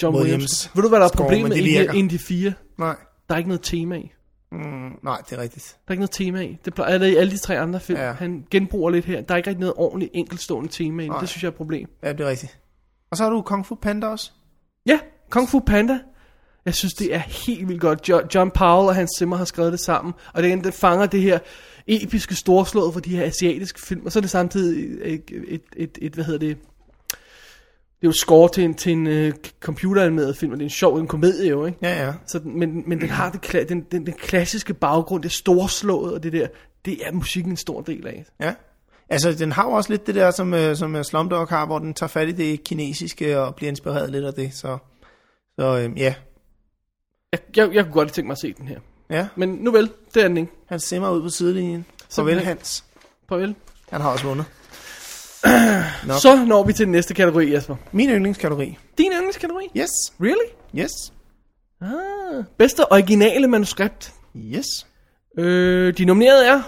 [SPEAKER 3] John Williams.
[SPEAKER 2] Williams.
[SPEAKER 3] Ved du, hvad der er
[SPEAKER 2] Score, men
[SPEAKER 3] problemet
[SPEAKER 2] det
[SPEAKER 3] med
[SPEAKER 2] virker.
[SPEAKER 3] en af de fire?
[SPEAKER 2] Nej.
[SPEAKER 3] Der er ikke noget tema i.
[SPEAKER 2] Mm, nej, det er rigtigt.
[SPEAKER 3] Der er ikke noget tema i. Det plejer, eller i alle de tre andre film.
[SPEAKER 2] Ja.
[SPEAKER 3] Ja. Han genbruger lidt her. Der er ikke rigtig noget ordentligt enkeltstående tema i. det. Det synes jeg er et problem.
[SPEAKER 2] Ja, det er rigtigt. Og så har du Kung Fu Panda også.
[SPEAKER 3] Ja, Kung Fu Panda. Jeg synes, det er helt vildt godt. Jo- John Powell og Hans Zimmer har skrevet det sammen. Og det, det fanger det her episke storslået for de her asiatiske film. Og så er det samtidig et, et, et, et hvad hedder det, Det er jo score til en, til en uh, computeranimeret film, og det er en sjov en komedie jo, ikke?
[SPEAKER 2] Ja, ja.
[SPEAKER 3] Så, den- men, men den har det, kla- den, den, den klassiske baggrund, det storslået og det der. Det er musikken en stor del af.
[SPEAKER 2] Ja. Altså, den har jo også lidt det der, som, øh, som øh, Slumdog har, hvor den tager fat i det kinesiske og bliver inspireret lidt af det. Så, så øh, ja.
[SPEAKER 3] Jeg, jeg, jeg kunne godt tænke mig at se den her.
[SPEAKER 2] ja.
[SPEAKER 3] Men nu vel, det er den ikke.
[SPEAKER 2] Han simmer ud på sidelinjen. Farvel,
[SPEAKER 3] Simpelthen.
[SPEAKER 2] Hans.
[SPEAKER 3] Farvel.
[SPEAKER 2] Han har også vundet.
[SPEAKER 3] Så når vi til den næste kategori, Jesper.
[SPEAKER 2] Min yndlingskategori.
[SPEAKER 3] Din yndlingskategori?
[SPEAKER 2] Yes.
[SPEAKER 3] Really?
[SPEAKER 2] Yes.
[SPEAKER 3] Ah, bedste originale manuskript.
[SPEAKER 2] Yes.
[SPEAKER 3] Øh, de nominerede er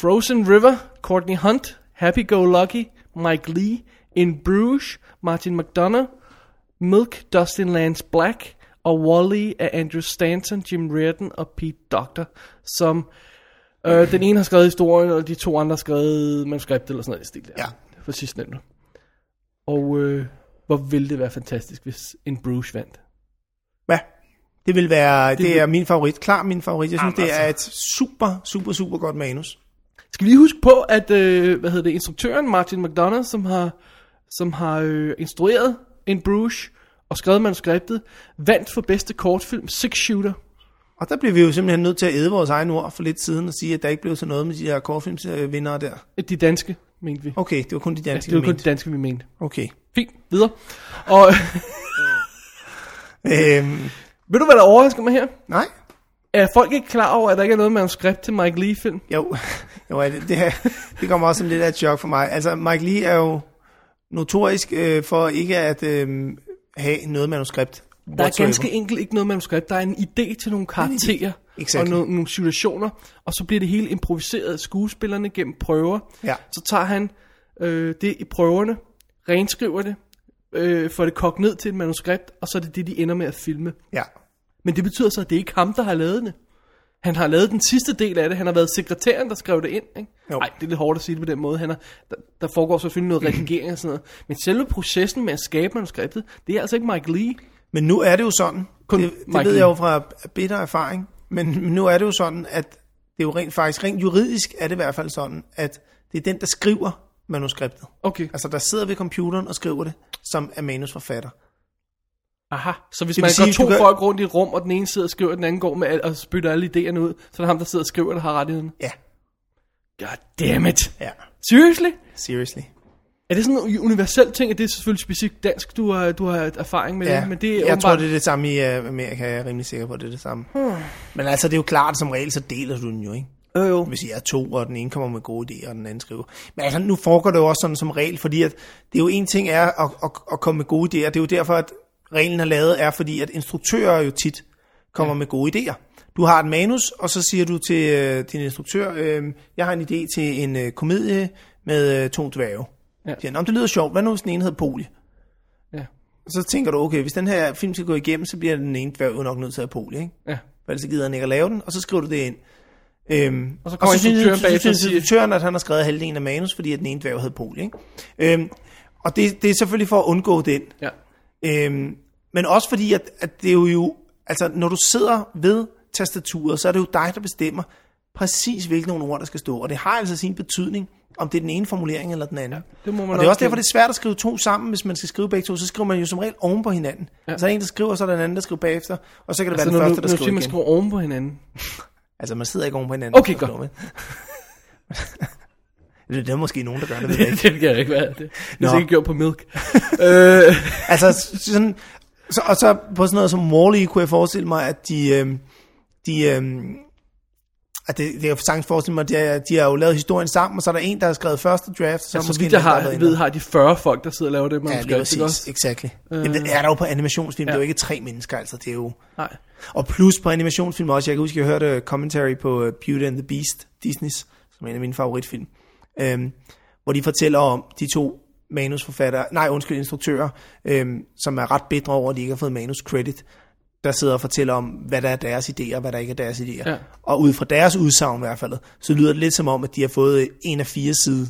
[SPEAKER 3] Frozen River, Courtney Hunt, Happy Go Lucky, Mike Lee, In Bruges, Martin McDonough, Milk, Dustin Lance Black og Wally af Andrew Stanton, Jim Reardon og Pete Doctor, som øh, den ene har skrevet historien, og de to andre har skrevet manuskriptet eller sådan noget i stil der.
[SPEAKER 2] Ja.
[SPEAKER 3] For sidst nævnte. Og øh, hvor ville det være fantastisk, hvis In Bruges vandt.
[SPEAKER 2] Hvad? Det vil altså. være, det,
[SPEAKER 3] vil-
[SPEAKER 2] er min favorit. Klar min favorit. Jeg synes,
[SPEAKER 3] Jamen,
[SPEAKER 2] det er et super, super, super godt manus.
[SPEAKER 3] Skal vi lige huske på, at øh, hvad hedder det, instruktøren Martin McDonough, som har, som har øh, instrueret In Bruges og skrevet manuskriptet, vandt for bedste kortfilm Six Shooter.
[SPEAKER 2] Og der blev vi jo simpelthen nødt til at æde vores egne ord for lidt siden og sige, at der ikke blev til noget med de her kortfilmsvindere der.
[SPEAKER 3] De danske, mente vi.
[SPEAKER 2] Okay, det var kun de danske,
[SPEAKER 3] det var kun
[SPEAKER 2] mente.
[SPEAKER 3] de danske, vi mente.
[SPEAKER 2] Okay.
[SPEAKER 3] Fint, videre. Og (laughs)
[SPEAKER 2] Øhm,
[SPEAKER 3] ved du, hvad der overrasker mig her?
[SPEAKER 2] nej.
[SPEAKER 3] Er folk ikke klar over, at der ikke er noget manuskript til Mike Lee-film?
[SPEAKER 2] Jo, jo ja, det, det, her, det kommer også som lidt af et chok for mig. Altså, Mike Lee er jo notorisk øh, for ikke at øh, have noget manuskript.
[SPEAKER 3] Der er ganske enkelt ikke noget manuskript. Der er en idé til nogle karakterer
[SPEAKER 2] Exactly.
[SPEAKER 3] og nogle, nogle situationer, og så bliver det hele improviseret af skuespillerne gennem prøver.
[SPEAKER 2] Ja.
[SPEAKER 3] Så tager han øh, det i prøverne, renskriver det, øh, får det kogt ned til et manuskript, og så er det det, de ender med at filme.
[SPEAKER 2] Ja,
[SPEAKER 3] Men det betyder så, at det er ikke ham, der har lavet det. Han har lavet den sidste del af det. Han har været sekretæren, der skrev det ind. Ikke?
[SPEAKER 2] Jo.
[SPEAKER 3] Ej, det er lidt hårdt at sige det på den måde. Han er, der, der foregår selvfølgelig noget redigering og sådan noget. Men selve processen med at skabe manuskriptet, det er altså ikke Mike Lee.
[SPEAKER 2] men nu er det jo sådan,
[SPEAKER 3] Kun
[SPEAKER 2] det, det
[SPEAKER 3] Mike
[SPEAKER 2] ved
[SPEAKER 3] Lee.
[SPEAKER 2] jeg jo fra bitter erfaring, men, men nu er det jo sådan, at det er jo rent faktisk, rent juridisk er det i hvert fald sådan, at det er den, der skriver manuskriptet.
[SPEAKER 3] Okay.
[SPEAKER 2] Altså, der sidder ved computeren og skriver det, som er manusforfatter.
[SPEAKER 3] Aha, så hvis
[SPEAKER 2] Det
[SPEAKER 3] man
[SPEAKER 2] vil sige,
[SPEAKER 3] går
[SPEAKER 2] hvis
[SPEAKER 3] to
[SPEAKER 2] du
[SPEAKER 3] gør...
[SPEAKER 2] gør-
[SPEAKER 3] folk rundt i et rum, og den ene sidder og skriver, og den anden går med al- og spytter alle idéerne ud, så er det ham, der sidder og skriver, der har rettigheden.
[SPEAKER 2] Ja,
[SPEAKER 3] God damn it.
[SPEAKER 2] ja,
[SPEAKER 3] Seriously?
[SPEAKER 2] seriously.
[SPEAKER 3] Er det sådan en universel ting, at det er selvfølgelig specifikt dansk, du har, du har erfaring med
[SPEAKER 2] Ja,
[SPEAKER 3] det? Men det er
[SPEAKER 2] jeg
[SPEAKER 3] åbenbart...
[SPEAKER 2] tror, det er det samme i øh, Amerika, jeg er rimelig sikker på, at det er det samme. Hmm. Men altså, det er jo klart, som regel, så deler du den jo, ikke?
[SPEAKER 3] Jo, jo.
[SPEAKER 2] Hvis I er to, og den ene kommer med gode idéer, og den anden skriver. Men altså, nu foregår det jo også sådan som regel, fordi at det er jo en ting er at, at, at komme med gode idéer. Det er jo derfor, at reglen er lavet, er fordi, at instruktører jo tit kommer ja. med gode idéer. Du har et manus, og så siger du til øh, din instruktør, øh, jeg har en idé til en øh, komedie med øh, to dværge.
[SPEAKER 3] Ja.
[SPEAKER 2] Ja. Siger, han, "Nå, men det lyder sjovt. Hvad nu, hvis den ene hed Poli?
[SPEAKER 3] Ja.
[SPEAKER 2] Så tænker du, okay, hvis den her film skal gå igennem, så bliver den ene dværg jo nok nødt til at have pol, ikke?
[SPEAKER 3] Ja.
[SPEAKER 2] For ellers så gider han ikke at lave den, og så skriver du det ind. Øhm,
[SPEAKER 3] Og så kommer instruktøren
[SPEAKER 2] synes-
[SPEAKER 3] bagefter og
[SPEAKER 2] synes
[SPEAKER 3] siger-
[SPEAKER 2] instruktøren, at han har skrevet halvdelen af manus, fordi at den ene dværg havde pol, ikke? Øhm, og det, det er selvfølgelig for at undgå den.
[SPEAKER 3] ja.
[SPEAKER 2] Øhm, men også fordi, at, at det er jo, jo... Altså, når du sidder ved tastaturet, så er det jo dig, der bestemmer præcis, hvilke nogle ord, der skal stå. Og det har altså sin betydning, om det er den ene formulering eller den anden.
[SPEAKER 3] det må man
[SPEAKER 2] og det er
[SPEAKER 3] også
[SPEAKER 2] også derfor,
[SPEAKER 3] kende.
[SPEAKER 2] det er svært at skrive to sammen, hvis man skal skrive begge to. Så skriver man jo som regel oven på hinanden. Ja. Så er der en, der skriver, så er der en anden, der skriver bagefter. Og så kan det
[SPEAKER 3] Så
[SPEAKER 2] være den første, der
[SPEAKER 3] Altså, når, du, når du siger,
[SPEAKER 2] skriver
[SPEAKER 3] man
[SPEAKER 2] igen.
[SPEAKER 3] skriver oven på hinanden.
[SPEAKER 2] Altså, man sidder ikke oven på hinanden.
[SPEAKER 3] Okay,
[SPEAKER 2] forstår
[SPEAKER 3] godt.
[SPEAKER 2] man. (laughs) det er måske nogen, der gør det, ved jeg ikke.
[SPEAKER 3] (laughs) det kan jeg ikke være. Det, det er
[SPEAKER 2] Nå.
[SPEAKER 3] ikke gjort på milk. øh,
[SPEAKER 2] altså, s- sådan, så, og så på sådan noget som Morley kunne jeg forestille mig, at de, øhm, de øhm, at det, det kan jeg sagtens forestille mig, at de, er- de har jo lavet historien sammen, og så er der en, der har skrevet første draft, så
[SPEAKER 3] ja,
[SPEAKER 2] er
[SPEAKER 3] så
[SPEAKER 2] måske
[SPEAKER 3] vidt jeg
[SPEAKER 2] en anden, der
[SPEAKER 3] har,
[SPEAKER 2] været
[SPEAKER 3] ved,
[SPEAKER 2] inde.
[SPEAKER 3] har de 40 folk, der sidder og laver det
[SPEAKER 2] Ja, lige
[SPEAKER 3] manuskript, ikke
[SPEAKER 2] præcis,
[SPEAKER 3] også? Øh.
[SPEAKER 2] exactly. Men det er der jo på animationsfilm, det er jo
[SPEAKER 3] ja.
[SPEAKER 2] ikke tre mennesker, altså det er jo...
[SPEAKER 3] Nej.
[SPEAKER 2] Og plus på animationsfilm også, jeg kan huske, jeg hørte commentary på øh, Beauty and the Beast, Disney's, som er en af mine favoritfilm, øhm, hvor de fortæller om de to manusforfattere, nej undskyld, instruktører, øhm, som er ret bedre over, at de ikke har fået manus credit, der sidder og fortæller om, hvad der er deres idéer, og hvad der ikke er deres idéer.
[SPEAKER 3] Ja.
[SPEAKER 2] Og ud fra deres udsagn i hvert fald, så lyder det lidt som om, at de har fået øh, en af fire side,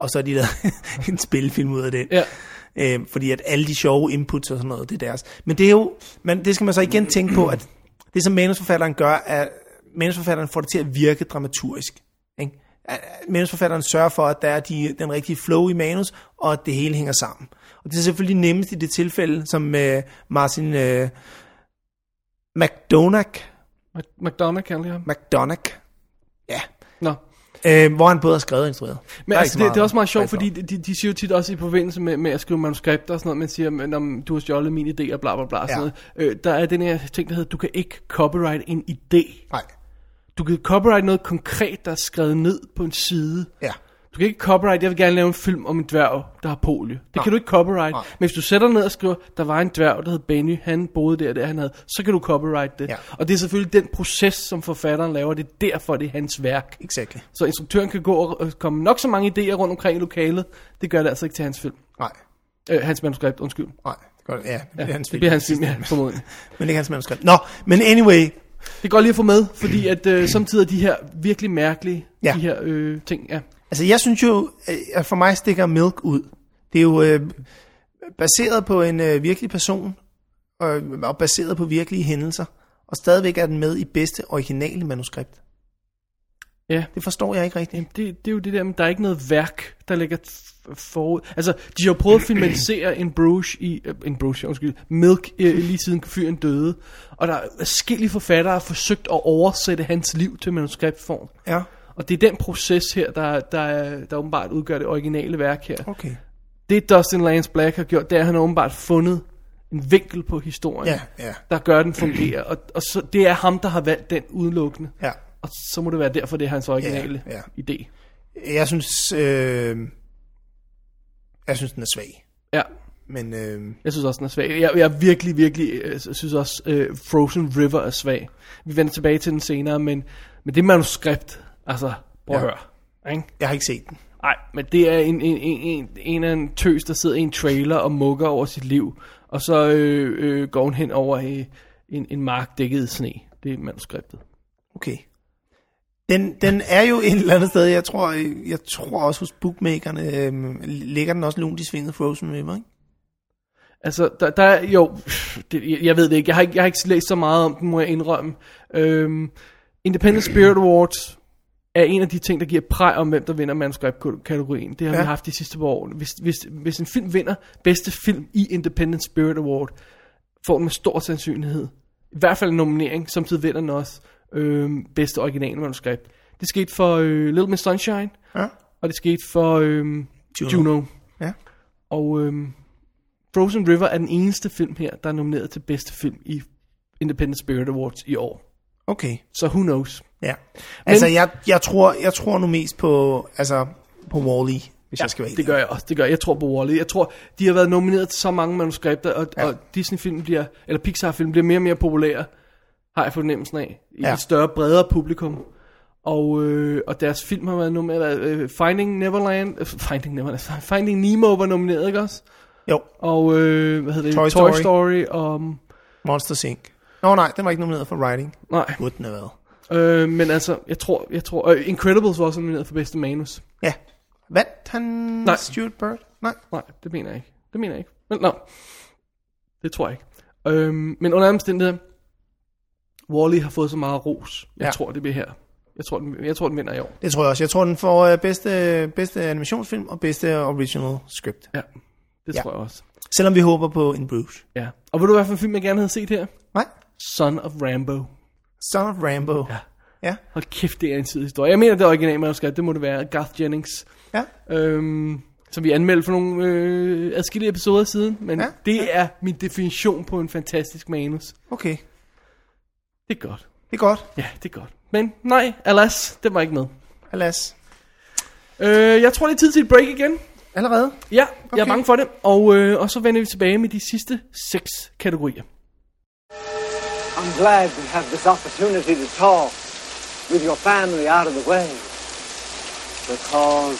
[SPEAKER 2] og så har de lavet (laughs) en spilfilm ud af den.
[SPEAKER 3] Ja.
[SPEAKER 2] Øh, fordi at alle de sjove inputs og sådan noget, det er deres. Men det er jo, man, det skal man så igen tænke på, at det som manusforfatteren gør, er, at manusforfatteren får det til at virke dramaturgisk. Ikke? At- at Manusforfatteren sørger for, at der er de, den rigtige flow i manus, og at det hele hænger sammen. Og det er selvfølgelig nemmest i det tilfælde, som øh, Martin øh, McDonagh,
[SPEAKER 3] Mac- McDonald kalder jeg ham.
[SPEAKER 2] McDonagh, ja,
[SPEAKER 3] Nå.
[SPEAKER 2] øh, hvor han både har skrevet og instrueret. Der
[SPEAKER 3] Men
[SPEAKER 2] er
[SPEAKER 3] altså,
[SPEAKER 2] ikke så
[SPEAKER 3] det, det, er også meget
[SPEAKER 2] meget-
[SPEAKER 3] sjovt,
[SPEAKER 2] der er
[SPEAKER 3] fordi
[SPEAKER 2] ikke
[SPEAKER 3] de, de siger jo tit også i forbindelse med, med at skrive manuskripter og sådan noget, man siger, men om du har stjålet min idé og bla bla bla. og Sådan
[SPEAKER 2] Ja.
[SPEAKER 3] noget. Øh, der er den her ting, der hedder, du kan ikke copyright en idé.
[SPEAKER 2] Nej,
[SPEAKER 3] Du kan copyright noget konkret, der er skrevet ned på en side.
[SPEAKER 2] ja.
[SPEAKER 3] Du kan ikke copyright, jeg vil gerne lave en film om en dværg, der har polio. Det kan du ikke copyright.
[SPEAKER 2] Nej.
[SPEAKER 3] Men hvis du sætter dig ned og skriver, der var en dværg, der hed Benny, han boede der, der han havde, så kan du copyright det.
[SPEAKER 2] Ja.
[SPEAKER 3] Og det er selvfølgelig den proces, som forfatteren laver, det er derfor, det er hans værk.
[SPEAKER 2] Exactly.
[SPEAKER 3] Så instruktøren kan gå og og komme nok så mange idéer rundt omkring i lokalet. Det gør det altså ikke til hans film.
[SPEAKER 2] Nej,
[SPEAKER 3] Øh, hans manuskript, undskyld.
[SPEAKER 2] nej. Det, går, ja, det,
[SPEAKER 3] Ja,
[SPEAKER 2] bliver hans
[SPEAKER 3] det bliver
[SPEAKER 2] film.
[SPEAKER 3] hans film, ja, formodentlig.
[SPEAKER 2] Men ikke hans manuskript. Nå, men anyway,
[SPEAKER 3] Det går lige at få med, fordi
[SPEAKER 2] (clears throat)
[SPEAKER 3] at øh, samtidig er de her virkelig mærkelige
[SPEAKER 2] Ja.
[SPEAKER 3] de her øh, ting. Ja.
[SPEAKER 2] Altså, jeg synes jo, øh, at for mig stikker Milk ud. Det er jo øh, baseret på en øh, virkelig person, og, og baseret på virkelige hændelser, og stadigvæk er den med i bedste originale manuskript.
[SPEAKER 3] Ja.
[SPEAKER 2] Det forstår jeg ikke rigtigt.
[SPEAKER 3] Jamen, det, det er jo det der, men der er ikke noget værk, der ligger f- forud. Altså, de har jo prøvet at filmatisere en Bruges i... Øh, en Bruges, ja, undskyld. Milk øh, lige siden fyren døde. Og der er forskellige forfattere, der har forsøgt at oversætte hans liv til manuskriptform.
[SPEAKER 2] Ja,
[SPEAKER 3] Og det er den proces her, der, der, der åbenbart udgør det originale værk her.
[SPEAKER 2] okay.
[SPEAKER 3] Det Dustin Lance Black har gjort, det er, at han har åbenbart fundet en vinkel på historien,
[SPEAKER 2] Ja, ja.
[SPEAKER 3] der gør, at den fungerer. Og, og så, det er ham, der har valgt den udelukkende.
[SPEAKER 2] Ja.
[SPEAKER 3] Og så må det være derfor, det er hans originale
[SPEAKER 2] Ja, ja.
[SPEAKER 3] idé.
[SPEAKER 2] Jeg synes, øh, jeg synes, den er svag.
[SPEAKER 3] Ja,
[SPEAKER 2] Men øh,
[SPEAKER 3] jeg synes også, den er svag. Jeg, jeg virkelig, virkelig øh, synes også, øh, Frozen River er svag. Vi vender tilbage til den senere, men, men det manuskript, altså, prøv at
[SPEAKER 2] Ja.
[SPEAKER 3] høre. Ikke?
[SPEAKER 2] jeg har ikke set den.
[SPEAKER 3] Nej, men det er en, en, en, en, en af en tøs, der sidder i en trailer og mukker over sit liv. Og så øh, øh, går hun hen over øh, en, en mark dækket i sne. Det er manuskriptet.
[SPEAKER 2] Okay. Den, den er jo et eller andet sted, jeg tror, øh, jeg tror også hos bookmakerne, øh, ligger den også lunt i svinget Frozen River, ikke?
[SPEAKER 3] Altså, der, der er, jo, det, jeg- jeg ved det ikke. Jeg har ikke, jeg har ikke læst så meget om den, må jeg indrømme. Øhm, Independent Spirit Awards er en af de ting, der giver præg om, hvem der vinder manuskriptkategorien. Det har ja.
[SPEAKER 2] Ja.
[SPEAKER 3] vi haft de sidste par år. Hvis, hvis, hvis en film vinder bedste film i Independent Spirit Award, får den med stor sandsynlighed. I hvert fald en nominering, samtidig vinder den også øhm, bedste originale manuskript. Det skete for øh, Little Miss Sunshine,
[SPEAKER 2] Ja.
[SPEAKER 3] og det skete for øhm,
[SPEAKER 2] Juno.
[SPEAKER 3] Juno. Juno.
[SPEAKER 2] Ja.
[SPEAKER 3] Og øhm, Frozen River er den eneste film her, der er nomineret til bedste film i Independent Spirit Awards i år.
[SPEAKER 2] Okay.
[SPEAKER 3] Så who knows?
[SPEAKER 2] Ja. Altså, jeg, jeg, tror, jeg tror nu mest på, altså, på Wall-E, hvis ja, jeg skal være helt
[SPEAKER 3] det gør jeg også. Det gør jeg. jeg tror på Wall-E. Jeg tror, de har været nomineret til så mange manuskripter, og, ja. og Disney-film bliver, eller Pixar-film bliver mere og mere populære, har jeg fornemmelsen af, i
[SPEAKER 2] Ja.
[SPEAKER 3] ja. et større, bredere publikum. Og, øh, og deres film har været nomineret. Øh, Finding Neverland, øh, Finding Neverland, (laughs) Finding Nemo var nomineret, ikke også?
[SPEAKER 2] ærlig. Jo,
[SPEAKER 3] Og øh, hvad hedder det?
[SPEAKER 2] Toy
[SPEAKER 3] Toy
[SPEAKER 2] Story.
[SPEAKER 3] Story um, og...
[SPEAKER 2] Monster Inc. Nå nej, den var ikke nomineret for writing.
[SPEAKER 3] Nej.
[SPEAKER 2] Burde den have været.
[SPEAKER 3] Øh, men altså, jeg tror, jeg tror, øh, Incredibles var også nomineret for bedste manus.
[SPEAKER 2] Ja. Vandt han
[SPEAKER 3] Nej.
[SPEAKER 2] Stuart Bird? Nej.
[SPEAKER 3] Nej, det mener jeg ikke. Det mener jeg ikke. Men, no. Det tror jeg ikke. Øh, men under alle omstændigheder, Wally har fået så meget ros. Jeg
[SPEAKER 2] Ja.
[SPEAKER 3] ja. tror, det bliver her. Jeg tror, den, jeg tror, den vinder i år.
[SPEAKER 2] Det tror jeg også. Jeg tror, den får øh, bedste, bedste animationsfilm og bedste original script.
[SPEAKER 3] Ja, det
[SPEAKER 2] Ja.
[SPEAKER 3] ja. tror jeg også.
[SPEAKER 2] Selvom vi håber på en Bruce.
[SPEAKER 3] Ja. Og ved du, hvad for en film, jeg gerne havde set her?
[SPEAKER 2] Nej.
[SPEAKER 3] Son of Rambo.
[SPEAKER 2] Son of Rambo. Ja. Ja.
[SPEAKER 3] Hold kæft, det er en tid historie. Jeg mener, det originale manuskript, det må det være Garth Jennings.
[SPEAKER 2] ja.
[SPEAKER 3] øhm, som vi anmeldte for nogle øh, adskillige episoder siden, men
[SPEAKER 2] Ja,
[SPEAKER 3] ja, det ja. er min definition på en fantastisk manus.
[SPEAKER 2] Okay.
[SPEAKER 3] Det er godt.
[SPEAKER 2] Det er godt.
[SPEAKER 3] Ja, det er godt. Men nej, alas, det var ikke med.
[SPEAKER 2] Alas.
[SPEAKER 3] Øh, jeg tror, det er tid til et break igen.
[SPEAKER 2] Allerede?
[SPEAKER 3] Ja, okay. jeg er
[SPEAKER 2] Okay.
[SPEAKER 3] bange for det. Og, øh, og så vender vi tilbage med de sidste seks kategorier.
[SPEAKER 10] I'm glad we have this opportunity to talk with your family out of the way. Because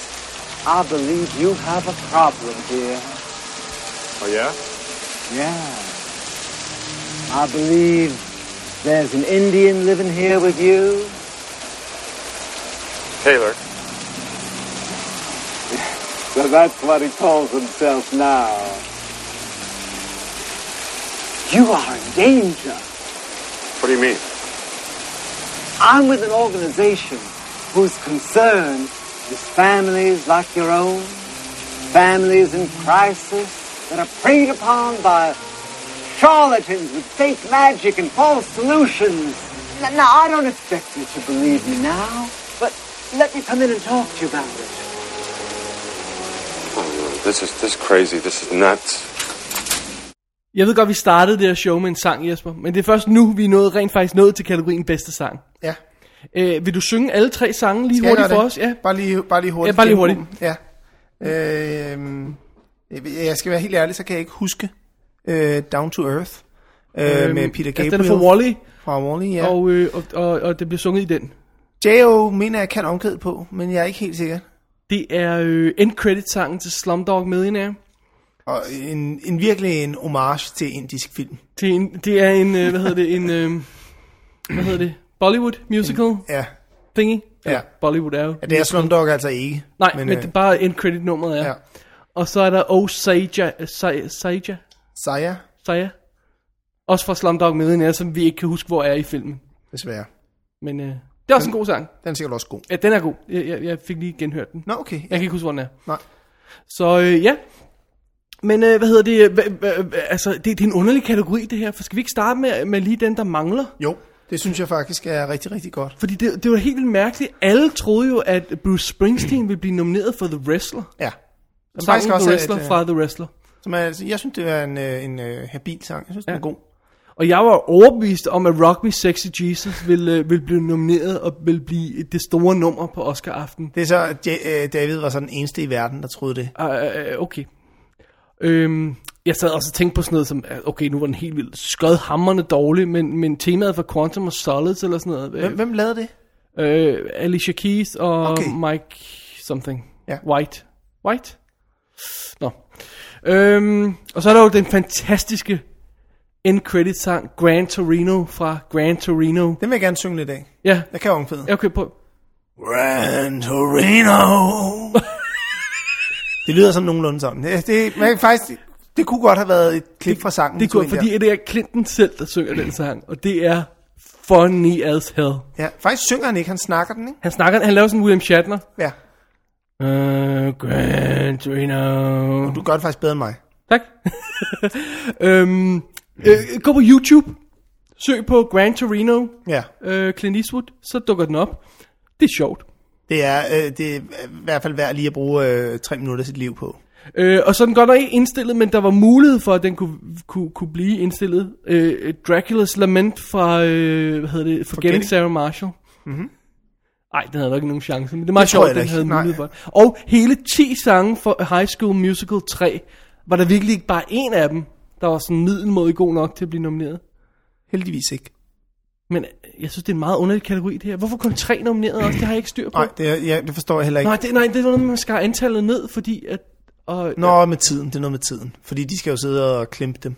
[SPEAKER 10] I believe you have a problem, dear.
[SPEAKER 8] Oh, yeah?
[SPEAKER 10] Yeah. I believe there's an Indian living here with you. (laughs)
[SPEAKER 8] Taylor.
[SPEAKER 10] So that's what he calls himself now. You are in danger.
[SPEAKER 8] What do you mean?
[SPEAKER 10] I'm with an organization whose concern is families like your own, families in crisis, that are preyed upon by charlatans with fake magic and false solutions. N- Now, I don't expect you to believe me now, but let me come in and talk to you about it.
[SPEAKER 11] This is this is crazy. This is nuts.
[SPEAKER 3] Jeg ved godt, vi startede det her show med en sang, Jesper, men det er først nu, vi er nået, rent faktisk nået til kategorien bedste sang.
[SPEAKER 2] Ja.
[SPEAKER 3] Øh, vil du synge alle tre sange lige
[SPEAKER 2] Skal jeg
[SPEAKER 3] hurtigt for
[SPEAKER 2] gøre det?
[SPEAKER 3] os? Ja.
[SPEAKER 2] Bare lige, bare lige hurtigt.
[SPEAKER 3] Ja, bare lige hurtigt.
[SPEAKER 2] Ja. Øhm, jeg ved- jeg skal være helt ærlig, så kan jeg ikke huske øh, Down to Earth øh,
[SPEAKER 3] Øhm,
[SPEAKER 2] med Peter
[SPEAKER 3] altså, den
[SPEAKER 2] Gabriel.
[SPEAKER 3] er fra Wall-E.
[SPEAKER 2] Fra Wally, ja.
[SPEAKER 3] Og, øh, og, og, og det bliver sunget i den.
[SPEAKER 2] J.O. mener jeg kan omkæde på, men jeg er ikke helt sikker.
[SPEAKER 3] Det er øh, end credit sangen til Slumdog Millionaire.
[SPEAKER 2] Og en, en virkelig en homage til indisk film.
[SPEAKER 3] Det er en, det er en øh, hvad hedder det, en, øh, hvad hedder det, Bollywood musical en,
[SPEAKER 2] ja.
[SPEAKER 3] thingy.
[SPEAKER 2] Ja.
[SPEAKER 3] Bollywood er jo.
[SPEAKER 2] Ja, det er Slumdog altså ikke.
[SPEAKER 3] Nej, men, men
[SPEAKER 2] øh,
[SPEAKER 3] det er bare end credit nummeret er. Ja. Og så er der Oh Saja, øh, Sa- Saja,
[SPEAKER 2] Saya,
[SPEAKER 3] Saja. Også fra Slumdog Millionaire, som vi ikke kan huske, hvor er i filmen.
[SPEAKER 2] desværre.
[SPEAKER 3] Men øh, det er også en god sang.
[SPEAKER 2] Den er sikkert også god.
[SPEAKER 3] Ja, den er god. Jeg, jeg, jeg fik lige genhørt den.
[SPEAKER 2] Nå, okay.
[SPEAKER 3] Jeg kan ikke huske, hvor den er.
[SPEAKER 2] Nej.
[SPEAKER 3] Så øh, ja. Men øh, hvad hedder det? Hva, hva, hva, altså, det, det er en underlig kategori, det her. For skal vi ikke starte med, med lige den, der mangler?
[SPEAKER 2] Jo, det synes jeg faktisk er rigtig, rigtig godt.
[SPEAKER 3] Fordi det, det var helt vildt mærkeligt. Alle troede jo, at Bruce Springsteen ville blive nomineret for The Wrestler.
[SPEAKER 2] Ja.
[SPEAKER 3] Som
[SPEAKER 2] faktisk
[SPEAKER 3] faktisk også
[SPEAKER 2] også
[SPEAKER 3] The
[SPEAKER 2] er
[SPEAKER 3] Wrestler
[SPEAKER 2] et, øh,
[SPEAKER 3] fra The Wrestler.
[SPEAKER 2] Som er, altså, jeg synes, det er en, øh, en øh, habil sang. Jeg synes, ja. den er god.
[SPEAKER 3] Og jeg var overbevist om, at Rock Me Sexy Jesus ville, øh, ville blive nomineret og ville blive det store nummer på Oscar-aften.
[SPEAKER 2] Det er så, at Ja- øh, David var sådan den eneste i verden, der troede det.
[SPEAKER 3] Uh, okay. Øhm, jeg sad også og tænkte på sådan noget som, øh, okay, nu var den helt vildt skødhammerne dårlig, men, men temaet for Quantum of Solids eller sådan noget.
[SPEAKER 2] Hvem, hvem lavede det?
[SPEAKER 3] Øh, Alicia Keys og
[SPEAKER 2] Okay.
[SPEAKER 3] okay. Mike something.
[SPEAKER 2] Ja.
[SPEAKER 3] White. White? Nå. Øhm, og så er der jo den fantastiske end credit sang Gran Torino fra Gran Torino.
[SPEAKER 2] Den vil jeg gerne synge lidt af.
[SPEAKER 3] Ja.
[SPEAKER 2] Jeg kan omkvæde.
[SPEAKER 3] Jeg okay, på.
[SPEAKER 2] Gran
[SPEAKER 3] (laughs)
[SPEAKER 2] Torino. det lyder sådan nogenlunde sådan. Det, det, men faktisk, det kunne godt have været et klip fra sangen.
[SPEAKER 3] Det
[SPEAKER 2] du
[SPEAKER 3] kunne,
[SPEAKER 2] ind der.
[SPEAKER 3] fordi det er Clinton selv, der synger den sang, og det er funny as hell.
[SPEAKER 2] Ja, faktisk synger han ikke, han snakker den, ikke?
[SPEAKER 3] Han snakker, han laver sådan William Shatner.
[SPEAKER 2] Ja.
[SPEAKER 3] Uh, Gran Torino.
[SPEAKER 2] Du gør det faktisk bedre end mig.
[SPEAKER 3] Tak. (laughs) øhm, øh, gå på YouTube. Søg på Gran Torino.
[SPEAKER 2] Ja.
[SPEAKER 3] Øh, Clint Eastwood. Så dukker den op. Det er sjovt.
[SPEAKER 2] Det er, øh, det er i hvert fald værd lige at bruge øh, tre minutter af sit liv på.
[SPEAKER 3] Øh, og så er den godt nok ikke indstillet, men der var mulighed for, at den kunne, kunne, kunne blive indstillet. Øh, Dracula's Lament fra, øh, hvad hedder det, Forgetting,
[SPEAKER 2] Forgetting.
[SPEAKER 3] Forgetting. Sarah Marshall.
[SPEAKER 2] Mm-hmm.
[SPEAKER 3] Nej, den havde nok ikke nogen chance, men det er meget
[SPEAKER 2] Det tror jeg
[SPEAKER 3] sjovt, at
[SPEAKER 2] da
[SPEAKER 3] den
[SPEAKER 2] ikke.
[SPEAKER 3] havde
[SPEAKER 2] Nej.
[SPEAKER 3] mulighed for. det. Og hele 10 sange for High School Musical 3, var der virkelig ikke bare en af dem, der var sådan middelmåde god nok til at blive nomineret.
[SPEAKER 2] Heldigvis ikke.
[SPEAKER 3] Men jeg synes, det er en meget underlig kategori, det her. Hvorfor kun tre nomineret også? Det har jeg ikke styr på.
[SPEAKER 2] Nej, det, er- ja, det forstår jeg heller ikke.
[SPEAKER 3] Nej, det, nej, det er noget, man skal have antallet ned, fordi at... Og,
[SPEAKER 2] Nå, med tiden. Det er noget med tiden. Fordi de skal jo sidde og klimpe dem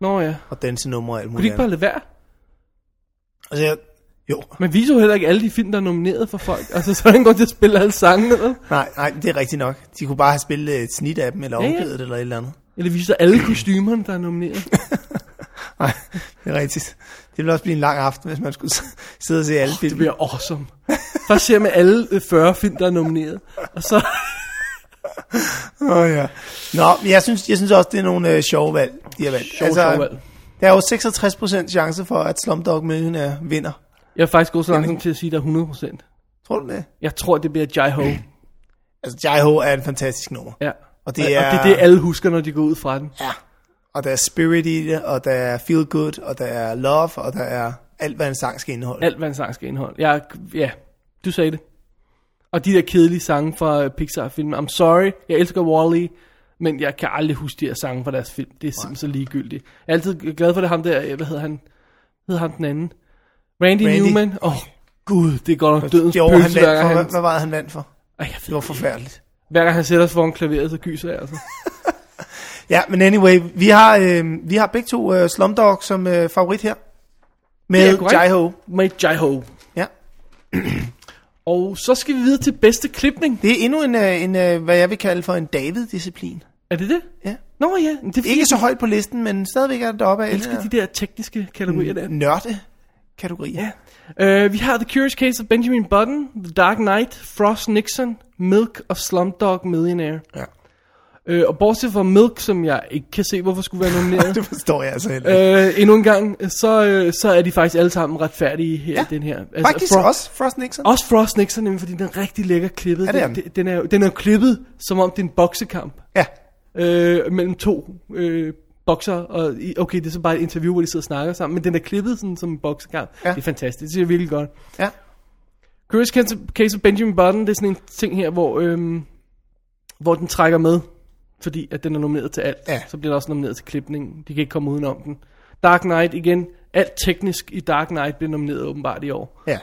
[SPEAKER 3] Nå ja.
[SPEAKER 2] og danse numre og alt
[SPEAKER 3] Kunne de
[SPEAKER 2] muligt
[SPEAKER 3] ikke bare
[SPEAKER 2] andet.
[SPEAKER 3] lade være?
[SPEAKER 2] Altså, jeg, jo.
[SPEAKER 3] Man viser jo heller ikke alle de film, der er nomineret for folk. Altså, så er der ingen grund til at spille alle sangene, eller?
[SPEAKER 2] Nej, nej, det er rigtigt nok. De kunne bare have spillet et snit af dem, eller
[SPEAKER 3] Ja, ja.
[SPEAKER 2] omkvædet, eller et eller andet.
[SPEAKER 3] Eller viser alle kostymerne, der er nomineret.
[SPEAKER 2] Nej, det er rigtigt. Det ville også blive en lang aften, hvis man skulle sidde og se alle film.
[SPEAKER 3] Det bliver awesome. Først ser man alle øh, 40 film, der er nomineret. Og så...
[SPEAKER 2] Åh oh, ja. Nå, men jeg synes, jeg synes også, det er nogle øh, sjove valg, de har valgt. Altså,
[SPEAKER 3] Sjove, sjove valg.
[SPEAKER 2] Der er jo 66% chance for, at Slumdog Millionaire vinder.
[SPEAKER 3] Jeg er faktisk gået så langt som til at sige, at der er 100%.
[SPEAKER 2] Tror du det?
[SPEAKER 3] Jeg tror, det bliver Jai Ho.
[SPEAKER 2] Altså, Jai Ho er en fantastisk nummer.
[SPEAKER 3] Ja.
[SPEAKER 2] Og det
[SPEAKER 3] og,
[SPEAKER 2] er-
[SPEAKER 3] og det er det, alle husker, når de går ud fra den.
[SPEAKER 2] Ja. Og der er spirit i det, og der er feel good, og der er love, og der er alt, hvad en sang skal indeholde.
[SPEAKER 3] Alt, hvad en sang skal indeholde. Jeg, ja, du sagde det. Og de der kedelige sange fra øh, Pixar-filmen. I'm sorry, jeg elsker Wall-E, men jeg kan aldrig huske de her sange fra deres film. Det er simpelthen så ligegyldigt. Jeg er altid glad for det, ham der, øh, hvad hedder han? Hedder han den anden? Randy,
[SPEAKER 2] Randy.
[SPEAKER 3] Newman. Åh, oh, gud, det går nok dødens
[SPEAKER 2] Det år, han vandt
[SPEAKER 3] pølse, hver gang
[SPEAKER 2] for, hvad,
[SPEAKER 3] han,
[SPEAKER 2] hvad var det, han vandt for?
[SPEAKER 3] Ej, jeg
[SPEAKER 2] det var forfærdeligt.
[SPEAKER 3] hver gang han sætter sig foran klaveret, så gyser jeg altså.
[SPEAKER 2] Ja, men anyway, vi har, øh, vi har begge to øh, Slumdog som øh, favorit her.
[SPEAKER 3] Det er
[SPEAKER 2] Med
[SPEAKER 3] korrekt.
[SPEAKER 2] Jai Ho.
[SPEAKER 3] Med Jai Ho.
[SPEAKER 2] Ja.
[SPEAKER 3] (clears throat) Og så skal vi videre til bedste klipning.
[SPEAKER 2] Det er endnu en, øh, en øh, hvad jeg vil kalde for en David-disciplin.
[SPEAKER 3] Er det det?
[SPEAKER 2] Ja.
[SPEAKER 3] Nå ja, men det er fordi,
[SPEAKER 2] Ikke så højt på listen, men stadigvæk er det deroppe af.
[SPEAKER 3] jeg elsker de der tekniske kategorier
[SPEAKER 2] Mm.
[SPEAKER 3] der.
[SPEAKER 2] Nørde-kategorier.
[SPEAKER 3] Ja. Uh, vi har The Curious Case of Benjamin Button, The Dark Knight, Frost Nixon, Milk og Slumdog Millionaire.
[SPEAKER 2] Ja.
[SPEAKER 3] Øh, og bortset fra Milk, som jeg ikke kan se, hvorfor
[SPEAKER 2] (laughs)
[SPEAKER 3] skulle være
[SPEAKER 2] (laughs)
[SPEAKER 3] nomineret.
[SPEAKER 2] det forstår jeg altså heller
[SPEAKER 3] ikke. Øh, endnu en gang, så, øh, så er de faktisk alle sammen retfærdige her ja. i den her.
[SPEAKER 2] Altså, Faktisk
[SPEAKER 3] Fro-
[SPEAKER 2] også Frost Nixon.
[SPEAKER 3] Også Frost Nixon, nemlig, fordi den er rigtig lækker klippet.
[SPEAKER 2] Ja, det er
[SPEAKER 3] den, den, er, jo- den er jo klippet, som om det er en boksekamp.
[SPEAKER 2] Ja.
[SPEAKER 3] Øh, mellem to øh, bokser. Og, i- okay, det er så bare et interview, hvor de sidder og snakker sammen. Men den er klippet sådan, som en boksekamp. Ja. Det er fantastisk. Det ser virkelig godt.
[SPEAKER 2] Ja.
[SPEAKER 3] Curious Case- Case of Benjamin Button, det er sådan en ting her, hvor, øhm, hvor den trækker med. Fordi at den er nomineret til alt. Ja. Så bliver der også nomineret til klipningen. De kan ikke komme udenom den. Dark Knight igen. Alt teknisk i Dark Knight bliver nomineret åbenbart i år.
[SPEAKER 2] Ja.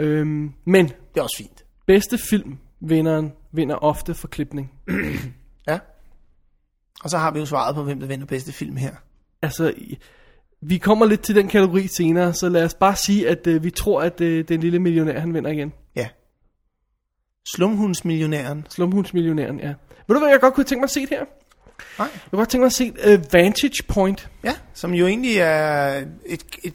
[SPEAKER 3] Øhm, men... Det
[SPEAKER 2] er også fint.
[SPEAKER 3] Bedste film vinderen vinder ofte for klipning.
[SPEAKER 2] Ja. Og så har vi jo svaret på, hvem der vinder bedste film her.
[SPEAKER 3] Altså, i- vi kommer lidt til den kategori senere, så lad os bare sige, at øh, vi tror, at øh, den lille millionær, han vinder igen.
[SPEAKER 2] Ja. Slumhundsmillionæren.
[SPEAKER 3] Slumhundsmillionæren, ja. Ved du, hvad jeg godt kunne tænke mig at se det her?
[SPEAKER 2] Nej.
[SPEAKER 3] Jeg kunne godt tænke mig at se uh, Vantage Point.
[SPEAKER 2] Ja, som jo egentlig er et, et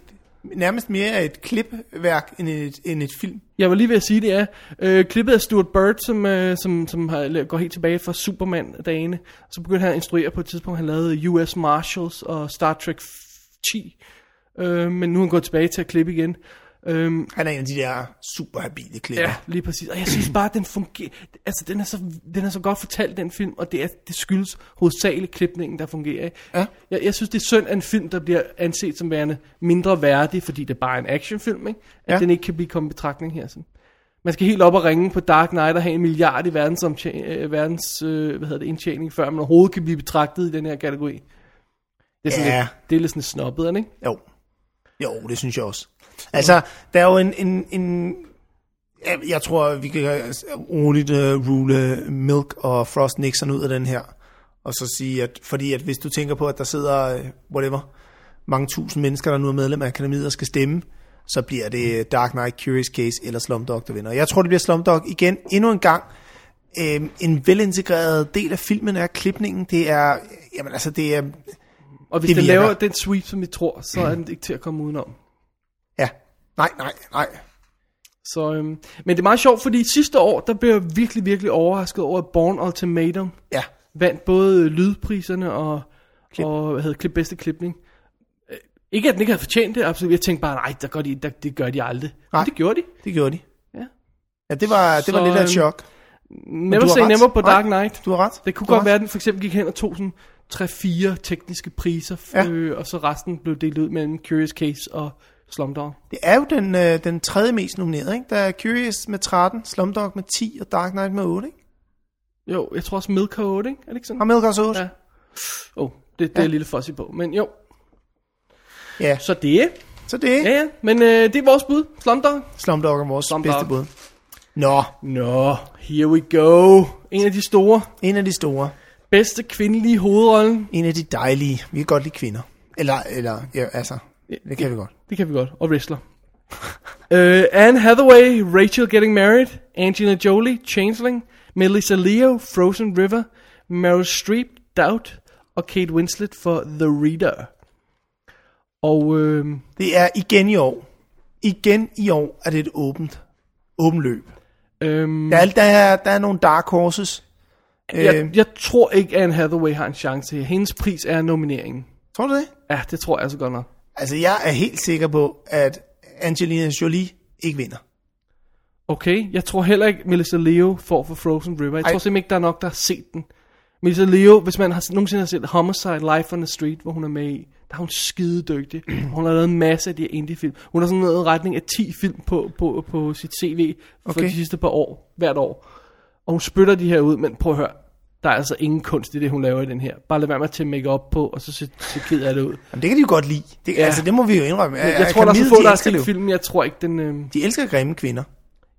[SPEAKER 2] nærmest mere et klipværk end et, end et film.
[SPEAKER 3] Jeg var lige ved at sige, det er øh, klippet af Stuart Bird, som, øh, som, som har, eller går helt tilbage fra Superman-dagene. Så begyndte han at instruere på et tidspunkt, han lavede US Marshals og Star Trek 10. Øh, men nu er han gået tilbage til at klippe igen. Øhm,
[SPEAKER 2] han er en af de der super habile klipper.
[SPEAKER 3] Ja, lige præcis. Og jeg synes bare, at den fungerer... Altså, den er, så, den er så godt fortalt, den film, og det, er, det skyldes hovedsageligt klipningen, der fungerer. ikke?
[SPEAKER 2] Ja.
[SPEAKER 3] Jeg, jeg synes, det er synd, at en film, der bliver anset som værende mindre værdig, fordi det er bare en actionfilm, ikke? at
[SPEAKER 2] Ja.
[SPEAKER 3] den ikke kan blive kommet i betragtning her. Sådan. Man skal helt op og ringe på Dark Knight og have en milliard i verdens, øh, verdens øh, hvad hedder det, indtjening, før man overhovedet kan blive betragtet i den her kategori. Det er, sådan
[SPEAKER 2] Ja.
[SPEAKER 3] lidt, det er lidt sådan snobbet, er det ikke?
[SPEAKER 2] Jo. Jo, det synes jeg også. Altså, der er jo en... en, en jeg- jeg tror, vi kan roligt uh, rule Milk og Frost Nixon ud af den her. Og så sige, at fordi at hvis du tænker på, at der sidder, øh, whatever, mange tusind mennesker, der nu er medlem af akademiet og skal stemme, så bliver det øh, Dark Knight, Curious Case eller Slumdog, der vinder. Jeg tror, det bliver Slumdog igen endnu en gang. Øhm, en velintegreret del af filmen er klipningen. Det er, jamen altså, det er...
[SPEAKER 3] Og hvis
[SPEAKER 2] det
[SPEAKER 3] den
[SPEAKER 2] virker.
[SPEAKER 3] laver den sweep, som vi tror, så er den ikke til at komme udenom.
[SPEAKER 2] Ja. Nej, nej, nej.
[SPEAKER 3] Så, øhm, men det er meget sjovt, fordi sidste år, der blev jeg virkelig, virkelig overrasket over, at Born Ultimatum
[SPEAKER 2] ja.
[SPEAKER 3] vandt både øh, lydpriserne og, og hvad hedder, klip, bedste klipning. Øh, Ikke at den ikke havde fortjent det, absolut. Jeg tænkte bare, nej, der gør de, der, det gør de aldrig. Nej. Men det gjorde de.
[SPEAKER 2] Det gjorde de.
[SPEAKER 3] Ja.
[SPEAKER 2] Ja, det var, det var
[SPEAKER 3] Så,
[SPEAKER 2] lidt af et
[SPEAKER 3] øhm,
[SPEAKER 2] chok. Men
[SPEAKER 3] Never
[SPEAKER 2] du har
[SPEAKER 3] say
[SPEAKER 2] ret.
[SPEAKER 3] never på Dark
[SPEAKER 2] Nej,
[SPEAKER 3] Knight.
[SPEAKER 2] Du har ret.
[SPEAKER 3] Det kunne
[SPEAKER 2] Du har
[SPEAKER 3] godt være, at den for eksempel gik hen og tog sådan 3-4 tekniske priser,
[SPEAKER 2] Ja.
[SPEAKER 3] ja. øh, og så resten blev delt ud mellem Curious Case og Slumdog.
[SPEAKER 2] Det er jo den, øh, den tredje mest nominerede, ikke? Der er Curious med 13, Slumdog med 10 og Dark Knight med 8, ikke?
[SPEAKER 3] Jo, jeg tror også Milk har 8, ikke? Er det ikke sådan?
[SPEAKER 2] Har Milk også 8?
[SPEAKER 3] Ja. Åh, oh, det, det ja. er lille fuzzy på, men jo.
[SPEAKER 2] Ja.
[SPEAKER 3] Så det.
[SPEAKER 2] Så det.
[SPEAKER 3] Ja, ja. Men øh, det er vores bud. Slumdog.
[SPEAKER 2] Slumdog er vores
[SPEAKER 3] Slumdog.
[SPEAKER 2] bedste bud. Nå.
[SPEAKER 3] Nå, here we go. En af de store.
[SPEAKER 2] En af de store.
[SPEAKER 3] Bedste kvindelige hovedrolle.
[SPEAKER 2] En af de dejlige. Vi kan godt lide kvinder. Eller, eller ja, altså, det kan vi godt.
[SPEAKER 3] Det kan vi godt. Og (laughs) wrestler. øh, Anne Hathaway, Rachel Getting Married, Angelina Jolie, Changeling, Melissa Leo, Frozen River, Meryl Streep, Doubt og Kate Winslet for The Reader. Og øh,
[SPEAKER 2] Det er igen i år. Igen i år er det et åbent, åbent løb.
[SPEAKER 3] øh,
[SPEAKER 2] Der er, der, er, der er nogle dark horses. Øh.
[SPEAKER 3] jeg, jeg tror ikke, Anne Hathaway har en chance her. Hendes pris er nomineringen.
[SPEAKER 2] Tror du det?
[SPEAKER 3] Ja, det tror jeg altså godt nok.
[SPEAKER 2] Altså, jeg er helt sikker på, at Angelina Jolie ikke vinder.
[SPEAKER 3] Okay, jeg tror heller ikke, Melissa Leo får for Frozen River. Jeg
[SPEAKER 2] Ej.
[SPEAKER 3] Ej. tror simpelthen ikke, der er nok, der har set den. Melissa Leo, hvis man har, nogensinde har set Homicide, Life on the Street, hvor hun er med i, der er hun skide dygtig. (clears throat) Hun har lavet en masse af de her indie-film. Hun har sådan noget i retning af 10 film på, på, på sit CV for
[SPEAKER 2] Okay.
[SPEAKER 3] de sidste par år, hvert år. Og hun spytter de her ud, men prøv at høre, der er altså ingen kunst i det, hun laver i den her. Bare lad være med at tage make-up på, og så se, se ked af det ud.
[SPEAKER 2] Jamen, det kan de jo godt lide. Det, ja.
[SPEAKER 3] Ja.
[SPEAKER 2] Altså, det må vi jo indrømme.
[SPEAKER 3] Jeg, jeg tror, der er så få, der har set filmen. Jeg tror ikke, den... Øh...
[SPEAKER 2] De elsker grimme kvinder.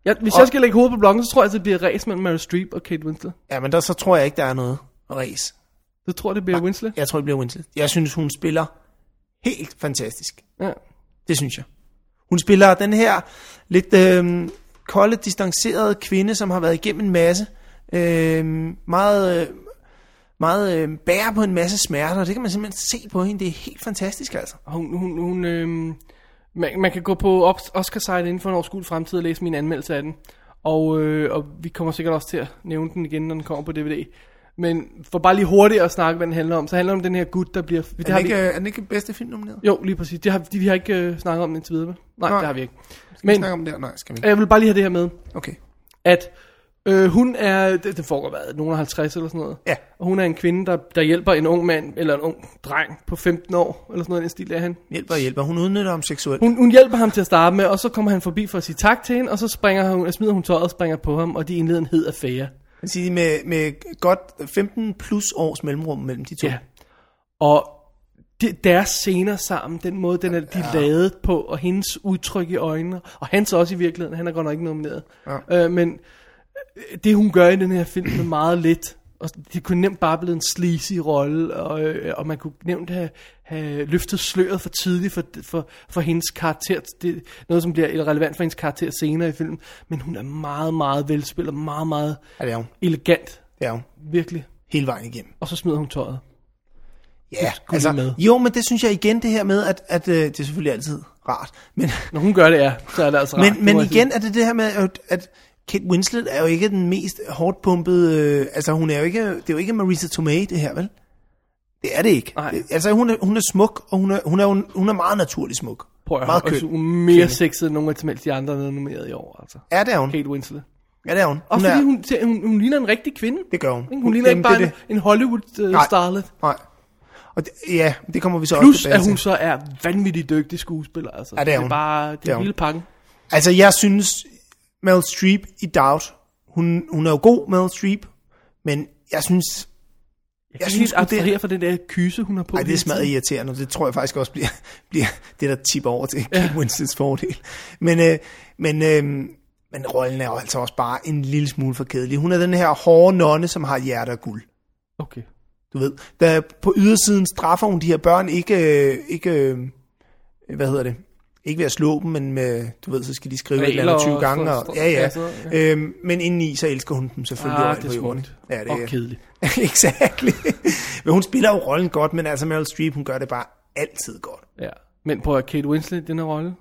[SPEAKER 3] Jeg, hvis
[SPEAKER 2] Og-
[SPEAKER 3] og... jeg skal lægge hovedet på blokken, så tror jeg, at det bliver ræs mellem Meryl Streep og Kate Winslet.
[SPEAKER 2] Ja, men der, så tror jeg ikke, der er noget race.
[SPEAKER 3] Du tror, det bliver Winslet?
[SPEAKER 2] Jeg tror, det bliver Winslet. Jeg synes, hun spiller helt fantastisk.
[SPEAKER 3] Ja.
[SPEAKER 2] Det synes jeg. Hun spiller den her lidt øh, kolde, distancerede kvinde, som har været igennem en masse. Øh, meget øh, meget øh, bærer på en masse smerter, og det kan man simpelthen se på hende. Det er helt fantastisk, altså.
[SPEAKER 3] Og Hun, hun, hun øh... man, man kan gå på Ops- Oscar-site inden for en overskuelig fremtid og læse min anmeldelse af den. Og, øh, og vi kommer sikkert også til at nævne den igen, når den kommer på DVD. Men for bare lige hurtigt at snakke, hvad den handler om, så handler det om den her gut, der bliver...
[SPEAKER 2] Er den, ikke, vi... er den ikke bedste film nomineret?
[SPEAKER 3] Jo, lige præcis. Det har, de, vi har ikke øh, snakket om den indtil videre, vel?
[SPEAKER 2] Nej.
[SPEAKER 3] Nej, Nej, det har vi ikke.
[SPEAKER 2] Skal vi snakke om den? Nej, skal vi ikke.
[SPEAKER 3] Jeg vil bare lige have det her med.
[SPEAKER 2] Okay.
[SPEAKER 3] At øh, hun er... Det, det foregår hvad? Nogen er 50 eller sådan noget.
[SPEAKER 2] Ja.
[SPEAKER 3] Og hun er en kvinde, der, der hjælper en ung mand, eller en ung dreng på 15 år, eller sådan noget i den stil er han.
[SPEAKER 2] Hjælper og hjælper. Hun udnytter ham seksuelt.
[SPEAKER 3] Hun, hun hjælper ham til at starte med, og så kommer han forbi for at sige tak til hende, og så springer hun, smider hun tøjet og springer på ham, og de indleder en hed affære.
[SPEAKER 2] Jeg vil sige, med, med godt 15 plus års mellemrum mellem de to.
[SPEAKER 3] Ja. Og det, deres scener sammen, den måde, den er, de er lavet på, og hendes udtryk i øjnene, og hans også i virkeligheden, han er godt nok ikke nomineret. Ja. Øh, men øh, det, hun gør i den her film, er meget lidt. Og det kunne nemt bare blive en sleazy rolle, og, øh, og man kunne nemt have, have løftet sløret for tidligt for, for, for hendes karakter. Det er noget, som bliver relevant for hendes karakter senere i filmen. Men hun er meget, meget velspillet, meget, meget
[SPEAKER 2] Ja, det er hun.
[SPEAKER 3] elegant.
[SPEAKER 2] Det er hun.
[SPEAKER 3] Virkelig.
[SPEAKER 2] Hele vejen igennem.
[SPEAKER 3] Og så smider hun tøjet.
[SPEAKER 2] Ja,
[SPEAKER 3] skulle
[SPEAKER 2] altså,
[SPEAKER 3] lige med.
[SPEAKER 2] jo, men det synes jeg igen, det her med, at, at øh, det er selvfølgelig altid rart. Men,
[SPEAKER 3] Når hun gør det, ja, så er det altså rart.
[SPEAKER 2] men,
[SPEAKER 3] Det må
[SPEAKER 2] men
[SPEAKER 3] jeg sige.
[SPEAKER 2] igen er det det her med, at, at Kate Winslet er jo ikke den mest hårdt pumpede, øh, altså hun er jo ikke, det er jo ikke Marisa Tomei det her, vel? Det er det ikke.
[SPEAKER 3] Nej.
[SPEAKER 2] Det, altså hun er, hun er smuk, og hun er, hun er, jo en- hun er meget naturlig smuk.
[SPEAKER 3] Prøv at
[SPEAKER 2] meget
[SPEAKER 3] høre, altså,
[SPEAKER 2] køn.
[SPEAKER 3] hun er mere sexet end nogen af som helst de andre, der er nomineret i år, altså.
[SPEAKER 2] Ja, det er hun.
[SPEAKER 3] Kate Winslet.
[SPEAKER 2] Ja, det er hun.
[SPEAKER 3] Og
[SPEAKER 2] hun,
[SPEAKER 3] fordi
[SPEAKER 2] er,
[SPEAKER 3] hun, ser- hun, hun ligner en rigtig kvinde.
[SPEAKER 2] det gør hun.
[SPEAKER 3] Ikke? Hun ligner ikke bare
[SPEAKER 2] Jamen,
[SPEAKER 3] en,
[SPEAKER 2] det er
[SPEAKER 3] en øh,
[SPEAKER 2] Nej.
[SPEAKER 3] Hollywood-starlet.
[SPEAKER 2] det. Nej. Og det, ja, det kommer vi så også
[SPEAKER 3] Plus,
[SPEAKER 2] tilbage
[SPEAKER 3] at hun
[SPEAKER 2] til.
[SPEAKER 3] så er vanvittigt dygtig skuespiller, altså.
[SPEAKER 2] Ja, det er
[SPEAKER 3] Det er
[SPEAKER 2] hun.
[SPEAKER 3] bare det
[SPEAKER 2] Det er
[SPEAKER 3] er
[SPEAKER 2] hun.
[SPEAKER 3] en lille pakke.
[SPEAKER 2] Altså, jeg synes, Meryl Streep i Doubt, hun, hun er jo god, Meryl Streep, men jeg synes...
[SPEAKER 3] Jeg, jeg synes,
[SPEAKER 2] sgu,
[SPEAKER 3] at det her for den der kyse, hun har på.
[SPEAKER 2] Ej, det
[SPEAKER 3] hele
[SPEAKER 2] er smadret
[SPEAKER 3] tiden.
[SPEAKER 2] irriterende, og det tror jeg faktisk også bliver, (laughs) bliver det, der tipper over til Kate Winslets fordel. Men, øh, men, øh, men rollen er jo altså også bare en lille smule for kedelig. Hun er den her hårde nonne, som har hjerte af guld.
[SPEAKER 3] Okay.
[SPEAKER 2] Du ved, der på ydersiden straffer hun de her børn ikke, øh, ikke øh, hvad hedder det, ikke ved at slå dem, men med, du ved, så skal de skrive et
[SPEAKER 3] Regler
[SPEAKER 2] eller andet 20
[SPEAKER 3] og
[SPEAKER 2] gange.
[SPEAKER 3] sådan-
[SPEAKER 2] Og, ja, ja.
[SPEAKER 3] ja, sådan noget,
[SPEAKER 2] Øhm, men indeni, så elsker hun dem selvfølgelig.
[SPEAKER 3] Ah,
[SPEAKER 2] over
[SPEAKER 3] det er
[SPEAKER 2] på jorden.
[SPEAKER 3] smukt.
[SPEAKER 2] Ja, det
[SPEAKER 3] Og
[SPEAKER 2] er (laughs)
[SPEAKER 3] kedeligt.
[SPEAKER 2] Exakt. men hun spiller jo rollen godt, men altså Meryl Streep, hun gør det bare altid godt.
[SPEAKER 3] Ja. Men prøv at Kate Winslet i den her rolle.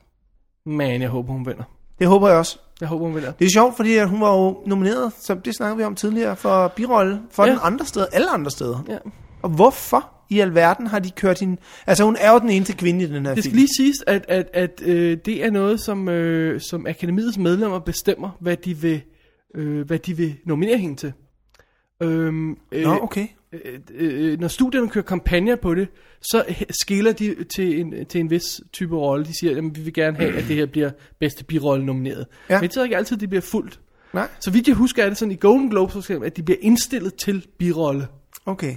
[SPEAKER 3] Man, jeg håber, hun vinder.
[SPEAKER 2] Det håber jeg også.
[SPEAKER 3] Jeg håber, hun vinder.
[SPEAKER 2] Det er sjovt, fordi at hun var jo nomineret, som det snakkede vi om tidligere, for birolle for
[SPEAKER 3] Ja.
[SPEAKER 2] den andre sted, alle andre steder.
[SPEAKER 3] Ja.
[SPEAKER 2] Og hvorfor i alverden har de kørt hende... Altså, hun er jo den eneste kvinde i den her film.
[SPEAKER 3] Det skal lige siges, at, at, at øh, det er noget, som, øh, som akademiets medlemmer bestemmer, hvad de vil, øh, hvad de vil nominere hende til. Øhm, øh,
[SPEAKER 2] Nå, okay.
[SPEAKER 3] øh, øh, når studierne kører kampagner på det, så he- skiller de til en, til en vis type rolle. De siger, at vi vil gerne have, at det her bliver bedste birolle nomineret.
[SPEAKER 2] Ja.
[SPEAKER 3] Men det er ikke altid, at det bliver fuldt.
[SPEAKER 2] Nej.
[SPEAKER 3] Så vidt jeg husker, er det sådan i Golden Globes, for eksempel, at de bliver indstillet til birolle
[SPEAKER 2] Okay.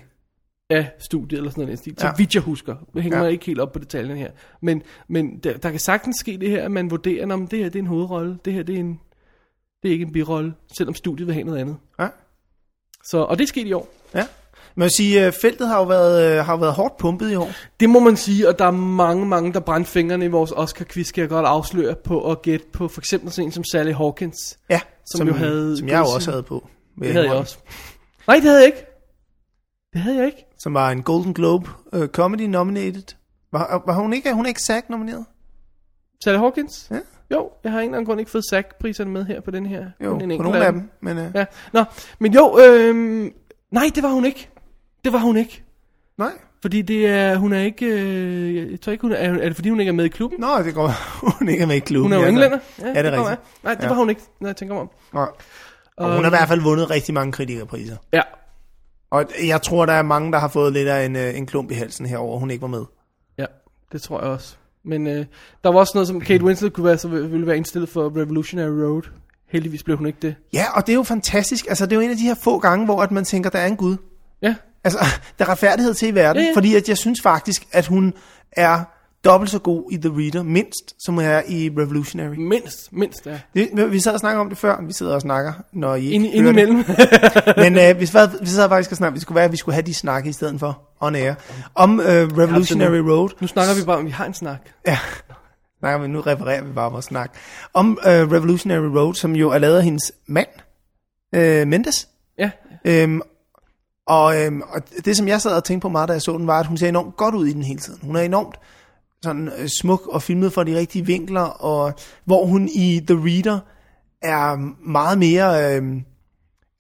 [SPEAKER 3] af studiet eller sådan noget. i den stil, Så
[SPEAKER 2] Ja.
[SPEAKER 3] ja. vidt jeg husker. Jeg hænger
[SPEAKER 2] Ja.
[SPEAKER 3] ja. mig ikke helt op på detaljerne her. Men, men der, der, kan sagtens ske det her, at man vurderer, om det her det er en hovedrolle, det her det er, en, det er ikke en birolle, selvom studiet vil have noget andet.
[SPEAKER 2] Ja.
[SPEAKER 3] Så, og det skete i år.
[SPEAKER 2] Ja. Man vil sige, øh, feltet har jo været, øh, har jo været hårdt pumpet i år.
[SPEAKER 3] Det må man sige, og der er mange, mange, der brændte fingrene i vores Oscar-quiz, skal jeg godt afsløre på at gætte på for eksempel sådan en som Sally Hawkins.
[SPEAKER 2] Ja,
[SPEAKER 3] Som jo havde-
[SPEAKER 2] som jeg jo også havde på. vil
[SPEAKER 3] Det havde jeg
[SPEAKER 2] indrømme.
[SPEAKER 3] også. Nej, det havde jeg ikke. Det havde jeg ikke.
[SPEAKER 2] Som var en Golden Globe uh, Comedy nominated. Var, var hun ikke, hun er ikke sagt nomineret?
[SPEAKER 3] Sally Hawkins?
[SPEAKER 2] Ja.
[SPEAKER 3] Jo, jeg har af en eller anden grund ikke fået SAG-priserne med her på den her.
[SPEAKER 2] Jo,
[SPEAKER 3] Kun en
[SPEAKER 2] på
[SPEAKER 3] enkelt
[SPEAKER 2] nogle af dem. Men, uh, ja.
[SPEAKER 3] Ja, nå, men jo, øhm, nej, det var hun ikke. Det var hun ikke.
[SPEAKER 2] Nej.
[SPEAKER 3] Fordi det er, hun er ikke, øh, jeg tror ikke, hun er, er det fordi hun ikke er med i klubben?
[SPEAKER 2] Nå, det går (laughs) hun er ikke med i klubben.
[SPEAKER 3] Hun er jo
[SPEAKER 2] ja,
[SPEAKER 3] englænder.
[SPEAKER 2] Ja, det er rigtigt.
[SPEAKER 3] kommer af. Nej, det
[SPEAKER 2] Ja.
[SPEAKER 3] var hun ikke, når jeg tænker mig om.
[SPEAKER 2] Nå. Og hun har i hvert fald vundet rigtig mange kritikerpriser.
[SPEAKER 3] Ja,
[SPEAKER 2] Og jeg tror, der er mange, der har fået lidt af en, øh, en klump i halsen herover, hun ikke var med.
[SPEAKER 3] ja, det tror jeg også. Men øh, der var også noget, som Kate Winslet kunne være, så ville være indstillet for Revolutionary Road. Heldigvis blev hun ikke det.
[SPEAKER 2] Ja, og det er jo fantastisk. Altså, det er jo en af de her få gange, hvor at man tænker, der er en Gud.
[SPEAKER 3] Ja,
[SPEAKER 2] Altså, (laughs) der er retfærdighed til i verden,
[SPEAKER 3] Ja,
[SPEAKER 2] ja,
[SPEAKER 3] ja.
[SPEAKER 2] ja. fordi at jeg synes faktisk, at hun er dobbelt så god i The Reader, mindst, som hun er i Revolutionary.
[SPEAKER 3] mindst, mindst, ja.
[SPEAKER 2] Det, vi sad og snakkede om det før, vi sidder og snakker, når I ikke
[SPEAKER 3] Ind,
[SPEAKER 2] hører det.
[SPEAKER 3] indimellem. (laughs)
[SPEAKER 2] Men øh, vi, sad, vi sad faktisk og snakkede, vi skulle være, at vi skulle have de snakke i stedet for on air, om øh, Revolutionary Road.
[SPEAKER 3] nu snakker vi bare om, vi har en snak.
[SPEAKER 2] Ja. (laughs) Nej, men nu refererer vi bare vores snak. Om øh, Revolutionary Road, som jo er lavet af hendes mand, øh, Mendes.
[SPEAKER 3] Ja,
[SPEAKER 2] Øhm, og, øhm, og det, som jeg sad og tænkte på meget, da jeg så den, var, at hun ser enormt godt ud i den hele tiden. Hun er enormt sådan øh, smuk og filmet fra de rigtige vinkler, og hvor hun i The Reader er meget mere... Øh,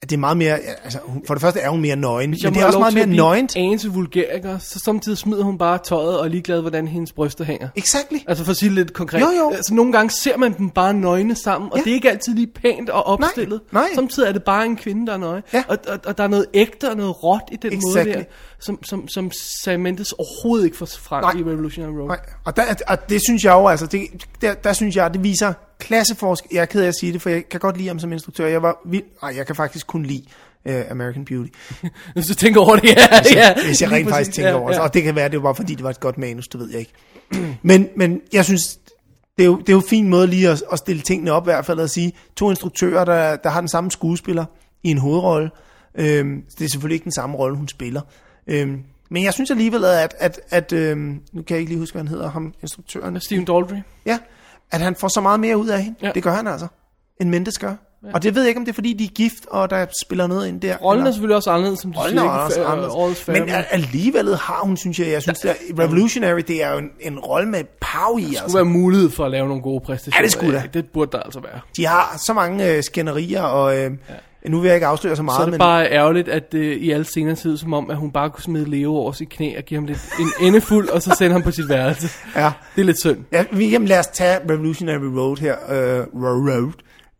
[SPEAKER 2] at det er meget mere, altså hun- for det første er hun mere nøgen,
[SPEAKER 3] Hvis
[SPEAKER 2] men
[SPEAKER 3] jeg
[SPEAKER 2] det
[SPEAKER 3] må
[SPEAKER 2] er også
[SPEAKER 3] have
[SPEAKER 2] meget
[SPEAKER 3] lov til
[SPEAKER 2] mere
[SPEAKER 3] at blive
[SPEAKER 2] nøgen.
[SPEAKER 3] en anelse vulgær, ikke? så samtidig smider hun bare tøjet og er ligeglad, hvordan hendes bryster hænger.
[SPEAKER 2] Exactly.
[SPEAKER 3] Altså for at sige det lidt konkret.
[SPEAKER 2] Jo, jo.
[SPEAKER 3] Altså nogle gange ser man dem bare nøgne sammen, og ja. det er ikke altid lige pænt og opstillet. Nej, nej. Samtidig er det bare en kvinde, der er nøje. Ja. Og, og, og der er noget ægte og noget råt i den
[SPEAKER 2] Exactly.
[SPEAKER 3] måde der, som, som, som Sam Mendes overhovedet ikke får frem
[SPEAKER 2] Nej.
[SPEAKER 3] i Revolutionary Road.
[SPEAKER 2] Nej, og, der, og det synes jeg jo, altså, det, der, der synes jeg, det viser klasseforsk. Jeg er ked af at sige det, for jeg kan godt lide ham som instruktør. Jeg var vild, nej, jeg kan faktisk kun lide uh, American Beauty.
[SPEAKER 3] Hvis du tænker over det, ja,
[SPEAKER 2] Hvis jeg,
[SPEAKER 3] ja.
[SPEAKER 2] hvis jeg
[SPEAKER 3] Lige
[SPEAKER 2] rent faktisk
[SPEAKER 3] præcis,
[SPEAKER 2] tænker
[SPEAKER 3] ja,
[SPEAKER 2] over det.
[SPEAKER 3] ja.
[SPEAKER 2] Og det kan være, det var bare fordi, det var et godt manus, det ved jeg ikke. Men, men jeg synes, det er, jo, det er jo en fin måde lige at, at stille tingene op i hvert fald, at sige, to instruktører, der, der har den samme skuespiller i en hovedrolle. Øhm, det er selvfølgelig ikke den samme rolle, hun spiller. Øhm, men jeg synes alligevel, at, at, at øhm, nu kan jeg ikke lige huske, hvad han hedder, ham instruktøren.
[SPEAKER 3] Stephen Daldry.
[SPEAKER 2] Ja, at han får så meget mere ud af hende. Ja. Det gør han altså, end Mendes gør. Ja. Og det ved jeg ikke, om det er fordi, de er gift, og der spiller noget ind der.
[SPEAKER 3] Rollen er
[SPEAKER 2] eller-
[SPEAKER 3] selvfølgelig også anderledes, som du
[SPEAKER 2] Rollen er
[SPEAKER 3] siger. ikke?
[SPEAKER 2] også
[SPEAKER 3] Fa- All
[SPEAKER 2] anderledes.
[SPEAKER 3] fair,
[SPEAKER 2] Men al- alligevel har hun, synes jeg, jeg synes, at Revolutionary, det er jo en, en rolle med pow i,
[SPEAKER 3] skulle
[SPEAKER 2] altså.
[SPEAKER 3] være mulighed for at lave nogle gode præstationer.
[SPEAKER 2] Ja, det skulle der.
[SPEAKER 3] Det burde der altså være.
[SPEAKER 2] De har så mange øh, skænderier, og øh, ja. nu vil jeg ikke afsløre så meget,
[SPEAKER 3] Så er det
[SPEAKER 2] Ah, men
[SPEAKER 3] bare ærgerligt, at øh, i alle scener ser det ud som om, at hun bare kunne smide Leo over sit knæ og give ham lidt en endefuld, og så sende ham på sit værelse.
[SPEAKER 2] Ja.
[SPEAKER 3] Det er lidt synd.
[SPEAKER 2] Ja, vi, jamen, lad os tage Revolutionary Road her. Øh, Ro- road.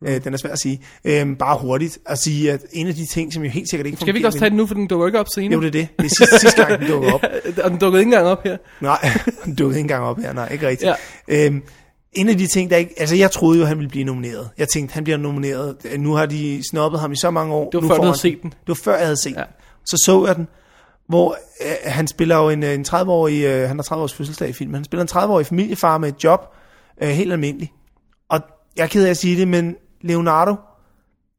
[SPEAKER 2] Øh, den er svær at sige. Øh, bare hurtigt at sige, at en af de ting, som jo helt sikkert ikke
[SPEAKER 3] Skal vi ikke også tage den nu, for den dukker ikke op senere? Øh,
[SPEAKER 2] Jo, det er det. Det er sidste, sidste gang, den
[SPEAKER 3] (laughs)
[SPEAKER 2] dukker op.
[SPEAKER 3] og den dukkede ikke engang op her.
[SPEAKER 2] Nej, (laughs) den dukkede ikke engang op her, nej, ikke rigtigt. Ja. Øhm, en af de ting, der ikke... Altså, jeg troede jo, han ville blive nomineret. Jeg tænkte, han bliver nomineret. Nu har de snoppet ham i så mange år.
[SPEAKER 3] Det var
[SPEAKER 2] nu
[SPEAKER 3] før,
[SPEAKER 2] får
[SPEAKER 3] du havde
[SPEAKER 2] han
[SPEAKER 3] set den.
[SPEAKER 2] Det var før, jeg havde set ja. den. Så så jeg den, hvor øh, han spiller jo en, øh, en 30-årig... Øh, han har 30 års fødselsdag i filmen. Han spiller en 30-årig familiefar med et job. Øh, helt almindelig. Og jeg er ked af at sige det, men Leonardo,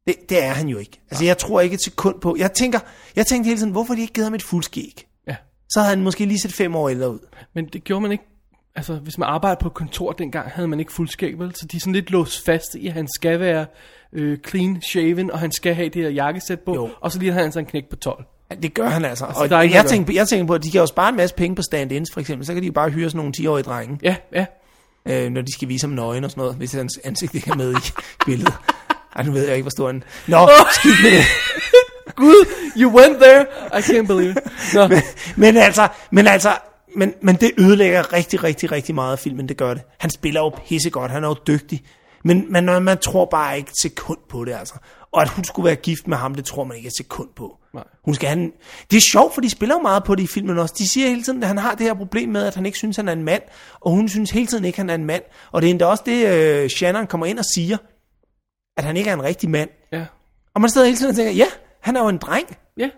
[SPEAKER 2] det, det er han jo ikke. Altså, jeg tror ikke et sekund på... Jeg tænker, jeg tænkte hele tiden, hvorfor har de ikke givet ham et fuldskæg?
[SPEAKER 3] Ja.
[SPEAKER 2] Så havde han måske lige set fem år ældre ud.
[SPEAKER 3] Men det gjorde man ikke. Altså, hvis man arbejdede på et kontor dengang, havde man ikke fuldskæg, vel? Så de er sådan lidt låst fast i, at han skal være øh, clean shaven, og han skal have det her jakkesæt på, jo. og så lige har han sådan en knæk på 12.
[SPEAKER 2] Ja, det gør han altså.
[SPEAKER 3] Altså,
[SPEAKER 2] og
[SPEAKER 3] der er ikke
[SPEAKER 2] jeg,
[SPEAKER 3] noget
[SPEAKER 2] tænker, på- jeg tænker på, at de kan jo spare en masse penge på stand-ins, for eksempel. Så kan de jo bare hyre sådan nogle 10-årige drenge.
[SPEAKER 3] Ja, ja.
[SPEAKER 2] Øh, når de skal vise ham nøgen og sådan noget, hvis hans ansigt ikke er med i (laughs) billedet. Ej, nu ved jeg ikke, hvor stor han... Nå, skidt med det.
[SPEAKER 3] Gud, you went there. I can't believe it. Nå.
[SPEAKER 2] Men, (laughs) men altså, men altså, men, men det ødelægger rigtig, rigtig, rigtig meget af filmen, det gør det. Han spiller jo pissegodt, han er jo dygtig. Men man, man, man tror bare ikke et sekund på det, altså. Og at hun skulle være gift med ham, det tror man ikke et sekund på.
[SPEAKER 3] Nej.
[SPEAKER 2] Hun skal have en... Det er sjovt, for de spiller jo meget på det i filmen også. De siger hele tiden, at han har det her problem med, at han ikke synes, han er en mand. Og hun synes hele tiden ikke, han er en mand. Og det er endda også det, øh, Shannon kommer ind og siger, at han ikke er en rigtig mand.
[SPEAKER 3] Ja.
[SPEAKER 2] Og man sidder hele tiden og tænker, ja, han er jo en dreng.
[SPEAKER 3] Ja,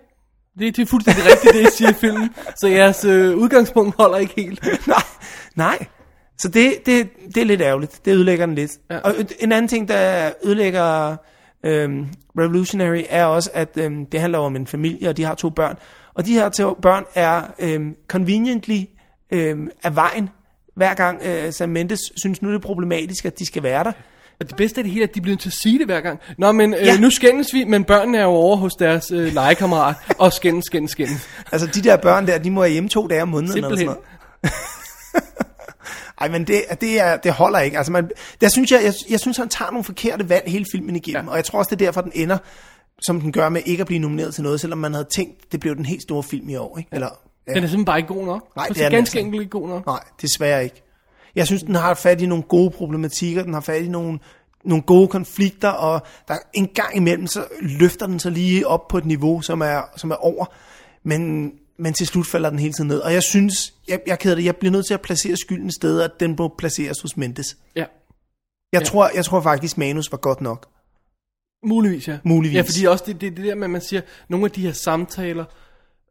[SPEAKER 3] det, det er fuldstændig rigtigt, det I siger i filmen. Så jeres øh, udgangspunkt holder ikke helt.
[SPEAKER 2] (laughs) nej, nej. Så det, det, det er lidt ærgerligt. Det ødelægger den lidt. Ja. Og ø- en anden ting, der ødelægger øhm, Revolutionary, er også, at øhm, det handler om en familie, og de har to børn. Og de her to børn er øhm, conveniently øhm, af vejen, hver gang øh, Sam Mendes synes, nu er det problematisk, at de skal være der.
[SPEAKER 3] Og det bedste af det hele er, at de bliver nødt til at sige det hver gang. Nå, men øh,
[SPEAKER 2] Ja.
[SPEAKER 3] ja. nu skændes vi, men børnene er jo over hos deres øh, legekammerat. Og skændes, skændes, skændes.
[SPEAKER 2] Altså, de der børn der, de må være hjemme to dage om måneden. Eller sådan
[SPEAKER 3] Simpelthen.
[SPEAKER 2] noget. Ej, men det, det, er, det holder ikke. Altså, man, der synes jeg, jeg, jeg synes, han tager nogle forkerte valg hele filmen igennem, ja. og jeg tror også, det er derfor, den ender, som den gør med ikke at blive nomineret til noget, selvom man havde tænkt, det blev den helt store film i år. Ikke? Eller, ja.
[SPEAKER 3] Den er simpelthen bare ikke god nok.
[SPEAKER 2] Nej,
[SPEAKER 3] Og
[SPEAKER 2] det
[SPEAKER 3] så
[SPEAKER 2] er den
[SPEAKER 3] ganske
[SPEAKER 2] altså.
[SPEAKER 3] enkelt ikke god nok.
[SPEAKER 2] Nej, desværre ikke. Jeg synes, den har fat i nogle gode problematikker, den har fat i nogle, nogle gode konflikter, og der en gang imellem, så løfter den sig lige op på et niveau, som er, som er over, men, men til slut falder den hele tiden ned. Og jeg synes, jeg, jeg er ked af det, jeg bliver nødt til at placere skylden et sted, at den må placeres hos Mendes.
[SPEAKER 3] Ja.
[SPEAKER 2] Jeg, ja. tror, jeg tror faktisk, manus var godt nok.
[SPEAKER 3] Muligvis, ja.
[SPEAKER 2] Muligvis.
[SPEAKER 3] Ja, fordi også det, det, det der med, at man siger, nogle af de her samtaler,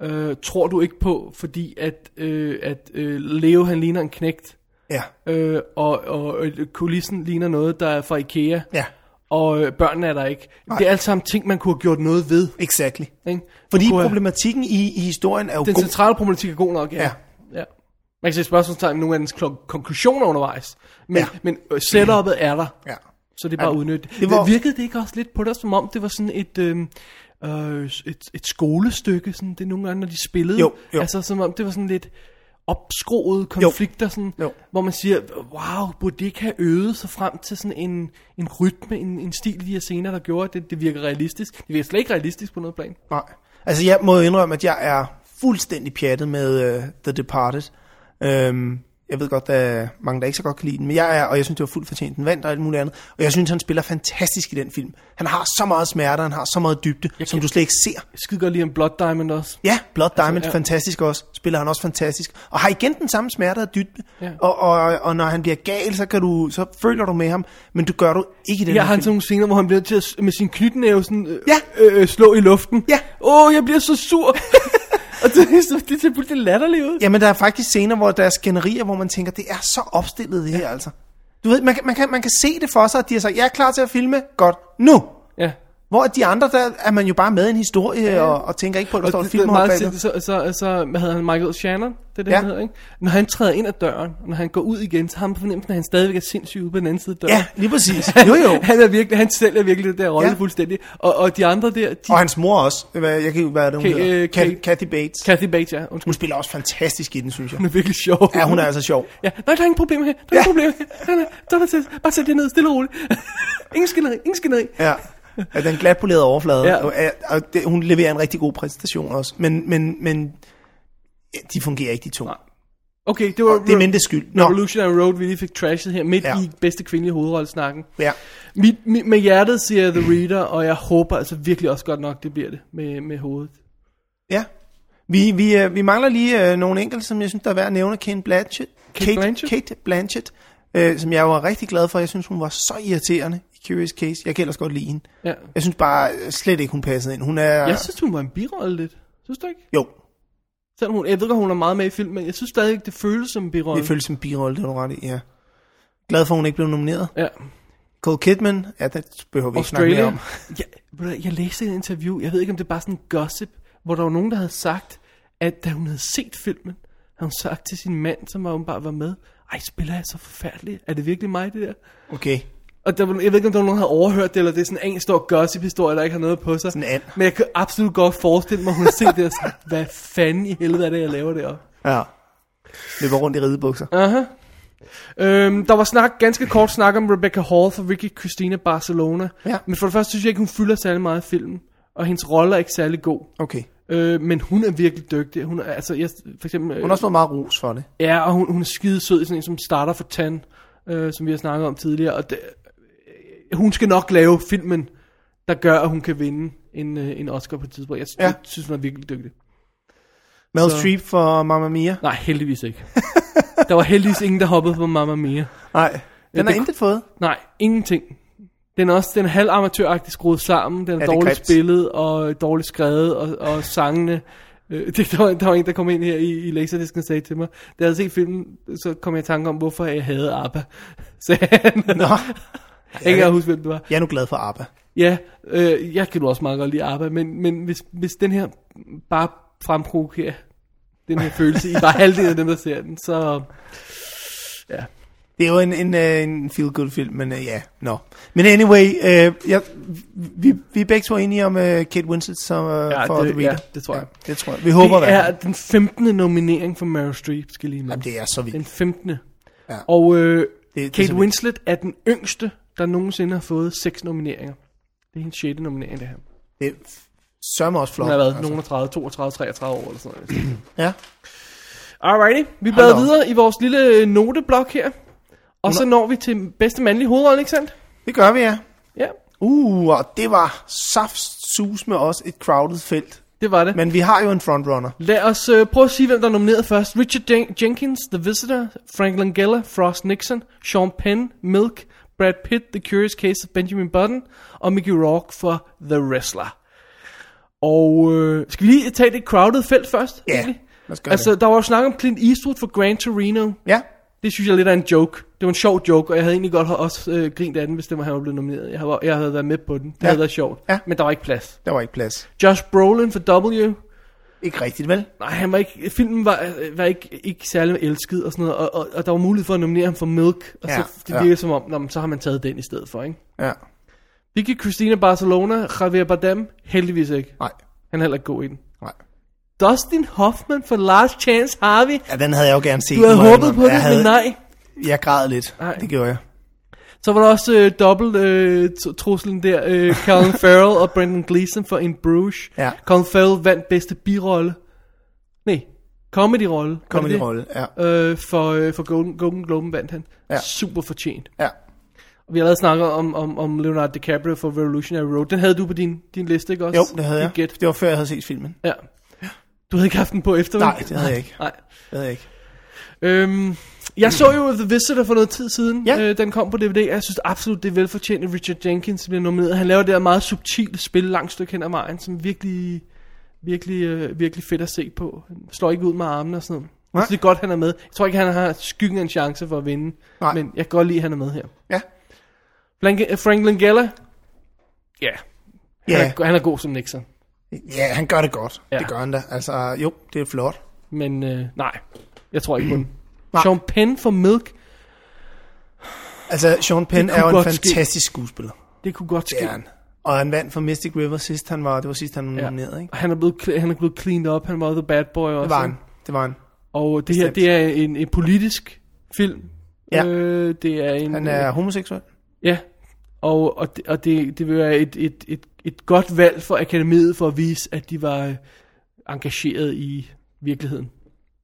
[SPEAKER 3] øh, tror du ikke på, fordi at, øh, at øh, Leo, han ligner en knægt.
[SPEAKER 2] Ja.
[SPEAKER 3] Øh, og, og øh, kulissen ligner noget, der er fra Ikea.
[SPEAKER 2] Ja.
[SPEAKER 3] Og øh, børnene er der ikke. Nej. Det er alt sammen ting, man kunne have gjort noget ved.
[SPEAKER 2] Exactly.
[SPEAKER 3] Ikke?
[SPEAKER 2] Fordi
[SPEAKER 3] Kunne have-
[SPEAKER 2] problematikken i, i historien er jo
[SPEAKER 3] Den
[SPEAKER 2] god.
[SPEAKER 3] centrale problematik er god nok, ja.
[SPEAKER 2] Ja.
[SPEAKER 3] ja. Man kan se spørgsmålstegn med nogle af dens klon- konklusioner undervejs. Men,
[SPEAKER 2] Ja.
[SPEAKER 3] ja. men øh, setupet er der.
[SPEAKER 2] Ja.
[SPEAKER 3] Så det er bare
[SPEAKER 2] Ja.
[SPEAKER 3] ja. udnyttet.
[SPEAKER 2] Det
[SPEAKER 3] Det
[SPEAKER 2] var-
[SPEAKER 3] var... Virkede det ikke også lidt på dig, som om det var sådan et... Øh, øh, et, et skolestykke, sådan det er nogle gange, når de spillede.
[SPEAKER 2] Jo, jo.
[SPEAKER 3] Altså, som om det var sådan lidt, opskroede konflikter, jo. Sådan, jo. hvor man siger, wow, burde det ikke have øvet sig frem til sådan en, en rytme, en, en stil i de her scener, der gjorde, at det, det virker realistisk. Det virker slet ikke realistisk på noget plan.
[SPEAKER 2] Nej. Altså, jeg må indrømme, at jeg er fuldstændig pjattet med uh, The Departed. Um, jeg ved godt, der er mange, der ikke så godt kan lide den, men jeg er, og jeg synes, det var fuldt fortjent. Den vandt og alt muligt andet. Og jeg synes, han spiller fantastisk i den film. Han har så meget smerte, han har så meget dybde, jeg som kan... du slet ikke ser.
[SPEAKER 3] Jeg skide godt lige om Blood Diamond også.
[SPEAKER 2] Ja, Blood Diamond, altså, ja. fantastisk også. Spiller han også fantastisk. Og har igen den samme smerte og dybde. Ja. Og, og, og, når han bliver gal, så, kan du, så føler du med ham, men du gør du ikke i den
[SPEAKER 3] Jeg har
[SPEAKER 2] film.
[SPEAKER 3] han sådan nogle scener, hvor han bliver til at, med sin knytnæve sådan, øh, ja. øh, øh, slå i luften. Ja. Åh, oh, jeg bliver så sur. (laughs) Og det, så, det ser fuldstændig latterligt ud.
[SPEAKER 2] Jamen, der er faktisk scener, hvor der er skænderier, hvor man tænker, det er så opstillet det her, ja. altså. Du ved, man, man, kan, man kan se det for sig, at de har sagt, jeg er klar til at filme, godt, nu! Ja. Hvor de andre, der er man jo bare med i en historie, ja. og, og tænker ikke på, at der og står det, et film
[SPEAKER 3] meget så, så, så, så, hvad hedder han, Michael Shannon, det er det, ja. han hedder, ikke? Når han træder ind ad døren, når han går ud igen, så har man fornemmelsen, at han stadigvæk er sindssyg ude på den anden side af døren.
[SPEAKER 2] Ja, lige præcis. (laughs) Jo, jo.
[SPEAKER 3] (laughs) han, er virkelig, han sælger virkelig det der rolle ja. fuldstændig. Og, og de andre der... De...
[SPEAKER 2] Og hans mor også. Hvad, jeg kan ikke, hvad er det, hun K- hedder? K- Kathy Bates.
[SPEAKER 3] Kathy Bates, ja.
[SPEAKER 2] Undskyld. Hun spiller også fantastisk i den, synes jeg.
[SPEAKER 3] Hun er virkelig sjov.
[SPEAKER 2] Ja, hun er altså sjov.
[SPEAKER 3] Ja, nej, der er ingen problemer her. Der er ja. ingen problemer her. Bare sæt det ned, stille og roligt. (laughs) ingen skænderi, ingen skænderi.
[SPEAKER 2] Ja. Ja, den glatpolerede overflade. Ja. Og, og det, hun leverer en rigtig god præstation også. Men, men, men ja, de fungerer ikke, de to. Nej.
[SPEAKER 3] Okay, det var og
[SPEAKER 2] det er mindre skyld.
[SPEAKER 3] Nå. Revolutionary Road, vi lige fik trashet her midt ja. i bedste kvindelige hovedrollesnakken.
[SPEAKER 2] Ja.
[SPEAKER 3] Mit, mit, med hjertet siger The Reader, og jeg håber altså virkelig også godt nok, det bliver det med, med hovedet.
[SPEAKER 2] Ja. Vi, vi, øh, vi mangler lige øh, nogle enkelte, som jeg synes, der er værd at nævne. Kate Blanchett.
[SPEAKER 3] Kate, Kate Blanchett,
[SPEAKER 2] Kate Blanchett øh, som jeg var rigtig glad for. Jeg synes, hun var så irriterende Curious Case. Jeg kan ellers godt lide hende. Ja. Jeg synes bare slet ikke, hun passede ind. Hun er...
[SPEAKER 3] Jeg synes, hun var en birolle lidt. Synes du ikke?
[SPEAKER 2] Jo.
[SPEAKER 3] Selvom hun, jeg ved godt, hun er meget med i filmen, men jeg synes stadig, det føles som en birolle.
[SPEAKER 2] Det føles som en birolle, det er du ret i, ja. Glad for, at hun ikke blev nomineret.
[SPEAKER 3] Ja.
[SPEAKER 2] Cole Kidman, ja, det behøver vi ikke snakke
[SPEAKER 3] (laughs)
[SPEAKER 2] mere om.
[SPEAKER 3] jeg, jeg læste et interview, jeg ved ikke, om det er bare sådan gossip, hvor der var nogen, der havde sagt, at da hun havde set filmen, havde hun sagt til sin mand, som var, bare var med, ej, spiller jeg så forfærdeligt? Er det virkelig mig, det der?
[SPEAKER 2] Okay.
[SPEAKER 3] Og der, jeg ved ikke, om der var nogen, der havde overhørt det, eller det er sådan en stor gossip-historie, der ikke har noget på sig.
[SPEAKER 2] Sådan en.
[SPEAKER 3] Men jeg kan absolut godt forestille mig, at hun har set det og sagt, (laughs) hvad fanden i helvede er det, jeg laver deroppe?
[SPEAKER 2] Ja. Løber rundt i ridebukser.
[SPEAKER 3] Aha. Uh-huh. Øhm, der var snak, ganske kort snak om Rebecca Hall for Ricky Christina Barcelona. Ja. Men for det første synes jeg ikke, hun fylder særlig meget i filmen. Og hendes rolle er ikke særlig god.
[SPEAKER 2] Okay.
[SPEAKER 3] Øh, men hun er virkelig dygtig. Hun er, altså, jeg, for eksempel,
[SPEAKER 2] hun har også fået meget ros for det.
[SPEAKER 3] Ja, og hun, hun er skide sød, sådan en som starter for Tan, øh, som vi har snakket om tidligere. Og det, øh, hun skal nok lave filmen, der gør, at hun kan vinde en, øh, en Oscar på et tidspunkt. Jeg ja. synes, hun er virkelig dygtig.
[SPEAKER 2] Mel Så. Streep for Mamma Mia?
[SPEAKER 3] Nej, heldigvis ikke. (laughs) der var heldigvis ingen, der hoppede på Mamma Mia.
[SPEAKER 2] Nej, den ja, har det, intet fået.
[SPEAKER 3] Nej, ingenting. Den er også den er halvamatøragtigt skruet sammen. Den er, er dårligt grimt? spillet og dårligt skrevet, og, og sangene... Øh, (laughs) det, der, var, der var en, der kom ind her i, i Laserdisken og sagde til mig, da jeg havde set filmen, så kom jeg i tanke om, hvorfor jeg havde ABBA. (laughs) Så (laughs) han, Nå. Jeg kan ikke huske, hvem det var.
[SPEAKER 2] Jeg er nu glad for ABBA.
[SPEAKER 3] Ja, øh, jeg kan du også meget godt lide ABBA, men, men hvis, hvis den her bare fremprovokerer den her følelse i bare halvdelen af dem, der ser den, så... Ja.
[SPEAKER 2] Det er jo en, en, øh, en feel-good film, men ja, uh, yeah, no. Men anyway, uh, jeg, vi, vi er begge to enige om uh, Kate Winslet som, uh, ja, for
[SPEAKER 3] det,
[SPEAKER 2] The Reader.
[SPEAKER 3] Ja, det tror jeg.
[SPEAKER 2] Ja, det tror jeg. Vi håber
[SPEAKER 3] det. er den 15. nominering for Meryl Streep, skal lige med.
[SPEAKER 2] Jamen, det er så vildt.
[SPEAKER 3] Den 15. Ja. Og uh, det, det Kate er Winslet er den yngste, der nogensinde har fået seks nomineringer. Det er hendes 6. nominering, det her.
[SPEAKER 2] Det sørger også flot.
[SPEAKER 3] Hun har været altså. nogen 30, 32, 33 år eller sådan noget.
[SPEAKER 2] ja.
[SPEAKER 3] Alrighty, vi blader videre i vores lille øh, noteblok her. Og så når vi til bedste mandlige hovedrolle, ikke sandt?
[SPEAKER 2] Det gør vi, ja.
[SPEAKER 3] Ja.
[SPEAKER 2] Uh, og det var saftsus med os et crowded felt.
[SPEAKER 3] Det var det.
[SPEAKER 2] Men vi har jo en frontrunner.
[SPEAKER 3] Lad os øh, prøve at sige, hvem der er nomineret først. Richard Jen- Jenkins, The Visitor, Frank Langella, Frost Nixon, Sean Penn, Milk, Brad Pitt, The Curious Case of Benjamin Button og Mickey Rourke for The Wrestler. Og øh, skal vi lige tage det crowded felt først?
[SPEAKER 2] Ja, egentlig? lad os gøre
[SPEAKER 3] Altså,
[SPEAKER 2] det.
[SPEAKER 3] der var jo snak om Clint Eastwood for Gran Torino.
[SPEAKER 2] Ja.
[SPEAKER 3] Det synes jeg lidt er en joke. Det var en sjov joke, og jeg havde egentlig godt også øh, grint af den, hvis det var, han var blevet nomineret. Jeg havde, jeg havde været med på den. Det ja. havde været sjovt.
[SPEAKER 2] Ja.
[SPEAKER 3] Men der var ikke plads.
[SPEAKER 2] Der var ikke plads.
[SPEAKER 3] Josh Brolin for W.
[SPEAKER 2] Ikke rigtigt, vel?
[SPEAKER 3] Nej, han var ikke, filmen var, øh, var ikke, ikke særlig elsket og sådan noget, og, og, og, der var mulighed for at nominere ham for Milk, og ja, så det virkede ja. som om, nå, så har man taget den i stedet for, ikke?
[SPEAKER 2] Ja.
[SPEAKER 3] Det gik Christina Barcelona, Javier Bardem, heldigvis ikke.
[SPEAKER 2] Nej.
[SPEAKER 3] Han er heller ikke god i den.
[SPEAKER 2] Nej.
[SPEAKER 3] Dustin Hoffman for Last Chance Harvey.
[SPEAKER 2] Ja, den havde jeg jo gerne set.
[SPEAKER 3] Du havde
[SPEAKER 2] må jeg
[SPEAKER 3] håbet på
[SPEAKER 2] indrømme.
[SPEAKER 3] det,
[SPEAKER 2] Jeg havde-
[SPEAKER 3] men nej.
[SPEAKER 2] Jeg græd lidt. Nej. Det gjorde jeg.
[SPEAKER 3] Så var der også øh, dobbelt øh, tr- truslen der.
[SPEAKER 2] (laughs)
[SPEAKER 3] Øh, Colin Farrell og Brendan Gleeson for In Bruges.
[SPEAKER 2] Ja.
[SPEAKER 3] Colin Farrell vandt bedste birolle. Nej, comedy-rolle. Var det
[SPEAKER 2] Comedy-rolle,
[SPEAKER 3] det? Øh, for øh, for Golden, Golden Globe vandt han.
[SPEAKER 2] Ja.
[SPEAKER 3] Super fortjent.
[SPEAKER 2] Ja.
[SPEAKER 3] Og vi har allerede snakket om, om, om Leonardo DiCaprio for Revolutionary Road. Den havde du på din, din liste, ikke også?
[SPEAKER 2] Jo, det havde jeg.
[SPEAKER 3] Dit Gæt.
[SPEAKER 2] Det var før jeg havde set filmen.
[SPEAKER 3] Ja. Du havde ikke haft den på efter? vel?
[SPEAKER 2] Nej, det havde jeg ikke.
[SPEAKER 3] Nej.
[SPEAKER 2] Det havde jeg ikke.
[SPEAKER 3] Øhm, jeg så jo The Visitor for noget tid siden. Ja. Øh, den kom på DVD, og jeg synes absolut, det er velfortjent, at Richard Jenkins bliver nomineret. Han laver det her meget subtile spil langt stykke hen ad vejen, som virkelig, virkelig, øh, virkelig fedt at se på. Han slår ikke ud med armene og sådan noget.
[SPEAKER 2] Nej.
[SPEAKER 3] Så det er godt, han er med. Jeg tror ikke, han har skyggen af en chance for at vinde.
[SPEAKER 2] Nej.
[SPEAKER 3] Men jeg kan godt lide, at han er med her.
[SPEAKER 2] Ja.
[SPEAKER 3] Frank, øh, Frank Langella, ja. Han,
[SPEAKER 2] Ja.
[SPEAKER 3] er, han er god som Nixon.
[SPEAKER 2] Ja, han gør det godt.
[SPEAKER 3] Ja.
[SPEAKER 2] Ja. Det gør han da. Altså, jo, det er flot.
[SPEAKER 3] Men øh, nej, jeg tror ikke
[SPEAKER 2] (clears throat)
[SPEAKER 3] på den. Sean Penn for Milk.
[SPEAKER 2] Altså, Sean Penn
[SPEAKER 3] Det
[SPEAKER 2] er
[SPEAKER 3] kunne
[SPEAKER 2] jo en
[SPEAKER 3] godt ske.
[SPEAKER 2] fantastisk skuespiller.
[SPEAKER 3] Det kunne godt ske.
[SPEAKER 2] Det er han. Og han vandt for Mystic River sidst han var, det var sidst han var
[SPEAKER 3] Ja.
[SPEAKER 2] nomineret, ikke?
[SPEAKER 3] Og Han er blevet, cle- han er blevet cleaned up, han var the bad boy også.
[SPEAKER 2] Det var han.
[SPEAKER 3] ikke?
[SPEAKER 2] Det var han.
[SPEAKER 3] Og det her, det er en, en politisk film.
[SPEAKER 2] Ja.
[SPEAKER 3] Øh, det er en,
[SPEAKER 2] Han er homoseksuel.
[SPEAKER 3] Ja, og, og, det, og det, det vil være et, et, et, et godt valg for akademiet for at vise, at de var øh, engageret i virkeligheden.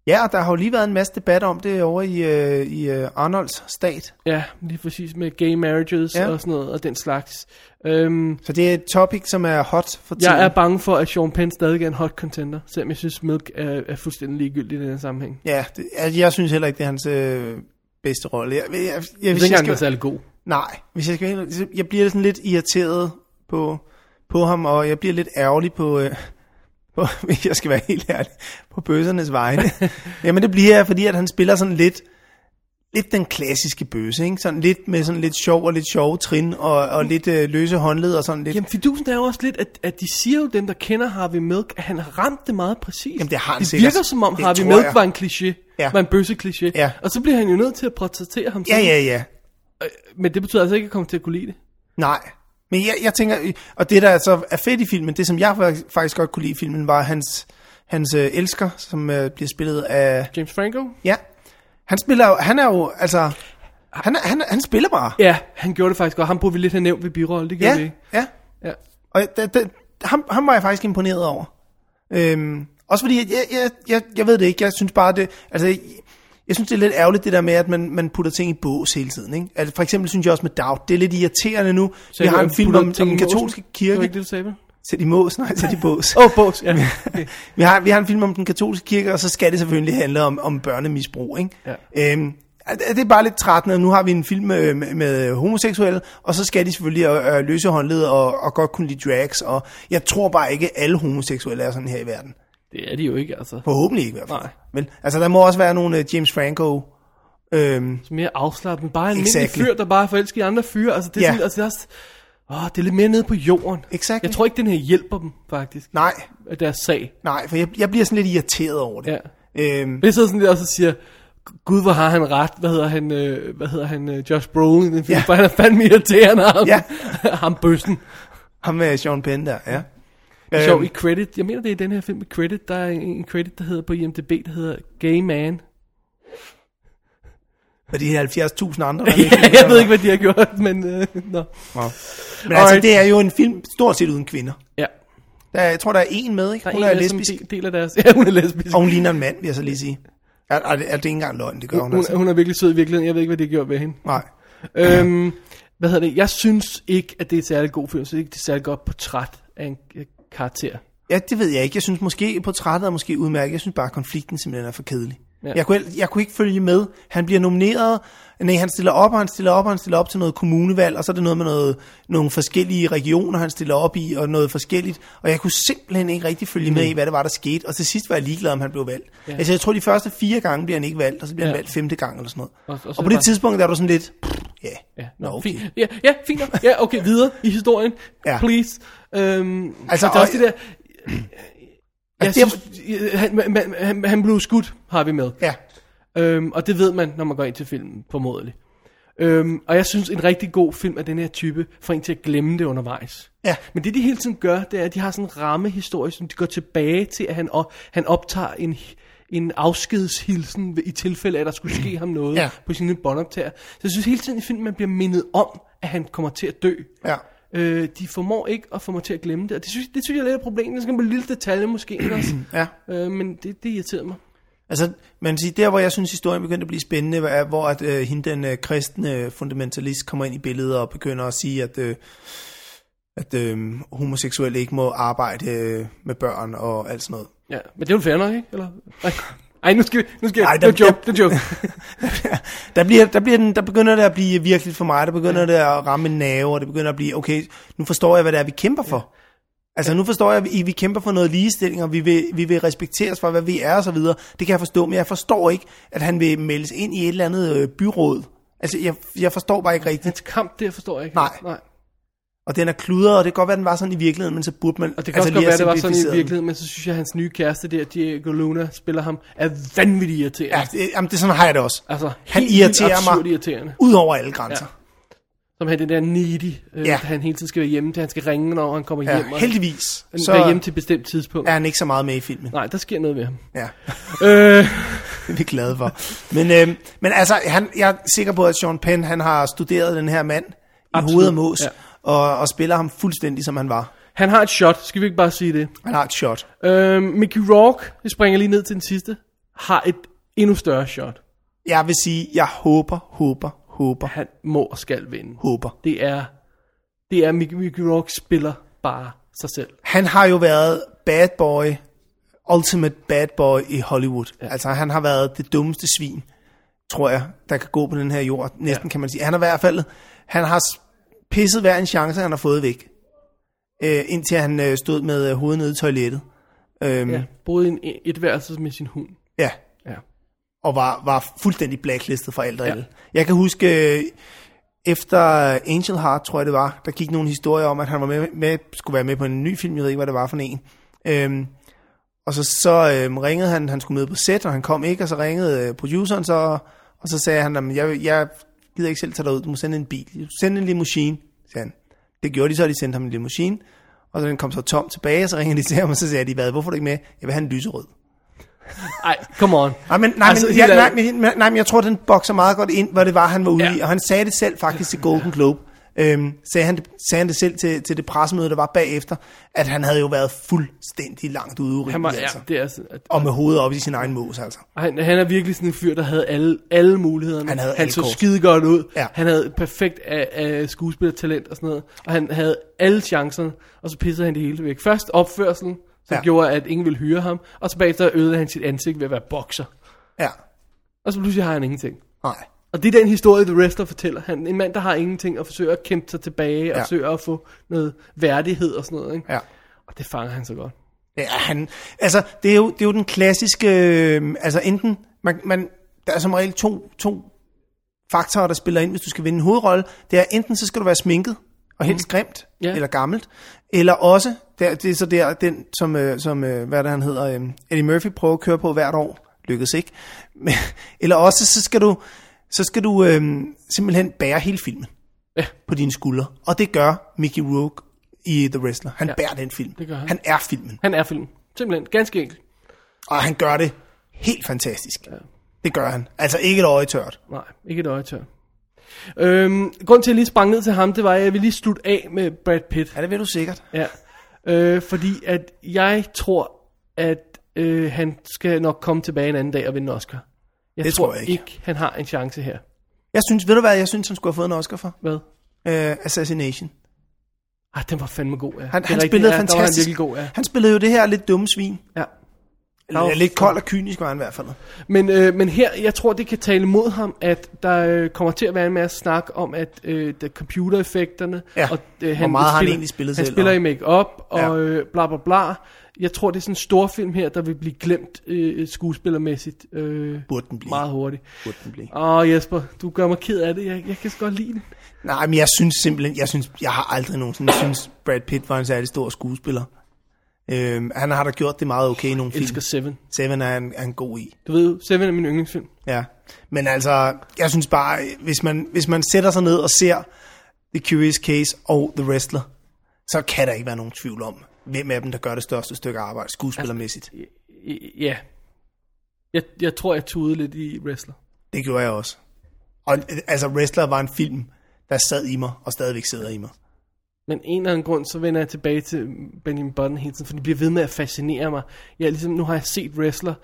[SPEAKER 2] Ja, og der har jo lige været en masse debat om det over i, øh, i øh, Arnolds stat.
[SPEAKER 3] Ja, lige præcis med gay marriages
[SPEAKER 2] Ja.
[SPEAKER 3] ja. og sådan noget, og den slags. Øhm,
[SPEAKER 2] Så det er et topic, som er hot for tiden.
[SPEAKER 3] jeg er bange for, at Sean Penn stadig er en hot contender, selvom jeg synes, Milk er, er fuldstændig ligegyldig i den her sammenhæng.
[SPEAKER 2] Ja, det, altså, jeg synes heller ikke, det er hans øh, bedste rolle. Jeg, jeg, jeg, jeg,
[SPEAKER 3] Jeg
[SPEAKER 2] hvis
[SPEAKER 3] synes ikke engang, den er
[SPEAKER 2] jeg skal,
[SPEAKER 3] særlig god.
[SPEAKER 2] nej, hvis jeg skal være helt ærlig, jeg bliver sådan lidt irriteret på, på ham, og jeg bliver lidt ærgerlig på, øh, (laughs) på, hvis jeg skal være helt ærlig, på bøsernes
[SPEAKER 3] (laughs)
[SPEAKER 2] vegne. Jamen det bliver jeg, fordi at han spiller sådan lidt, lidt den klassiske bøse, ikke? Sådan lidt med sådan lidt sjov og lidt sjove trin, og, og lidt øh, løse håndled og sådan lidt.
[SPEAKER 3] Jamen, fidusen er jo også lidt, at, at de siger jo, dem der kender Harvey Milk, at han har ramt det meget præcist.
[SPEAKER 2] Jamen, det har han
[SPEAKER 3] det
[SPEAKER 2] sikkert.
[SPEAKER 3] virker som om
[SPEAKER 2] Det
[SPEAKER 3] Harvey
[SPEAKER 2] tror
[SPEAKER 3] Milk
[SPEAKER 2] jeg.
[SPEAKER 3] var en kliché,
[SPEAKER 2] Ja.
[SPEAKER 3] ja. var en bøsse-kliché.
[SPEAKER 2] Ja.
[SPEAKER 3] Og så bliver han jo nødt til at portrættere ham
[SPEAKER 2] Ja,
[SPEAKER 3] sådan.
[SPEAKER 2] ja, ja.
[SPEAKER 3] Men det betyder altså ikke, at jeg kommer til at kunne lide det.
[SPEAKER 2] Nej. Men jeg, jeg tænker, og det der så er fedt i filmen, det som jeg fak- faktisk godt kunne lide i filmen, var hans, hans øh, elsker, som øh, bliver spillet af...
[SPEAKER 3] James Franco?
[SPEAKER 2] Ja. Han spiller jo, han er jo, altså... Han, er- han, er- han spiller bare.
[SPEAKER 3] Ja, han gjorde det faktisk godt. Ham burde vi lidt have nævnt ved birolle, det gjorde vi
[SPEAKER 2] Ja,
[SPEAKER 3] ikke.
[SPEAKER 2] ja.
[SPEAKER 3] Ja.
[SPEAKER 2] Og det, det, ham, ham var jeg faktisk imponeret over. Øhm, også fordi, jeg, jeg, jeg, jeg ved det ikke, jeg synes bare det, altså, jeg, jeg synes det er lidt ærgerligt det der med, at man, man putter ting i bås hele tiden, ikke? Altså, for eksempel synes jeg også med Doubt, det er lidt irriterende nu, vi har en film om, om den katolske
[SPEAKER 3] Det var
[SPEAKER 2] kirke,
[SPEAKER 3] ikke det, du sagde, vel?
[SPEAKER 2] Sæt i mås, nej, sæt i bås.
[SPEAKER 3] Åh, oh, bås, ja. (laughs) Okay.
[SPEAKER 2] vi, har, vi har en film om den katolske kirke, og så skal det selvfølgelig handle om, om børnemisbrug, ikke? Ja. Øhm, det det er bare lidt trættende, nu har vi en film øh, med, med homoseksuelle, og så skal de selvfølgelig øh, øh, løse håndled og, og godt kunne lide drags, og jeg tror bare ikke, alle homoseksuelle er sådan her i verden.
[SPEAKER 3] Det er de jo ikke, altså.
[SPEAKER 2] Forhåbentlig ikke i hvert fald. Nej. Men, altså, der må også være nogle øh, James Franco... Øhm,
[SPEAKER 3] Mere afslappet. Bare en almindelig
[SPEAKER 2] Exactly.
[SPEAKER 3] fyr, der bare er forelsket i andre fyre. Altså, det er,
[SPEAKER 2] Ja.
[SPEAKER 3] sådan, altså, det er også... Åh, det er lidt mere nede på jorden.
[SPEAKER 2] Exactly.
[SPEAKER 3] Jeg tror ikke, den her hjælper dem, faktisk.
[SPEAKER 2] nej,
[SPEAKER 3] af Deres sag.
[SPEAKER 2] nej, for jeg, jeg bliver sådan lidt irriteret over det.
[SPEAKER 3] Ja.
[SPEAKER 2] Ja. Øhm,
[SPEAKER 3] Det sidder sådan der og så siger, Gud, hvor har han ret, hvad hedder han, øh, hvad hedder han øh, Josh Brolin, i den film,
[SPEAKER 2] Ja.
[SPEAKER 3] for han er fandme irriterende, ham,
[SPEAKER 2] Ja.
[SPEAKER 3] (laughs) ham bøssen.
[SPEAKER 2] ham med Sean Penn der, ja.
[SPEAKER 3] Øhm. Sjov, i credit, jeg mener det er i den her film, i credit, der er en, en credit, der hedder på IMDb, der hedder Gay Man.
[SPEAKER 2] Med de her 70.000 andre, der ligger
[SPEAKER 3] (laughs) ja, jeg ved ikke, hvad de har gjort, men øh,
[SPEAKER 2] Nå.
[SPEAKER 3] nå.
[SPEAKER 2] Men altså,
[SPEAKER 3] Alright.
[SPEAKER 2] det er jo en film stort set uden kvinder.
[SPEAKER 3] Ja.
[SPEAKER 2] Der, er- jeg tror, der er en med, ikke?
[SPEAKER 3] Der er
[SPEAKER 2] Hun
[SPEAKER 3] en
[SPEAKER 2] er,
[SPEAKER 3] af dem, som
[SPEAKER 2] lesbisk,
[SPEAKER 3] del- deler deres, (laughs) ja, hun er lesbisk.
[SPEAKER 2] og hun ligner en mand, vil jeg så lige sige. Er, er, det- er det ikke engang løgn, det gør hun,
[SPEAKER 3] Hun,
[SPEAKER 2] altså.
[SPEAKER 3] hun er virkelig sød i virkeligheden, jeg ved ikke, hvad de har gjort ved hende.
[SPEAKER 2] Nej.
[SPEAKER 3] Øhm, hvad hedder det? Jeg synes ikke, at det er et særlig god film. Jeg synes ikke, det er et særlig godt portræt af en øh, karakter.
[SPEAKER 2] Ja, det ved jeg ikke. Jeg synes måske, portrættet er måske udmærket. Jeg synes bare, at konflikten simpelthen er for kedelig.
[SPEAKER 3] Ja.
[SPEAKER 2] Ja. Jeg, kunne, el- jeg kunne ikke følge med. Han bliver nomineret. Nej, han stiller op, og han stiller op, og han stiller op til noget kommunevalg, og så er det noget med noget, nogle forskellige regioner, han stiller op i, og noget forskelligt. Og jeg kunne simpelthen ikke rigtig følge med i, hvad det var, der skete. Og til sidst var jeg ligeglad, om han blev valgt.
[SPEAKER 3] Mm. Ja.
[SPEAKER 2] Ja. Altså, jeg tror, de første fire gange bliver han ikke valgt, og så bliver ja.
[SPEAKER 3] Ja.
[SPEAKER 2] han valgt femte gang eller sådan noget.
[SPEAKER 3] Og- og
[SPEAKER 2] Og,
[SPEAKER 3] så
[SPEAKER 2] og, og
[SPEAKER 3] er
[SPEAKER 2] på
[SPEAKER 3] det
[SPEAKER 2] det
[SPEAKER 3] bare-
[SPEAKER 2] tidspunkt der er du sådan lidt, ja, yeah.
[SPEAKER 3] Ja,
[SPEAKER 2] nå,
[SPEAKER 3] nå,
[SPEAKER 2] okay.
[SPEAKER 3] fint. Ja, ja, fint nok. Ja, okay, videre i historien. Ja.
[SPEAKER 2] Ja.
[SPEAKER 3] Please. Øhm, altså,
[SPEAKER 2] Altså,
[SPEAKER 3] der er også
[SPEAKER 2] og-
[SPEAKER 3] det der... Jeg
[SPEAKER 2] Altså, det
[SPEAKER 3] synes,
[SPEAKER 2] er-
[SPEAKER 3] han, man- man, han, han blev skudt, har vi med.
[SPEAKER 2] Ja,
[SPEAKER 3] Øhm, og det ved man, når man går ind til filmen, formodentlig. Øhm, og jeg synes, en rigtig god film af den her type får en til at glemme det undervejs.
[SPEAKER 2] Ja.
[SPEAKER 3] Men det, de hele tiden gør, det er, at de har sådan en rammehistorie, som de går tilbage til, at han, og, han optager en, en afskedshilsen ved- i tilfælde af, at der skulle ske ham noget
[SPEAKER 2] Ja.
[SPEAKER 3] ja. på sine båndoptager. Så jeg synes hele tiden i filmen, man bliver mindet om, at han kommer til at dø.
[SPEAKER 2] Ja.
[SPEAKER 3] Øh, de formår ikke at få mig til at glemme det, og det synes, det synes jeg er lidt et problem. Det er sådan en lille detalje måske, ikke også?
[SPEAKER 2] (clears throat) Ja.
[SPEAKER 3] Øh, men det, det irriterede mig.
[SPEAKER 2] Altså, man kan sige, der hvor jeg synes, historien begyndte at blive spændende, er, hvor at, øh, hende, den øh, kristne fundamentalist, kommer ind i billedet og begynder at sige, at, øh, at øh, homoseksuelle ikke må arbejde øh, med børn og alt sådan noget.
[SPEAKER 3] Ja, men det er jo fair nok, ikke? Eller? Nej, Ej, nu skal vi... Nu skal
[SPEAKER 2] Ej,
[SPEAKER 3] jeg... det er
[SPEAKER 2] der-
[SPEAKER 3] joke, det er joke.
[SPEAKER 2] (laughs) Der, bliver, der, bliver den, der begynder det at blive virkelig for mig, der begynder det at ramme en nerve, og det begynder at blive, okay, nu forstår jeg, hvad det er, vi kæmper for. Altså nu forstår jeg, at vi- vi kæmper for noget ligestilling, og vi vil, vi vil respekteres for, hvad vi er og så videre. Det kan jeg forstå, men jeg forstår ikke, at han vil meldes ind i et eller andet øh, byråd. Altså jeg, jeg forstår bare ikke rigtigt.
[SPEAKER 3] Hans kamp, det forstår jeg ikke.
[SPEAKER 2] Nej.
[SPEAKER 3] Nej.
[SPEAKER 2] Og den er kludret, og det kan godt være, den var sådan i virkeligheden, men så burde man...
[SPEAKER 3] Og det kan altså, også godt være, det var sådan i virkeligheden, men så synes jeg, at hans nye kæreste der, Diego Luna, spiller ham, er vanvittigt irriterende.
[SPEAKER 2] Ja, det, jamen, det er sådan har jeg det også.
[SPEAKER 3] Altså,
[SPEAKER 2] Han
[SPEAKER 3] helt vildt
[SPEAKER 2] irriterer
[SPEAKER 3] absurd
[SPEAKER 2] mig
[SPEAKER 3] irriterende.
[SPEAKER 2] ud over alle grænser.
[SPEAKER 3] Som han den der needy, øh,
[SPEAKER 2] Ja.
[SPEAKER 3] ja. han hele tiden skal være hjemme, til han skal ringe, når han kommer
[SPEAKER 2] Ja,
[SPEAKER 3] hjem. og-
[SPEAKER 2] heldigvis.
[SPEAKER 3] Han
[SPEAKER 2] Så-
[SPEAKER 3] så... hjemme til et bestemt tidspunkt.
[SPEAKER 2] Er han ikke så meget med i filmen?
[SPEAKER 3] Nej, der sker noget ved ham.
[SPEAKER 2] Ja.
[SPEAKER 3] Øh,
[SPEAKER 2] Det er vi glade for. Men, øh, men altså, han, jeg er sikker på, at Sean Penn han har studeret den her mand i
[SPEAKER 3] Absolut,
[SPEAKER 2] hovedet og mås,
[SPEAKER 3] ja.
[SPEAKER 2] og, og spiller ham fuldstændig, som han var.
[SPEAKER 3] han har et shot, skal vi ikke bare sige det?
[SPEAKER 2] Han har et shot.
[SPEAKER 3] Øh, Mickey Rourke, jeg springer lige ned til den sidste, har et endnu større shot.
[SPEAKER 2] Jeg vil sige, jeg håber, håber, håber,
[SPEAKER 3] Han må og skal vinde.
[SPEAKER 2] håber.
[SPEAKER 3] Det er, det er Mickey, Mickey Rourke spiller bare sig selv.
[SPEAKER 2] Han har jo været bad boy, ultimate bad boy i Hollywood. Ja. Altså, han har været det dummeste svin, tror jeg, der kan gå på den her jord. Næsten ja. kan man sige. Han har i hvert fald, han har s- pisset hver en chance, han har fået væk. Øh, indtil han øh, stod med øh, hovedet nede i toilettet. Øhm, ja.
[SPEAKER 3] Ja, boede i en, et værelse med sin hund.
[SPEAKER 2] ja.
[SPEAKER 3] Ja.
[SPEAKER 2] og var, var fuldstændig blacklistet for alt og
[SPEAKER 3] Ja.
[SPEAKER 2] alle. Jeg kan huske, øh, efter Angel Heart, tror jeg det var, der gik nogle historier om, at han var med, med, skulle være med på en ny film, jeg ved ikke, hvad det var for en. Øhm, og så, så øhm, ringede han, han skulle med på set, og han kom ikke, og så ringede øh, produceren, så, og så sagde han, "Jamen, jeg, jeg gider ikke selv tage dig ud, du må sende en bil, send en limousine, sagde han. Det gjorde de så, de sendte ham en limousine, og så den kom så tom tilbage, og så ringede de til ham, og så sagde de, hvad, hvorfor er du ikke med? Jeg vil have en lyserød.
[SPEAKER 3] Ej, come on.
[SPEAKER 2] Nej, men, nej,
[SPEAKER 3] Altså,
[SPEAKER 2] men,
[SPEAKER 3] helt
[SPEAKER 2] ja, nej,
[SPEAKER 3] ærligt.
[SPEAKER 2] men, nej, men jeg tror, den bokser meget godt ind, hvor det var, han var ude ja.
[SPEAKER 3] Ja.
[SPEAKER 2] i. Og han sagde det selv faktisk til Golden Globe. Øhm, sagde, han det, sagde han det selv til, til det pressemøde, der var bagefter, at han havde jo været fuldstændig langt ude urimelig,
[SPEAKER 3] Han var, ja,
[SPEAKER 2] altså.
[SPEAKER 3] det er, sådan, at,
[SPEAKER 2] Og med hovedet op i sin egen mås, altså.
[SPEAKER 3] han, han er virkelig sådan en fyr, der havde alle, alle mulighederne.
[SPEAKER 2] Han havde
[SPEAKER 3] han
[SPEAKER 2] alle
[SPEAKER 3] så
[SPEAKER 2] kort.
[SPEAKER 3] skide godt ud.
[SPEAKER 2] Ja.
[SPEAKER 3] Han havde et perfekt af, af skuespillertalent og sådan noget. Og han havde alle chancerne, og så pissede han det hele væk. Først opførselen, som
[SPEAKER 2] Ja.
[SPEAKER 3] ja. gjorde, at ingen ville hyre ham. Og så bagefter ødelagde han sit ansigt ved at være bokser.
[SPEAKER 2] Ja,
[SPEAKER 3] Og så pludselig har han ingenting.
[SPEAKER 2] nej.
[SPEAKER 3] Og det er den historie, The Wrestler fortæller. Han, en mand, der har ingenting og forsøger at kæmpe sig tilbage, og
[SPEAKER 2] Ja.
[SPEAKER 3] ja. søger at få noget værdighed og sådan noget. Ikke?
[SPEAKER 2] Ja.
[SPEAKER 3] Og det fanger han så godt.
[SPEAKER 2] Ja, han, altså, det er, jo, det er jo den klassiske, øh, altså enten, man, man, der er som regel to, to faktorer, der spiller ind, hvis du skal vinde en hovedrolle. Det er enten, så skal du være sminket, og helst grimt,
[SPEAKER 3] Mm. Ja.
[SPEAKER 2] eller gammelt, eller også, der, det er så der, den, som, øh, som øh, hvad er det, han hedder, øh, Eddie Murphy prøver at køre på hvert år, lykkedes ikke, Men, (laughs) eller også, så skal du, så skal du øh, simpelthen bære hele filmen
[SPEAKER 3] Ja.
[SPEAKER 2] på dine skuldre, og det gør Mickey Rourke i The Wrestler. Han ja. bærer den film.
[SPEAKER 3] det gør han.
[SPEAKER 2] han er filmen.
[SPEAKER 3] Han er filmen. Simpelthen. Ganske enkelt.
[SPEAKER 2] Og han gør det helt fantastisk. Ja. Det gør han. Altså ikke et øje tørt.
[SPEAKER 3] Nej, ikke et øje tør. Øhm, grunden til, at jeg lige sprang ned til ham, det var, at jeg ville lige slutte af med Brad Pitt.
[SPEAKER 2] Ja, det ved du sikkert.
[SPEAKER 3] Ja. Øh, fordi at jeg tror, at øh, han skal nok komme tilbage en anden dag og vinde en Oscar. Jeg
[SPEAKER 2] Det tror jeg ikke.
[SPEAKER 3] ikke, han har en chance her.
[SPEAKER 2] Jeg synes, ved du hvad, jeg synes, han skulle have fået en Oscar for?
[SPEAKER 3] Hvad?
[SPEAKER 2] Uh, Assassination.
[SPEAKER 3] Ah, den var fandme god, ja.
[SPEAKER 2] Han,
[SPEAKER 3] Det er
[SPEAKER 2] han
[SPEAKER 3] rigtigt,
[SPEAKER 2] spillede
[SPEAKER 3] ja,
[SPEAKER 2] fantastisk.
[SPEAKER 3] Der var han virkelig god, ja.
[SPEAKER 2] Han spillede jo det her lidt dumme svin.
[SPEAKER 3] ja.
[SPEAKER 2] Eller,
[SPEAKER 3] var-
[SPEAKER 2] lidt kold og kynisk var han i hvert fald.
[SPEAKER 3] Men, øh, men her, jeg tror, det kan tale mod ham, at der øh, kommer til at være en masse snak om, at øh, der computereffekterne,
[SPEAKER 2] Ja,
[SPEAKER 3] og øh,
[SPEAKER 2] hvor meget har han egentlig spillet
[SPEAKER 3] Han
[SPEAKER 2] selv,
[SPEAKER 3] spiller
[SPEAKER 2] og-
[SPEAKER 3] i make-up, og
[SPEAKER 2] Ja.
[SPEAKER 3] ja. øh, bla bla bla. Jeg tror, det er sådan en stor film her, der vil blive glemt øh, skuespillermæssigt øh,
[SPEAKER 2] Burde den blive.
[SPEAKER 3] meget hurtigt.
[SPEAKER 2] Burde den blive.
[SPEAKER 3] Åh Jesper, du gør mig ked af det. Jeg, jeg kan så godt lide den.
[SPEAKER 2] Nej, men jeg synes simpelthen, jeg synes, jeg har aldrig nogensinde synes Brad Pitt var en særlig stor skuespiller. Øhm, han har da gjort det meget okay i nogle film.
[SPEAKER 3] elsker Seven.
[SPEAKER 2] Seven er han, er han god i.
[SPEAKER 3] Du ved, Seven er min yndlingsfilm.
[SPEAKER 2] Ja, men altså, jeg synes bare, hvis man, hvis man sætter sig ned og ser The Curious Case og The Wrestler, så kan der ikke være nogen tvivl om, hvem af dem, der gør det største stykke arbejde, skuespillermæssigt.
[SPEAKER 3] I- Ja. Jeg, jeg tror, jeg tudede lidt i Wrestler.
[SPEAKER 2] Det gjorde jeg også. Og øh, altså, Wrestler var en film, der sad i mig, og stadigvæk sidder i mig.
[SPEAKER 3] Men en eller anden grund, så vender jeg tilbage til Benjamin Button hele tiden, for det bliver ved med at fascinere mig. Jeg, er ligesom, nu har jeg set Wrestler,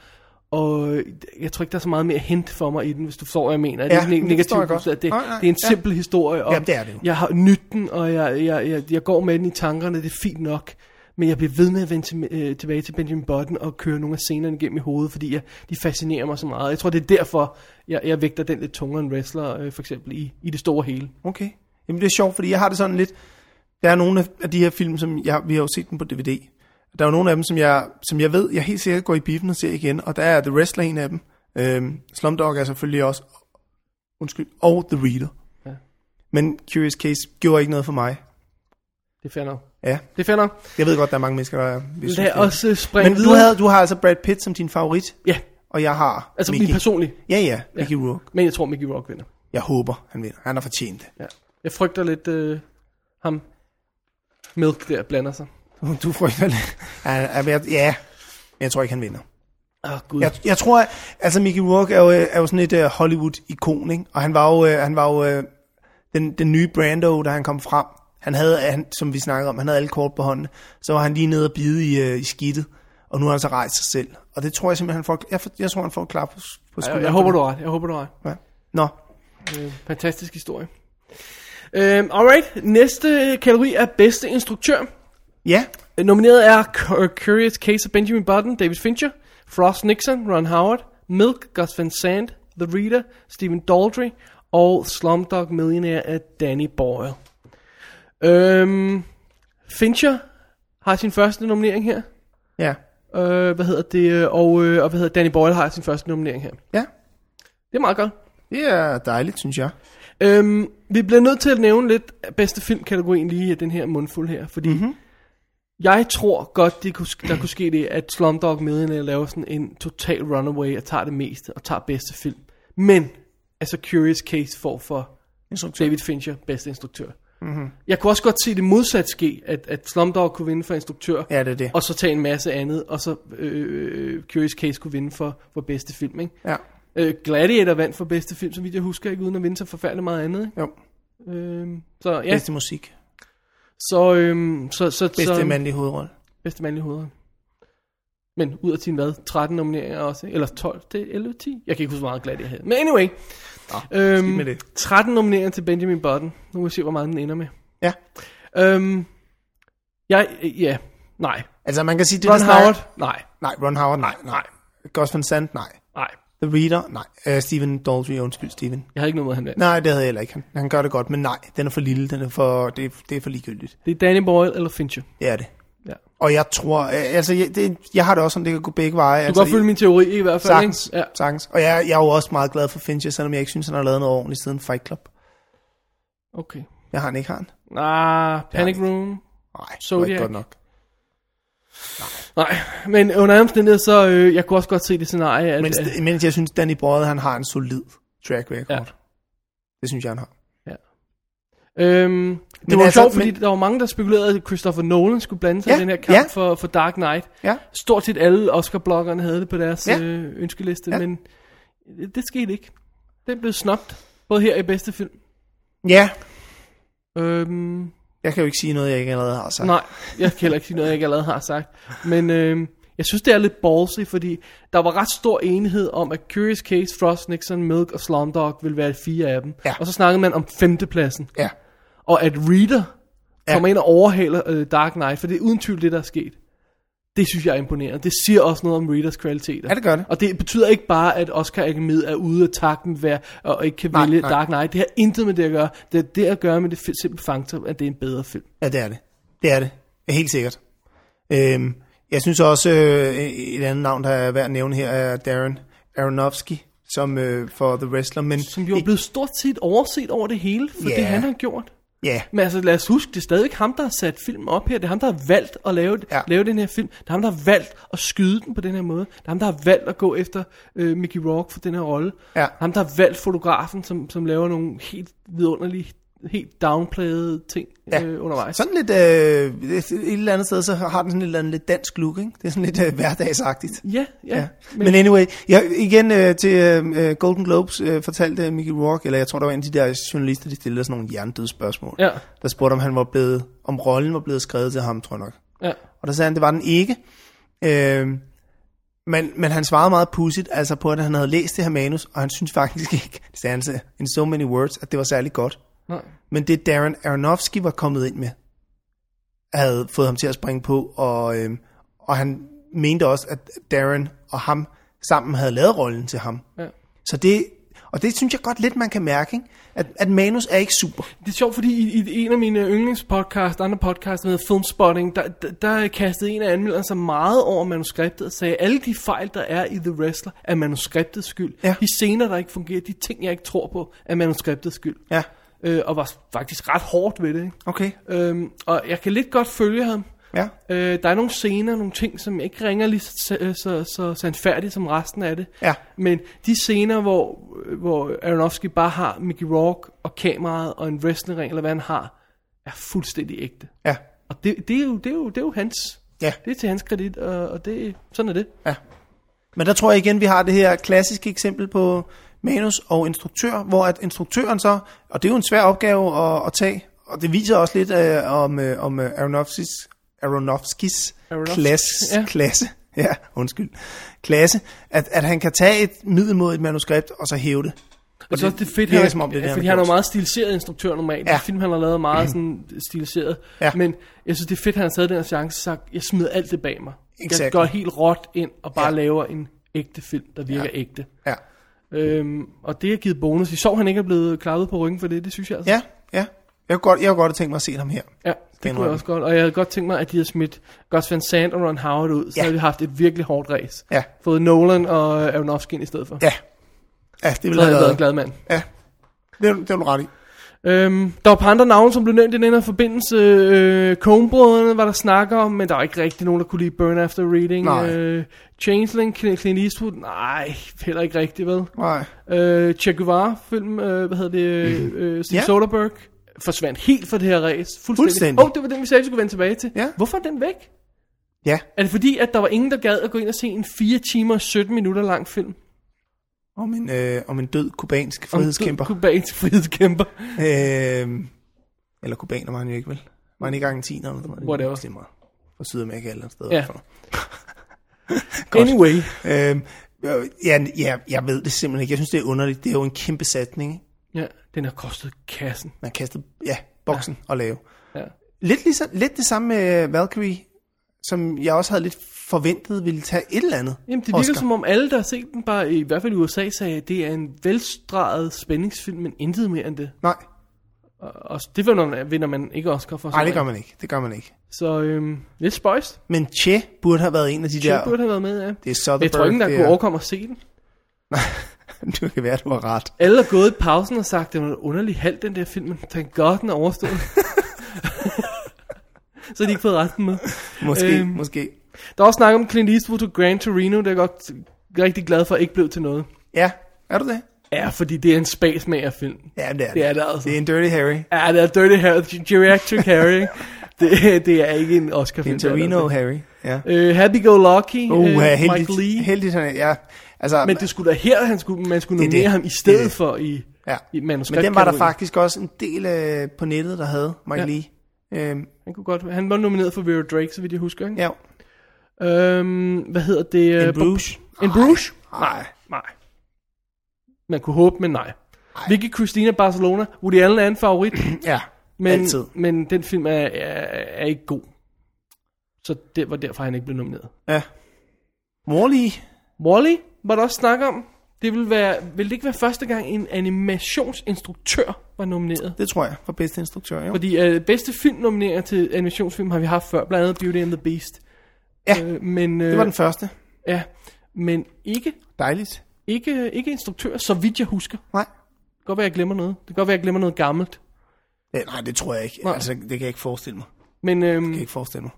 [SPEAKER 3] og jeg tror ikke, der er så meget mere hint for mig i den, hvis du forstår, hvad jeg mener.
[SPEAKER 2] Ja,
[SPEAKER 3] det er ikke
[SPEAKER 2] men det forstår
[SPEAKER 3] negativt,
[SPEAKER 2] jeg godt.
[SPEAKER 3] at det, det
[SPEAKER 2] Nej, nej,
[SPEAKER 3] er en
[SPEAKER 2] ja.
[SPEAKER 3] simpel historie, og
[SPEAKER 2] Jamen, det er det jo.
[SPEAKER 3] jeg har nyt den, og jeg, jeg, jeg, jeg går med den i tankerne, det er fint nok. Men jeg bliver ved med at vende til, øh, tilbage til Benjamin Button og køre nogle af scenerne igennem i hovedet, fordi jeg, de fascinerer mig så meget. Jeg tror, det er derfor, jeg, jeg vægter den lidt tungere end Wrestler, øh, for eksempel, i, i det store hele.
[SPEAKER 2] Okay. Jamen, det er sjovt, fordi jeg har det sådan lidt... Der er nogle af- af de her film, som jeg, vi har jo set dem på DVD. Der er jo nogle af dem, som jeg, som jeg ved, jeg helt sikkert går i biffen og ser igen, og der er The Wrestler en af dem. Øhm, Slumdog er selvfølgelig også... Undskyld. Og The Reader.
[SPEAKER 3] Ja.
[SPEAKER 2] Men Curious Case gjorde ikke noget for mig.
[SPEAKER 3] Det er fair nok.
[SPEAKER 2] Ja.
[SPEAKER 3] Det er fair nok.
[SPEAKER 2] Jeg ved godt, der er mange mennesker, der... vil synes,
[SPEAKER 3] Lad
[SPEAKER 2] det er-
[SPEAKER 3] os, øh, springe
[SPEAKER 2] Men du,
[SPEAKER 3] videre.
[SPEAKER 2] havde, du har altså Brad Pitt som din favorit.
[SPEAKER 3] Ja.
[SPEAKER 2] Og jeg har
[SPEAKER 3] Altså
[SPEAKER 2] Mickey.
[SPEAKER 3] min personlige.
[SPEAKER 2] Ja, ja. Mickey Rourke.
[SPEAKER 3] Men jeg tror, Mickey Rock vinder.
[SPEAKER 2] Jeg håber, han vinder. Han har fortjent det.
[SPEAKER 3] Ja. Jeg frygter lidt øh, ham. Milk der blander sig.
[SPEAKER 2] Du frygter lidt. Ja, ja, men jeg- Ja, men jeg tror ikke, han vinder.
[SPEAKER 3] Åh, oh, gud.
[SPEAKER 2] Jeg, jeg tror, at- altså Mickey Rourke er jo, øh, er jo sådan et uh, Hollywood-ikon, ikke? Og han var jo, øh, han var jo uh, den, den nye Brando, da han kom frem. Han havde, han, som vi snakkede om, han havde alle kort på hånden. Så var han lige nede og bide i, uh, i skidtet. Og nu har han så rejst sig selv. Og det tror jeg simpelthen, han får, jeg, får- jeg tror, han får et klap på, s- på
[SPEAKER 3] Jeg,
[SPEAKER 2] skulderen.
[SPEAKER 3] jeg, jeg håber, du har ret. Jeg håber, du har ret.
[SPEAKER 2] Ja. Nå,
[SPEAKER 3] Øh, fantastisk historie. Øhm, alright, næste kategori er bedste instruktør.
[SPEAKER 2] Ja.
[SPEAKER 3] Øh, Nomineret er Cu- Curious Case of Benjamin Button, David Fincher, Frost Nixon, Ron Howard, Milk, Gus Van Sant, The Reader, Stephen Daldry og Slumdog Millionaire af Danny Boyle. Øhm, Fincher har sin første nominering her.
[SPEAKER 2] Ja.
[SPEAKER 3] Øh, hvad hedder det? øh, Og, øh, og hvad hedder Danny Boyle har sin første nominering her.
[SPEAKER 2] Ja.
[SPEAKER 3] Det er meget godt.
[SPEAKER 2] det er dejligt, synes jeg.
[SPEAKER 3] Øhm, vi bliver nødt til at nævne lidt af bedste filmkategorien lige i den her mundfuld her, fordi
[SPEAKER 2] Mhm.
[SPEAKER 3] mm-hmm. jeg tror godt, det kunne, sk- der kunne ske det, at Slumdog Millionaire laver sådan en total runaway og tager det meste og tager bedste film. Men, altså Curious Case får for David Fincher bedste instruktør.
[SPEAKER 2] Mhm.
[SPEAKER 3] Jeg kunne også godt se det modsat ske, at, at Slumdog kunne vinde for instruktør,
[SPEAKER 2] Ja, det er det.
[SPEAKER 3] og så tage en masse andet, og så øh, Curious Case kunne vinde for, for bedste film, ikke?
[SPEAKER 2] Ja.
[SPEAKER 3] Øh, Gladiator vandt for bedste film, så vidt jeg husker, ikke uden at vinde så forfærdeligt meget andet, ikke?
[SPEAKER 2] Jo.
[SPEAKER 3] Øhm, så ja,
[SPEAKER 2] Bedste musik.
[SPEAKER 3] så, øhm, så, så,
[SPEAKER 2] Bedste
[SPEAKER 3] så,
[SPEAKER 2] mandlige hovedrolle.
[SPEAKER 3] Bedste mandlige hovedrolle. Men ud af sin hvad? 13 nomineringer også, ikke? eller 12, det er 11, 10? Jeg kan ikke huske, hvor meget Gladiator havde. Men anyway, Nå,
[SPEAKER 2] med det.
[SPEAKER 3] 13 nomineringer til Benjamin Button. Nu må vi se, hvor meget den ender med.
[SPEAKER 2] Ja.
[SPEAKER 3] Øhm, jeg, øh, ja, nej.
[SPEAKER 2] Altså, man kan sige... Det,
[SPEAKER 3] Ron
[SPEAKER 2] vi snakker-
[SPEAKER 3] Howard? Nej.
[SPEAKER 2] Nej, Ron Howard, nej. Nej. Gus Van Sant, nej.
[SPEAKER 3] Nej.
[SPEAKER 2] The Reader, nej. Uh, Steven Daldry, undskyld, Steven.
[SPEAKER 3] Jeg havde ikke noget med, han vandt.
[SPEAKER 2] Nej, det havde jeg heller ikke. Han, han gør det godt, men nej, den er for lille, den er for, det, er- det er for ligegyldigt.
[SPEAKER 3] Det er Danny Boyle eller Fincher.
[SPEAKER 2] Det er det.
[SPEAKER 3] Ja.
[SPEAKER 2] Og jeg tror, øh, altså, jeg, det, jeg har det også sådan, det kan gå begge veje.
[SPEAKER 3] Du kan
[SPEAKER 2] altså,
[SPEAKER 3] godt følge min teori i hvert fald,
[SPEAKER 2] Sagtens,
[SPEAKER 3] ikke? Ja.
[SPEAKER 2] sagtens. Og jeg, jeg er jo også meget glad for Fincher, selvom jeg ikke synes, han har lavet noget ordentligt siden Fight Club.
[SPEAKER 3] Okay.
[SPEAKER 2] Jeg har han ikke, har han?
[SPEAKER 3] Ah, Panic
[SPEAKER 2] Det har
[SPEAKER 3] Room.
[SPEAKER 2] Nej, det var
[SPEAKER 3] Zodiac.
[SPEAKER 2] ikke godt nok.
[SPEAKER 3] Nej, men under andre omstændigheder, så øh, jeg kunne også godt se det scenarie, at... øh,
[SPEAKER 2] Men,
[SPEAKER 3] at-
[SPEAKER 2] st- mens jeg synes, Danny Boyle, han har en solid track record.
[SPEAKER 3] Ja.
[SPEAKER 2] Det synes jeg, han har.
[SPEAKER 3] Øhm, det
[SPEAKER 2] Men
[SPEAKER 3] var
[SPEAKER 2] altså,
[SPEAKER 3] altså, sjovt, fordi
[SPEAKER 2] men-
[SPEAKER 3] men... der var mange, der spekulerede, at Christopher Nolan skulle blande sig
[SPEAKER 2] Ja,
[SPEAKER 3] i den her kamp
[SPEAKER 2] ja.
[SPEAKER 3] for, for Dark Knight.
[SPEAKER 2] Ja.
[SPEAKER 3] Stort set alle Oscar-bloggerne havde det på deres
[SPEAKER 2] Ja.
[SPEAKER 3] ja. øh, ønskeliste,
[SPEAKER 2] Ja.
[SPEAKER 3] ja. men det, det skete ikke. Den blev snopt, både her i bedste film.
[SPEAKER 2] Ja,
[SPEAKER 3] Øhm,
[SPEAKER 2] jeg kan jo ikke sige noget, jeg ikke allerede har sagt.
[SPEAKER 3] nej, jeg kan heller ikke sige noget, jeg ikke allerede har sagt. Men øhm, jeg synes, det er lidt ballsy, fordi der var ret stor enighed om, at Curious Case, Frost, Nixon, Milk og Slumdog ville være fire af dem.
[SPEAKER 2] Ja.
[SPEAKER 3] Og så snakkede man om femtepladsen.
[SPEAKER 2] Ja.
[SPEAKER 3] Og at Reader kommer ind og overhaler øh, Dark Knight, for det er uden tvivl det, der er sket. Det synes jeg er imponerende. Det siger også noget om Readers kvaliteter.
[SPEAKER 2] Ja, det gør det.
[SPEAKER 3] Og det betyder ikke bare, at Oscar Akademiet er ude af takten hver, og ikke kan
[SPEAKER 2] Nej,
[SPEAKER 3] vælge
[SPEAKER 2] nej.
[SPEAKER 3] Dark Knight. Det har intet med det at gøre. Det har det at gøre med det fi- simple faktum, at det er en bedre film.
[SPEAKER 2] Ja, det er det. Det er det. Ja, helt sikkert. Øhm, jeg synes også, øh, et andet navn, der er værd at nævne her, er Darren Aronofsky, som øh, for The Wrestler. Men
[SPEAKER 3] Som jo er blevet stort set overset over det hele, for
[SPEAKER 2] Ja.
[SPEAKER 3] det han har gjort.
[SPEAKER 2] Ja.
[SPEAKER 3] Men altså, lad os huske, det er stadigvæk ham, der har sat filmen op her. Det er ham, der har valgt at lave, ja. lave den her film. Det er ham, der har valgt at skyde den på den her måde. Det er ham, der har valgt at gå efter øh, Mickey Rourke for den her rolle.
[SPEAKER 2] Ja.
[SPEAKER 3] Ham, der har valgt fotografen, som, som laver nogle helt vidunderlige, helt downplayede ting ja. øh, undervejs.
[SPEAKER 2] Sådan lidt, øh, et et eller andet sted, så har den sådan et eller andet lidt dansk look, ikke? Det er sådan lidt øh, hverdagsagtigt.
[SPEAKER 3] Ja, ja. ja.
[SPEAKER 2] Men, Men anyway, jeg, igen øh, til øh, øh, Golden Globes øh, fortalte Mickey Rourke, eller jeg tror, der var en af de der journalister, de stillede sådan nogle hjernedøde spørgsmål.
[SPEAKER 3] Ja.
[SPEAKER 2] Der spurgte, om han var blevet, om rollen var blevet skrevet til ham, tror jeg nok.
[SPEAKER 3] Ja.
[SPEAKER 2] Og der sagde han, det var den ikke. Øh, men, men han svarede meget pudsigt, altså på, at han havde læst det her manus, og han synes faktisk ikke, (laughs) det sagde han så, in so many words, at det var særlig godt.
[SPEAKER 3] Nej.
[SPEAKER 2] Men det Darren Aronofsky var kommet ind med, havde fået ham til at springe på, og, øhm, og han mente også, at Darren og ham sammen havde lavet rollen til ham.
[SPEAKER 3] Ja.
[SPEAKER 2] Så det, og det synes jeg godt lidt, man kan mærke, ikke? At, at manus er ikke super.
[SPEAKER 3] Det er sjovt, fordi i, i en af mine yndlingspodcasts, andre podcasts, der hedder Filmspotting, der, der, der kastede en af anmelderne sig meget over manuskriptet og sagde, at alle de fejl, der er i The Wrestler, er manuskriptets skyld.
[SPEAKER 2] Ja.
[SPEAKER 3] De scener, der ikke fungerer, de ting, jeg ikke tror på, er manuskriptets skyld.
[SPEAKER 2] Ja.
[SPEAKER 3] Øh, og var faktisk ret hårdt ved det. Ikke?
[SPEAKER 2] Okay.
[SPEAKER 3] Øhm, og jeg kan lidt godt følge ham.
[SPEAKER 2] Ja.
[SPEAKER 3] Øh, der er nogle scener, nogle ting, som ikke ringer lige så, så, så sandfærdigt som resten af det.
[SPEAKER 2] Ja.
[SPEAKER 3] Men de scener, hvor, hvor Aronofsky bare har Mickey Rourke og kameraet og en wrestlingring, eller hvad han har, er fuldstændig ægte.
[SPEAKER 2] Ja.
[SPEAKER 3] Og det, det, er, jo, det, er, jo, det er jo hans.
[SPEAKER 2] Ja.
[SPEAKER 3] Det er til hans kredit, og, og det, sådan er det.
[SPEAKER 2] Men der tror jeg igen, vi har det her klassiske eksempel på manus og instruktør, hvor at instruktøren så, og det er jo en svær opgave at, at tage, og det viser også lidt øh, om, øh, om øh, Aronofskis, Aronofskis
[SPEAKER 3] Aronofsky,
[SPEAKER 2] klasse,
[SPEAKER 3] ja.
[SPEAKER 2] ja. klasse, (laughs) ja, undskyld, klasse, at, at han kan tage et middelmodigt manuskript og så hæve det.
[SPEAKER 3] Og så er det fedt,
[SPEAKER 2] virker,
[SPEAKER 3] han, altså,
[SPEAKER 2] som om det er det, han
[SPEAKER 3] fordi
[SPEAKER 2] har
[SPEAKER 3] han er jo
[SPEAKER 2] gjort.
[SPEAKER 3] meget stiliseret instruktør normalt.
[SPEAKER 2] Ja. Mm-hmm.
[SPEAKER 3] Ja. Film, han har lavet meget sådan øh, stiliseret.
[SPEAKER 2] Ja.
[SPEAKER 3] Men jeg synes, det er fedt, han har taget den her chance og sagt, jeg smider alt det bag mig. Jeg
[SPEAKER 2] Exakt.
[SPEAKER 3] går helt råt ind og bare
[SPEAKER 2] Ja.
[SPEAKER 3] ja. laver en ægte film, der virker ja. ægte.
[SPEAKER 2] Ja.
[SPEAKER 3] Øhm, og det har givet bonus. I så, han ikke er blevet klappet på ryggen for det, det synes jeg altså.
[SPEAKER 2] Ja, ja. Jeg kunne godt, jeg kunne godt have tænkt mig at se ham her.
[SPEAKER 3] Ja, det kunne jeg også godt. Og jeg havde godt tænkt mig, at de havde smidt Gus Van Sant og Ron Howard ud, så
[SPEAKER 2] Ja.
[SPEAKER 3] ja. havde vi haft et virkelig hårdt race.
[SPEAKER 2] Ja.
[SPEAKER 3] Fået Nolan og Aronofsky ind i stedet for.
[SPEAKER 2] Ja. Ja, det
[SPEAKER 3] Så
[SPEAKER 2] ville
[SPEAKER 3] havde jeg været
[SPEAKER 2] have
[SPEAKER 3] en glad mand.
[SPEAKER 2] Ja, det, er du- det er du ret i.
[SPEAKER 3] Øhm, der var et par andre navne, som blev nævnt i den her forbindelse. Øh, Coenbrødrene var der snakker om, men der var ikke rigtig nogen, der kunne lide Burn After Reading.
[SPEAKER 2] Nej.
[SPEAKER 3] Øh, Changeling, Clint Clint Eastwood, nej, heller ikke rigtig, vel?
[SPEAKER 2] Nej.
[SPEAKER 3] Øh, che Guevara-film, øh, hvad hedder det, øh, øh, Steve
[SPEAKER 2] Ja.
[SPEAKER 3] Soderbergh, forsvandt helt fra det her race. Fuldstændig.
[SPEAKER 2] Fuldstændig.
[SPEAKER 3] Oh, det var den, vi sagde, vi skulle vende tilbage til.
[SPEAKER 2] Ja.
[SPEAKER 3] Hvorfor er den væk?
[SPEAKER 2] Ja.
[SPEAKER 3] Er det fordi, at der var ingen, der gad at gå ind og se en 4 timer og 17 minutter lang film?
[SPEAKER 2] Om en, øh, om en død kubansk
[SPEAKER 3] Om
[SPEAKER 2] frihedskæmper.
[SPEAKER 3] en Kubansk frihedskæmper.
[SPEAKER 2] Øhm, eller kubaner var han jo ikke, vel? Var han ikke argentiner eller noget?
[SPEAKER 3] Whatever.
[SPEAKER 2] Det er mig. Fra Sydamerika eller et sted.
[SPEAKER 3] Ja.
[SPEAKER 2] fra. Godt.
[SPEAKER 3] anyway.
[SPEAKER 2] Øhm, øh, ja, ja, jeg ved det simpelthen ikke. Jeg synes, det er underligt. Det er jo en kæmpe sætning, ikke?
[SPEAKER 3] Ja, den har kostet kassen.
[SPEAKER 2] Man kaster, ja, boksen og lave.
[SPEAKER 3] Ja.
[SPEAKER 2] Lidt, ligesom, lidt det samme med Valkyrie, som jeg også havde lidt forventet ville tage et eller andet.
[SPEAKER 3] Jamen, det virker
[SPEAKER 2] Oscar.
[SPEAKER 3] som om alle, der har set den, bare i hvert fald i USA, sagde, at det er en velstreget spændingsfilm, men intet mere end det.
[SPEAKER 2] Nej,
[SPEAKER 3] Og, og det vinder man, vinder man ikke Oscar for.
[SPEAKER 2] nej, det gør
[SPEAKER 3] sådan
[SPEAKER 2] man ikke. Det gør man ikke.
[SPEAKER 3] noget. Så øhm, lidt spøjst.
[SPEAKER 2] Men Che burde have været en af de
[SPEAKER 3] Chip
[SPEAKER 2] der...
[SPEAKER 3] burde have været med, ja.
[SPEAKER 2] Det er Soderbergh.
[SPEAKER 3] Jeg tror ikke, der
[SPEAKER 2] det
[SPEAKER 3] kunne
[SPEAKER 2] er-
[SPEAKER 3] overkomme at se den.
[SPEAKER 2] (laughs) det kan være, du har ret.
[SPEAKER 3] Alle er gået i pausen og sagt, det var en underlig halv, den der film, men tænk godt, den er overstået.
[SPEAKER 2] (laughs)
[SPEAKER 3] så har de ikke fået resten med.
[SPEAKER 2] Måske,
[SPEAKER 3] Øhm.
[SPEAKER 2] måske.
[SPEAKER 3] Der er også snak om Clint Eastwood og Gran Torino, det er jeg godt rigtig glad for, ikke blev til noget.
[SPEAKER 2] Ja, er du det?
[SPEAKER 3] Ja, fordi det er en spasmager-film.
[SPEAKER 2] Ja, det er det.
[SPEAKER 3] Det er det altså.
[SPEAKER 2] Det er en Dirty Harry.
[SPEAKER 3] Ja, det er Dirty Harry,
[SPEAKER 2] (laughs)
[SPEAKER 3] Geriatric Harry. ikke? det, det er ikke en Oscar-film.
[SPEAKER 2] En Torino Harry. Ja.
[SPEAKER 3] Øh, Happy Go Lucky,
[SPEAKER 2] Uh,
[SPEAKER 3] øh,
[SPEAKER 2] heldigt,
[SPEAKER 3] Mike Lee.
[SPEAKER 2] heldigt han er, ja. Altså,
[SPEAKER 3] Men det skulle da her, han skulle, man skulle
[SPEAKER 2] Det er
[SPEAKER 3] nominere
[SPEAKER 2] det.
[SPEAKER 3] ham i
[SPEAKER 2] Det er
[SPEAKER 3] stedet
[SPEAKER 2] det.
[SPEAKER 3] for i,
[SPEAKER 2] ja.
[SPEAKER 3] i manuskript.
[SPEAKER 2] Men den var der faktisk også en del øh, på nettet, der havde Mike
[SPEAKER 3] Ja.
[SPEAKER 2] Lee. Øhm,
[SPEAKER 3] Han, kunne godt, han var nomineret for Vera Drake, så vidt jeg husker. Ikke?
[SPEAKER 2] ja.
[SPEAKER 3] Øhm, hvad hedder det?
[SPEAKER 2] En Bruges.
[SPEAKER 3] En Bruges?
[SPEAKER 2] Nej.
[SPEAKER 3] Nej. Man kunne håbe, men nej. Vicky Christina Barcelona. Woody Allen er en
[SPEAKER 2] (clears throat)
[SPEAKER 3] favorit,
[SPEAKER 2] Ja.
[SPEAKER 3] men,
[SPEAKER 2] Altid.
[SPEAKER 3] men den film er, er, er ikke god. Så det var derfor, han ikke blev nomineret.
[SPEAKER 2] Ja. Morley.
[SPEAKER 3] Wall-E var der også snak om. Det ville, være, ville det ikke være første gang, en animationsinstruktør var nomineret?
[SPEAKER 2] Det tror jeg, var bedste instruktør, jo.
[SPEAKER 3] Fordi øh, bedste film nomineret til animationsfilm har vi haft før, blandt andet Beauty and the Beast.
[SPEAKER 2] Ja,
[SPEAKER 3] øh, men, øh,
[SPEAKER 2] Det var den første.
[SPEAKER 3] Ja, men ikke,
[SPEAKER 2] Dejligt.
[SPEAKER 3] ikke, ikke instruktør, så vidt jeg husker.
[SPEAKER 2] Nej.
[SPEAKER 3] Det kan godt være, jeg glemmer noget. Det kan godt være, jeg glemmer noget gammelt.
[SPEAKER 2] Ja, Øh, nej, det tror jeg ikke. Nej. Altså, det kan jeg ikke forestille mig.
[SPEAKER 3] Men, øhm, det
[SPEAKER 2] kan jeg ikke forestille mig.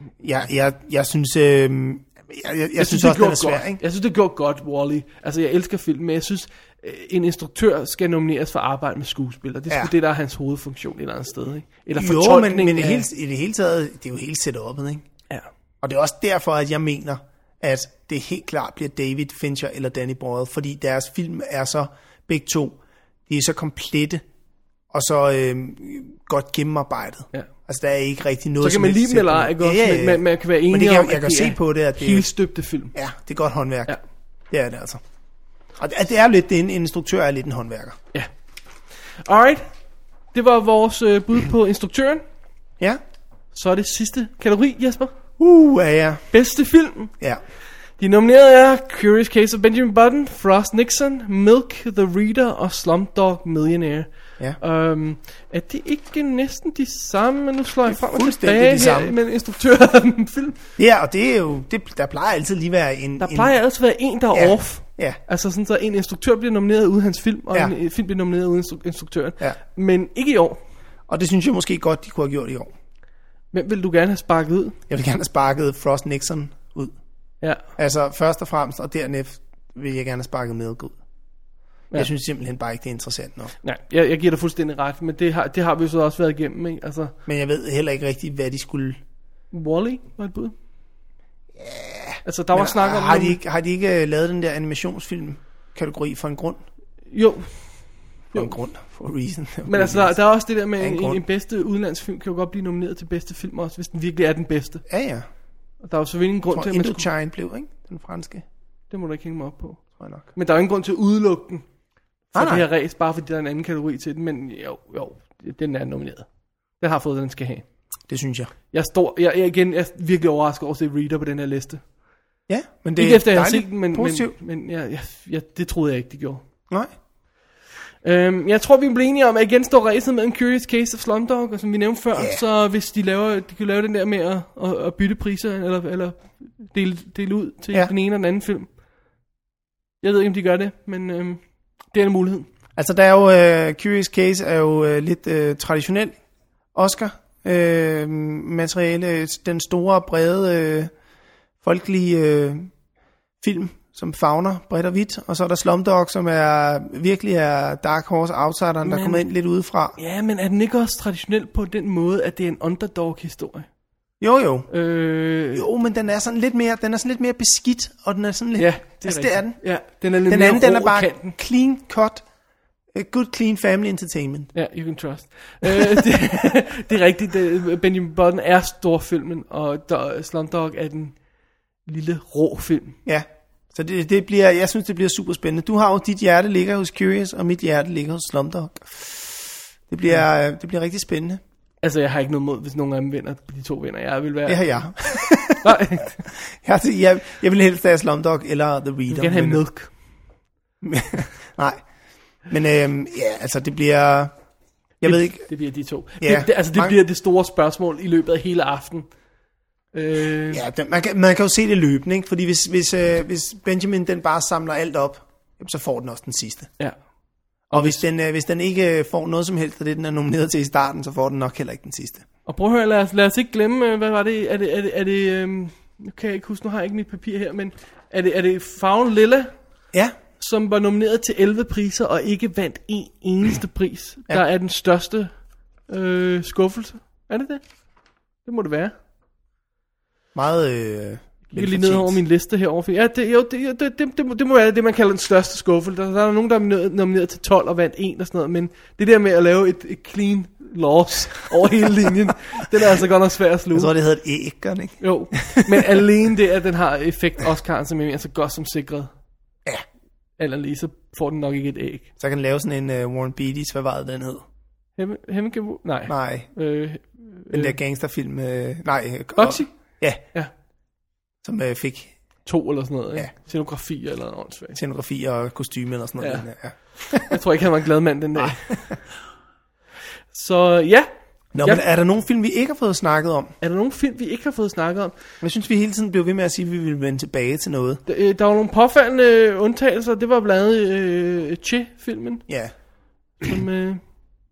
[SPEAKER 3] Mm.
[SPEAKER 2] Jeg, jeg, jeg synes, øhm, jeg, jeg, jeg, jeg synes også, den er svær,
[SPEAKER 3] godt.
[SPEAKER 2] ikke?
[SPEAKER 3] Jeg synes, det gjorde godt, Wally. Altså, jeg elsker film, men jeg synes, øh, en instruktør skal nomineres for arbejde med skuespillere. Det er ja.
[SPEAKER 2] Ja.
[SPEAKER 3] det, der er hans hovedfunktion et eller andet sted, ikke? Eller
[SPEAKER 2] Jo, men, men i,
[SPEAKER 3] af-
[SPEAKER 2] hele, i det hele taget, det er jo hele setup'et, ikke?
[SPEAKER 3] Ja.
[SPEAKER 2] Og det er også derfor, at jeg mener, at det helt klart bliver David Fincher eller Danny Boyle, fordi deres film er så, begge to, de er så komplette, og så øh, godt gennemarbejdet.
[SPEAKER 3] Ja.
[SPEAKER 2] Altså, der er ikke rigtig noget...
[SPEAKER 3] Så kan
[SPEAKER 2] som
[SPEAKER 3] man
[SPEAKER 2] helst
[SPEAKER 3] lide dem eller ej, ikke
[SPEAKER 2] sætning.
[SPEAKER 3] også? Men man, man kan være enig
[SPEAKER 2] men det kan,
[SPEAKER 3] om,
[SPEAKER 2] jeg, jeg kan
[SPEAKER 3] det
[SPEAKER 2] se
[SPEAKER 3] er
[SPEAKER 2] på det, at det er,
[SPEAKER 3] Helstøbte film.
[SPEAKER 2] ja, det er godt håndværk.
[SPEAKER 3] Ja.
[SPEAKER 2] Ja. Det er det altså. Og det, det er lidt, det er en, en instruktør er lidt en håndværker.
[SPEAKER 3] Ja. Alright. Det var vores øh, bud på instruktøren.
[SPEAKER 2] Ja.
[SPEAKER 3] Så er det sidste kategori, Jesper.
[SPEAKER 2] Uh, ja, ja.
[SPEAKER 3] Bedste film.
[SPEAKER 2] Ja.
[SPEAKER 3] De nominerede er Curious Case of Benjamin Button, Frost Nixon, Milk, The Reader og Slumdog Millionaire.
[SPEAKER 2] Ja.
[SPEAKER 3] Um, er det ikke næsten de samme? Nu slår jeg frem og
[SPEAKER 2] fuldstændig
[SPEAKER 3] tilbage
[SPEAKER 2] de
[SPEAKER 3] her
[SPEAKER 2] samme.
[SPEAKER 3] med (laughs) instruktøren film.
[SPEAKER 2] Ja, og det er jo, det, der plejer altid lige at være en...
[SPEAKER 3] Der plejer altid at være en, der er
[SPEAKER 2] Ja.
[SPEAKER 3] off.
[SPEAKER 2] Ja.
[SPEAKER 3] Altså sådan, så en instruktør bliver nomineret uden hans film, og ja.
[SPEAKER 2] Ja.
[SPEAKER 3] en øh, film bliver nomineret uden instru- instruktøren.
[SPEAKER 2] Ja.
[SPEAKER 3] Men ikke i år.
[SPEAKER 2] Og det synes jeg måske godt, de kunne have gjort i år.
[SPEAKER 3] Hvem vil du gerne have sparket ud?
[SPEAKER 2] Jeg vil gerne have sparket Frost Nixon ud.
[SPEAKER 3] Ja.
[SPEAKER 2] Altså først og fremmest, og dernæst vil jeg gerne have sparket Milk ud.
[SPEAKER 3] Ja.
[SPEAKER 2] Ja. Jeg synes simpelthen bare ikke, det er interessant nok.
[SPEAKER 3] Nej, jeg, jeg giver dig fuldstændig ret, men det har, det har vi jo så også været igennem, ikke? Altså,
[SPEAKER 2] Men jeg ved heller ikke rigtigt, hvad de skulle...
[SPEAKER 3] Wall-E var et bud. Ja. Altså, der var
[SPEAKER 2] Men
[SPEAKER 3] snak om...
[SPEAKER 2] har, de
[SPEAKER 3] nogle-
[SPEAKER 2] ikke, har de ikke øh, lavet den der animationsfilm-kategori for en grund?
[SPEAKER 3] Jo,
[SPEAKER 2] For en grund. For a reason.
[SPEAKER 3] men altså, der, der er også det der med,
[SPEAKER 2] Af en
[SPEAKER 3] en, en,
[SPEAKER 2] grund.
[SPEAKER 3] en bedste udenlandsfilm kan jo godt blive nomineret til bedste film også, hvis den virkelig er den bedste.
[SPEAKER 2] (laughs) Ja, ja.
[SPEAKER 3] Og der er jo selvfølgelig ingen
[SPEAKER 2] Jeg
[SPEAKER 3] grund
[SPEAKER 2] tror,
[SPEAKER 3] til, at man skulle...
[SPEAKER 2] Indochine blev, ikke? Den franske,
[SPEAKER 3] Det må du ikke hænge mig op på.
[SPEAKER 2] tror jeg nok.
[SPEAKER 3] Men der er jo ingen grund til at udelukke den for
[SPEAKER 2] Nej,
[SPEAKER 3] det
[SPEAKER 2] Ah, nej.
[SPEAKER 3] her race, bare fordi der er en anden kategori til den, men jo, jo, den er nomineret. Den har fået, hvad den skal have.
[SPEAKER 2] Det synes jeg.
[SPEAKER 3] Jeg står, jeg, jeg igen, jeg er virkelig overrasket over at se Reader på den her liste.
[SPEAKER 2] Ja, men
[SPEAKER 3] Det
[SPEAKER 2] det
[SPEAKER 3] ikke efter, jeg har
[SPEAKER 2] dejligt
[SPEAKER 3] set den, men, men,
[SPEAKER 2] positivt.
[SPEAKER 3] men ja, ja, ja, det troede jeg ikke, det gjorde.
[SPEAKER 2] Nej.
[SPEAKER 3] Øhm, jeg tror, vi blev enige om, at igen står racet mellem Curious Case of Slumdog, og som vi nævnte før, yeah. så hvis de, laver, de kan lave den der med at, at, at bytte priser, eller, eller dele, dele ud til ja.
[SPEAKER 2] Ja.
[SPEAKER 3] den ene og den anden film. Jeg ved ikke, om de gør det, men øhm, det er en mulighed.
[SPEAKER 2] Altså, der er jo... Øh, Curious Case er jo øh, lidt øh, traditionel Oscar-materiale. øh, den store, brede, øh, folkelige øh, film, som fagner bredt og vidt. Og så er der Slumdog, som er virkelig er Dark Horse Outsideren, der
[SPEAKER 3] Men-
[SPEAKER 2] kommer ind lidt udefra.
[SPEAKER 3] Ja, men er den ikke også traditionel på den måde, at det er en underdog-historie?
[SPEAKER 2] Jo, jo.
[SPEAKER 3] Øh,
[SPEAKER 2] Jo, men den er sådan lidt mere, den er sådan lidt mere beskidt, og den er sådan lidt...
[SPEAKER 3] Ja, det er
[SPEAKER 2] altså,
[SPEAKER 3] rigtigt.
[SPEAKER 2] det er den.
[SPEAKER 3] Ja, den er lidt
[SPEAKER 2] Den
[SPEAKER 3] mere
[SPEAKER 2] anden, den
[SPEAKER 3] rå
[SPEAKER 2] er
[SPEAKER 3] i
[SPEAKER 2] bare
[SPEAKER 3] kanten.
[SPEAKER 2] clean cut. A good clean family entertainment.
[SPEAKER 3] Ja, you can trust. øh, det, (laughs) det er rigtigt. Det, Benjamin Button er storfilmen, og der, Slumdog er den lille rå film.
[SPEAKER 2] Ja. Så det, det bliver, jeg synes, det bliver super spændende. Du har jo, dit hjerte ligger hos Curious, og mit hjerte ligger hos Slumdog. Det bliver, øh, det bliver rigtig spændende.
[SPEAKER 3] Altså, jeg har ikke noget mod, hvis nogen af dem vinder. De to vinder. Jeg vil være...
[SPEAKER 2] Det har jeg. (laughs)
[SPEAKER 3] Nej,
[SPEAKER 2] Jeg, jeg, jeg vil helst have Slumdog eller The Reader.
[SPEAKER 3] jeg vil gerne have
[SPEAKER 2] men-
[SPEAKER 3] milk.
[SPEAKER 2] (laughs) Nej. Men øhm, ja, altså det bliver... Jeg ved ikke...
[SPEAKER 3] Det bliver de to.
[SPEAKER 2] Ja,
[SPEAKER 3] det, det, altså, det
[SPEAKER 2] mange-
[SPEAKER 3] bliver det store spørgsmål i løbet af hele aften. Øh,
[SPEAKER 2] Ja, den, man, kan, man kan jo se det løbende, ikke? Fordi hvis, hvis, øh, hvis Benjamin den bare samler alt op, jamen, så får den også den sidste.
[SPEAKER 3] ja.
[SPEAKER 2] Og hvis den, øh, hvis den ikke øh, får noget som helst af det, den er nomineret til i starten, så får den nok heller ikke den sidste.
[SPEAKER 3] Og prøv at høre, lad os, lad os ikke glemme, øh, hvad var det, er det, er det, er det øhm, nu kan jeg ikke huske, nu har jeg ikke mit papir her, men er det, er det Fagen Lilla,
[SPEAKER 2] Ja,
[SPEAKER 3] som var nomineret til 11 priser og ikke vandt en eneste pris, ja. der er den største øh, skuffelse? Er det det? Det må det være.
[SPEAKER 2] meget... Øh,
[SPEAKER 3] Jeg kan lige ned over min liste herovre. for- Ja, det, jo, det, jo, det, det, det, må- det må være det, man kalder den største skuffelse. Der, der er nogen, der er nomineret- nomineret til 12 og vandt en og sådan noget, men det der med at lave et, et clean loss over hele linjen, den er altså godt nok svær at sluge.
[SPEAKER 2] Jeg tror, det hedder et æg, gør den ikke?
[SPEAKER 3] Jo, men alene det, at den har effekt Oscar'en, som jeg mener så godt som sikret.
[SPEAKER 2] Ja.
[SPEAKER 3] Eller lige, så får den nok ikke et æg.
[SPEAKER 2] Så kan den lave sådan en øh, Warren Beatty's, hvad var det, den hed?
[SPEAKER 3] Hem, Hemmingway? Nej.
[SPEAKER 2] Nej,
[SPEAKER 3] Øh,
[SPEAKER 2] den der gangsterfilm... Øh, nej, øh,
[SPEAKER 3] Boxy?
[SPEAKER 2] Ja,
[SPEAKER 3] Ja.
[SPEAKER 2] som øh, fik
[SPEAKER 3] To eller sådan noget, ikke? Ja.
[SPEAKER 2] Ja.
[SPEAKER 3] Scenografi eller noget åndssvagt.
[SPEAKER 2] scenografi og kostyme eller sådan noget. Ja.
[SPEAKER 3] Ja.
[SPEAKER 2] Ja.
[SPEAKER 3] Jeg tror ikke, han var en glad mand den dag. (laughs) så ja,
[SPEAKER 2] Nå,
[SPEAKER 3] Ja.
[SPEAKER 2] men er der nogen film, vi ikke har fået snakket om?
[SPEAKER 3] er der nogle film, vi ikke har fået snakket om?
[SPEAKER 2] Jeg synes, vi hele tiden blev ved med at sige, at vi ville vende tilbage til noget.
[SPEAKER 3] Der, øh, der var nogle påfaldende undtagelser. Det var blandt andet øh, Che-filmen,
[SPEAKER 2] Ja,
[SPEAKER 3] øh, som øh,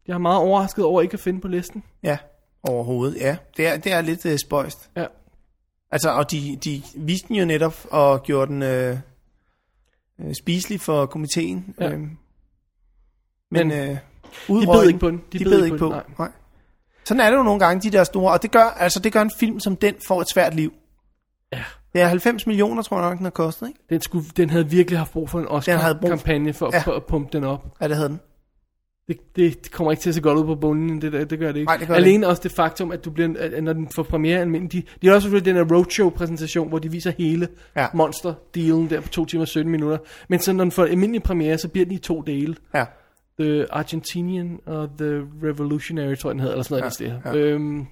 [SPEAKER 3] Jeg er meget overrasket over ikke at finde på listen.
[SPEAKER 2] Ja, overhovedet, ja. Det er, det er lidt øh, spøjst.
[SPEAKER 3] Ja.
[SPEAKER 2] Altså, og de, de viste den jo netop og gjorde den øh, øh, spiselig for komiteen.
[SPEAKER 3] Ja.
[SPEAKER 2] Ja. Øhm, men
[SPEAKER 3] Men
[SPEAKER 2] øh,
[SPEAKER 3] de
[SPEAKER 2] udrøg
[SPEAKER 3] bed ikke på den.
[SPEAKER 2] De, de bed ikke på.
[SPEAKER 3] den,
[SPEAKER 2] Nej.
[SPEAKER 3] nej.
[SPEAKER 2] Nej. Sådan er det jo nogle gange, de der store. Og det gør, altså, det gør en film som den får et svært liv. Ja. Det er 90 millioner, tror jeg nok, den har kostet, ikke?
[SPEAKER 3] Den, skulle, den havde virkelig haft brug for en
[SPEAKER 2] Den havde brug-
[SPEAKER 3] Oscar-kampagne for, ja.
[SPEAKER 2] Ja.
[SPEAKER 3] for at pumpe den op.
[SPEAKER 2] Ja, det havde den.
[SPEAKER 3] Det, det, det kommer ikke til at se godt ud på bunden, det, der, det gør det ikke.
[SPEAKER 2] Nej, det gør det
[SPEAKER 3] Alene også det faktum, at, du bliver, at, at når den får premiere almindelig, de, de har også selvfølgelig den her roadshow-præsentation, hvor de viser hele ja.
[SPEAKER 2] Ja.
[SPEAKER 3] monster-dealen der på 2 timer og 17 minutter. Men så når den får almindelig premiere, så bliver den i to dele.
[SPEAKER 2] Ja.
[SPEAKER 3] The Argentinian og The Revolutionary, tror jeg den hedder, eller sådan noget. Ja,
[SPEAKER 2] Ja,
[SPEAKER 3] ja. Øhm, eller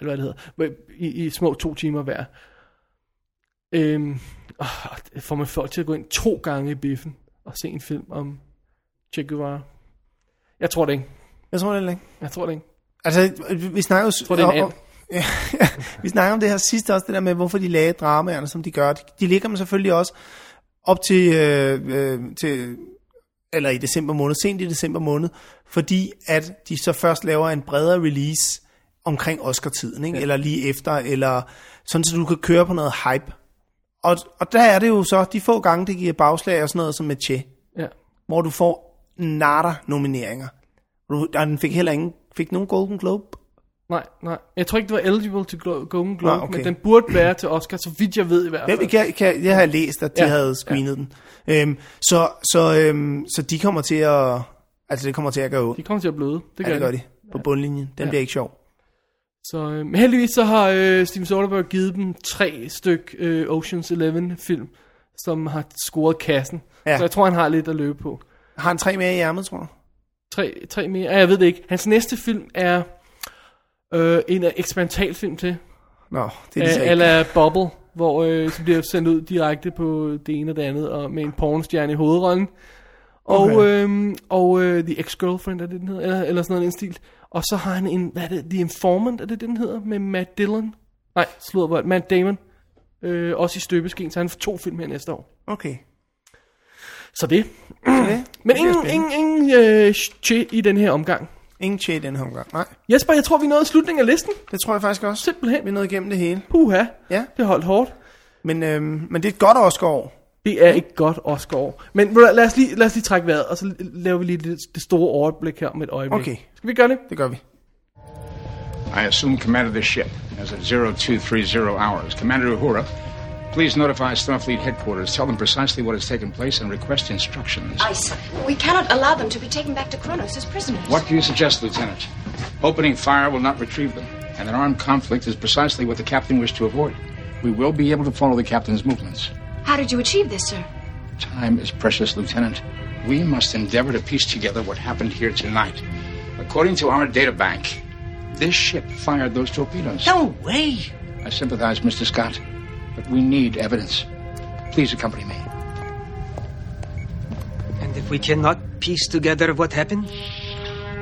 [SPEAKER 3] hvad det hedder. Hvor- I, I små to timer hver. Øhm, åh, det får man folk til at gå ind to gange i biffen og se en film om Che Guevara. Jeg tror det ikke.
[SPEAKER 2] Jeg tror det ikke.
[SPEAKER 3] Jeg tror det ikke.
[SPEAKER 2] Altså, vi- vi snakker jo...
[SPEAKER 3] tror, det er en
[SPEAKER 2] om, (laughs) ja, vi snakker om det her sidste også, det der med, hvorfor de lagde dramaerne, som de gør. De, de ligger dem selvfølgelig også op til, øh, øh, til, eller i december måned, sent i december måned, fordi at de så først laver en bredere release omkring Oscar-tiden, ikke? Ja. eller lige efter, eller sådan, så du kan køre på noget hype. Og, og der er det jo så, de få gange, det giver bagslag og sådan noget som med Che
[SPEAKER 3] Ja.
[SPEAKER 2] hvor du får nada nomineringer. Du, og den fik heller ingen, fik nogen Golden Globe.
[SPEAKER 3] Nej, nej. Jeg tror ikke, det var eligible til Glo- Golden Globe,
[SPEAKER 2] Nej, okay.
[SPEAKER 3] men den burde være til Oscar, så vidt jeg ved i hvert
[SPEAKER 2] Ja,
[SPEAKER 3] fald.
[SPEAKER 2] vi kan, kan, jeg har læst, at de
[SPEAKER 3] Ja,
[SPEAKER 2] ja, havde screenet ja. den. Øhm, så, så, øhm, så de kommer til at, altså det kommer til at gøre ondt.
[SPEAKER 3] De kommer til at bløde. Det
[SPEAKER 2] Det
[SPEAKER 3] gør,
[SPEAKER 2] gør, ja, det gør de. På bundlinjen. Den
[SPEAKER 3] Ja.
[SPEAKER 2] ja. bliver ikke sjov.
[SPEAKER 3] Så øh, men heldigvis så har øh, Steven Soderbergh givet dem tre styk øh, Ocean's Eleven film, som har scoret kassen. Ja.
[SPEAKER 2] Ja.
[SPEAKER 3] Så jeg tror, han har lidt at løbe på.
[SPEAKER 2] Har han tre mere i ærmet, tror du?
[SPEAKER 3] Tre, tre mere. Ja, jeg ved det ikke. Hans næste film er øh, en af eksperimentalfilm til.
[SPEAKER 2] Nå, det er de så
[SPEAKER 3] Øh,
[SPEAKER 2] ikke.
[SPEAKER 3] eller Bubble, hvor øh, så bliver sendt ud direkte på det ene og det andet, og med en pornostjerne i hovedrollen. Og,
[SPEAKER 2] Okay.
[SPEAKER 3] øhm, og øh, The Ex-Girlfriend, er det den hedder? Eller, eller sådan noget i den stil. Og så har han en, hvad er det, The Informant, er det det, den hedder? Med Matt Dillon. Nej, slået hvor Matt Damon. Øh, også i støbeskeen, så han får to film her næste år.
[SPEAKER 2] Okay. Så
[SPEAKER 3] Så det.
[SPEAKER 2] det,
[SPEAKER 3] (clears throat) Men
[SPEAKER 2] det bliver
[SPEAKER 3] ingen,
[SPEAKER 2] spændende.
[SPEAKER 3] ingen, ingen øh, shit i den her omgang.
[SPEAKER 2] ingen tjej i den her omgang. Nej,
[SPEAKER 3] Jesper, jeg tror, vi nåede slutningen af listen.
[SPEAKER 2] det tror jeg faktisk også.
[SPEAKER 3] Simpelthen.
[SPEAKER 2] Vi er nået igennem det hele.
[SPEAKER 3] Puha.
[SPEAKER 2] Ja.
[SPEAKER 3] Det holdt hårdt.
[SPEAKER 2] Men, øhm, men det er et godt Oscar-år.
[SPEAKER 3] Det er ikke godt Oscar år. Men ved du hvad, lad os, lige, lad os lige trække vejret, og så laver vi lige det, det store overblik her om et øjeblik.
[SPEAKER 2] Okay.
[SPEAKER 3] Skal vi gøre det?
[SPEAKER 2] Det gør vi.
[SPEAKER 4] I assume command of this ship as of 0230 hours. Commander Uhura, please notify Starfleet headquarters. Tell them precisely what has taken place and request instructions.
[SPEAKER 12] Ice. We cannot allow them to be taken back to Kronos as prisoners.
[SPEAKER 7] What do you suggest, Lieutenant? Opening fire will not retrieve them, and an armed conflict is precisely what the captain wished to avoid. We will be able to follow the captain's movements.
[SPEAKER 12] How did you achieve this, sir?
[SPEAKER 7] Time is precious, Lieutenant. We must endeavor to piece together what happened here tonight. According to our data bank, this ship fired those torpedoes.
[SPEAKER 12] No way!
[SPEAKER 7] I sympathize, Mr. Scott, but we need evidence. Please accompany me.
[SPEAKER 13] And if we cannot piece together what happened,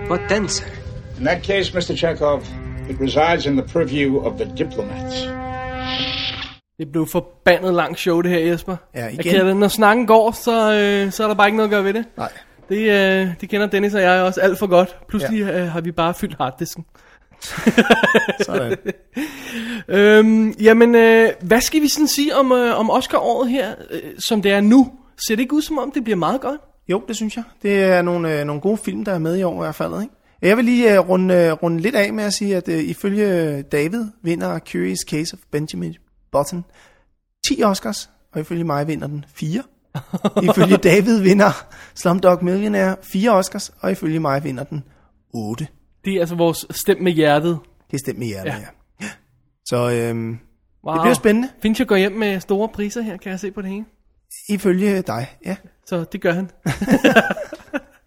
[SPEAKER 13] what then, sir?
[SPEAKER 7] In that case, Mr. Chekhov, it resides in the purview of the diplomats.
[SPEAKER 3] Det blev forbandet langt show, det her, Jesper.
[SPEAKER 2] Ja, igen.
[SPEAKER 3] Jeg kender det. Når snakken går, så, øh, så er der bare ikke noget at gøre ved det.
[SPEAKER 2] Nej.
[SPEAKER 3] Det, øh, det kender Dennis og jeg også alt for godt. Pludselig ja. øh, har vi bare fyldt harddisken.
[SPEAKER 2] (laughs) Sådan.
[SPEAKER 3] (laughs) øhm, jamen, øh, hvad skal vi sådan sige om, øh, om Oscar-året her, øh, som det er nu? Ser det ikke ud som om, det bliver meget godt?
[SPEAKER 2] Jo, det synes jeg. Det er nogle, øh, nogle gode film, der er med i år i hvert fald. Ikke? Jeg vil lige øh, runde, øh, runde lidt af med at sige, at øh, ifølge øh, David vinder Curious Case of Benjamin Button 10 Oscars, og ifølge mig vinder den
[SPEAKER 3] (laughs)
[SPEAKER 2] 4. ifølge David vinder Slumdog Millionaire 4 Oscars, og ifølge mig vinder den 8.
[SPEAKER 3] Det er altså vores stem med hjertet.
[SPEAKER 2] Det er stemt med hjertet,
[SPEAKER 3] Ja.
[SPEAKER 2] ja. ja. Så øhm, det bliver spændende,
[SPEAKER 3] Fincher går hjem med store priser her, kan jeg se på det hele.
[SPEAKER 2] ifølge dig. Ja.
[SPEAKER 3] Så det gør han.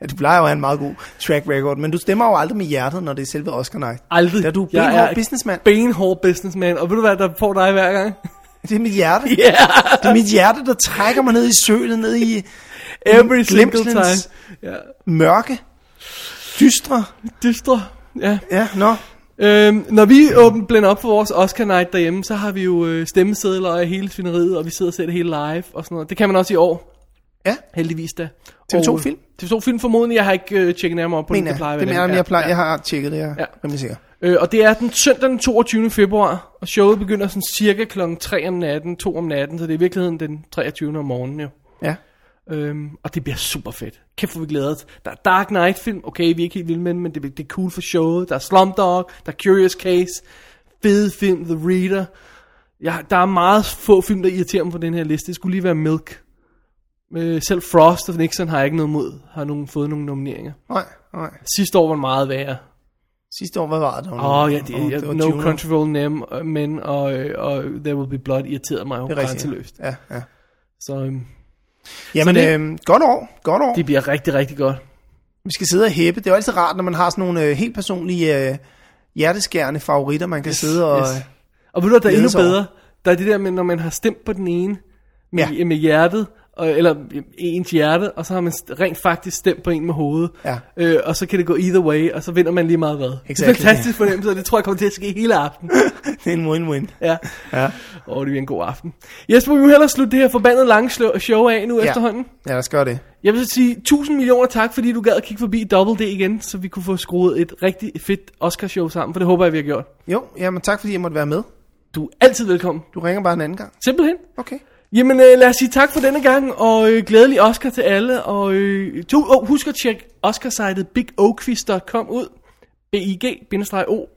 [SPEAKER 2] ja, du plejer jo at have en meget god track record, men du stemmer jo aldrig med hjertet, når det er selve Oscar-night.
[SPEAKER 3] Aldrig.
[SPEAKER 2] Da du er
[SPEAKER 3] Jeg
[SPEAKER 2] benhård businessman.
[SPEAKER 3] Benhård businessman. Og ved du hvad, der får dig hver
[SPEAKER 2] (laughs)
[SPEAKER 3] gang?
[SPEAKER 2] Det er mit hjerte.
[SPEAKER 3] Ja.
[SPEAKER 2] Det er mit hjerte, der trækker mig ned i sølet, ned i
[SPEAKER 3] Every single
[SPEAKER 2] glemselens
[SPEAKER 3] time. Ja.
[SPEAKER 2] mørke, dystre.
[SPEAKER 3] Dystre. Ja.
[SPEAKER 2] Ja, nå.
[SPEAKER 3] Øhm, når vi åbner blænder op for vores Oscar night derhjemme, så har vi jo øh, stemmesedler og hele svineriet, og vi sidder og ser det hele live og sådan noget. Det kan man også i år.
[SPEAKER 2] Ja.
[SPEAKER 3] Heldigvis da.
[SPEAKER 2] TV2
[SPEAKER 3] Og, øh,
[SPEAKER 2] Film.
[SPEAKER 3] TV2 Film formodentlig. Jeg har ikke øh, tjekket nærmere op på
[SPEAKER 2] Mener
[SPEAKER 3] det.
[SPEAKER 2] jeg.
[SPEAKER 3] plejer at
[SPEAKER 2] Det
[SPEAKER 3] være
[SPEAKER 2] mener jeg, jeg, plejer,
[SPEAKER 3] Ja.
[SPEAKER 2] jeg har tjekket det, jeg er rimelig sikker.
[SPEAKER 3] Øh, og det er den søndag den 22. februar, og showet begynder sådan cirka klokken 3 om natten, 2 om natten, så det er i virkeligheden den 23. om morgenen jo.
[SPEAKER 2] Ja.
[SPEAKER 3] Øhm, og det bliver super fedt. Kæft, hvor vi glæder os. Der er Dark Knight film, okay, vi er ikke helt vilde med den, men det, det er cool for showet. Der er Slumdog, der er Curious Case, fed film, The Reader. Ja, der er meget få film, der irriterer mig på den her liste. Det skulle lige være Milk. Øh, selv Frost og Nixon har jeg ikke noget mod, har nogen, fået nogle nomineringer.
[SPEAKER 2] Nej, nej.
[SPEAKER 3] Sidste år var den meget værre.
[SPEAKER 2] Sidste år, hvad var det?
[SPEAKER 3] Åh, oh, ja, det,
[SPEAKER 2] Åh,
[SPEAKER 3] oh,
[SPEAKER 2] det var
[SPEAKER 3] No
[SPEAKER 2] 20.
[SPEAKER 3] Country for Old Nem- Men og, øh, og There Will Be Blood irriterede mig jo
[SPEAKER 2] Det er rigtigt, ja.
[SPEAKER 3] grænseløst.
[SPEAKER 2] Ja, ja.
[SPEAKER 3] Så, øhm,
[SPEAKER 2] Jamen,
[SPEAKER 3] så det,
[SPEAKER 2] øh, godt år, godt år.
[SPEAKER 3] det bliver rigtig, rigtig godt.
[SPEAKER 2] Vi skal sidde og hæppe. Det er jo altid rart, når man har sådan nogle øh, helt personlige øh, hjerteskærende favoritter, man kan sidde og...
[SPEAKER 3] Yes. Og ved du, hvad, der er
[SPEAKER 2] glæde
[SPEAKER 3] endnu
[SPEAKER 2] sig over.
[SPEAKER 3] bedre? Der er det der med, når man har stemt på den ene med, ja. med hjertet, og, eller øh, ens hjerte, og så har man st- rent faktisk stemt på en med hovedet.
[SPEAKER 2] Ja.
[SPEAKER 3] Øh, og så kan det gå either way, og så vinder man lige meget hvad. Det er
[SPEAKER 2] Exactly.
[SPEAKER 3] fantastisk fornemmelse, og det tror jeg kommer til at ske hele
[SPEAKER 2] (laughs)
[SPEAKER 3] aftenen.
[SPEAKER 2] (laughs) det er en win-win.
[SPEAKER 3] Ja.
[SPEAKER 2] Ja.
[SPEAKER 3] Åh, oh, det bliver en god aften. Jesper, vi må hellere slutte det her forbandede lange slø- show af nu ja. efterhånden.
[SPEAKER 2] Ja, lad os gøre det.
[SPEAKER 3] Jeg vil så sige tusind millioner tak, fordi du gad at kigge forbi Double D igen, så vi kunne få skruet et rigtig fedt Oscar-show sammen, for det håber jeg, vi har gjort.
[SPEAKER 2] Jo, jamen tak fordi jeg måtte være med.
[SPEAKER 3] Du er altid velkommen.
[SPEAKER 2] Du ringer bare en anden gang.
[SPEAKER 3] Simpelthen.
[SPEAKER 2] Okay.
[SPEAKER 3] Jamen, øh, lad os sige tak for denne gang, og øh, glædelig Oscar til alle, og øh, to, oh, husk at tjekke Oscar-sitet bigoquiz.com ud, b i g o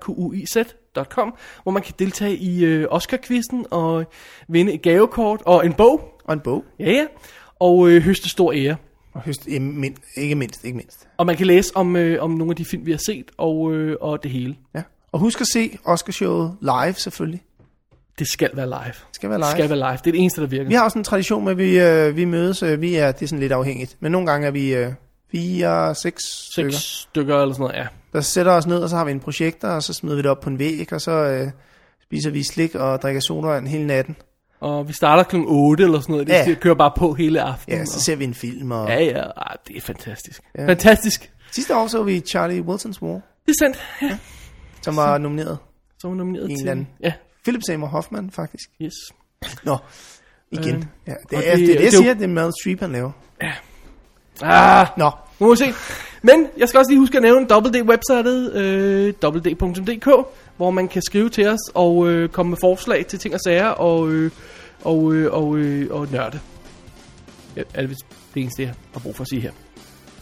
[SPEAKER 3] q u i zcom hvor man kan deltage i øh, Oscar-quizzen og vinde et gavekort og en bog.
[SPEAKER 2] Og en bog.
[SPEAKER 3] Ja, ja. Og øh, høste stor ære.
[SPEAKER 2] Og høst, ja, mind, ikke mindst, ikke mindst.
[SPEAKER 3] Og man kan læse om, øh, om nogle af de film, vi har set, og, øh, og det hele.
[SPEAKER 2] Ja. Og husk at se Oscarshowet live selvfølgelig.
[SPEAKER 3] Det skal være live. Det
[SPEAKER 2] skal være live.
[SPEAKER 3] skal være live. Det er det eneste, der virker.
[SPEAKER 2] Vi har også en tradition med, at vi, øh, vi mødes. Øh, vi er, det er sådan lidt afhængigt. Men nogle gange er vi øh, fire, seks
[SPEAKER 3] Seks
[SPEAKER 2] stykker,
[SPEAKER 3] stykker. stykker eller sådan noget, ja.
[SPEAKER 2] der sætter os ned, og så har vi en projekter, og så smider vi det op på en væg, og så øh, spiser vi slik og drikker sodavand hele natten.
[SPEAKER 3] Og vi starter kl. 8 eller sådan noget. Det
[SPEAKER 2] Ja.
[SPEAKER 3] ja. kører bare på hele aftenen.
[SPEAKER 2] Ja, så ser vi en film. Og...
[SPEAKER 3] og... Ja, ja. Ah, det er fantastisk.
[SPEAKER 2] Ja.
[SPEAKER 3] Ja. Fantastisk.
[SPEAKER 2] Sidste år så vi Charlie Wilson's War,
[SPEAKER 3] Det er sandt. Ja.
[SPEAKER 2] som var nomineret.
[SPEAKER 3] Så er hun nomineret
[SPEAKER 2] En
[SPEAKER 3] til...
[SPEAKER 2] eller anden.
[SPEAKER 3] Ja,
[SPEAKER 2] Philip Seymour Hoffman, faktisk.
[SPEAKER 3] yes.
[SPEAKER 2] Nå, igen.
[SPEAKER 3] Øh,
[SPEAKER 2] ja,
[SPEAKER 3] og
[SPEAKER 2] det, er, det, det, det,
[SPEAKER 3] det-
[SPEAKER 2] jeg
[SPEAKER 3] det er jo-
[SPEAKER 2] siger, det er Meryl Streep, han laver.
[SPEAKER 3] Ah,
[SPEAKER 2] Nå,
[SPEAKER 3] nu må vi se. Men jeg skal også lige huske at nævne WD-websitet, øh, www.dk, hvor man kan skrive til os og øh, komme med forslag til ting og sager og, øh, og, øh, og, øh, og nørde. Ja, er det vist det eneste, jeg har brug for at sige her.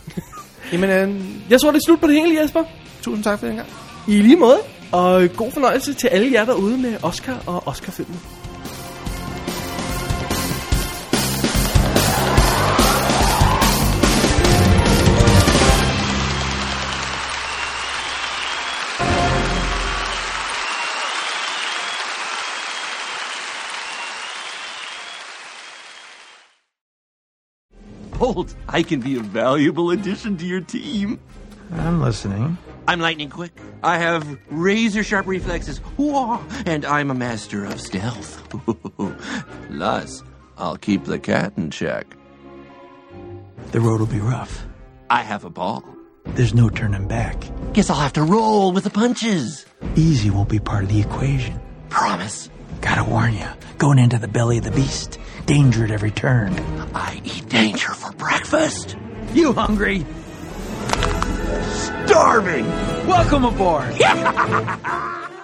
[SPEAKER 2] (laughs) Jamen, øh,
[SPEAKER 3] Jeg tror, det er slut på det hele, Jesper.
[SPEAKER 2] tusind tak for den gang.
[SPEAKER 3] I lige måde. Og øh, god fornøjelse til alle jer derude med Oscar og Oscar-filmen.
[SPEAKER 14] Bolt, I can be a valuable addition to your team.
[SPEAKER 15] I'm listening.
[SPEAKER 14] I'm lightning quick. I have razor sharp reflexes. Whoa! And I'm a master of stealth. Plus, I'll keep the cat in check.
[SPEAKER 15] The road will be rough.
[SPEAKER 14] I have a ball.
[SPEAKER 15] There's no turning back.
[SPEAKER 14] Guess I'll have to roll with the punches.
[SPEAKER 15] Easy won't be part of the equation.
[SPEAKER 14] Promise.
[SPEAKER 15] Gotta warn you, going into the belly of the beast, danger at every turn.
[SPEAKER 14] I eat danger for breakfast. You hungry? Starving.
[SPEAKER 15] Welcome aboard.